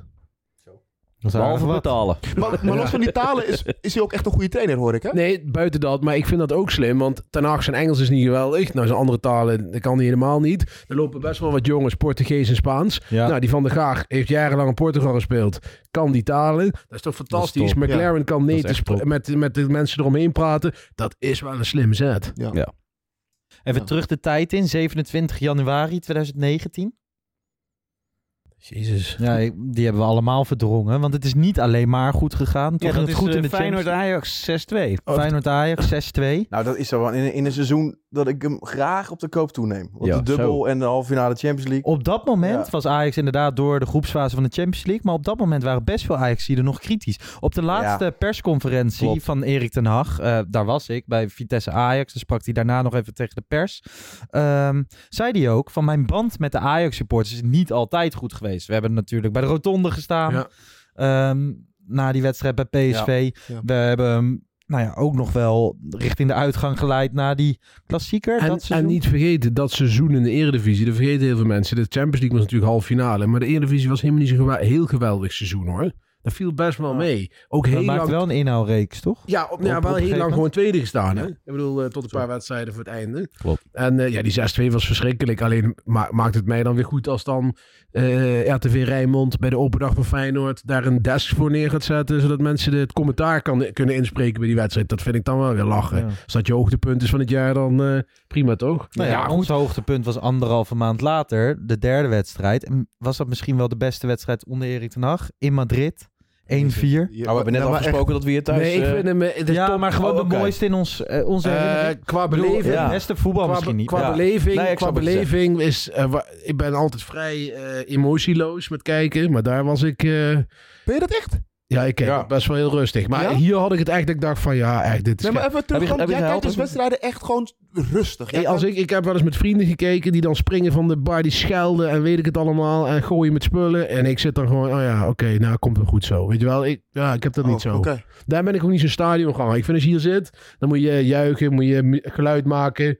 [SPEAKER 8] Behalve
[SPEAKER 10] Wat?
[SPEAKER 8] betalen.
[SPEAKER 17] Maar, maar los van die talen is, is hij ook echt een goede trainer, hoor ik. Hè?
[SPEAKER 10] Nee, buiten dat. Maar ik vind dat ook slim. Want Ten Hag zijn Engels is niet geweldig. Nou, zijn andere talen dat kan hij helemaal niet. Er lopen best wel wat jongens Portugees en Spaans.
[SPEAKER 9] Ja.
[SPEAKER 10] Nou, die Van der Gaag heeft jarenlang in Portugal gespeeld. Kan die talen. Dat is toch fantastisch.
[SPEAKER 9] top.
[SPEAKER 10] McLaren
[SPEAKER 9] Ja.
[SPEAKER 10] kan
[SPEAKER 9] Dat is
[SPEAKER 10] niet
[SPEAKER 9] echt
[SPEAKER 10] te spra-
[SPEAKER 9] top.
[SPEAKER 10] met, met de mensen eromheen praten. Dat is wel een slim zet.
[SPEAKER 17] Ja.
[SPEAKER 6] Even terug de tijd in, 27 januari 2019.
[SPEAKER 10] Jezus.
[SPEAKER 6] Ja, ik- die hebben we allemaal verdrongen. Want het is niet alleen maar goed gegaan. Toen ging
[SPEAKER 9] Ja, dat
[SPEAKER 6] het
[SPEAKER 9] is,
[SPEAKER 6] goed
[SPEAKER 9] eh,
[SPEAKER 6] in de
[SPEAKER 9] Feyenoord
[SPEAKER 6] Ajax 6-2.
[SPEAKER 9] Oh,
[SPEAKER 6] Feyenoord Ajax 6-2.
[SPEAKER 9] Nou, dat is zo wel in, in een seizoen dat ik hem graag op de koop toeneem. Want
[SPEAKER 6] Ja,
[SPEAKER 9] de dubbel
[SPEAKER 6] zo.
[SPEAKER 9] en de halve finale Champions League.
[SPEAKER 6] Op dat moment was Ajax inderdaad door de groepsfase van de Champions League. Maar op dat moment waren best veel Ajax-zieden nog kritisch. Op de laatste
[SPEAKER 9] Ja.
[SPEAKER 6] persconferentie
[SPEAKER 9] Klopt.
[SPEAKER 6] van Erik ten Hag, eh, daar was ik bij Vitesse Ajax. Dan sprak hij daarna nog even tegen de pers. Ehm, zei hij ook van mijn band met de Ajax-supporters is niet altijd goed geweest. We hebben natuurlijk bij de rotonde gestaan. Ehm, na die wedstrijd bij PSV.
[SPEAKER 17] Ja. Ja.
[SPEAKER 6] We hebben hem, nou ja, ook nog wel richting de uitgang geleid na die klassieker.
[SPEAKER 10] En,
[SPEAKER 6] dat
[SPEAKER 10] en
[SPEAKER 6] seizoen.
[SPEAKER 10] niet vergeten, dat seizoen in de Eredivisie, dat vergeten heel veel mensen. De Champions League was natuurlijk half finale, maar de Eredivisie was helemaal niet zo'n gewa- heel geweldig seizoen hoor. Dat viel best wel mee. Ook
[SPEAKER 6] Dat
[SPEAKER 10] heel
[SPEAKER 6] maakt
[SPEAKER 10] lang...
[SPEAKER 6] wel een inhaalreeks, toch?
[SPEAKER 10] Ja, op, ja, wel heel
[SPEAKER 6] op een gegeven
[SPEAKER 10] lang
[SPEAKER 6] moment.
[SPEAKER 10] gewoon tweede gestaan. Hè? Ik bedoel, eh, tot een paar wedstrijden voor het einde.
[SPEAKER 8] Klopt.
[SPEAKER 10] En eh, ja, die 6-2 was verschrikkelijk. Alleen ma- maakt het mij dan weer goed als dan eh, RTV Rijnmond bij de open dag van Feyenoord daar een desk voor neer gaat zetten. Zodat mensen de- het commentaar kan, kunnen inspreken bij die wedstrijd. Dat vind ik dan wel weer lachen.
[SPEAKER 6] Ja.
[SPEAKER 10] Als dat je hoogtepunt is van het jaar, dan eh, prima toch?
[SPEAKER 6] Nou ja, ons hoogtepunt was anderhalve maand later, de derde wedstrijd. En was dat misschien wel de beste wedstrijd onder Erik ten Hag in Madrid? 1-4.
[SPEAKER 9] Nou, we hebben net afgesproken dat we hier thuis...
[SPEAKER 6] Nee, ik
[SPEAKER 9] eh,
[SPEAKER 6] vind hem, eh, het is Ja, top. maar gewoon de mooiste in ons- eh, onze
[SPEAKER 10] Eh,
[SPEAKER 6] herinnering.
[SPEAKER 10] qua
[SPEAKER 6] Ik bedoel, eh,
[SPEAKER 10] beleving.
[SPEAKER 6] het beste voetbal
[SPEAKER 10] qua, be-
[SPEAKER 6] Oh, misschien niet.
[SPEAKER 10] Qua
[SPEAKER 6] Ja.
[SPEAKER 10] beleving,
[SPEAKER 6] Nee,
[SPEAKER 10] qua
[SPEAKER 6] ik snap wat je zegt.
[SPEAKER 10] beleving is... eh, wa- ik ben altijd vrij eh, emotieloos met kijken. Maar daar was ik... ben
[SPEAKER 17] je dat echt?
[SPEAKER 10] Ja, ik kijk het best wel heel rustig. Maar
[SPEAKER 17] Ja?
[SPEAKER 10] hier had ik het echt... Ik dacht van ja, echt dit is...
[SPEAKER 17] Nee, maar even terug, want jij kijkt dus
[SPEAKER 10] dus
[SPEAKER 17] wedstrijden echt gewoon rustig. Jij
[SPEAKER 10] Hey, als
[SPEAKER 17] kan-
[SPEAKER 10] ik, ik heb wel eens met vrienden gekeken die dan springen van de bar, die schelden en weet ik het allemaal en gooien met spullen. En ik zit dan gewoon, oh ja, oké, nou komt wel goed zo. Weet je wel, ik, ja, ik heb dat
[SPEAKER 17] Oh,
[SPEAKER 10] niet zo.
[SPEAKER 17] oké.
[SPEAKER 10] Daar ben ik ook niet zo'n stadionganger. Ik vind als je hier zit, dan moet je juichen, moet je mu- geluid maken.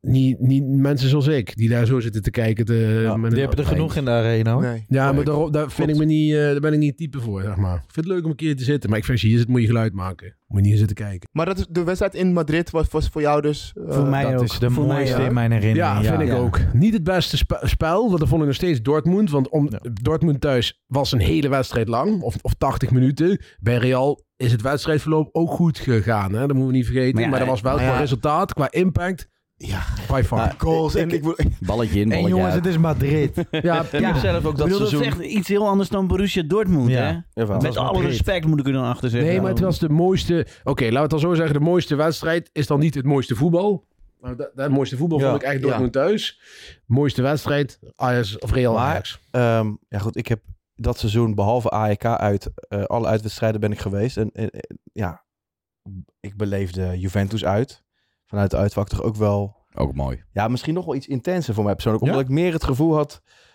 [SPEAKER 10] Niet, niet mensen zoals ik, die daar zo zitten te kijken. Te, met
[SPEAKER 6] Die
[SPEAKER 10] een-
[SPEAKER 6] hebben er genoeg in de arena.
[SPEAKER 10] Oh?
[SPEAKER 6] hoor.
[SPEAKER 10] Ja, maar daar, daar, vind ik me niet, eh, daar ben ik niet het type voor, zeg maar. Ik vind het leuk om een keer te zitten, maar ik vind als je hier zit, moet je geluid maken. Moet je niet hier zitten kijken.
[SPEAKER 17] Maar dat is, de wedstrijd in Madrid was, was voor jou dus... eh,
[SPEAKER 6] Voor mij Dat ook. is de Voor mij mooiste ook. in mijn herinnering,
[SPEAKER 10] Ja,
[SPEAKER 6] ja.
[SPEAKER 10] vind ik
[SPEAKER 6] Ja.
[SPEAKER 10] ook. Niet het beste spe- spel, want dat vond ik nog steeds Dortmund. Want om, Dortmund thuis was een hele wedstrijd lang, of, of 80 minuten. Bij Real is het wedstrijdverloop ook goed gegaan, hè? dat moeten we niet vergeten. Maar,
[SPEAKER 8] Maar ja,
[SPEAKER 10] dat was wel
[SPEAKER 8] maar
[SPEAKER 10] qua
[SPEAKER 8] ja.
[SPEAKER 10] resultaat, qua impact, ja, by far.
[SPEAKER 17] goals en ik...
[SPEAKER 8] Balletje in,
[SPEAKER 6] En
[SPEAKER 8] balletje
[SPEAKER 6] jongens,
[SPEAKER 8] uit.
[SPEAKER 6] het is (laughs) Madrid.
[SPEAKER 10] Ja,
[SPEAKER 8] Ik heb zelf ook
[SPEAKER 18] Ik bedoel,
[SPEAKER 8] dat seizoen...
[SPEAKER 18] Dat is echt iets heel anders dan Borussia Dortmund,
[SPEAKER 8] Ja.
[SPEAKER 18] hè?
[SPEAKER 8] Jawel.
[SPEAKER 18] Met
[SPEAKER 8] Dat was
[SPEAKER 18] alle
[SPEAKER 8] Madrid.
[SPEAKER 18] respect moet ik er dan achter zeggen.
[SPEAKER 10] Nee, maar het was de mooiste... Oké, laten we het dan zo zeggen. De mooiste wedstrijd is dan niet het mooiste voetbal. Maar dat, dat mooiste voetbal
[SPEAKER 9] Ja,
[SPEAKER 10] vond ik echt Dortmund thuis. Mooiste wedstrijd, Ajax of Real Ajax.
[SPEAKER 9] Ehm, ja, goed, ik heb dat seizoen behalve AEK uit eh, alle uitwedstrijden ben ik geweest. En eh, eh, ja, ik beleefde Juventus uit. Vanuit de uitvak toch ook wel.
[SPEAKER 8] Ook mooi.
[SPEAKER 9] Ja, misschien nog wel iets intenser voor mij persoonlijk. Omdat ik meer het gevoel had.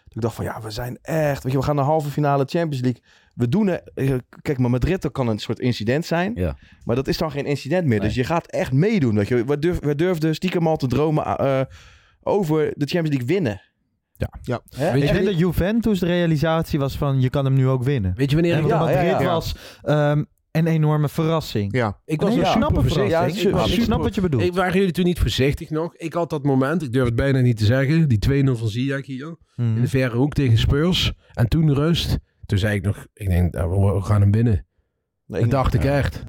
[SPEAKER 9] Dat ik dacht van ja, we zijn echt. Weet je, we gaan naar halve finale Champions League. We doen het. eh, Kijk, maar Madrid dat kan een soort incident zijn.
[SPEAKER 8] Ja.
[SPEAKER 9] Maar dat is dan geen incident meer. Dus je gaat echt meedoen. Weet je, we, durf, we durfden stiekem al te dromen eh, over de Champions League winnen.
[SPEAKER 6] Ja.
[SPEAKER 17] ja.
[SPEAKER 6] Weet je, dat Juventus de realisatie was van je kan hem nu ook winnen.
[SPEAKER 10] Weet je wanneer
[SPEAKER 6] En
[SPEAKER 10] ik-
[SPEAKER 6] want
[SPEAKER 10] Ja,
[SPEAKER 6] Madrid
[SPEAKER 10] ja, ja.
[SPEAKER 6] was ehm, een enorme verrassing.
[SPEAKER 17] Ja.
[SPEAKER 10] Ik was
[SPEAKER 6] nee,
[SPEAKER 10] een
[SPEAKER 6] ik snap
[SPEAKER 10] super
[SPEAKER 6] een
[SPEAKER 10] voorzichtig.
[SPEAKER 6] verrassing.
[SPEAKER 10] Ja,
[SPEAKER 6] ik,
[SPEAKER 10] was
[SPEAKER 6] ik
[SPEAKER 10] super-
[SPEAKER 6] snap wat je bedoelt.
[SPEAKER 10] Ik, waren jullie toen niet voorzichtig nog? Ik had dat moment, ik durf het
[SPEAKER 6] Mhm.
[SPEAKER 10] bijna niet te zeggen. Die 2-0 van Ziyech hier. In de verre hoek tegen Spurs. En toen rust. toen zei ik nog, ik denk, nou, we we gaan hem winnen.
[SPEAKER 9] Nee,
[SPEAKER 10] dat
[SPEAKER 9] ik-
[SPEAKER 10] dacht ik
[SPEAKER 9] ja.
[SPEAKER 10] echt.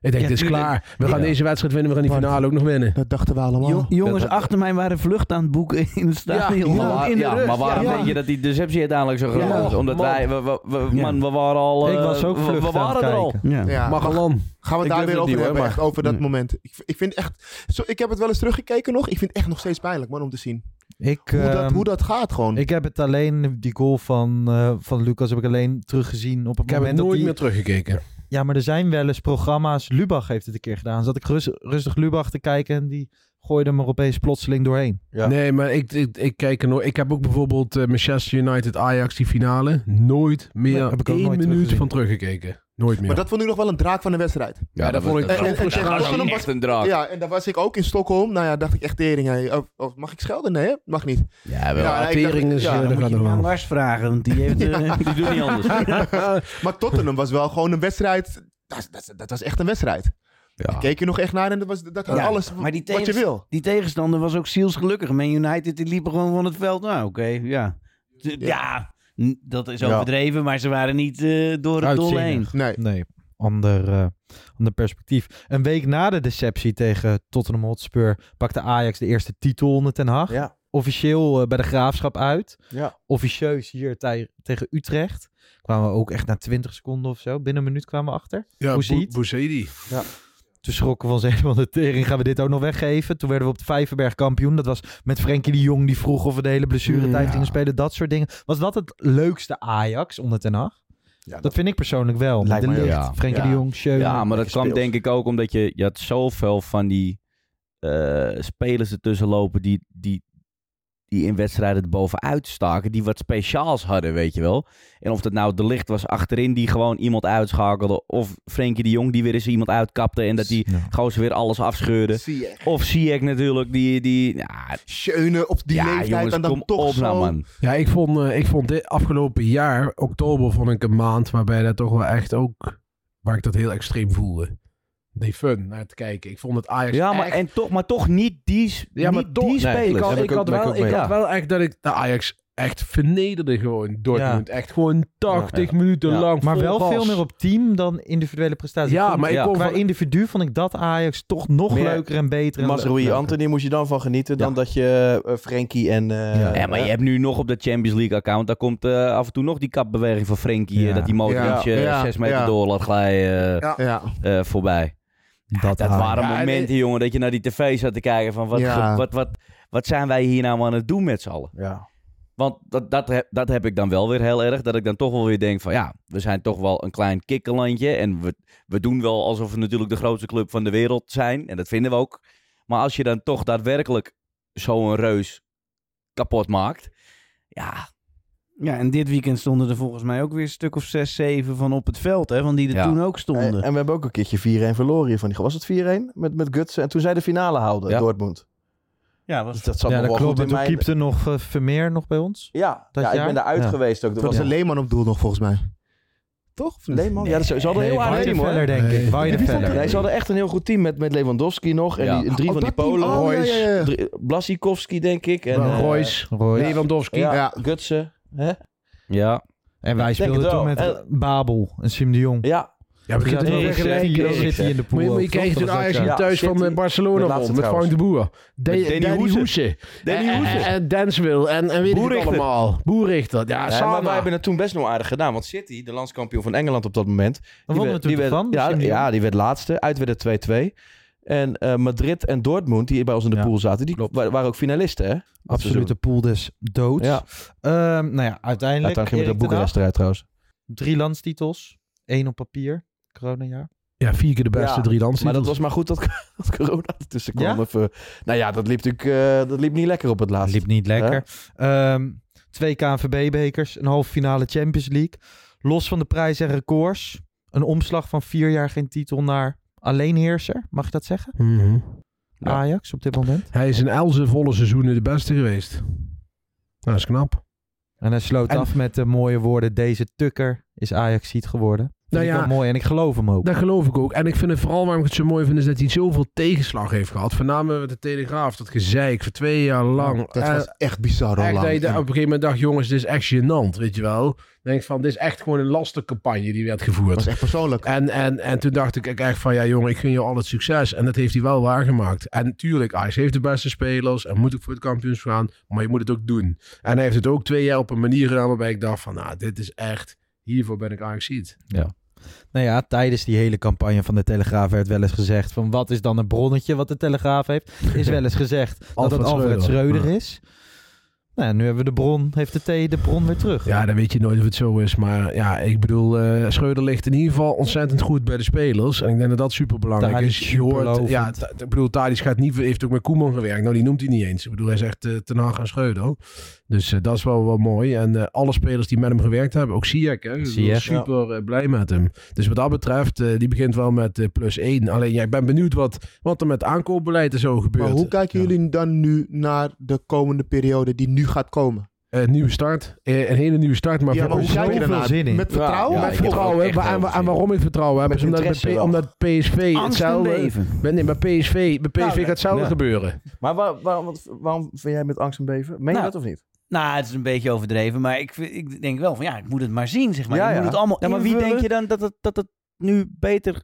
[SPEAKER 10] Ik denk,
[SPEAKER 9] Ja,
[SPEAKER 10] het is
[SPEAKER 9] tuurlijk.
[SPEAKER 10] klaar. We gaan
[SPEAKER 9] Ja.
[SPEAKER 10] deze wedstrijd winnen, we gaan die finale ook nog winnen.
[SPEAKER 11] Dat dachten we allemaal.
[SPEAKER 12] Jo- jongens achter mij waren vlucht aan het boeken in het stadion.
[SPEAKER 8] maar, waar-
[SPEAKER 12] in de
[SPEAKER 8] ja,
[SPEAKER 12] rust.
[SPEAKER 8] maar waarom
[SPEAKER 12] Ja.
[SPEAKER 8] denk je dat die deceptie uiteindelijk zo groot
[SPEAKER 12] Ja.
[SPEAKER 8] was? Omdat
[SPEAKER 12] Man.
[SPEAKER 8] wij, we, we- we- man, we waren al... eh, we- We waren er al.
[SPEAKER 10] Magalan.
[SPEAKER 11] Gaan we
[SPEAKER 8] Ik
[SPEAKER 11] het daar
[SPEAKER 8] durf
[SPEAKER 11] weer
[SPEAKER 8] het
[SPEAKER 11] over
[SPEAKER 8] niet, hoor,
[SPEAKER 11] hebben,
[SPEAKER 8] maar-
[SPEAKER 11] echt over dat
[SPEAKER 8] Nee.
[SPEAKER 11] moment. Ik, ik vind echt... Zo, ik heb het wel eens teruggekeken nog. Ik vind het echt nog steeds pijnlijk, man, om te zien.
[SPEAKER 6] Ik,
[SPEAKER 11] Hoe dat-
[SPEAKER 6] ehm,
[SPEAKER 11] hoe dat gaat gewoon.
[SPEAKER 6] Ik heb het alleen, die goal van, eh, van Lucas heb ik alleen teruggezien op het
[SPEAKER 10] Ik heb
[SPEAKER 6] moment
[SPEAKER 10] het
[SPEAKER 6] dat
[SPEAKER 10] nooit
[SPEAKER 6] die-
[SPEAKER 10] meer teruggekeken.
[SPEAKER 6] Ja, maar er zijn wel eens programma's. Lubach heeft het een keer gedaan. Zat ik rus- rustig Lubach te kijken en die gooide hem er opeens plotseling doorheen.
[SPEAKER 10] Nee, maar ik, ik, ik kijk er nooit. Ik heb ook bijvoorbeeld eh, Manchester United Ajax die finale nooit meer
[SPEAKER 6] Nee, heb ik ook
[SPEAKER 10] één
[SPEAKER 6] nooit
[SPEAKER 10] minuut
[SPEAKER 6] teruggezien.
[SPEAKER 10] van teruggekeken. Nooit meer.
[SPEAKER 11] Maar dat vond ik nog wel een draak van de wedstrijd.
[SPEAKER 10] Ja, dat vond ik
[SPEAKER 11] En- en-
[SPEAKER 10] ook.
[SPEAKER 11] en
[SPEAKER 10] Dat
[SPEAKER 11] tegen
[SPEAKER 10] was
[SPEAKER 11] Tottenham
[SPEAKER 10] niet
[SPEAKER 11] was-
[SPEAKER 10] echt een draak.
[SPEAKER 11] Ja, en daar was ik ook in Stockholm. Nou ja, dacht ik echt tering. hè. Oh, oh, mag ik schelden? Nee, hè? mag niet.
[SPEAKER 8] Ja,
[SPEAKER 11] wel. Ja, ik dacht-
[SPEAKER 10] eh,
[SPEAKER 11] ja, dan moet je
[SPEAKER 12] hem aan Lars vragen, want die,
[SPEAKER 11] (laughs)
[SPEAKER 12] heeft, eh, die doet niet anders.
[SPEAKER 8] (laughs)
[SPEAKER 11] maar Tottenham was wel gewoon een wedstrijd. Dat, dat, dat was echt een wedstrijd. Daar keek je nog echt naar en dat was dat had
[SPEAKER 12] Ja,
[SPEAKER 11] alles
[SPEAKER 12] maar die
[SPEAKER 11] wat je
[SPEAKER 12] tegens-
[SPEAKER 11] wil.
[SPEAKER 12] Die tegenstander was ook zielsgelukkig. Man United die liepen gewoon van het veld. Nou, oké, ja. D- Ja, n- dat is
[SPEAKER 6] Ja.
[SPEAKER 12] overdreven, maar ze waren niet eh, door het dol heen.
[SPEAKER 11] Nee.
[SPEAKER 6] Ander, eh, ander perspectief. Een week na de deceptie tegen Tottenham Hotspur pakte Ajax de eerste titel onder Ten Hag.
[SPEAKER 9] Ja.
[SPEAKER 6] Officieel eh, bij de Graafschap uit.
[SPEAKER 9] Ja.
[SPEAKER 6] Officieus hier tij- tegen Utrecht. Kwamen we ook echt na 20 seconden of zo. Binnen een minuut kwamen we achter.
[SPEAKER 10] Ja,
[SPEAKER 6] Hoe
[SPEAKER 10] Bo- Bouzidi.
[SPEAKER 6] Ja. Toen schrokken we ons (laughs) helemaal de tering. Gaan we dit ook nog weggeven? Toen werden we op de Vijverberg kampioen. Dat was met Frenkie de Jong die vroeg of we de hele blessuretijd
[SPEAKER 9] Ja.
[SPEAKER 6] gingen spelen. Dat soort dingen. Was dat het leukste Ajax onder Ten Hag? dat, vind ik persoonlijk wel. Met de licht, Frenkie de Jong, Schöne.
[SPEAKER 8] Ja, maar dat kwam
[SPEAKER 6] Gespeeld.
[SPEAKER 8] denk ik ook omdat je, je had zoveel van die eh, spelers ertussen lopen die, die, die in wedstrijden er bovenuit staken. Die wat speciaals hadden, weet je wel. En of dat nou de licht was achterin die gewoon iemand uitschakelde. Of Frenkie de Jong die weer eens iemand uitkapte en dat die gewoon weer alles afscheurde.
[SPEAKER 11] Ziyech.
[SPEAKER 8] Of Ziyech natuurlijk, die... die ja,
[SPEAKER 11] Schöne op die leeftijd
[SPEAKER 8] jongens,
[SPEAKER 11] en dan
[SPEAKER 8] kom
[SPEAKER 11] toch
[SPEAKER 8] op nou,
[SPEAKER 11] zo-
[SPEAKER 8] man.
[SPEAKER 10] Ja, ik vond, eh, ik vond dit afgelopen jaar, oktober, vond ik een maand waarbij dat toch wel echt ook, waar ik dat heel extreem voelde. Die fun naar te kijken. Ik vond het Ajax
[SPEAKER 8] Ja, maar,
[SPEAKER 10] echt-
[SPEAKER 8] en toch, maar toch niet die, s-
[SPEAKER 10] ja, maar
[SPEAKER 8] niet
[SPEAKER 10] toch,
[SPEAKER 8] die
[SPEAKER 10] nee,
[SPEAKER 8] spelers.
[SPEAKER 10] ik had, ik had wel, ik had
[SPEAKER 8] Ja.
[SPEAKER 10] wel echt dat ik de Ajax echt vernederde gewoon. Dortmund echt gewoon 80 minuten lang
[SPEAKER 6] Maar
[SPEAKER 10] vol
[SPEAKER 6] wel
[SPEAKER 10] gas.
[SPEAKER 6] veel meer op team dan individuele prestaties.
[SPEAKER 10] Ja,
[SPEAKER 6] vond-
[SPEAKER 10] maar ik kon
[SPEAKER 6] qua
[SPEAKER 10] van-
[SPEAKER 6] individu vond ik dat Ajax toch nog
[SPEAKER 9] Meer
[SPEAKER 6] leuker en beter. en
[SPEAKER 9] Masroei
[SPEAKER 6] leuker.
[SPEAKER 9] Anthony moest je dan van genieten dan dat je eh, Frenkie en... eh,
[SPEAKER 8] Ja, maar je hebt nu nog op dat Champions League account, daar komt eh, af en toe nog die kapbeweging van Frenkie. eh,
[SPEAKER 9] Ja.
[SPEAKER 8] dat die Modric
[SPEAKER 9] Ja.
[SPEAKER 8] eh,
[SPEAKER 9] Ja.
[SPEAKER 8] zes meter
[SPEAKER 9] Ja.
[SPEAKER 8] door laat glijden eh,
[SPEAKER 11] Ja.
[SPEAKER 8] eh, voorbij.
[SPEAKER 6] Dat,
[SPEAKER 9] Ah.
[SPEAKER 8] waren
[SPEAKER 11] Ja, en-
[SPEAKER 8] momenten, jongen, dat je naar die tv zat te kijken van wat,
[SPEAKER 11] Ja.
[SPEAKER 8] ge- wat, wat, wat zijn wij hier nou aan het doen met z'n allen? Want dat, dat, heb, dat heb ik dan wel weer heel erg. Dat ik dan toch wel weer denk van ja, we zijn toch wel een klein kikkerlandje. En we, we doen wel alsof we natuurlijk de grootste club van de wereld zijn. En dat vinden we ook. Maar als je dan toch daadwerkelijk zo'n reus kapot maakt. Ja,
[SPEAKER 12] Ja, en dit weekend stonden er volgens mij ook weer een stuk of zes, zeven van op het veld, hè, van die er
[SPEAKER 9] Ja.
[SPEAKER 12] toen ook stonden.
[SPEAKER 11] Eh,
[SPEAKER 9] En, en we hebben ook een keertje 4-1 verloren hiervan. Was het 4-1 met, met Gutsen? En toen zij de finale houden, Dortmund.
[SPEAKER 12] Ja,
[SPEAKER 9] Dus dat zat
[SPEAKER 6] ja,
[SPEAKER 9] nog
[SPEAKER 6] dat
[SPEAKER 9] wel
[SPEAKER 6] klopt.
[SPEAKER 9] goed
[SPEAKER 6] En
[SPEAKER 9] in
[SPEAKER 6] toen
[SPEAKER 9] mijn...
[SPEAKER 6] keepte nog eh, Vermeer nog bij ons.
[SPEAKER 9] Ja,
[SPEAKER 6] Dat
[SPEAKER 9] ja ik
[SPEAKER 6] jaar?
[SPEAKER 9] ben daaruit
[SPEAKER 6] Ja.
[SPEAKER 9] geweest ook.
[SPEAKER 11] Het
[SPEAKER 9] Er
[SPEAKER 11] was
[SPEAKER 9] was
[SPEAKER 11] een
[SPEAKER 9] een
[SPEAKER 11] Leeman op doel nog volgens mij. Toch?
[SPEAKER 9] Leeman? Ja, dat is- ze hadden een heel aardig team, hoor.
[SPEAKER 6] Weidefeller, denk ik. Weidefeller.
[SPEAKER 9] Nee, ze hadden echt een heel goed team met, met Lewandowski nog. En
[SPEAKER 6] Ja.
[SPEAKER 9] die, drie
[SPEAKER 6] Oh,
[SPEAKER 9] van die
[SPEAKER 6] dat team.
[SPEAKER 9] Polen.
[SPEAKER 6] Oh, ja,
[SPEAKER 9] Royce,
[SPEAKER 6] ja, ja.
[SPEAKER 9] drie- Blasikowski, denk ik. En, eh,
[SPEAKER 10] Royce,
[SPEAKER 6] Royce.
[SPEAKER 10] Lewandowski.
[SPEAKER 9] Ja,
[SPEAKER 10] Ja.
[SPEAKER 9] Gutsen.
[SPEAKER 6] Ah,
[SPEAKER 9] Hè?
[SPEAKER 8] Ja.
[SPEAKER 6] En wij
[SPEAKER 9] Ik denk
[SPEAKER 6] speelden
[SPEAKER 9] het
[SPEAKER 6] toen met
[SPEAKER 11] Eh,
[SPEAKER 9] wel.
[SPEAKER 6] Babel en Sim de Jong.
[SPEAKER 9] Ja.
[SPEAKER 10] Ja, maar je
[SPEAKER 6] Toen
[SPEAKER 10] kunt het wel
[SPEAKER 6] zaten we
[SPEAKER 10] vergelijken.
[SPEAKER 6] tegen City in de pool.
[SPEAKER 10] Moet je- moet je
[SPEAKER 6] ook,
[SPEAKER 10] kijken
[SPEAKER 6] toch?
[SPEAKER 10] toen
[SPEAKER 6] Dat was
[SPEAKER 10] Ajax
[SPEAKER 6] dat
[SPEAKER 10] hier
[SPEAKER 6] jaar.
[SPEAKER 10] thuis van eh,
[SPEAKER 9] de
[SPEAKER 10] Barcelona
[SPEAKER 9] laatste
[SPEAKER 10] won. Met
[SPEAKER 9] trouwens.
[SPEAKER 10] Frank de Boer.
[SPEAKER 9] Met
[SPEAKER 10] De-
[SPEAKER 9] Danny
[SPEAKER 10] Danny
[SPEAKER 9] Hoese.
[SPEAKER 10] Hoese. Eh,
[SPEAKER 9] Danny
[SPEAKER 10] En-
[SPEAKER 9] Hoese.
[SPEAKER 10] En en Denswil. En en weet ik het
[SPEAKER 9] Boerichter.
[SPEAKER 10] allemaal. Boerichter. Ja,
[SPEAKER 9] Nee, maar wij
[SPEAKER 10] samen.
[SPEAKER 9] hebben het toen best nog aardig gedaan. Want City, de landskampioen van Engeland op dat moment. die
[SPEAKER 6] wonnen
[SPEAKER 9] werd-
[SPEAKER 6] we toen
[SPEAKER 9] die
[SPEAKER 6] toch
[SPEAKER 9] werd-
[SPEAKER 6] van?
[SPEAKER 9] Ja,
[SPEAKER 6] Dus in die-
[SPEAKER 9] ja, die werd laatste. Uit werd het 2-2. En eh, Madrid en Dortmund, die bij ons in de pool zaten, die wa- waren ook finalisten, hè? Dat seizoen.
[SPEAKER 6] Absolute pool dus dood.
[SPEAKER 9] Ja.
[SPEAKER 6] Ehm, nou ja, uiteindelijk.
[SPEAKER 9] Uiteindelijk gingen we
[SPEAKER 6] Erik
[SPEAKER 9] de Boekarest
[SPEAKER 6] ten Hag,
[SPEAKER 9] eruit, trouwens.
[SPEAKER 6] Drie landstitels. één op papier. Coronajaar.
[SPEAKER 10] Ja, vier keer de beste
[SPEAKER 9] Ja,
[SPEAKER 10] drie landstitels.
[SPEAKER 9] Maar dat was maar goed dat, (laughs) dat corona ertussen kwam.
[SPEAKER 6] Ja?
[SPEAKER 9] Even, nou ja, dat liep natuurlijk eh, dat liep niet lekker op het laatst.
[SPEAKER 6] Liep niet
[SPEAKER 9] Hè?
[SPEAKER 6] lekker. Ehm, twee KNVB-bekers. Een halve finale Champions League. Los van de prijs en records. Een omslag van vier jaar geen titel naar alleenheerser. Mag je dat zeggen?
[SPEAKER 10] Mhm.
[SPEAKER 6] Ajax op dit moment.
[SPEAKER 10] Hij is in Elze volle seizoenen de beste geweest. Nou, dat is knap.
[SPEAKER 6] En hij sloot
[SPEAKER 10] En-
[SPEAKER 6] af met de mooie woorden. Deze tukker is Ajax ziet geworden. Vind
[SPEAKER 10] Nou
[SPEAKER 6] ik
[SPEAKER 10] ja,
[SPEAKER 6] wel mooi en ik geloof hem ook.
[SPEAKER 10] Dat geloof ik ook. En ik vind het vooral waarom ik het zo mooi vind, is dat hij zoveel tegenslag heeft gehad. Voornamelijk met de Telegraaf, dat gezeik voor twee jaar lang.
[SPEAKER 19] Dat
[SPEAKER 10] Eh,
[SPEAKER 19] was echt bizar al
[SPEAKER 10] Echt dat je
[SPEAKER 19] lang.
[SPEAKER 10] daar op een gegeven moment dacht, jongens, dit is echt gênant, weet je wel. Dan Denk ik van, dit is echt gewoon een lastige campagne die werd gevoerd. Dat is
[SPEAKER 19] echt persoonlijk.
[SPEAKER 10] En, en, en toen dacht ik echt van, ja jongen, ik gun je al het succes. En dat heeft hij wel waargemaakt. En natuurlijk, Ajax heeft de beste spelers en moet ook voor het kampioenschap gaan. Maar je moet het ook doen. En hij heeft het ook twee jaar op een manier gedaan waarbij ik dacht van, nou, dit is echt, hiervoor ben ik Ajax ziet.
[SPEAKER 6] Ja. Nou ja, tijdens die hele campagne van de Telegraaf werd wel eens gezegd van wat is dan een bronnetje wat de
[SPEAKER 10] (laughs)
[SPEAKER 6] Telegraaf heeft. Is wel eens gezegd dat het
[SPEAKER 10] Alfred Schreuder.
[SPEAKER 6] Alfred Schreuder
[SPEAKER 10] Ja.
[SPEAKER 6] is. Nou, nu hebben we de bron, heeft de T de bron weer terug.
[SPEAKER 10] Ja, dan weet je nooit of het zo is. Maar ja, ik bedoel, eh Schreuder ligt in ieder geval ontzettend goed bij de spelers. En ik denk dat dat superbelangrijk
[SPEAKER 6] Tadic
[SPEAKER 10] is. Je hoort,
[SPEAKER 6] superlovend.
[SPEAKER 10] ja, Ta- ik bedoel, Tadic gaat niet, heeft ook met Koeman gewerkt. Nou, die noemt hij niet eens. Ik bedoel, hij zegt eh Ten Hag en Schreuder. Dus eh, dat is wel, wel mooi. En eh, alle spelers die met hem gewerkt hebben, ook Ziyech, hè, Ik bedoel,
[SPEAKER 6] Ziyech.
[SPEAKER 10] super eh, blij met hem. Dus wat dat betreft, eh, die begint wel met eh, plus één. Alleen, ja, ik ben benieuwd wat, wat er met aankoopbeleid en zo gebeurt.
[SPEAKER 19] Maar hoe kijken jullie dan nu naar de komende periode die nu gaat komen?
[SPEAKER 10] Een nieuwe start. Eh, een hele nieuwe start. Maar
[SPEAKER 19] Ja,
[SPEAKER 10] voor
[SPEAKER 19] maar hoe
[SPEAKER 10] ons
[SPEAKER 19] kijk je
[SPEAKER 10] zoveel
[SPEAKER 19] daarnaar?
[SPEAKER 10] zin in.
[SPEAKER 19] Met vertrouwen?
[SPEAKER 10] Met
[SPEAKER 19] Ja, ik heb er
[SPEAKER 10] vertrouwen.
[SPEAKER 19] ook echt
[SPEAKER 10] hè. En,
[SPEAKER 19] heel
[SPEAKER 10] en waarom in vertrouwen? hebben? Omdat, bij
[SPEAKER 9] interesse
[SPEAKER 10] P-
[SPEAKER 9] wel.
[SPEAKER 10] omdat PSV
[SPEAKER 9] Angst en
[SPEAKER 10] hetzelfde...
[SPEAKER 9] beven.
[SPEAKER 10] Bij- Nee, bij PSV, bij PSV
[SPEAKER 9] Nou,
[SPEAKER 10] gaat hetzelfde
[SPEAKER 9] ja.
[SPEAKER 10] gebeuren.
[SPEAKER 9] Maar waar, waarom, wat- waarom vind jij met angst en beven? Meen
[SPEAKER 12] Nou,
[SPEAKER 9] je dat of niet?
[SPEAKER 12] Nou, het is een beetje overdreven, maar ik, vind- ik denk wel van ja, ik moet het maar zien, zeg maar.
[SPEAKER 8] Ja,
[SPEAKER 12] Ik
[SPEAKER 8] ja.
[SPEAKER 12] moet het allemaal
[SPEAKER 8] Ja, maar wie
[SPEAKER 12] invullen.
[SPEAKER 8] denk je dan dat het, dat het nu beter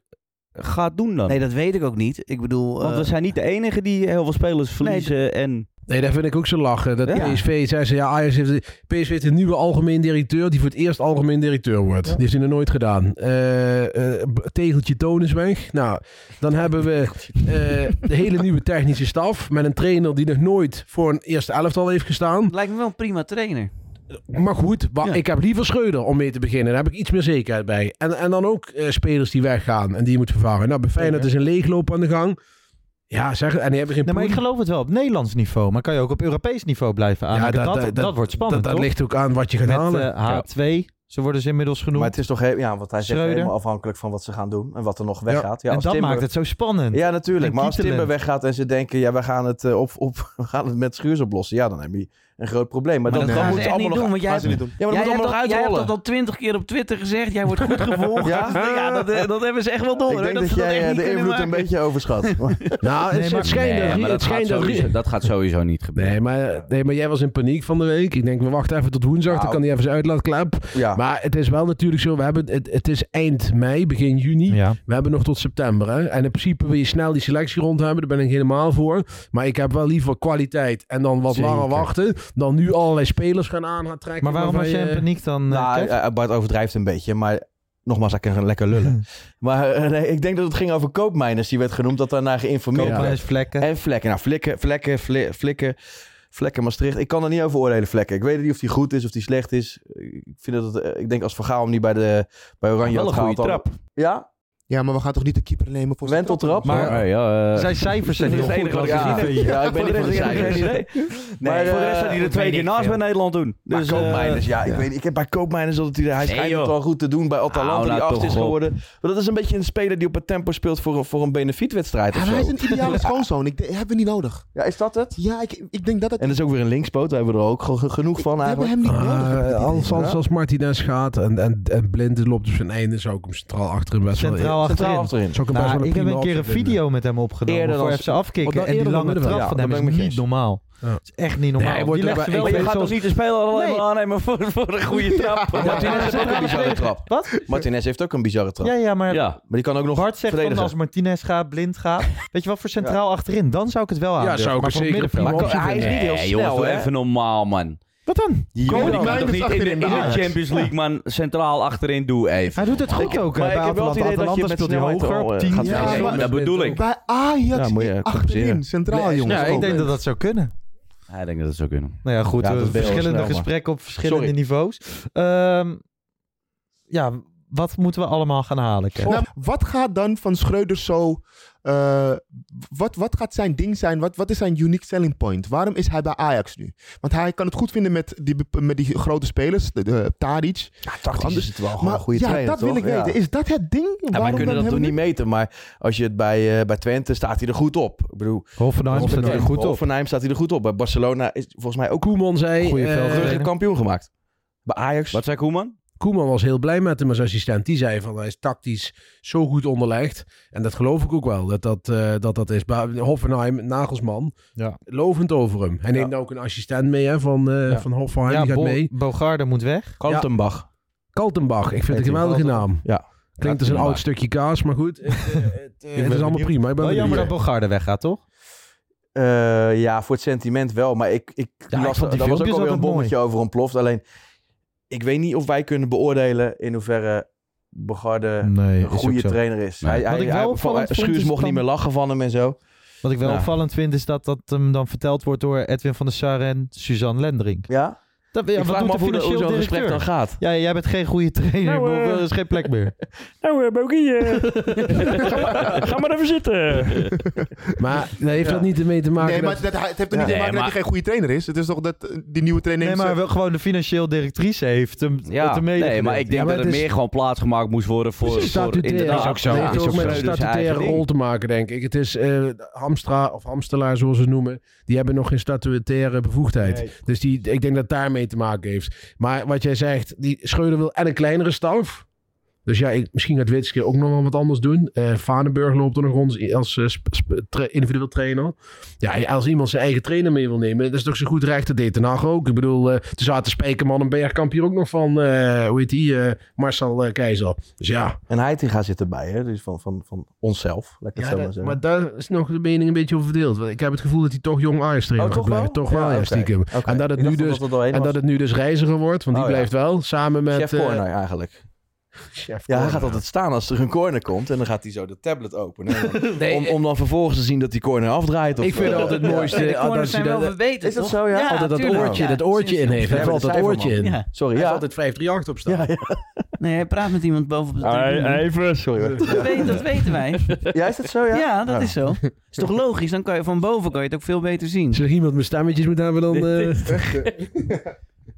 [SPEAKER 8] gaat doen dan?
[SPEAKER 12] Nee, dat weet ik ook niet. Ik bedoel...
[SPEAKER 8] Want
[SPEAKER 12] eh,
[SPEAKER 8] we zijn niet de enige die heel veel spelers verliezen en...
[SPEAKER 10] Nee, daar vind ik ook zo lachen. Dat
[SPEAKER 8] Ja.
[SPEAKER 10] PSV, zei ze, ja, Ajax heeft, PSV heeft een nieuwe algemeen directeur die voor het eerst algemeen directeur wordt. Die heeft hij nog nooit gedaan. Eh, eh, b- tegeltje Toon is weg. Nou, dan hebben we eh, de hele nieuwe technische staf met een trainer die nog nooit voor een eerste elftal heeft gestaan.
[SPEAKER 12] Lijkt me wel een prima trainer.
[SPEAKER 10] Maar goed, wa- ik heb liever Schreuder om mee te beginnen. Daar heb ik iets meer zekerheid bij. En, en dan ook eh, spelers die weggaan en die je moet vervangen. Nou, bij Feyenoord is een leegloop aan de gang. Ja, zeg, en die hebben geen
[SPEAKER 6] Nee, maar ik
[SPEAKER 10] poen.
[SPEAKER 6] geloof het wel op Nederlands niveau, maar kan je ook op Europees niveau blijven aan. dat, dat, dat wordt spannend,
[SPEAKER 10] Dat,
[SPEAKER 6] toch?
[SPEAKER 10] ligt ook aan wat je gaat
[SPEAKER 6] Met,
[SPEAKER 10] halen.
[SPEAKER 6] eh, H2, ze worden ze inmiddels genoemd.
[SPEAKER 9] Maar het is toch heel, ja, wat hij zegt,
[SPEAKER 6] Schreuder.
[SPEAKER 9] helemaal afhankelijk van wat ze gaan doen en wat er nog weggaat. Ja,
[SPEAKER 6] en
[SPEAKER 9] als
[SPEAKER 6] dat
[SPEAKER 9] Timber-
[SPEAKER 6] maakt het zo spannend.
[SPEAKER 9] Ja, natuurlijk.
[SPEAKER 6] En
[SPEAKER 9] Maar als
[SPEAKER 6] Kietelen.
[SPEAKER 9] Timber weggaat en ze denken, ja, we gaan het, eh, op, op, (laughs) we gaan het met schuurs oplossen. Ja, dan heb je een groot probleem. Maar,
[SPEAKER 12] Maar
[SPEAKER 9] dat,
[SPEAKER 12] dat
[SPEAKER 9] dan
[SPEAKER 12] gaan
[SPEAKER 9] moet
[SPEAKER 12] ze echt
[SPEAKER 9] allemaal
[SPEAKER 12] niet doen,
[SPEAKER 9] nog
[SPEAKER 12] want jij
[SPEAKER 9] gaan ze
[SPEAKER 12] hebt-
[SPEAKER 9] niet doen. Ja, maar
[SPEAKER 12] jij
[SPEAKER 9] dat moet
[SPEAKER 12] hebt
[SPEAKER 9] allemaal nog
[SPEAKER 12] dat- Jij hebt
[SPEAKER 9] uitrollen.
[SPEAKER 12] dat al twintig keer op Twitter gezegd. Jij wordt goed
[SPEAKER 9] (laughs)
[SPEAKER 12] gevolgd.
[SPEAKER 9] Ja?
[SPEAKER 12] ja? dat, eh, dat hebben ze echt wel door.
[SPEAKER 9] Ik
[SPEAKER 12] hoor,
[SPEAKER 9] denk dat,
[SPEAKER 12] ze
[SPEAKER 9] jij
[SPEAKER 12] echt
[SPEAKER 9] eh,
[SPEAKER 12] niet
[SPEAKER 9] de
[SPEAKER 12] kunnen
[SPEAKER 9] invloed een
[SPEAKER 12] maken.
[SPEAKER 9] beetje overschat.
[SPEAKER 10] Nou, het, het schijnt dat-
[SPEAKER 8] maar
[SPEAKER 10] het
[SPEAKER 8] dat, gaat
[SPEAKER 10] schijnt dat-
[SPEAKER 8] sowieso, dat gaat sowieso niet gebeuren.
[SPEAKER 10] Nee maar, nee, maar jij was in paniek van de week. Ik denk, we wachten even tot woensdag. Dan kan hij even zijn uitlaatklep. Maar het is wel natuurlijk zo. We hebben, het, het is eind mei, begin juni. We hebben nog tot september. Hè? En in principe wil je snel die selectie rond hebben. Daar ben ik helemaal voor. Maar ik heb wel liever kwaliteit. En dan wat
[SPEAKER 6] Zeker.
[SPEAKER 10] langer wachten. Dan nu allerlei spelers gaan aantrekken.
[SPEAKER 6] Maar waarom was jij in paniek dan? eh,
[SPEAKER 9] Nou,
[SPEAKER 6] Kev?
[SPEAKER 9] eh, Bart overdrijft een beetje, maar nogmaals, hij kan lekker lullen. maar eh, nee, ik denk dat het ging over koopmijners, die werd genoemd, dat daarna geïnformeerd
[SPEAKER 6] Koopmijners,
[SPEAKER 9] werd.
[SPEAKER 6] vlekken.
[SPEAKER 9] En vlekken. Nou, vlekken, vlekken, vle- vlekken, vlekken Maastricht. Ik kan er niet over oordelen, vlekken. Ik weet niet of die goed is, of die slecht is. Ik, vind dat het, eh, ik denk als Van Gaal hem niet bij, de, bij Oranje
[SPEAKER 19] Wel
[SPEAKER 9] had
[SPEAKER 19] een goede
[SPEAKER 9] gehaald, dan-
[SPEAKER 19] trap.
[SPEAKER 9] Ja?
[SPEAKER 19] Ja, maar we gaan toch niet de keeper nemen voor zijn
[SPEAKER 9] Wenteltrap?
[SPEAKER 19] trap?
[SPEAKER 9] Maar- Oh, ja, eh.
[SPEAKER 6] Zijn
[SPEAKER 10] (laughs)
[SPEAKER 6] cijfers zijn
[SPEAKER 9] Dat is
[SPEAKER 6] heel goed.
[SPEAKER 9] het enige wat ik
[SPEAKER 6] Ja.
[SPEAKER 9] gezien heb. Ja, ik ben
[SPEAKER 6] Voor de
[SPEAKER 9] niet
[SPEAKER 6] rest
[SPEAKER 9] van de
[SPEAKER 6] heb ik (laughs)
[SPEAKER 9] cijfers.
[SPEAKER 6] geen idee.
[SPEAKER 9] Maar,
[SPEAKER 8] voor de rest
[SPEAKER 9] eh,
[SPEAKER 8] staat hij er
[SPEAKER 9] ik
[SPEAKER 8] twee
[SPEAKER 9] weet
[SPEAKER 8] keer
[SPEAKER 9] niet
[SPEAKER 8] naast
[SPEAKER 9] veel.
[SPEAKER 8] bij Nederland doen.
[SPEAKER 9] Maar
[SPEAKER 8] Dus, eh,
[SPEAKER 9] koopmijners, ja, ik weet niet. Ik heb bij koopmijners altijd hij
[SPEAKER 8] Nee,
[SPEAKER 9] schijnt het
[SPEAKER 8] joh.
[SPEAKER 9] wel goed te doen bij
[SPEAKER 8] Hou
[SPEAKER 9] Atalanta die
[SPEAKER 8] nou
[SPEAKER 9] acht
[SPEAKER 8] toch
[SPEAKER 9] is
[SPEAKER 8] op.
[SPEAKER 9] geworden. Maar dat is een beetje een speler die op het tempo speelt voor een, voor een benefietwedstrijd
[SPEAKER 19] Ja,
[SPEAKER 9] of
[SPEAKER 19] maar
[SPEAKER 9] zo.
[SPEAKER 19] hij is een ideale schoonzoon. Ik, de- hebben we niet nodig.
[SPEAKER 9] Ja, is dat het?
[SPEAKER 19] Ja, ik, ik denk dat het...
[SPEAKER 9] En dat is ook weer een linkspoot. Daar hebben we er ook ge- genoeg van
[SPEAKER 19] hebben
[SPEAKER 9] eigenlijk.
[SPEAKER 19] hem niet
[SPEAKER 8] Ah,
[SPEAKER 19] nodig. heb ik het idee.
[SPEAKER 10] als, als,
[SPEAKER 19] Ja.
[SPEAKER 10] als Martinez gaat en, en, en Blind loopt op zijn einde, zou ik hem centraal achterin best
[SPEAKER 6] Centraal
[SPEAKER 10] wel...
[SPEAKER 6] achterin.
[SPEAKER 10] Zou ik hem best wel
[SPEAKER 6] Nou, ik heb
[SPEAKER 10] prima
[SPEAKER 6] een keer een
[SPEAKER 10] optie vinden.
[SPEAKER 6] video met hem opgenomen
[SPEAKER 10] Eerder
[SPEAKER 6] voor
[SPEAKER 10] dan-
[SPEAKER 6] FC
[SPEAKER 9] Oh,
[SPEAKER 6] afkicken.
[SPEAKER 10] Want dan
[SPEAKER 6] en die
[SPEAKER 10] nou eerder dan
[SPEAKER 6] lange
[SPEAKER 10] middenveld.
[SPEAKER 6] trap van
[SPEAKER 10] Ja,
[SPEAKER 6] hem
[SPEAKER 10] dat ben
[SPEAKER 6] is
[SPEAKER 10] ik
[SPEAKER 6] niet
[SPEAKER 10] met je
[SPEAKER 6] normaal. Het is echt niet normaal.
[SPEAKER 10] Nee, hij wordt
[SPEAKER 6] die
[SPEAKER 10] ook
[SPEAKER 6] legt
[SPEAKER 10] bij-
[SPEAKER 6] wel
[SPEAKER 10] Maar je
[SPEAKER 6] weer
[SPEAKER 10] gaat
[SPEAKER 6] zoals-
[SPEAKER 10] toch niet
[SPEAKER 8] de speler al
[SPEAKER 6] Nee.
[SPEAKER 8] helemaal aannemen voor, voor een goede trap.
[SPEAKER 9] Maar Martinez heeft ook een bizarre trap.
[SPEAKER 6] Wat?
[SPEAKER 9] Martinez heeft ook een bizarre trap.
[SPEAKER 6] Ja, ja, maar...
[SPEAKER 9] Maar die kan ook nog
[SPEAKER 6] Bart zegt van
[SPEAKER 9] verdedigen.
[SPEAKER 6] als Martinez gaat, blind gaat. Weet je wat voor centraal achterin? Dan zou ik het wel aan.
[SPEAKER 9] zou ik
[SPEAKER 6] maar
[SPEAKER 9] het
[SPEAKER 6] voor
[SPEAKER 9] zeker
[SPEAKER 6] middenveld.
[SPEAKER 9] prima optie
[SPEAKER 6] hij is niet heel
[SPEAKER 8] Nee,
[SPEAKER 6] snel,
[SPEAKER 8] jongens, doe
[SPEAKER 6] hè?
[SPEAKER 8] even normaal, man.
[SPEAKER 6] Wat dan?
[SPEAKER 8] Die
[SPEAKER 6] Komen
[SPEAKER 8] jongen
[SPEAKER 6] die
[SPEAKER 8] kan
[SPEAKER 6] kleintjes
[SPEAKER 8] toch niet in de,
[SPEAKER 6] achterin
[SPEAKER 8] in
[SPEAKER 6] bij
[SPEAKER 8] de
[SPEAKER 6] Ajax?
[SPEAKER 8] Champions League, man, centraal achterin doe even.
[SPEAKER 6] Hij doet het goed ook, hè, bij Atalanta. Atalanta speelt hij hoger, op 10.
[SPEAKER 8] Ja,
[SPEAKER 6] Ja, maar-
[SPEAKER 8] dat bedoel ik.
[SPEAKER 19] Bij Ajax
[SPEAKER 8] Ja, moet je
[SPEAKER 19] achterin,
[SPEAKER 8] compenseren.
[SPEAKER 19] centraal
[SPEAKER 6] Nee,
[SPEAKER 19] jongens.
[SPEAKER 6] ja, ik
[SPEAKER 19] ook.
[SPEAKER 6] denk dat dat zou kunnen.
[SPEAKER 8] Ja, ik denk dat het zou kunnen.
[SPEAKER 6] Nou ja, goed.
[SPEAKER 8] Ja,
[SPEAKER 6] eh,
[SPEAKER 8] dat wil snel,
[SPEAKER 6] verschillende
[SPEAKER 8] maar-
[SPEAKER 6] gesprekken op verschillende
[SPEAKER 8] Sorry.
[SPEAKER 6] niveaus. Ehm, ja, wat moeten we allemaal gaan halen? Kev?
[SPEAKER 19] Nou, wat gaat dan van Schreuder zo... eh, wat, wat gaat zijn ding zijn? Wat, wat is zijn unique selling point? Waarom is hij bij Ajax nu? Want hij kan het goed vinden met die, bep- met die grote spelers. De, de, Tadic. Ja,
[SPEAKER 9] tactisch is het wel gewoon
[SPEAKER 19] maar,
[SPEAKER 9] Oh, een goede
[SPEAKER 19] Ja,
[SPEAKER 9] trainer,
[SPEAKER 19] dat wil
[SPEAKER 9] toch?
[SPEAKER 19] ik
[SPEAKER 9] Ja.
[SPEAKER 19] weten. Is dat het ding?
[SPEAKER 9] Ja, wij
[SPEAKER 19] Waarom
[SPEAKER 9] kunnen
[SPEAKER 19] dan hebben
[SPEAKER 9] dat toch
[SPEAKER 19] we
[SPEAKER 9] niet meten. Maar als je het bij, eh, bij Twente staat hij er goed op. Ik bedoel,
[SPEAKER 6] Hoffenheim staat hij er goed op.
[SPEAKER 9] Hoffenheim staat hij er goed op. Bij Barcelona is volgens mij ook
[SPEAKER 10] Koeman zei...
[SPEAKER 9] goede
[SPEAKER 10] eh,
[SPEAKER 9] kampioen gemaakt. Bij
[SPEAKER 6] (laughs)
[SPEAKER 9] Ajax.
[SPEAKER 8] Wat zei Koeman?
[SPEAKER 10] Koeman was heel blij met hem als assistent. Die zei van hij is tactisch zo goed onderlegd. En dat geloof ik ook wel, dat dat, eh, dat, dat is. Ba- Hoffenheim, Nagelsman,
[SPEAKER 6] ja.
[SPEAKER 10] lovend over hem. Hij neemt nou ook een assistent mee hè, van, eh,
[SPEAKER 6] Ja.
[SPEAKER 10] van Hoffenheim, die gaat
[SPEAKER 6] Bo-
[SPEAKER 10] mee.
[SPEAKER 6] Bogarde moet weg.
[SPEAKER 9] Kaltenbach.
[SPEAKER 10] Kaltenbach, ik vind
[SPEAKER 6] Heet
[SPEAKER 10] het een
[SPEAKER 6] hij
[SPEAKER 10] geweldige
[SPEAKER 6] Kalten-
[SPEAKER 10] naam.
[SPEAKER 9] Ja.
[SPEAKER 10] Klinkt als een
[SPEAKER 6] Kaltenbach.
[SPEAKER 10] oud stukje kaas, maar goed. Het, eh, het, eh, het is allemaal prima. Ik ben
[SPEAKER 6] Wel
[SPEAKER 10] benieuwd.
[SPEAKER 6] Oh, jammer dat Bogarde weggaat, toch?
[SPEAKER 9] Eh, ja, voor het sentiment wel. Maar ik, ik
[SPEAKER 6] Ja, ik
[SPEAKER 9] las,
[SPEAKER 6] vond die
[SPEAKER 9] daar was ook
[SPEAKER 6] filmpjes
[SPEAKER 9] alweer
[SPEAKER 6] altijd
[SPEAKER 9] een bommetje over ontploft. Alleen, ik weet niet of wij kunnen beoordelen in hoeverre Bogarde
[SPEAKER 6] Nee,
[SPEAKER 9] een
[SPEAKER 6] is
[SPEAKER 9] goede
[SPEAKER 6] ook zo.
[SPEAKER 9] trainer is.
[SPEAKER 6] Nee.
[SPEAKER 9] Hij,
[SPEAKER 6] Wat
[SPEAKER 9] hij,
[SPEAKER 6] ik wel
[SPEAKER 9] hij-
[SPEAKER 6] opvallend
[SPEAKER 9] hij-
[SPEAKER 6] vond,
[SPEAKER 9] Schuurs
[SPEAKER 6] is
[SPEAKER 9] mocht
[SPEAKER 6] dan-
[SPEAKER 9] niet meer lachen van hem en zo.
[SPEAKER 6] Wat ik wel
[SPEAKER 9] Ja.
[SPEAKER 6] opvallend vind is dat dat hem dan verteld wordt door Edwin van der Sar en Suzanne Lendring.
[SPEAKER 9] Ja?
[SPEAKER 6] Dat, ja,
[SPEAKER 9] Ik
[SPEAKER 6] wat
[SPEAKER 9] vraag
[SPEAKER 6] doet de
[SPEAKER 9] me af hoe de- hoe
[SPEAKER 6] financieel
[SPEAKER 9] zo'n gesprek
[SPEAKER 6] directeur?
[SPEAKER 9] dan gaat.
[SPEAKER 6] Ja, jij bent geen goede trainer.
[SPEAKER 20] Nou,
[SPEAKER 6] ik bedoel,
[SPEAKER 20] eh,
[SPEAKER 6] er is geen plek meer.
[SPEAKER 20] (laughs) Nou, uh, ga maar even zitten.
[SPEAKER 10] Maar nee, heeft dat niet ermee te maken
[SPEAKER 11] Nee, maar
[SPEAKER 10] dat-
[SPEAKER 11] dat, hij- het heeft er niet
[SPEAKER 6] Ja.
[SPEAKER 11] te
[SPEAKER 6] Nee,
[SPEAKER 11] maken dat hij
[SPEAKER 6] maar-
[SPEAKER 11] geen goede trainer is. Het is toch dat eh, die nieuwe trainer...
[SPEAKER 6] Nee, maar wel gewoon de financieel directrice heeft hem
[SPEAKER 8] Ja,
[SPEAKER 6] het hem medegedeeld.
[SPEAKER 8] nee, maar ik denk dat er meer gewoon plaatsgemaakt moest worden voor...
[SPEAKER 10] Precies,
[SPEAKER 8] voor
[SPEAKER 10] statutair. Nou,
[SPEAKER 8] inderdaad,
[SPEAKER 10] Het
[SPEAKER 8] is
[SPEAKER 10] heeft ook met een
[SPEAKER 8] Schreuder's eigen
[SPEAKER 10] statutaire
[SPEAKER 8] ding.
[SPEAKER 10] rol te maken, denk ik. Het is eh, Hamstra, of Hamstelaar zoals ze het noemen, die hebben nog geen statutaire bevoegdheid.
[SPEAKER 6] Nee.
[SPEAKER 10] Dus die, ik denk dat het daarmee te maken heeft. Maar wat jij zegt, die Schreuder wil en een kleinere staf. Dus ja, ik, misschien gaat Witske ook nog wel wat anders doen. Eh Vanenburg loopt er nog rond als eh, sp- sp- tra- individueel trainer. Ja, als iemand zijn eigen trainer mee wil nemen, dat is toch zijn goed recht. Dat deed Den Haag ook. Ik bedoel, eh toen zaten Spijkerman en Bergkamp hier ook nog van, eh, hoe heet die, eh, Marcel eh, Keizer. Dus ja.
[SPEAKER 9] En Heitinga zit erbij, hè? Dus van, van, van onszelf. Laat
[SPEAKER 10] Ja,
[SPEAKER 9] ik het zo maar
[SPEAKER 10] dat-
[SPEAKER 9] zeggen.
[SPEAKER 10] maar daar is nog de mening een beetje over verdeeld. Want ik heb het gevoel dat hij toch jong Ajax trainer
[SPEAKER 9] Oh,
[SPEAKER 10] gaat
[SPEAKER 9] toch wel?
[SPEAKER 10] blijven. Toch wel,
[SPEAKER 9] Ja,
[SPEAKER 10] ja,
[SPEAKER 9] oké.
[SPEAKER 10] stiekem.
[SPEAKER 9] Oké.
[SPEAKER 10] En, dat het
[SPEAKER 9] Ik
[SPEAKER 10] nu dus,
[SPEAKER 9] dacht dat dat er doorheen
[SPEAKER 10] en
[SPEAKER 9] was.
[SPEAKER 10] dat het nu dus reiziger wordt, want die
[SPEAKER 9] Oh, ja.
[SPEAKER 10] blijft wel. Samen met...
[SPEAKER 9] Chef
[SPEAKER 10] eh,
[SPEAKER 9] corner eigenlijk. ja, hij gaat altijd staan als er een corner komt. En dan gaat hij zo de tablet openen.
[SPEAKER 10] (laughs)
[SPEAKER 9] En dan- om, om dan vervolgens te zien dat die corner afdraait. Of,
[SPEAKER 10] Ik vind
[SPEAKER 9] eh,
[SPEAKER 10] altijd het mooiste...
[SPEAKER 9] ja.
[SPEAKER 10] eh, dat hij dat-
[SPEAKER 12] verbeterd,
[SPEAKER 9] Is dat
[SPEAKER 12] toch?
[SPEAKER 9] zo, ja?
[SPEAKER 12] Ja,
[SPEAKER 10] altijd dat
[SPEAKER 12] tuurlijk.
[SPEAKER 10] oortje,
[SPEAKER 12] Ja,
[SPEAKER 10] dat oortje in heeft. Hij
[SPEAKER 9] Ja,
[SPEAKER 10] heeft altijd dat
[SPEAKER 9] cijferman.
[SPEAKER 10] oortje in.
[SPEAKER 12] Ja.
[SPEAKER 9] Sorry,
[SPEAKER 10] Hij heeft
[SPEAKER 9] ja.
[SPEAKER 10] altijd 538 op staan.
[SPEAKER 9] Ja, ja.
[SPEAKER 12] Nee, hij praat met iemand boven op de tribune.
[SPEAKER 20] even.
[SPEAKER 9] Sorry hoor.
[SPEAKER 12] Dat, weet- dat weten wij.
[SPEAKER 9] Ja, is dat (laughs) zo? Ja,
[SPEAKER 12] Ja, dat
[SPEAKER 9] Oh.
[SPEAKER 12] is
[SPEAKER 9] (laughs)
[SPEAKER 12] zo. Is toch logisch? Dan kan je van boven kan je het ook veel beter zien.
[SPEAKER 10] Zeg iemand mijn stemmetjes moet hebben dan... eh,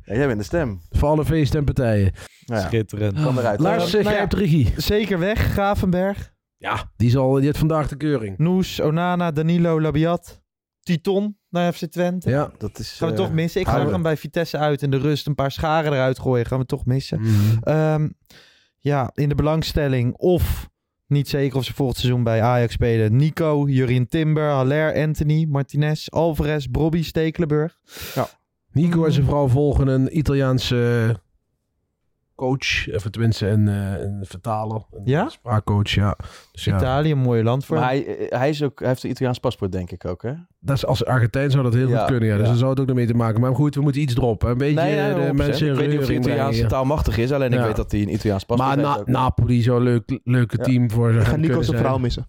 [SPEAKER 9] Ja, jij bent de stem.
[SPEAKER 6] Oh.
[SPEAKER 10] Voor alle feesten en partijen.
[SPEAKER 9] Nou ja.
[SPEAKER 6] Schitterend.
[SPEAKER 9] Kan eruit.
[SPEAKER 10] Lars,
[SPEAKER 6] nou
[SPEAKER 10] jij
[SPEAKER 6] ja.
[SPEAKER 10] hebt de regie.
[SPEAKER 6] Zeker weg, Gravenberg.
[SPEAKER 10] Ja, die, zal, die heeft vandaag de keuring.
[SPEAKER 6] Noes, Onana, Danilo, Labiat, Titon naar FC Twente.
[SPEAKER 10] Ja.
[SPEAKER 9] Dat is,
[SPEAKER 6] Gaan we
[SPEAKER 9] eh,
[SPEAKER 6] toch missen? Ik zag
[SPEAKER 9] houden.
[SPEAKER 6] hem bij Vitesse uit in de rust. Een paar scharen eruit gooien. Gaan we toch missen.
[SPEAKER 10] Mhm.
[SPEAKER 6] Ehm, ja, in de belangstelling. Of, niet zeker of ze volgend seizoen bij Ajax spelen. Nico, Jurien Timber, Haller, Anthony, Martinez, Alvarez, Bobby, Stekelenburg.
[SPEAKER 10] Nico en zijn vrouw volgen een Italiaanse eh, coach. Of tenminste een, eh, een vertaler. Een
[SPEAKER 6] Ja?
[SPEAKER 10] spraakcoach, ja. Dus ja,
[SPEAKER 6] Italië, een mooi land voor.
[SPEAKER 9] Maar hij, eh, hij, is ook, hij heeft een Italiaans paspoort, denk ik ook, hè?
[SPEAKER 10] dat is, als Argentijn zou dat heel
[SPEAKER 9] Ja,
[SPEAKER 10] goed kunnen. Ja. Dus
[SPEAKER 9] ja.
[SPEAKER 10] daar zou het ook nog mee te maken. Maar goed, we moeten iets droppen. Een beetje
[SPEAKER 9] Nee, ja,
[SPEAKER 10] eh, de
[SPEAKER 9] 100%.
[SPEAKER 10] mensen in
[SPEAKER 9] Ik weet niet of hij
[SPEAKER 10] reuring brengen
[SPEAKER 9] Italiaans
[SPEAKER 10] hier.
[SPEAKER 9] taalmachtig is. Alleen
[SPEAKER 10] Ja.
[SPEAKER 9] ik weet dat hij een Italiaans
[SPEAKER 10] Maar
[SPEAKER 9] paspoort
[SPEAKER 10] Na-
[SPEAKER 9] heeft. ook.
[SPEAKER 10] Napoli, zo'n leuk, leuke
[SPEAKER 9] Ja.
[SPEAKER 10] team voor ze.
[SPEAKER 11] Ga
[SPEAKER 10] gaan
[SPEAKER 11] Nico zijn
[SPEAKER 10] kunnen zijn.
[SPEAKER 11] vrouw missen.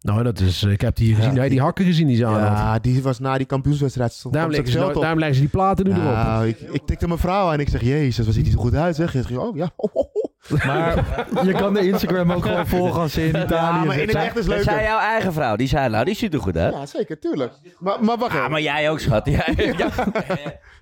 [SPEAKER 10] Nou, dat is, ik heb die gezien.
[SPEAKER 11] Ja.
[SPEAKER 10] Hij die hakken gezien die ze aan had.
[SPEAKER 19] Ah,
[SPEAKER 11] Ja, die was na die kampioenswedstrijd. stond-
[SPEAKER 10] Daarom
[SPEAKER 11] stond
[SPEAKER 10] leggen, ze,
[SPEAKER 11] het
[SPEAKER 10] nou-
[SPEAKER 11] veld op.
[SPEAKER 10] daarom leggen ze die platen nu
[SPEAKER 8] (laughs)
[SPEAKER 10] erop.
[SPEAKER 11] Nou, ik, ik tikte mijn vrouw aan en ik zeg, jezus, wat ziet hij er goed uit, zeg. En ze zegt, oh ja, oh, oh, oh.
[SPEAKER 6] Maar je kan de Instagram ook
[SPEAKER 11] (laughs)
[SPEAKER 6] gewoon volgen als ze in Italië
[SPEAKER 11] Ja, maar in het
[SPEAKER 6] zitten.
[SPEAKER 11] echt is
[SPEAKER 8] Dat zei
[SPEAKER 11] leuker.
[SPEAKER 8] jouw eigen vrouw. Die zei, nou, die ziet er goed uit.
[SPEAKER 11] Ja, zeker, tuurlijk. Maar, maar wacht
[SPEAKER 8] Ja,
[SPEAKER 11] even.
[SPEAKER 8] maar jij ook, schat. Ja, ja.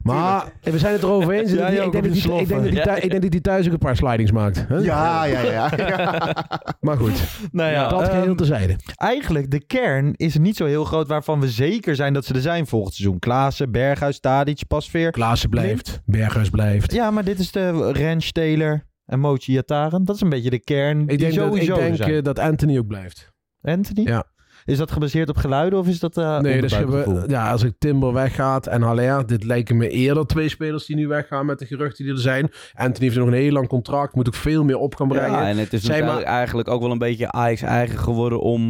[SPEAKER 10] Maar eh, we zijn het erover
[SPEAKER 6] (laughs)
[SPEAKER 10] eens.
[SPEAKER 6] Jij
[SPEAKER 10] dat die-
[SPEAKER 6] ook
[SPEAKER 10] ik, denk
[SPEAKER 6] met
[SPEAKER 10] dat
[SPEAKER 6] die
[SPEAKER 10] die- ik, denk dat die
[SPEAKER 8] sloffen.
[SPEAKER 10] thu- ik denk dat hij thuis ook een paar slidings maakt. hè?
[SPEAKER 11] Ja, ja, ja. ja.
[SPEAKER 10] (laughs) Maar goed,
[SPEAKER 6] Nou ja,
[SPEAKER 10] dat
[SPEAKER 6] ehm,
[SPEAKER 10] geheel terzijde.
[SPEAKER 6] eigenlijk de kern is niet zo heel groot waarvan we zeker zijn dat ze er zijn volgend seizoen. Klaassen, Berghuis, Tadic, Pasveer.
[SPEAKER 10] Klaassen blijft, Berghuis blijft.
[SPEAKER 6] Ja, maar dit is de Rens, Taylor en Mochi Yataren. Dat is een beetje de kern
[SPEAKER 10] Ik
[SPEAKER 6] die
[SPEAKER 10] denk, dat, ik
[SPEAKER 6] sowieso er
[SPEAKER 10] denk
[SPEAKER 6] zijn.
[SPEAKER 10] eh, dat Anthony ook blijft.
[SPEAKER 6] Anthony?
[SPEAKER 10] Ja.
[SPEAKER 6] Is dat gebaseerd op geluiden of is dat eh
[SPEAKER 10] Nee, dus
[SPEAKER 6] onderbuikgevoel?
[SPEAKER 10] hebben, ja, als ik Timber weggaat en Haller, dit lijken me eerder twee spelers die nu weggaan met de geruchten die er zijn. Anthony heeft nog een heel lang contract, moet ook veel meer op gaan brengen.
[SPEAKER 8] Ja, en het is
[SPEAKER 10] Zij
[SPEAKER 8] natuurlijk eigenlijk ook wel een beetje Ajax eigen geworden om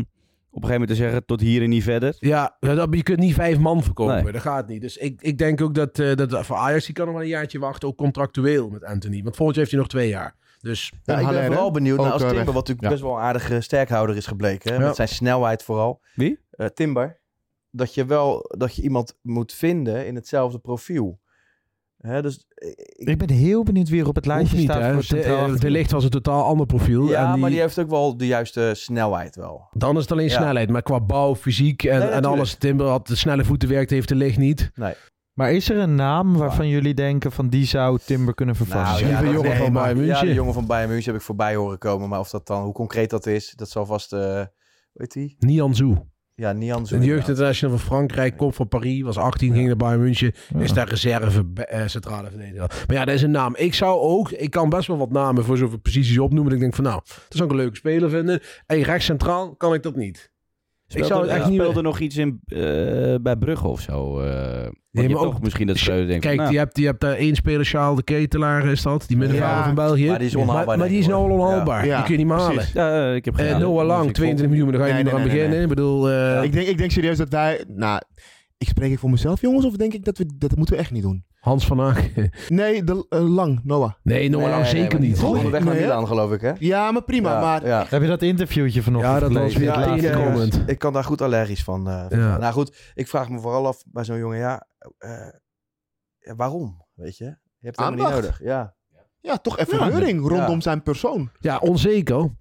[SPEAKER 8] op een gegeven moment te zeggen tot hier en niet verder.
[SPEAKER 10] Ja, dat, je kunt niet vijf man verkopen.
[SPEAKER 8] Nee.
[SPEAKER 10] Dat gaat niet. Dus ik, ik denk ook dat, eh, dat voor Ajax, die kan nog wel een jaartje wachten. Ook contractueel met Anthony. Want volgend jaar heeft hij nog twee jaar. Dus
[SPEAKER 9] Ja, ik ben
[SPEAKER 11] Haller,
[SPEAKER 9] vooral
[SPEAKER 11] hè?
[SPEAKER 9] benieuwd naar
[SPEAKER 11] Ook,
[SPEAKER 9] als
[SPEAKER 11] eh,
[SPEAKER 9] Timber,
[SPEAKER 11] weg.
[SPEAKER 9] wat natuurlijk
[SPEAKER 11] Ja.
[SPEAKER 9] best wel een aardige sterkhouder is gebleken. Hè,
[SPEAKER 10] Ja.
[SPEAKER 9] Met zijn snelheid vooral.
[SPEAKER 8] Wie?
[SPEAKER 9] Eh, Timber. Dat je wel dat je iemand moet vinden in hetzelfde profiel. Hè, dus, eh, ik-
[SPEAKER 6] Ik ben heel benieuwd wie er op het
[SPEAKER 10] hoeft
[SPEAKER 6] lijstje
[SPEAKER 10] niet.
[SPEAKER 6] staat
[SPEAKER 10] Hè.
[SPEAKER 6] voor
[SPEAKER 10] De,
[SPEAKER 6] centraal.
[SPEAKER 10] eh, de licht was een totaal ander profiel.
[SPEAKER 9] ja,
[SPEAKER 10] en die-
[SPEAKER 9] maar die heeft ook wel de juiste snelheid wel.
[SPEAKER 10] Dan is het alleen
[SPEAKER 9] Ja.
[SPEAKER 10] snelheid. Maar qua bouw, fysiek en,
[SPEAKER 9] Nee,
[SPEAKER 10] en
[SPEAKER 9] natuurlijk.
[SPEAKER 10] alles. Timber had de snelle voeten werkt, heeft de licht niet.
[SPEAKER 9] Nee.
[SPEAKER 6] Maar is er een naam waarvan jullie denken van die zou Timber kunnen vervassen?
[SPEAKER 10] ja, Lieve
[SPEAKER 9] Nou, dat-
[SPEAKER 10] jongen van
[SPEAKER 9] maar-
[SPEAKER 10] Bayern München.
[SPEAKER 9] Ja, de jongen van Bayern München heb ik voorbij horen komen. Maar of dat dan, hoe concreet dat is, dat zal vast... eh weet hij?
[SPEAKER 10] Nian Zoe.
[SPEAKER 9] Ja, Nian
[SPEAKER 10] Dus De jeugdinternational van Frankrijk, kop van Paris, was 18, ging naar Bayern München. Is daar reserve eh, centrale verdediger. Maar ja, dat is een naam. Ik zou ook, ik kan best wel wat namen voor zoveel posities opnoemen. Ik denk van nou, dat zou ik een leuke speler vinden. En rechts centraal kan ik dat niet.
[SPEAKER 8] Speelt
[SPEAKER 10] ik zou
[SPEAKER 8] er,
[SPEAKER 10] het echt
[SPEAKER 8] ja.
[SPEAKER 10] niet
[SPEAKER 8] speelt er nog iets in eh, bij Brugge of zo. eh want je hebt
[SPEAKER 10] maar ook-
[SPEAKER 8] toch misschien dat Schreuder denkt.
[SPEAKER 10] Kijk,
[SPEAKER 8] van,
[SPEAKER 10] je
[SPEAKER 8] nou,
[SPEAKER 10] hebt, je hebt daar één speler, Charles de Ketelaar is dat, die middenvelder
[SPEAKER 8] Ja,
[SPEAKER 10] van België.
[SPEAKER 8] maar die is onhaalbaar,
[SPEAKER 10] Maar, maar die
[SPEAKER 8] denk
[SPEAKER 10] is
[SPEAKER 8] ik,
[SPEAKER 10] nou al
[SPEAKER 8] hoor.
[SPEAKER 10] onhaalbaar.
[SPEAKER 8] Ja.
[SPEAKER 10] Die kun je niet meer halen.
[SPEAKER 8] Precies. Ja, eh, ik heb geen
[SPEAKER 10] Eh,
[SPEAKER 8] idee.
[SPEAKER 10] Noah
[SPEAKER 8] Dat
[SPEAKER 10] Lang,
[SPEAKER 8] vind ik
[SPEAKER 10] 22 miljoen, daar ga je
[SPEAKER 11] Nee,
[SPEAKER 10] niet meer
[SPEAKER 11] nee,
[SPEAKER 10] aan
[SPEAKER 11] nee, nee,
[SPEAKER 10] beginnen.
[SPEAKER 11] nee.
[SPEAKER 10] Ik bedoel... eh,
[SPEAKER 11] ik, denk, ik denk serieus dat wij... Nou, ik spreek ik voor mezelf, jongens, of denk ik dat we... Dat moeten we echt niet doen.
[SPEAKER 10] Hans van Aak.
[SPEAKER 11] Nee, de, eh, Lang, Noah.
[SPEAKER 10] Nee, Noah Lang zeker niet.
[SPEAKER 9] Onderweg naar
[SPEAKER 11] Nee, hè?
[SPEAKER 9] Milan, geloof ik, hè?
[SPEAKER 11] Ja, maar prima,
[SPEAKER 9] Ja,
[SPEAKER 11] maar...
[SPEAKER 9] ja.
[SPEAKER 6] Heb je dat interviewtje vanochtend
[SPEAKER 9] Ja, dat was
[SPEAKER 6] gelezen?
[SPEAKER 9] weer
[SPEAKER 6] Ja,
[SPEAKER 9] het
[SPEAKER 6] ik,
[SPEAKER 9] laatste
[SPEAKER 6] eh,
[SPEAKER 9] comment. Ik kan daar goed allergisch van. eh, van
[SPEAKER 10] Ja.
[SPEAKER 9] Nou goed, ik vraag me vooral af bij zo'n jongen, ja, eh, eh, waarom? Weet je? Je hebt het helemaal niet
[SPEAKER 11] Aandacht.
[SPEAKER 9] nodig. Ja.
[SPEAKER 11] Ja, toch even
[SPEAKER 9] Ja.
[SPEAKER 11] reuring rondom
[SPEAKER 9] Ja.
[SPEAKER 11] zijn persoon.
[SPEAKER 10] Ja, onzeker.
[SPEAKER 9] Kijk, ik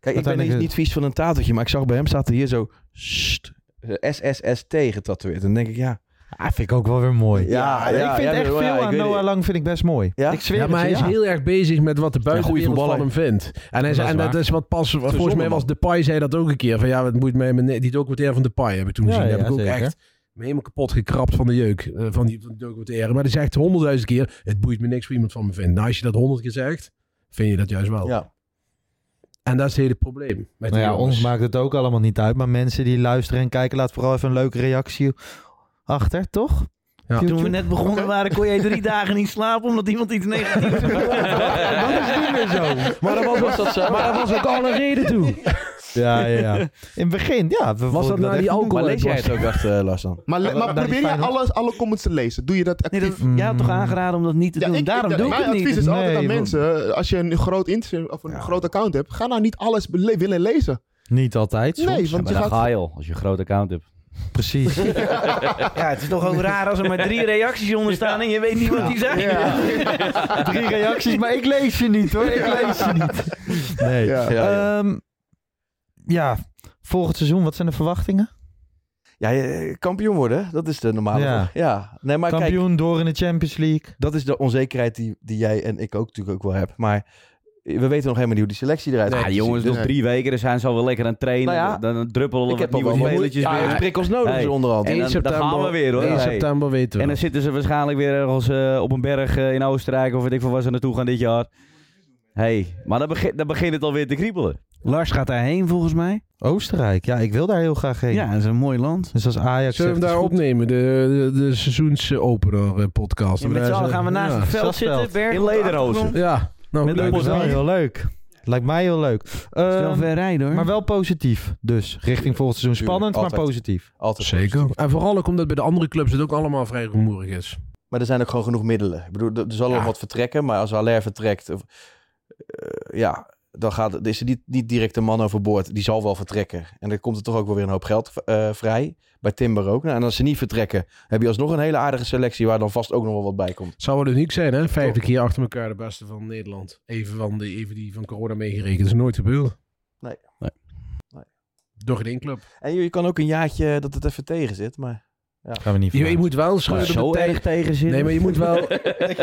[SPEAKER 9] ben niet,
[SPEAKER 11] Uiteindelijk-
[SPEAKER 10] eh,
[SPEAKER 9] niet vies van een tafeltje, maar ik zag bij hem staat er hier zo st, SSST getatoeëerd. En dan denk ik, ja.
[SPEAKER 6] Ah, vind ik ook wel weer mooi.
[SPEAKER 9] Ja,
[SPEAKER 6] ik
[SPEAKER 9] ja,
[SPEAKER 6] vind
[SPEAKER 9] ja,
[SPEAKER 6] echt
[SPEAKER 9] ja,
[SPEAKER 6] veel
[SPEAKER 9] ik
[SPEAKER 6] aan
[SPEAKER 9] weet
[SPEAKER 6] Noah
[SPEAKER 9] het.
[SPEAKER 6] Lang vind ik best mooi.
[SPEAKER 9] Ja?
[SPEAKER 6] Ik zweer
[SPEAKER 10] ja,
[SPEAKER 6] het
[SPEAKER 10] maar
[SPEAKER 6] je,
[SPEAKER 10] hij is
[SPEAKER 6] ja.
[SPEAKER 10] heel erg bezig met wat de buitenwereld
[SPEAKER 9] voetballer.
[SPEAKER 10] van hem vindt. En, hij,
[SPEAKER 9] Dat
[SPEAKER 10] zei-
[SPEAKER 9] is
[SPEAKER 10] en dat
[SPEAKER 9] waar.
[SPEAKER 10] is wat pas...
[SPEAKER 9] een
[SPEAKER 10] Volgens mij
[SPEAKER 9] zonneman.
[SPEAKER 10] was Depay, zei dat ook een keer. Van ja, het moet mij... Die documentaire van Depay heb ik toen
[SPEAKER 6] Ja,
[SPEAKER 10] gezien. Daar heb
[SPEAKER 6] ja,
[SPEAKER 10] ik ook
[SPEAKER 6] zeker.
[SPEAKER 10] echt me helemaal kapot gekrapt van de jeuk. eh, van die van die documentaire. Maar die zegt honderdduizend keer... Het boeit me niks wie iemand van me vindt. Nou, als je dat honderd keer zegt... Vind je dat juist wel.
[SPEAKER 9] Ja.
[SPEAKER 10] En dat is het hele probleem. Met
[SPEAKER 6] Nou
[SPEAKER 10] die
[SPEAKER 6] ja,
[SPEAKER 10] jongens.
[SPEAKER 6] ons maakt het ook allemaal niet uit. Maar mensen die luisteren en kijken, laat vooral even een leuke reactie achter, toch?
[SPEAKER 10] Ja.
[SPEAKER 12] Toen we
[SPEAKER 6] Op YouTube?
[SPEAKER 12] net begonnen waren, kon jij drie dagen niet slapen omdat iemand iets negatiefs
[SPEAKER 6] Dat is niet meer zo.
[SPEAKER 10] Maar daar was,
[SPEAKER 6] Was dat zo?
[SPEAKER 10] Maar daar was ook al een reden toe.
[SPEAKER 6] (laughs) Ja, ja, ja. In het begin, ja. we voelden
[SPEAKER 10] dat nou
[SPEAKER 6] echt
[SPEAKER 10] die
[SPEAKER 6] een-
[SPEAKER 10] alcohol-
[SPEAKER 9] Maar lees jij het ook echt, eh, Lars dan?
[SPEAKER 11] Maar, le-
[SPEAKER 6] Ja,
[SPEAKER 11] maar
[SPEAKER 6] maar die
[SPEAKER 11] probeer je
[SPEAKER 6] Feyenoord-
[SPEAKER 11] alles, alle comments te lezen. Doe je dat actief?
[SPEAKER 12] Jij had toch aangeraden om dat niet te doen? Daarom doe ik
[SPEAKER 11] mijn
[SPEAKER 12] het niet.
[SPEAKER 11] advies is altijd
[SPEAKER 6] Nee,
[SPEAKER 11] aan
[SPEAKER 6] want-
[SPEAKER 11] mensen, als je een groot Instagram of een groot account hebt, ga nou niet alles bele- willen lezen.
[SPEAKER 6] Niet altijd, soms.
[SPEAKER 11] Nee, want
[SPEAKER 8] maar
[SPEAKER 11] je
[SPEAKER 8] dan
[SPEAKER 11] gaat...
[SPEAKER 8] ga je al, als je een groot account hebt.
[SPEAKER 6] Precies.
[SPEAKER 12] Ja, het is toch ook raar als er maar drie reacties onder staan en je weet niet wat die zijn.
[SPEAKER 6] Drie reacties, maar ik lees je niet hoor. Ik lees je niet. Nee.
[SPEAKER 9] Ja.
[SPEAKER 6] Ja,
[SPEAKER 9] Ja, ja.
[SPEAKER 6] Ehm, volgend seizoen, wat zijn de verwachtingen?
[SPEAKER 9] Ja, je- kampioen worden, dat is de normale.
[SPEAKER 6] Ja.
[SPEAKER 9] vraag. ja. Nee, maar kijk,
[SPEAKER 6] Kampioen door in de Champions League.
[SPEAKER 9] dat is de onzekerheid die, die jij en ik ook natuurlijk ook wel heb. Maar we weten nog helemaal niet hoe die selectie eruit
[SPEAKER 8] Ja,
[SPEAKER 9] gaat.
[SPEAKER 8] jongens,
[SPEAKER 9] Dus-
[SPEAKER 8] nog drie weken, dan zijn ze al wel lekker aan het trainen.
[SPEAKER 9] Nou ja,
[SPEAKER 8] dan, dan druppelen
[SPEAKER 9] ik
[SPEAKER 8] wat
[SPEAKER 9] heb nog
[SPEAKER 8] nieuwe
[SPEAKER 9] wel wat
[SPEAKER 8] spelletjes
[SPEAKER 9] ja,
[SPEAKER 8] binnen.
[SPEAKER 9] ja, prikkels nodig
[SPEAKER 8] Hey.
[SPEAKER 9] dus onderhand.
[SPEAKER 8] En
[SPEAKER 10] In
[SPEAKER 8] dan, dan
[SPEAKER 10] september-
[SPEAKER 8] gaan we weer hoor.
[SPEAKER 10] In
[SPEAKER 8] Hey.
[SPEAKER 10] september weten we.
[SPEAKER 8] En dan zitten ze waarschijnlijk weer ergens eh, op een berg eh, in Oostenrijk of weet ik veel waar ze naartoe gaan dit jaar. hey, maar dan, begint dan begint het alweer te kriebelen.
[SPEAKER 12] Lars gaat daarheen volgens mij.
[SPEAKER 6] Oostenrijk, ja, ik wil daar heel graag heen.
[SPEAKER 12] Ja, dat is een mooi land.
[SPEAKER 6] Dus als Ajax
[SPEAKER 10] Zullen we
[SPEAKER 6] zegt,
[SPEAKER 10] hem
[SPEAKER 6] is
[SPEAKER 10] daar
[SPEAKER 6] goed.
[SPEAKER 10] opnemen? De, de, de seizoensopener eh, podcast.
[SPEAKER 12] Ja, met z'n allen gaan we naast
[SPEAKER 10] Ja.
[SPEAKER 12] het veld
[SPEAKER 6] Stadsveld.
[SPEAKER 12] zitten. Berg
[SPEAKER 8] In
[SPEAKER 12] op de
[SPEAKER 8] lederhozen.
[SPEAKER 12] achtergrond.
[SPEAKER 10] Ja, nou
[SPEAKER 12] Met
[SPEAKER 10] leuk.
[SPEAKER 6] Lijkt me wel
[SPEAKER 12] Bosnië.
[SPEAKER 6] heel leuk. Lijkt mij heel leuk.
[SPEAKER 12] Het is wel
[SPEAKER 6] Ehm,
[SPEAKER 12] ver rijden hoor.
[SPEAKER 6] maar wel positief dus. Richting volgend seizoen.
[SPEAKER 9] Tuurlijk,
[SPEAKER 6] Spannend, maar
[SPEAKER 9] altijd.
[SPEAKER 6] positief.
[SPEAKER 9] Altijd
[SPEAKER 10] Zeker. En vooral ook omdat bij de andere clubs het ook allemaal vrij rumoerig is.
[SPEAKER 9] Maar er zijn ook gewoon genoeg middelen. Ik bedoel, er er zal wel
[SPEAKER 10] Ja.
[SPEAKER 9] wat vertrekken, maar als Haller vertrekt, of, eh, ja, dan gaat, dan is er niet, niet direct een man overboord. Die zal wel vertrekken. En dan komt er toch ook wel weer een hoop geld eh, vrij. Bij Timber ook. Nou, en als ze niet vertrekken, heb je alsnog een hele aardige selectie waar dan vast ook nog wel wat bij komt.
[SPEAKER 10] Zou wel uniek zijn, hè? Vijfde keer achter elkaar de beste van Nederland. Even, van de, even die van corona meegerekend. Dat is nooit gebeurd.
[SPEAKER 9] Nee.
[SPEAKER 8] Nee.
[SPEAKER 9] Nee.
[SPEAKER 10] Door geen één club.
[SPEAKER 9] En je, je kan ook een jaartje eh, dat het even tegen zit, maar...
[SPEAKER 6] Gaan we niet
[SPEAKER 10] Je, je
[SPEAKER 6] van.
[SPEAKER 10] moet wel schudden
[SPEAKER 8] zo
[SPEAKER 10] met de
[SPEAKER 8] erg tegen zin.
[SPEAKER 10] tijd. Nee, maar je moet wel...
[SPEAKER 12] (laughs)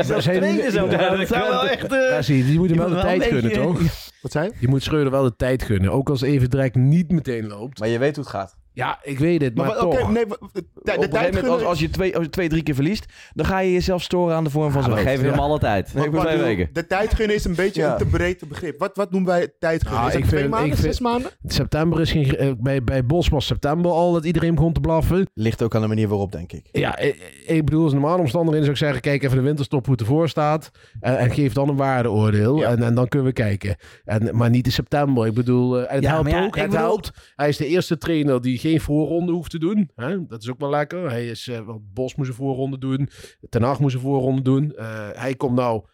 [SPEAKER 12] Dat
[SPEAKER 10] Zijn-
[SPEAKER 12] tweede zo.
[SPEAKER 10] Ja,
[SPEAKER 12] Dat zou wel echt... eh,
[SPEAKER 10] zie je, je moet hem wel de
[SPEAKER 12] moet wel
[SPEAKER 10] tijd
[SPEAKER 12] een
[SPEAKER 10] gunnen,
[SPEAKER 12] beetje-
[SPEAKER 10] toch?
[SPEAKER 11] Wat zei je?
[SPEAKER 10] Je moet Schreuder wel de tijd gunnen. Ook als even direct niet meteen loopt.
[SPEAKER 9] Maar je weet hoe het gaat.
[SPEAKER 10] Ja, ik weet het, maar,
[SPEAKER 11] Maar, wa-
[SPEAKER 10] toch.
[SPEAKER 11] oké, nee, wa- de, de
[SPEAKER 9] Op een gegeven
[SPEAKER 11] tijd
[SPEAKER 9] moment, als,
[SPEAKER 11] gunnen-
[SPEAKER 9] als, je twee, als je twee, drie keer verliest, dan ga je jezelf storen aan de vorm van
[SPEAKER 8] we
[SPEAKER 9] zo'n hoofd.
[SPEAKER 8] geven hem alle tijd.
[SPEAKER 9] Nee, ik bedoel-
[SPEAKER 8] twee weken.
[SPEAKER 11] De tijd gunnen is een beetje
[SPEAKER 9] Ja.
[SPEAKER 11] een te breed begrip. Wat, wat noemen wij tijd gunnen?
[SPEAKER 10] Ah,
[SPEAKER 11] is dat
[SPEAKER 10] ik
[SPEAKER 11] twee
[SPEAKER 10] vind-
[SPEAKER 11] maanden,
[SPEAKER 10] ik
[SPEAKER 11] zes
[SPEAKER 10] vind-
[SPEAKER 11] maanden?
[SPEAKER 10] September is geen... eh, Bij, bij Bos was september al dat iedereen begon te blaffen.
[SPEAKER 9] Ligt ook aan de manier waarop, denk ik.
[SPEAKER 10] Ja, eh, eh, ik bedoel, als normale omstandigheden zou ik zeggen... kijk even de winterstop hoe het ervoor staat... en, en geef dan een waardeoordeel en, en dan kunnen we kijken. En, maar niet in september, ik bedoel... eh, en het
[SPEAKER 12] Ja,
[SPEAKER 10] helpt
[SPEAKER 12] maar ja,
[SPEAKER 10] ook,
[SPEAKER 12] ik
[SPEAKER 10] het
[SPEAKER 12] bedoel-
[SPEAKER 10] helpt. Hij is de eerste trainer die geen voorronde hoeft te doen. Hè? Dat is ook wel lekker. Hij is, eh, want Bos moest een voorronde doen, Ten Hag moest een voorronde doen. Eh, hij komt nou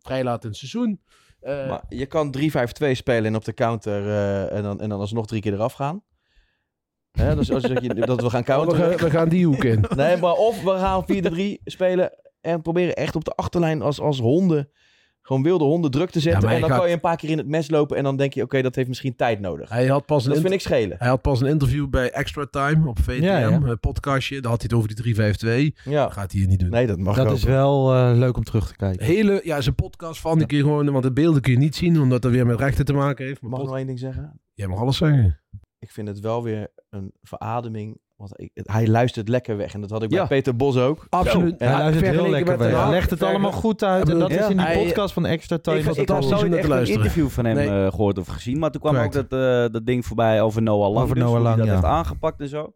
[SPEAKER 10] vrij laat in het seizoen. Eh,
[SPEAKER 9] Maar je kan 3-5-2 spelen en op de counter eh, en, dan, en dan alsnog drie keer eraf gaan. Hè, dus als je, dat
[SPEAKER 10] (laughs) we,
[SPEAKER 9] we gaan
[SPEAKER 10] gaan,
[SPEAKER 9] counteren.
[SPEAKER 10] we gaan die hoek in.
[SPEAKER 9] Nee, maar of we gaan 4-3 spelen en proberen echt op de achterlijn als, als honden, gewoon wilde honden druk te
[SPEAKER 10] Ja,
[SPEAKER 9] zetten.
[SPEAKER 10] maar
[SPEAKER 9] en
[SPEAKER 10] hij
[SPEAKER 9] dan
[SPEAKER 10] gaat-
[SPEAKER 9] kan je een paar keer in het mes lopen en dan denk je, oké, dat heeft misschien tijd nodig. Dus
[SPEAKER 10] Hij had pas een
[SPEAKER 9] Dat
[SPEAKER 10] inter-
[SPEAKER 9] vind ik schelen.
[SPEAKER 10] Hij had pas een interview bij Extra Time op VTM,
[SPEAKER 6] Ja, ja.
[SPEAKER 10] eh, podcastje. Daar had hij het over die 352. Dat
[SPEAKER 9] Ja.
[SPEAKER 10] gaat hij hier niet doen.
[SPEAKER 9] Oh. Nee, dat mag
[SPEAKER 6] Dat
[SPEAKER 9] ook.
[SPEAKER 6] is wel eh, leuk om terug te kijken.
[SPEAKER 10] Hele, ja, zijn podcast van, die kun je gewoon, want de beelden kun je niet zien, omdat dat weer met rechten te maken heeft. Maar
[SPEAKER 9] Mag ik
[SPEAKER 10] pod-
[SPEAKER 9] nog één ding zeggen?
[SPEAKER 10] Jij mag alles zeggen.
[SPEAKER 9] ik vind het wel weer een verademing. Want ik, hij luistert lekker weg. En dat had ik bij
[SPEAKER 6] Ja.
[SPEAKER 9] Peter Bos ook.
[SPEAKER 6] Absoluut.
[SPEAKER 9] En
[SPEAKER 6] Hij luistert heel
[SPEAKER 9] vergeleken
[SPEAKER 6] lekker
[SPEAKER 9] met
[SPEAKER 6] weg.
[SPEAKER 9] Den Haag-
[SPEAKER 6] Hij legt het allemaal goed uit. En dat is in die
[SPEAKER 9] Hij-
[SPEAKER 6] podcast van Extra Time.
[SPEAKER 8] Ik,
[SPEAKER 6] was
[SPEAKER 8] ik
[SPEAKER 6] het
[SPEAKER 8] had
[SPEAKER 6] allemaal.
[SPEAKER 8] nooit echt een interview van hem eh, gehoord of gezien. Maar toen kwam
[SPEAKER 6] Correct.
[SPEAKER 8] ook dat, eh, dat ding voorbij over Noah Lang.
[SPEAKER 6] Over
[SPEAKER 8] dus,
[SPEAKER 6] Noah
[SPEAKER 8] hoe hij
[SPEAKER 6] Lang,
[SPEAKER 8] dat
[SPEAKER 6] ja.
[SPEAKER 8] heeft aangepakt en zo. Toen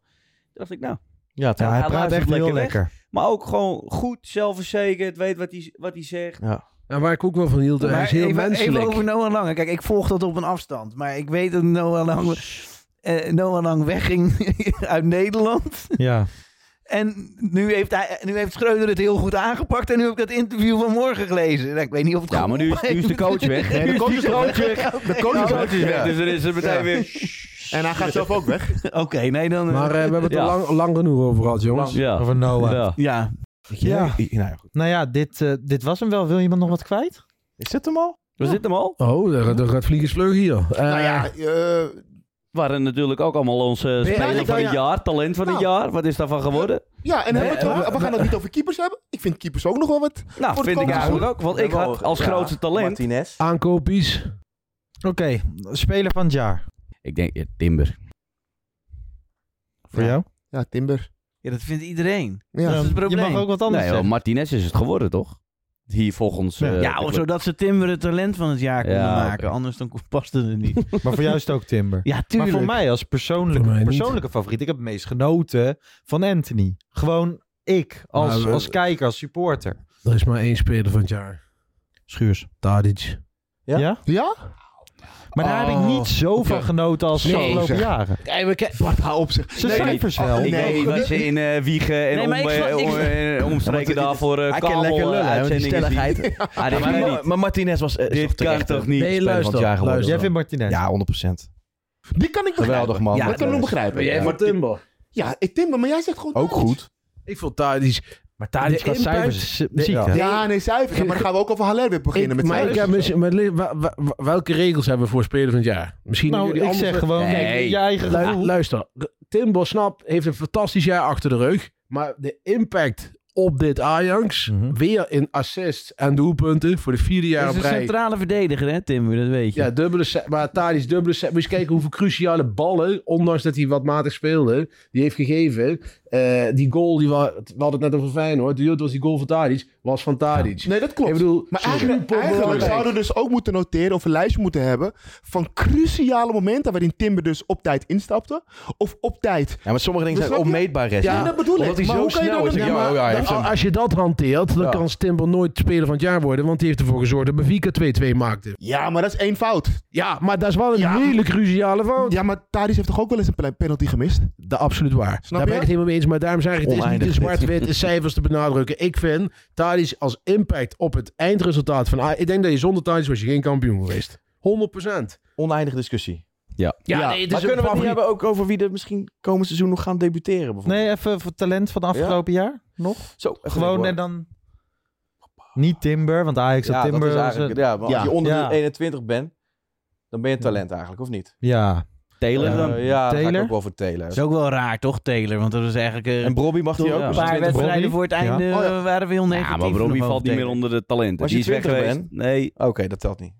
[SPEAKER 8] dacht ik, nou...
[SPEAKER 9] Ja,
[SPEAKER 6] hij praat
[SPEAKER 8] luistert
[SPEAKER 6] echt heel
[SPEAKER 8] weg,
[SPEAKER 6] lekker.
[SPEAKER 8] Maar ook gewoon goed, zelfverzekerd, weet wat hij, wat hij zegt.
[SPEAKER 9] Ja.
[SPEAKER 10] Ja, waar ik ook wel van hield, hij is heel
[SPEAKER 21] even,
[SPEAKER 10] menselijk.
[SPEAKER 21] Even over Noah Lang. Kijk, ik volg dat op een afstand. Maar ik weet dat Noah Lang, eh, Noah Lang wegging uit Nederland.
[SPEAKER 6] Ja.
[SPEAKER 21] En nu heeft, hij, nu heeft Schreuder het heel goed aangepakt. En nu heb ik dat interview van morgen gelezen. Nou, ik weet niet of het
[SPEAKER 8] Ja, maar nu is, nu is de (laughs) coach weg.
[SPEAKER 21] Nu
[SPEAKER 8] Nu
[SPEAKER 21] komt de coach weg.
[SPEAKER 8] De coach
[SPEAKER 21] Ja,
[SPEAKER 8] is weg.
[SPEAKER 21] ja.
[SPEAKER 8] Dus er is er meteen
[SPEAKER 21] Ja.
[SPEAKER 8] weer...
[SPEAKER 21] En hij gaat zelf ook
[SPEAKER 8] weg.
[SPEAKER 21] (laughs) Oké, nee dan...
[SPEAKER 10] Maar eh, we hebben het
[SPEAKER 21] Ja.
[SPEAKER 10] er lang, lang genoeg over gehad, jongens.
[SPEAKER 8] Ja.
[SPEAKER 6] Over
[SPEAKER 10] Oh,
[SPEAKER 6] Noah.
[SPEAKER 8] Ja.
[SPEAKER 21] Ja.
[SPEAKER 6] Ja.
[SPEAKER 9] Nou ja, goed.
[SPEAKER 6] Nou ja, dit, eh, dit was hem wel. Wil iemand nog wat kwijt?
[SPEAKER 9] Is dit hem al?
[SPEAKER 8] We zitten hem al.
[SPEAKER 10] Oh, daar, daar gaat vliegensvleug hier. Eh,
[SPEAKER 8] Nou ja,
[SPEAKER 11] eh,
[SPEAKER 8] waren natuurlijk ook allemaal onze speler
[SPEAKER 7] ik
[SPEAKER 8] van
[SPEAKER 7] dan-
[SPEAKER 8] het jaar, talent van het
[SPEAKER 7] Nou.
[SPEAKER 8] jaar. Wat is daarvan geworden?
[SPEAKER 7] Ja, en hebben
[SPEAKER 8] Nee,
[SPEAKER 7] we, het
[SPEAKER 8] eh,
[SPEAKER 7] over- we gaan het niet over keepers hebben. Ik vind keepers ook nog wel wat.
[SPEAKER 8] Nou,
[SPEAKER 7] voor het
[SPEAKER 8] vind ik
[SPEAKER 7] komende
[SPEAKER 8] eigenlijk
[SPEAKER 7] seizoen.
[SPEAKER 8] ook. Want ik had als grootste talent...
[SPEAKER 9] Martinez.
[SPEAKER 10] Aankoopies.
[SPEAKER 6] Oké, speler van het jaar.
[SPEAKER 8] Ik denk eh, Timber.
[SPEAKER 6] Voor jou?
[SPEAKER 7] Ja, Timber.
[SPEAKER 21] Ja, dat vindt iedereen.
[SPEAKER 7] Ja.
[SPEAKER 21] Dat is het
[SPEAKER 6] Je mag
[SPEAKER 21] probleem.
[SPEAKER 6] ook wat anders
[SPEAKER 8] Nee, joh, Martinez is het geworden, toch? Hier volgens... eh,
[SPEAKER 21] ja,
[SPEAKER 8] de
[SPEAKER 21] of
[SPEAKER 8] club.
[SPEAKER 21] zodat ze Timber het talent van het jaar konden
[SPEAKER 8] Ja, oké.
[SPEAKER 21] maken. Anders dan past het er niet.
[SPEAKER 6] Maar voor jou is het ook Timber.
[SPEAKER 21] Ja, tuurlijk.
[SPEAKER 6] Maar voor mij als persoonlijke,
[SPEAKER 21] niet.
[SPEAKER 6] persoonlijke favoriet, ik heb het meest genoten van Anthony. Gewoon ik, als,
[SPEAKER 10] Maar we-
[SPEAKER 6] als kijker, als supporter.
[SPEAKER 10] Er is maar één speler van het jaar.
[SPEAKER 6] Schuurs.
[SPEAKER 10] Tadic.
[SPEAKER 6] Ja? Ja? Oh. Maar daar heb ik niet zo van genoten als de afgelopen jaren.
[SPEAKER 10] Kijk, we ke-
[SPEAKER 7] Bart, hou op zich.
[SPEAKER 6] Ze cijfers wel.
[SPEAKER 8] Ik
[SPEAKER 6] Nee,
[SPEAKER 8] weet dat ze in eh, Wiegen en
[SPEAKER 21] Nee,
[SPEAKER 8] om,
[SPEAKER 21] maar ik snap-
[SPEAKER 8] eh,
[SPEAKER 21] ik-
[SPEAKER 8] om- eh, omstreken
[SPEAKER 9] Ja, want-
[SPEAKER 8] daarvoor eh,
[SPEAKER 9] Hij kan
[SPEAKER 8] kabel
[SPEAKER 9] lekker lullen, hè,
[SPEAKER 8] eh,
[SPEAKER 9] want die
[SPEAKER 8] uitzendingen zien.
[SPEAKER 9] (laughs) stelligheid.
[SPEAKER 8] Ah, dit kan
[SPEAKER 9] maar,
[SPEAKER 8] niet.
[SPEAKER 9] maar Martinez was... eh, is
[SPEAKER 8] Dit
[SPEAKER 9] toch
[SPEAKER 8] kan
[SPEAKER 9] echt,
[SPEAKER 8] toch
[SPEAKER 9] eh,
[SPEAKER 8] niet?
[SPEAKER 9] speler
[SPEAKER 8] Nee,
[SPEAKER 9] van het
[SPEAKER 8] luister,
[SPEAKER 9] jaar geworden.
[SPEAKER 6] Jij vindt Martinez.
[SPEAKER 9] Ja, 100%.
[SPEAKER 7] Die kan ik begrijpen.
[SPEAKER 9] Geweldig, man.
[SPEAKER 7] Ja, dat
[SPEAKER 9] Martinez.
[SPEAKER 7] kan ik nog begrijpen.
[SPEAKER 9] Maar jij
[SPEAKER 7] ja.
[SPEAKER 9] vond
[SPEAKER 10] Timber.
[SPEAKER 7] Ja, eh, Timber, maar jij zegt gewoon
[SPEAKER 9] Ook
[SPEAKER 7] Tadic.
[SPEAKER 9] goed.
[SPEAKER 10] Ik vond Tadic...
[SPEAKER 6] Maar
[SPEAKER 10] Tadic
[SPEAKER 6] qua cijfers is ziek,
[SPEAKER 7] Ja,
[SPEAKER 6] hè?
[SPEAKER 7] Ja, nee, cijfers. Ja, maar dan gaan we ook over Haller weer beginnen
[SPEAKER 10] Ik-
[SPEAKER 7] met
[SPEAKER 10] maar ik
[SPEAKER 7] cijfers.
[SPEAKER 10] heb misschien- maar li- wa- wa- wa- welke regels hebben we voor speler van het jaar? Misschien
[SPEAKER 6] Nou,
[SPEAKER 10] jullie
[SPEAKER 6] ik
[SPEAKER 10] anders-
[SPEAKER 6] zeg gewoon, Nee. kijk, je eigen
[SPEAKER 10] Lu-
[SPEAKER 6] gevoel.
[SPEAKER 10] Luister, Tim Bosnap heeft een fantastisch jaar achter de rug. Maar de impact op dit Ajax,
[SPEAKER 6] Mhm.
[SPEAKER 10] weer in assists en doelpunten voor de vierde jaar
[SPEAKER 21] Hij
[SPEAKER 10] op
[SPEAKER 21] is een
[SPEAKER 10] rij.
[SPEAKER 21] centrale verdediger, hè, Timber? Dat weet je.
[SPEAKER 10] Ja, dubbele set. Maar Thadis, dubbele set. Moet je eens kijken hoeveel cruciale ballen, ondanks dat hij wat matig speelde, die heeft gegeven. Eh, die goal, die wa- we hadden het net over Feyenoord. Die was die goal van Tadic, was van Tadic.
[SPEAKER 7] Nee, dat klopt.
[SPEAKER 10] Ik bedoel,
[SPEAKER 7] maar
[SPEAKER 10] super
[SPEAKER 7] eigenlijk,
[SPEAKER 10] belangrijk.
[SPEAKER 7] eigenlijk zouden we dus ook moeten noteren of een lijstje moeten hebben van cruciale momenten waarin Timber dus op tijd instapte. Of op tijd.
[SPEAKER 9] Ja, maar sommige dingen
[SPEAKER 7] Dus
[SPEAKER 9] zijn
[SPEAKER 7] snap je?
[SPEAKER 9] onmeetbaar, Ressie.
[SPEAKER 7] Ja, dat bedoel
[SPEAKER 9] Omdat
[SPEAKER 7] ik.
[SPEAKER 9] hij
[SPEAKER 7] Maar
[SPEAKER 9] zo
[SPEAKER 7] hoe kan je
[SPEAKER 9] snel
[SPEAKER 7] dat
[SPEAKER 9] is.
[SPEAKER 7] dan-
[SPEAKER 9] Ik-
[SPEAKER 7] Ja,
[SPEAKER 9] Ja,
[SPEAKER 7] maar-
[SPEAKER 9] oh ja, hij
[SPEAKER 10] Dan-
[SPEAKER 9] heeft hem.
[SPEAKER 10] als je dat hanteert, dan
[SPEAKER 9] Ja.
[SPEAKER 10] kan Timber nooit speler van het jaar worden. Want die heeft ervoor gezorgd dat Bavika 2-2 maakte.
[SPEAKER 7] Ja, maar dat is één fout.
[SPEAKER 10] Ja, maar dat is wel een hele cruciale fout.
[SPEAKER 7] Ja, maar Tadic heeft toch ook wel eens een ple- penalty gemist?
[SPEAKER 10] Dat absoluut waar.
[SPEAKER 7] Snap
[SPEAKER 10] Daar ben
[SPEAKER 7] je?
[SPEAKER 10] ik het helemaal mee eens. Maar daarom zeg ik, het is niet
[SPEAKER 9] Oneindig
[SPEAKER 10] in
[SPEAKER 9] dit.
[SPEAKER 10] zwart-wit in cijfers te benadrukken. Ik vind Tadic als impact op het eindresultaat van... A- Ik denk dat je zonder Tadic was je geen kampioen geweest. 100%.
[SPEAKER 9] Oneindige discussie.
[SPEAKER 8] Ja.
[SPEAKER 10] Ja,
[SPEAKER 9] maar
[SPEAKER 10] nee, het is
[SPEAKER 9] Dus kunnen we
[SPEAKER 10] een
[SPEAKER 9] het
[SPEAKER 10] favoriet.
[SPEAKER 9] niet hebben ook over wie er misschien komend seizoen nog gaan debuteren? Bijvoorbeeld?
[SPEAKER 6] Nee, even voor talent van afgelopen jaar nog.
[SPEAKER 9] Zo, even
[SPEAKER 6] Gewoon
[SPEAKER 9] denken,
[SPEAKER 6] en dan... Niet Timber, want Ajax had
[SPEAKER 9] ja,
[SPEAKER 6] Timber.
[SPEAKER 9] dat is
[SPEAKER 6] was
[SPEAKER 9] eigenlijk,
[SPEAKER 6] een-
[SPEAKER 9] ja, maar als je onder
[SPEAKER 6] Ja.
[SPEAKER 9] de 21 bent, dan ben je talent eigenlijk, of niet?
[SPEAKER 6] Ja.
[SPEAKER 8] Taylor
[SPEAKER 9] Eh,
[SPEAKER 8] dan?
[SPEAKER 9] ja, dan ga ik
[SPEAKER 21] Taylor?
[SPEAKER 9] ook wel voor Taylor.
[SPEAKER 21] Dat is ook wel raar, toch, Taylor? Want dat is eigenlijk... eh,
[SPEAKER 9] En Brobby mag die ook?
[SPEAKER 21] Een
[SPEAKER 9] Als je
[SPEAKER 21] paar
[SPEAKER 9] 20
[SPEAKER 21] wedstrijden
[SPEAKER 9] Brobby?
[SPEAKER 21] voor het einde
[SPEAKER 9] Ja. Oh,
[SPEAKER 21] eh, waren we heel negatief.
[SPEAKER 8] Ja, maar Robbie
[SPEAKER 21] nog
[SPEAKER 8] valt niet
[SPEAKER 21] over
[SPEAKER 8] meer onder de talenten.
[SPEAKER 9] Als
[SPEAKER 8] Die
[SPEAKER 9] je
[SPEAKER 8] is weg
[SPEAKER 9] 20
[SPEAKER 8] geweest.
[SPEAKER 9] bent?
[SPEAKER 8] Nee.
[SPEAKER 9] Oké, dat telt niet.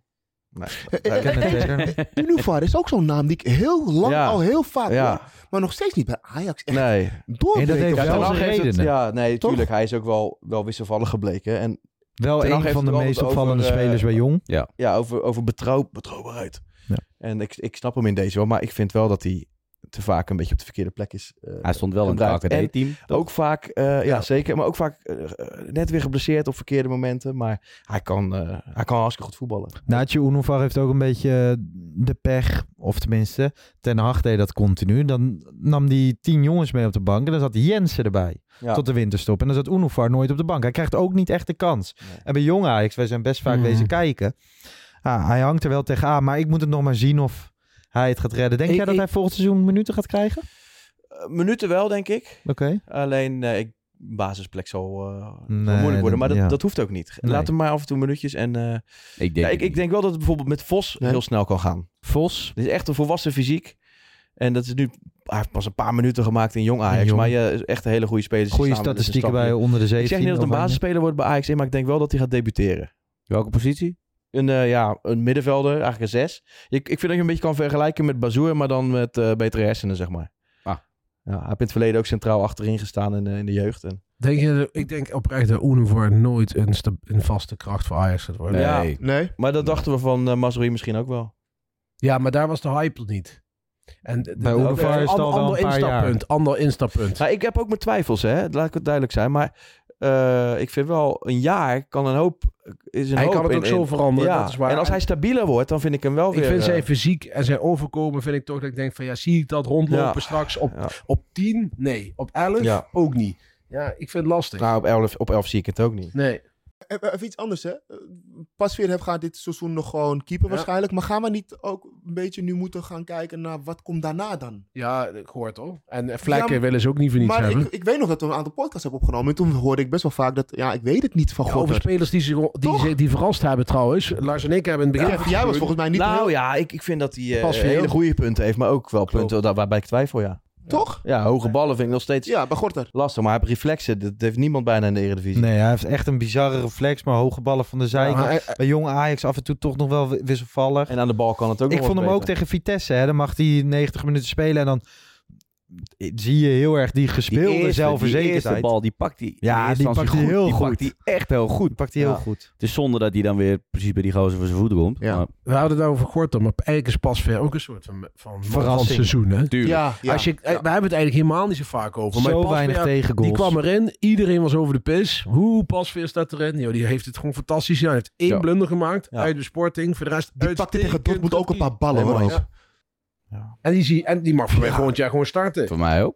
[SPEAKER 9] Nee.
[SPEAKER 7] Eh, eh, eh, Unuvar is ook zo'n naam die ik heel lang,
[SPEAKER 9] Ja.
[SPEAKER 7] al heel vaak
[SPEAKER 9] Ja.
[SPEAKER 7] hoor. Maar nog steeds niet bij Ajax. Echt
[SPEAKER 9] Nee.
[SPEAKER 7] doorbreken
[SPEAKER 6] Nee, dat heeft
[SPEAKER 7] of
[SPEAKER 9] Ja,
[SPEAKER 7] zo.
[SPEAKER 6] wel
[SPEAKER 9] Ten Hag
[SPEAKER 6] zijn
[SPEAKER 9] heeft het-
[SPEAKER 6] redenen.
[SPEAKER 9] ja, nee, tuurlijk. Hij is ook wel, wel wisselvallig gebleken. En
[SPEAKER 6] Wel
[SPEAKER 9] Ten Hag
[SPEAKER 6] een
[SPEAKER 9] heeft
[SPEAKER 6] van de
[SPEAKER 9] het wel
[SPEAKER 6] meest
[SPEAKER 9] over,
[SPEAKER 6] opvallende
[SPEAKER 9] eh,
[SPEAKER 6] spelers bij Jong.
[SPEAKER 8] Ja.
[SPEAKER 9] ja, over, over betrouw, betrouwbaarheid.
[SPEAKER 6] Ja.
[SPEAKER 9] En ik, ik snap hem in deze wel, maar ik vind wel dat hij te vaak een beetje op de verkeerde plek is. eh,
[SPEAKER 8] Hij stond wel in het
[SPEAKER 9] gebruikt. En
[SPEAKER 8] AKD-team.
[SPEAKER 9] Ook vaak, eh, ja, zeker, maar ook vaak eh, eh, net weer geblesseerd op verkeerde momenten. Maar hij kan, eh, hij kan hartstikke goed voetballen.
[SPEAKER 6] Naatje Unovar heeft ook een beetje eh, de pech, of tenminste, Ten Hag deed dat continu. Dan nam hij tien jongens mee op de bank en dan zat Jensen erbij
[SPEAKER 9] Ja.
[SPEAKER 6] tot de winterstop. En dan zat Unovar nooit op de bank. Hij krijgt ook niet echt de kans. En bij Jong Ajax, wij zijn best vaak
[SPEAKER 21] Mhm.
[SPEAKER 6] wezen kijken. Ah, hij hangt er wel tegenaan, maar ik moet het nog maar zien of hij het gaat redden. Denk
[SPEAKER 9] Ik-
[SPEAKER 6] jij dat
[SPEAKER 9] ik-
[SPEAKER 6] hij volgend seizoen minuten gaat krijgen?
[SPEAKER 9] Eh, minuten wel, denk ik.
[SPEAKER 6] Oké.
[SPEAKER 9] Alleen eh, ik, basisplek zal, eh, zal
[SPEAKER 6] Nee,
[SPEAKER 9] moeilijk worden. Maar dat,
[SPEAKER 6] ja.
[SPEAKER 9] dat hoeft ook niet.
[SPEAKER 6] Nee.
[SPEAKER 9] Laat hem maar af en toe minuutjes. En, eh,
[SPEAKER 8] Ik denk
[SPEAKER 9] ja, ik, ik denk wel dat het bijvoorbeeld met Vos
[SPEAKER 7] Nee.
[SPEAKER 9] heel snel kan gaan.
[SPEAKER 6] Vos.
[SPEAKER 9] Dit is echt een volwassen fysiek. En dat is nu, hij heeft pas een paar minuten gemaakt in jong Ajax.
[SPEAKER 6] jong.
[SPEAKER 9] Maar je is echt een hele goede speler. Ze
[SPEAKER 6] Goede
[SPEAKER 9] staan wel eens dus een
[SPEAKER 6] statistieken bij
[SPEAKER 9] stapje.
[SPEAKER 6] onder de 17.
[SPEAKER 9] Ik zeg niet dat het een
[SPEAKER 6] Oranje.
[SPEAKER 9] basisspeler wordt bij Ajax, maar ik denk wel dat hij gaat debuteren.
[SPEAKER 8] Welke positie?
[SPEAKER 9] Een, eh, ja, een middenvelder, eigenlijk een zes. Ik, ik vind dat je hem een beetje kan vergelijken met Bazoer, maar dan met eh, betere hersenen, zeg maar. Ja, hij heeft in het verleden ook centraal achterin gestaan in, eh, in de jeugd. En,
[SPEAKER 10] Denk je, ik denk oprecht dat Univor nooit een, sta- een vaste kracht voor Ajax gaat worden.
[SPEAKER 9] Ja, Maar dat dachten we van eh Mazraoui misschien ook wel.
[SPEAKER 10] Ja, maar daar was de hype niet. En de-
[SPEAKER 9] Bij
[SPEAKER 10] de-
[SPEAKER 9] Univor
[SPEAKER 10] ook
[SPEAKER 9] is
[SPEAKER 10] een
[SPEAKER 9] het al
[SPEAKER 10] ander-
[SPEAKER 9] wel een
[SPEAKER 10] ander
[SPEAKER 9] paar jaar.
[SPEAKER 10] instappunt, Ander instappunt.
[SPEAKER 9] Nou, ik heb ook mijn twijfels, hè. Laat ik het duidelijk zijn. Maar eh, ik vind wel, een jaar kan een hoop... Is een
[SPEAKER 10] Hij
[SPEAKER 9] hoop
[SPEAKER 10] kan het
[SPEAKER 9] in-
[SPEAKER 10] ook zo
[SPEAKER 9] in-
[SPEAKER 10] veranderen,
[SPEAKER 9] Ja.
[SPEAKER 10] dat is waar.
[SPEAKER 9] En als hij stabieler wordt, dan vind ik hem wel
[SPEAKER 10] Ik
[SPEAKER 9] weer...
[SPEAKER 10] vind
[SPEAKER 9] eh,
[SPEAKER 10] zijn fysiek en zijn overkomen vind ik toch dat ik denk van ja, zie ik dat rondlopen
[SPEAKER 9] Ja.
[SPEAKER 10] straks op, op 10? Nee. Op 11?
[SPEAKER 9] Ja.
[SPEAKER 10] Ook niet. Ja, ik vind het lastig.
[SPEAKER 9] Nou, op 11 op elf zie ik het ook niet.
[SPEAKER 10] Nee.
[SPEAKER 19] Even even iets anders, hè. Eh, Pasveer heeft- gaat dit seizoen nog gewoon keeper
[SPEAKER 10] Ja.
[SPEAKER 19] waarschijnlijk. Maar gaan we niet ook een beetje nu moeten gaan kijken naar wat komt daarna dan?
[SPEAKER 10] Ja, ik hoor het al. En eh,
[SPEAKER 19] Ja,
[SPEAKER 10] vlekken
[SPEAKER 19] maar-
[SPEAKER 10] willen ze ook niet voor niets
[SPEAKER 19] maar
[SPEAKER 10] hebben.
[SPEAKER 19] Ik, ik weet nog dat we een aantal podcasts hebben opgenomen. En toen hoorde ik best wel vaak dat, ja, ik weet het niet van
[SPEAKER 10] Ja,
[SPEAKER 19] God.
[SPEAKER 10] over spelers die, ze, die, ze- die verrast hebben trouwens. Lars en ik hebben in het begin...
[SPEAKER 19] Ja, jij was volgens mij niet
[SPEAKER 9] Nou
[SPEAKER 19] heel-
[SPEAKER 9] ja, ik, ik vind dat hij eh,
[SPEAKER 10] Pas veel.
[SPEAKER 9] hele goede punten heeft, maar ook wel punten daar- waarbij ik twijfel, ja.
[SPEAKER 19] Toch?
[SPEAKER 9] Ja, hoge ballen vind ik nog steeds
[SPEAKER 19] ja, bij Gorter.
[SPEAKER 9] lastig. Maar hij heeft reflexen, dat heeft niemand bijna in de Eredivisie.
[SPEAKER 6] Nee, hij heeft echt een bizarre reflex, maar hoge ballen van de zijkant.
[SPEAKER 10] Ah,
[SPEAKER 9] maar
[SPEAKER 10] eh,
[SPEAKER 9] hij-
[SPEAKER 6] Bij jonge Ajax af en toe toch nog wel wi- wisselvallig.
[SPEAKER 9] En aan de bal kan het ook
[SPEAKER 6] Ik
[SPEAKER 9] nog
[SPEAKER 6] vond
[SPEAKER 9] wat
[SPEAKER 6] hem ook
[SPEAKER 9] beter.
[SPEAKER 6] tegen Vitesse, hè. Dan mag hij 90 minuten spelen en dan zie je heel erg die gespeelde
[SPEAKER 8] eerste- die
[SPEAKER 6] zelfverzekerdheid.
[SPEAKER 8] eerste bal, die pakt hij in
[SPEAKER 6] Ja,
[SPEAKER 8] eerste
[SPEAKER 6] die
[SPEAKER 8] instantie
[SPEAKER 6] pakt hij heel
[SPEAKER 8] Die
[SPEAKER 6] goed.
[SPEAKER 8] pakt hij echt heel goed.
[SPEAKER 6] pakt hij heel goed.
[SPEAKER 8] Het is zonde dat hij dan weer precies bij die gozer voor zijn voeten komt. Maar-
[SPEAKER 10] We hadden het over Gorter, maar eigenlijk is Pasveer ook een soort van, van
[SPEAKER 8] Verrassing.
[SPEAKER 10] van seizoen. Hè?
[SPEAKER 8] Tuurlijk. Ja, ja.
[SPEAKER 10] Als je, eh, We hebben het eigenlijk helemaal niet zo vaak over.
[SPEAKER 6] Zo
[SPEAKER 10] maar Pasveer,
[SPEAKER 6] weinig tegengoals.
[SPEAKER 10] Die kwam erin, iedereen was over de pis. Hoe Pasveer staat erin? Yo, die heeft het gewoon fantastisch gedaan. Hij heeft één
[SPEAKER 19] Ja.
[SPEAKER 10] blunder gemaakt
[SPEAKER 19] Ja.
[SPEAKER 10] uit de sporting. Voor de rest
[SPEAKER 19] Die pakte tegen Dortmund ook een paar ballen,
[SPEAKER 10] Nee,
[SPEAKER 19] hoor.
[SPEAKER 10] maar-
[SPEAKER 19] ook.
[SPEAKER 10] Ja. En, die zie, en die mag voor mij volgend jaar gewoon starten.
[SPEAKER 8] Voor mij ook.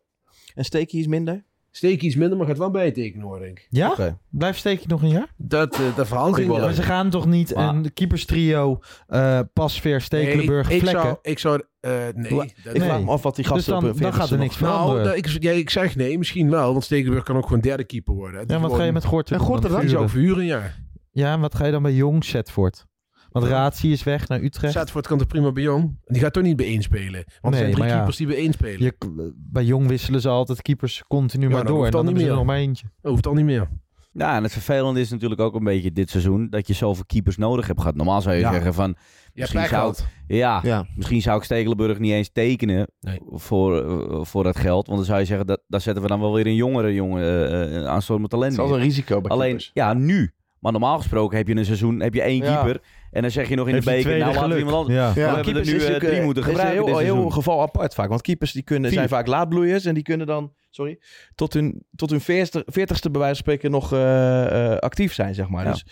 [SPEAKER 9] En Steekie is minder?
[SPEAKER 10] Steekie is minder, maar gaat wel bijtekenen hoor ik.
[SPEAKER 6] Ja?
[SPEAKER 9] Oké.
[SPEAKER 6] Blijft Steekje nog een jaar?
[SPEAKER 10] Dat, eh, dat verhaal ging
[SPEAKER 6] Maar ze gaan toch niet een keeperstrio, eh Pasveer, Stekelenburg,
[SPEAKER 10] Nee, ik
[SPEAKER 6] Vlekken?
[SPEAKER 10] zou, ik zou, eh, nee.
[SPEAKER 6] Hoe-
[SPEAKER 10] dat-
[SPEAKER 6] Ik vraag me af
[SPEAKER 9] wat die
[SPEAKER 6] gasten Dus dan- op hun dan gaat er veertigste niks nog- veranderen.
[SPEAKER 10] Nou, dat- ik, ja, ik zeg nee, misschien wel. Want Stekenburg kan ook gewoon derde keeper worden.
[SPEAKER 6] Ja, wat ga je met Gorter
[SPEAKER 10] En
[SPEAKER 6] doen
[SPEAKER 10] Gorter
[SPEAKER 6] dan?
[SPEAKER 10] dan? Die zou ik
[SPEAKER 6] Verhuren?
[SPEAKER 10] verhuren, ja.
[SPEAKER 6] Ja, en wat ga je dan bij Jong Zetvoort? Want Ratie is weg naar Utrecht.
[SPEAKER 10] Zetvoort kan toch prima bij Jong? Die gaat toch niet bij één spelen? Want er zijn drie
[SPEAKER 6] maar ja.
[SPEAKER 10] keepers die bij één spelen.
[SPEAKER 6] Je, k- bij Jong wisselen ze altijd keepers continu
[SPEAKER 10] Ja,
[SPEAKER 6] maar
[SPEAKER 10] dat
[SPEAKER 6] door.
[SPEAKER 10] hoeft
[SPEAKER 6] En
[SPEAKER 10] dan
[SPEAKER 6] dan
[SPEAKER 10] niet
[SPEAKER 6] hebben ze
[SPEAKER 10] meer.
[SPEAKER 6] er nog maar eentje.
[SPEAKER 10] Dat hoeft al niet meer.
[SPEAKER 8] Ja, Nou, en het vervelende is natuurlijk ook een beetje dit seizoen dat je zoveel keepers nodig hebt gehad. Normaal zou je
[SPEAKER 10] Ja.
[SPEAKER 8] zeggen van.
[SPEAKER 10] Ja, pech
[SPEAKER 8] zou
[SPEAKER 10] gehad.
[SPEAKER 8] ik, ja,
[SPEAKER 10] Ja.
[SPEAKER 8] misschien zou ik Stekelenburg niet eens tekenen voor, eh, voor dat geld. Want dan zou je zeggen, dat, daar zetten we dan wel weer een jongere jongen eh, eh, aanstormend talent
[SPEAKER 9] Het is altijd
[SPEAKER 8] in.
[SPEAKER 9] een risico bij
[SPEAKER 8] Alleen,
[SPEAKER 9] keepers.
[SPEAKER 8] ja, nu. Maar normaal gesproken heb je een seizoen, heb je één
[SPEAKER 9] Ja.
[SPEAKER 8] keeper. En dan zeg je nog in
[SPEAKER 9] Heeft
[SPEAKER 8] de
[SPEAKER 9] die
[SPEAKER 8] beker,
[SPEAKER 9] tweede
[SPEAKER 8] nou laten we
[SPEAKER 9] geluk.
[SPEAKER 8] iemand anders.
[SPEAKER 9] Ja.
[SPEAKER 8] Maar We
[SPEAKER 9] Ja.
[SPEAKER 8] hebben er
[SPEAKER 9] Keepers
[SPEAKER 8] nu
[SPEAKER 9] is
[SPEAKER 8] eh,
[SPEAKER 9] natuurlijk,
[SPEAKER 8] drie
[SPEAKER 9] eh,
[SPEAKER 8] moeten
[SPEAKER 9] is een
[SPEAKER 8] gebruiken dit
[SPEAKER 9] heel, heel
[SPEAKER 8] seizoen.
[SPEAKER 9] geval apart vaak. Want keepers die kunnen, zijn
[SPEAKER 8] Vier.
[SPEAKER 9] vaak laadbloeiers. En die kunnen dan, sorry, tot hun, tot hun 40, 40ste bij wijze van spreken nog eh, eh, actief zijn, zeg maar.
[SPEAKER 8] Ja.
[SPEAKER 9] Dus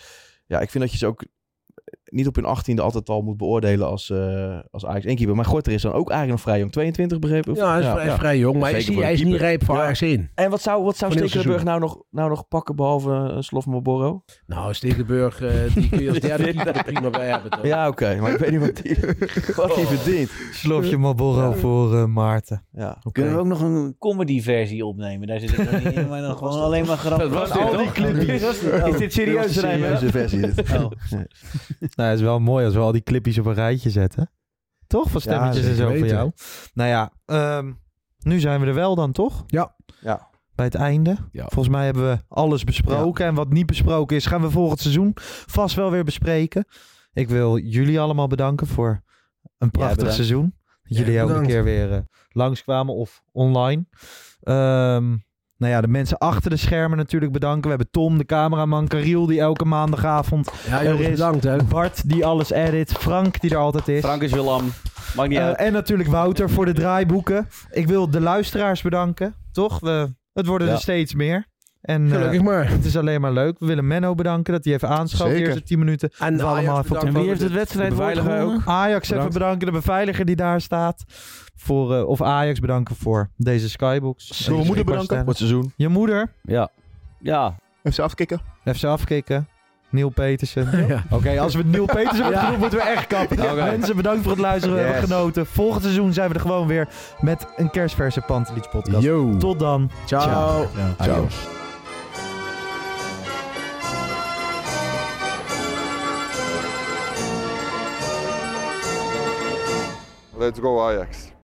[SPEAKER 9] ja, ik vind dat je ze ook niet op hun 18e altijd al moet beoordelen als, eh als Ajax 1 keeper. Maar Gorter is dan ook eigenlijk nog vrij jong. 22 begrepen? of-
[SPEAKER 10] Ja, hij is, hij is vrij jong, maar hij is,
[SPEAKER 9] Zeker voor
[SPEAKER 10] hij
[SPEAKER 9] een
[SPEAKER 10] is niet
[SPEAKER 9] keeper.
[SPEAKER 10] rijp voor
[SPEAKER 9] Ja.
[SPEAKER 10] Ajax 1.
[SPEAKER 9] En wat zou, wat zou
[SPEAKER 10] Van heel
[SPEAKER 9] Stekelenburg
[SPEAKER 10] seizoen.
[SPEAKER 9] nou nog, nou nog pakken behalve uh, Slofmoboro?
[SPEAKER 10] Nou, Stekenburg, eh, die kun je als derde keeper er prima bij hebben. Toch?
[SPEAKER 9] Ja, oké. maar ik weet niet wat die, (laughs) wat die verdient.
[SPEAKER 6] Slofje Marlboro voor eh, Maarten.
[SPEAKER 9] Ja.
[SPEAKER 12] Kunnen we ook nog een comedy versie opnemen? Daar zit ik nog niet in, maar dan gewoon alleen maar grappig.
[SPEAKER 9] was dit, toch? Dit was dit. Is dit serieus, Dit was de Rijn? serieuze versie, dit.
[SPEAKER 12] Oh.
[SPEAKER 6] (laughs) Nou, het is wel mooi als we al die clipjes op een rijtje zetten. Toch? Van
[SPEAKER 9] Ja,
[SPEAKER 6] stemmetjes en
[SPEAKER 9] zeker
[SPEAKER 6] zo van
[SPEAKER 9] weten.
[SPEAKER 6] jou. Nou ja, ehm, nu zijn we er wel dan, toch?
[SPEAKER 10] Ja.
[SPEAKER 9] ja.
[SPEAKER 6] Bij het einde. Volgens mij hebben we alles besproken. En wat niet besproken is, gaan we volgend seizoen vast wel weer bespreken. Ik wil jullie allemaal bedanken voor een prachtig
[SPEAKER 22] bedankt.
[SPEAKER 6] seizoen. Dat jullie
[SPEAKER 22] Ja,
[SPEAKER 6] ook een
[SPEAKER 22] bedankt.
[SPEAKER 6] keer weer eh, langskwamen of online. Ehm, nou ja, de mensen achter de schermen natuurlijk bedanken. We hebben Tom, de cameraman, Kariel, die elke maandagavond
[SPEAKER 10] Ja, jongens,
[SPEAKER 6] er is.
[SPEAKER 10] bedankt,
[SPEAKER 6] Eh, Bart, die alles edit. Frank, die er altijd is.
[SPEAKER 8] Frank is weer lam. Maakt niet
[SPEAKER 6] Eh,
[SPEAKER 8] uit.
[SPEAKER 6] en natuurlijk Wouter voor de draaiboeken. Ik wil de luisteraars bedanken. Toch? We, het worden
[SPEAKER 8] Ja.
[SPEAKER 6] er steeds meer. En, eh,
[SPEAKER 10] Gelukkig maar.
[SPEAKER 6] Het is alleen maar leuk. We willen Menno bedanken dat hij even aanschouwt. De
[SPEAKER 10] Zeker.
[SPEAKER 6] eerste 10 minuten.
[SPEAKER 10] En
[SPEAKER 6] We
[SPEAKER 10] Ajax
[SPEAKER 6] allemaal even op de
[SPEAKER 10] bedankt. En wie
[SPEAKER 6] foto.
[SPEAKER 10] heeft het wedstrijdwoord De beveiliger gewonnen? ook.
[SPEAKER 6] Ajax even
[SPEAKER 10] Bedankt.
[SPEAKER 6] bedanken. De beveiliger die daar staat. Voor, eh, of Ajax bedanken voor deze Skybox. Deze
[SPEAKER 19] mijn moeder bedanken?
[SPEAKER 6] beschikbaarstelling.
[SPEAKER 19] Voor het seizoen.
[SPEAKER 6] Je moeder.
[SPEAKER 8] Ja. Ja.
[SPEAKER 19] Even afkicken.
[SPEAKER 6] Even ze afkicken. Neil Petersen. Oké, als we Neil Petersen hebben
[SPEAKER 19] Ja.
[SPEAKER 6] genoemd, moeten we echt kappen.
[SPEAKER 19] Oké.
[SPEAKER 6] Mensen, bedankt voor het luisteren. We hebben
[SPEAKER 19] Yes.
[SPEAKER 6] genoten. Volgend seizoen zijn we er gewoon weer met een kerstverse Pantelich podcast. Tot dan.
[SPEAKER 10] Ciao.
[SPEAKER 6] Ciao.
[SPEAKER 10] Ciao.
[SPEAKER 2] Let's go Ajax.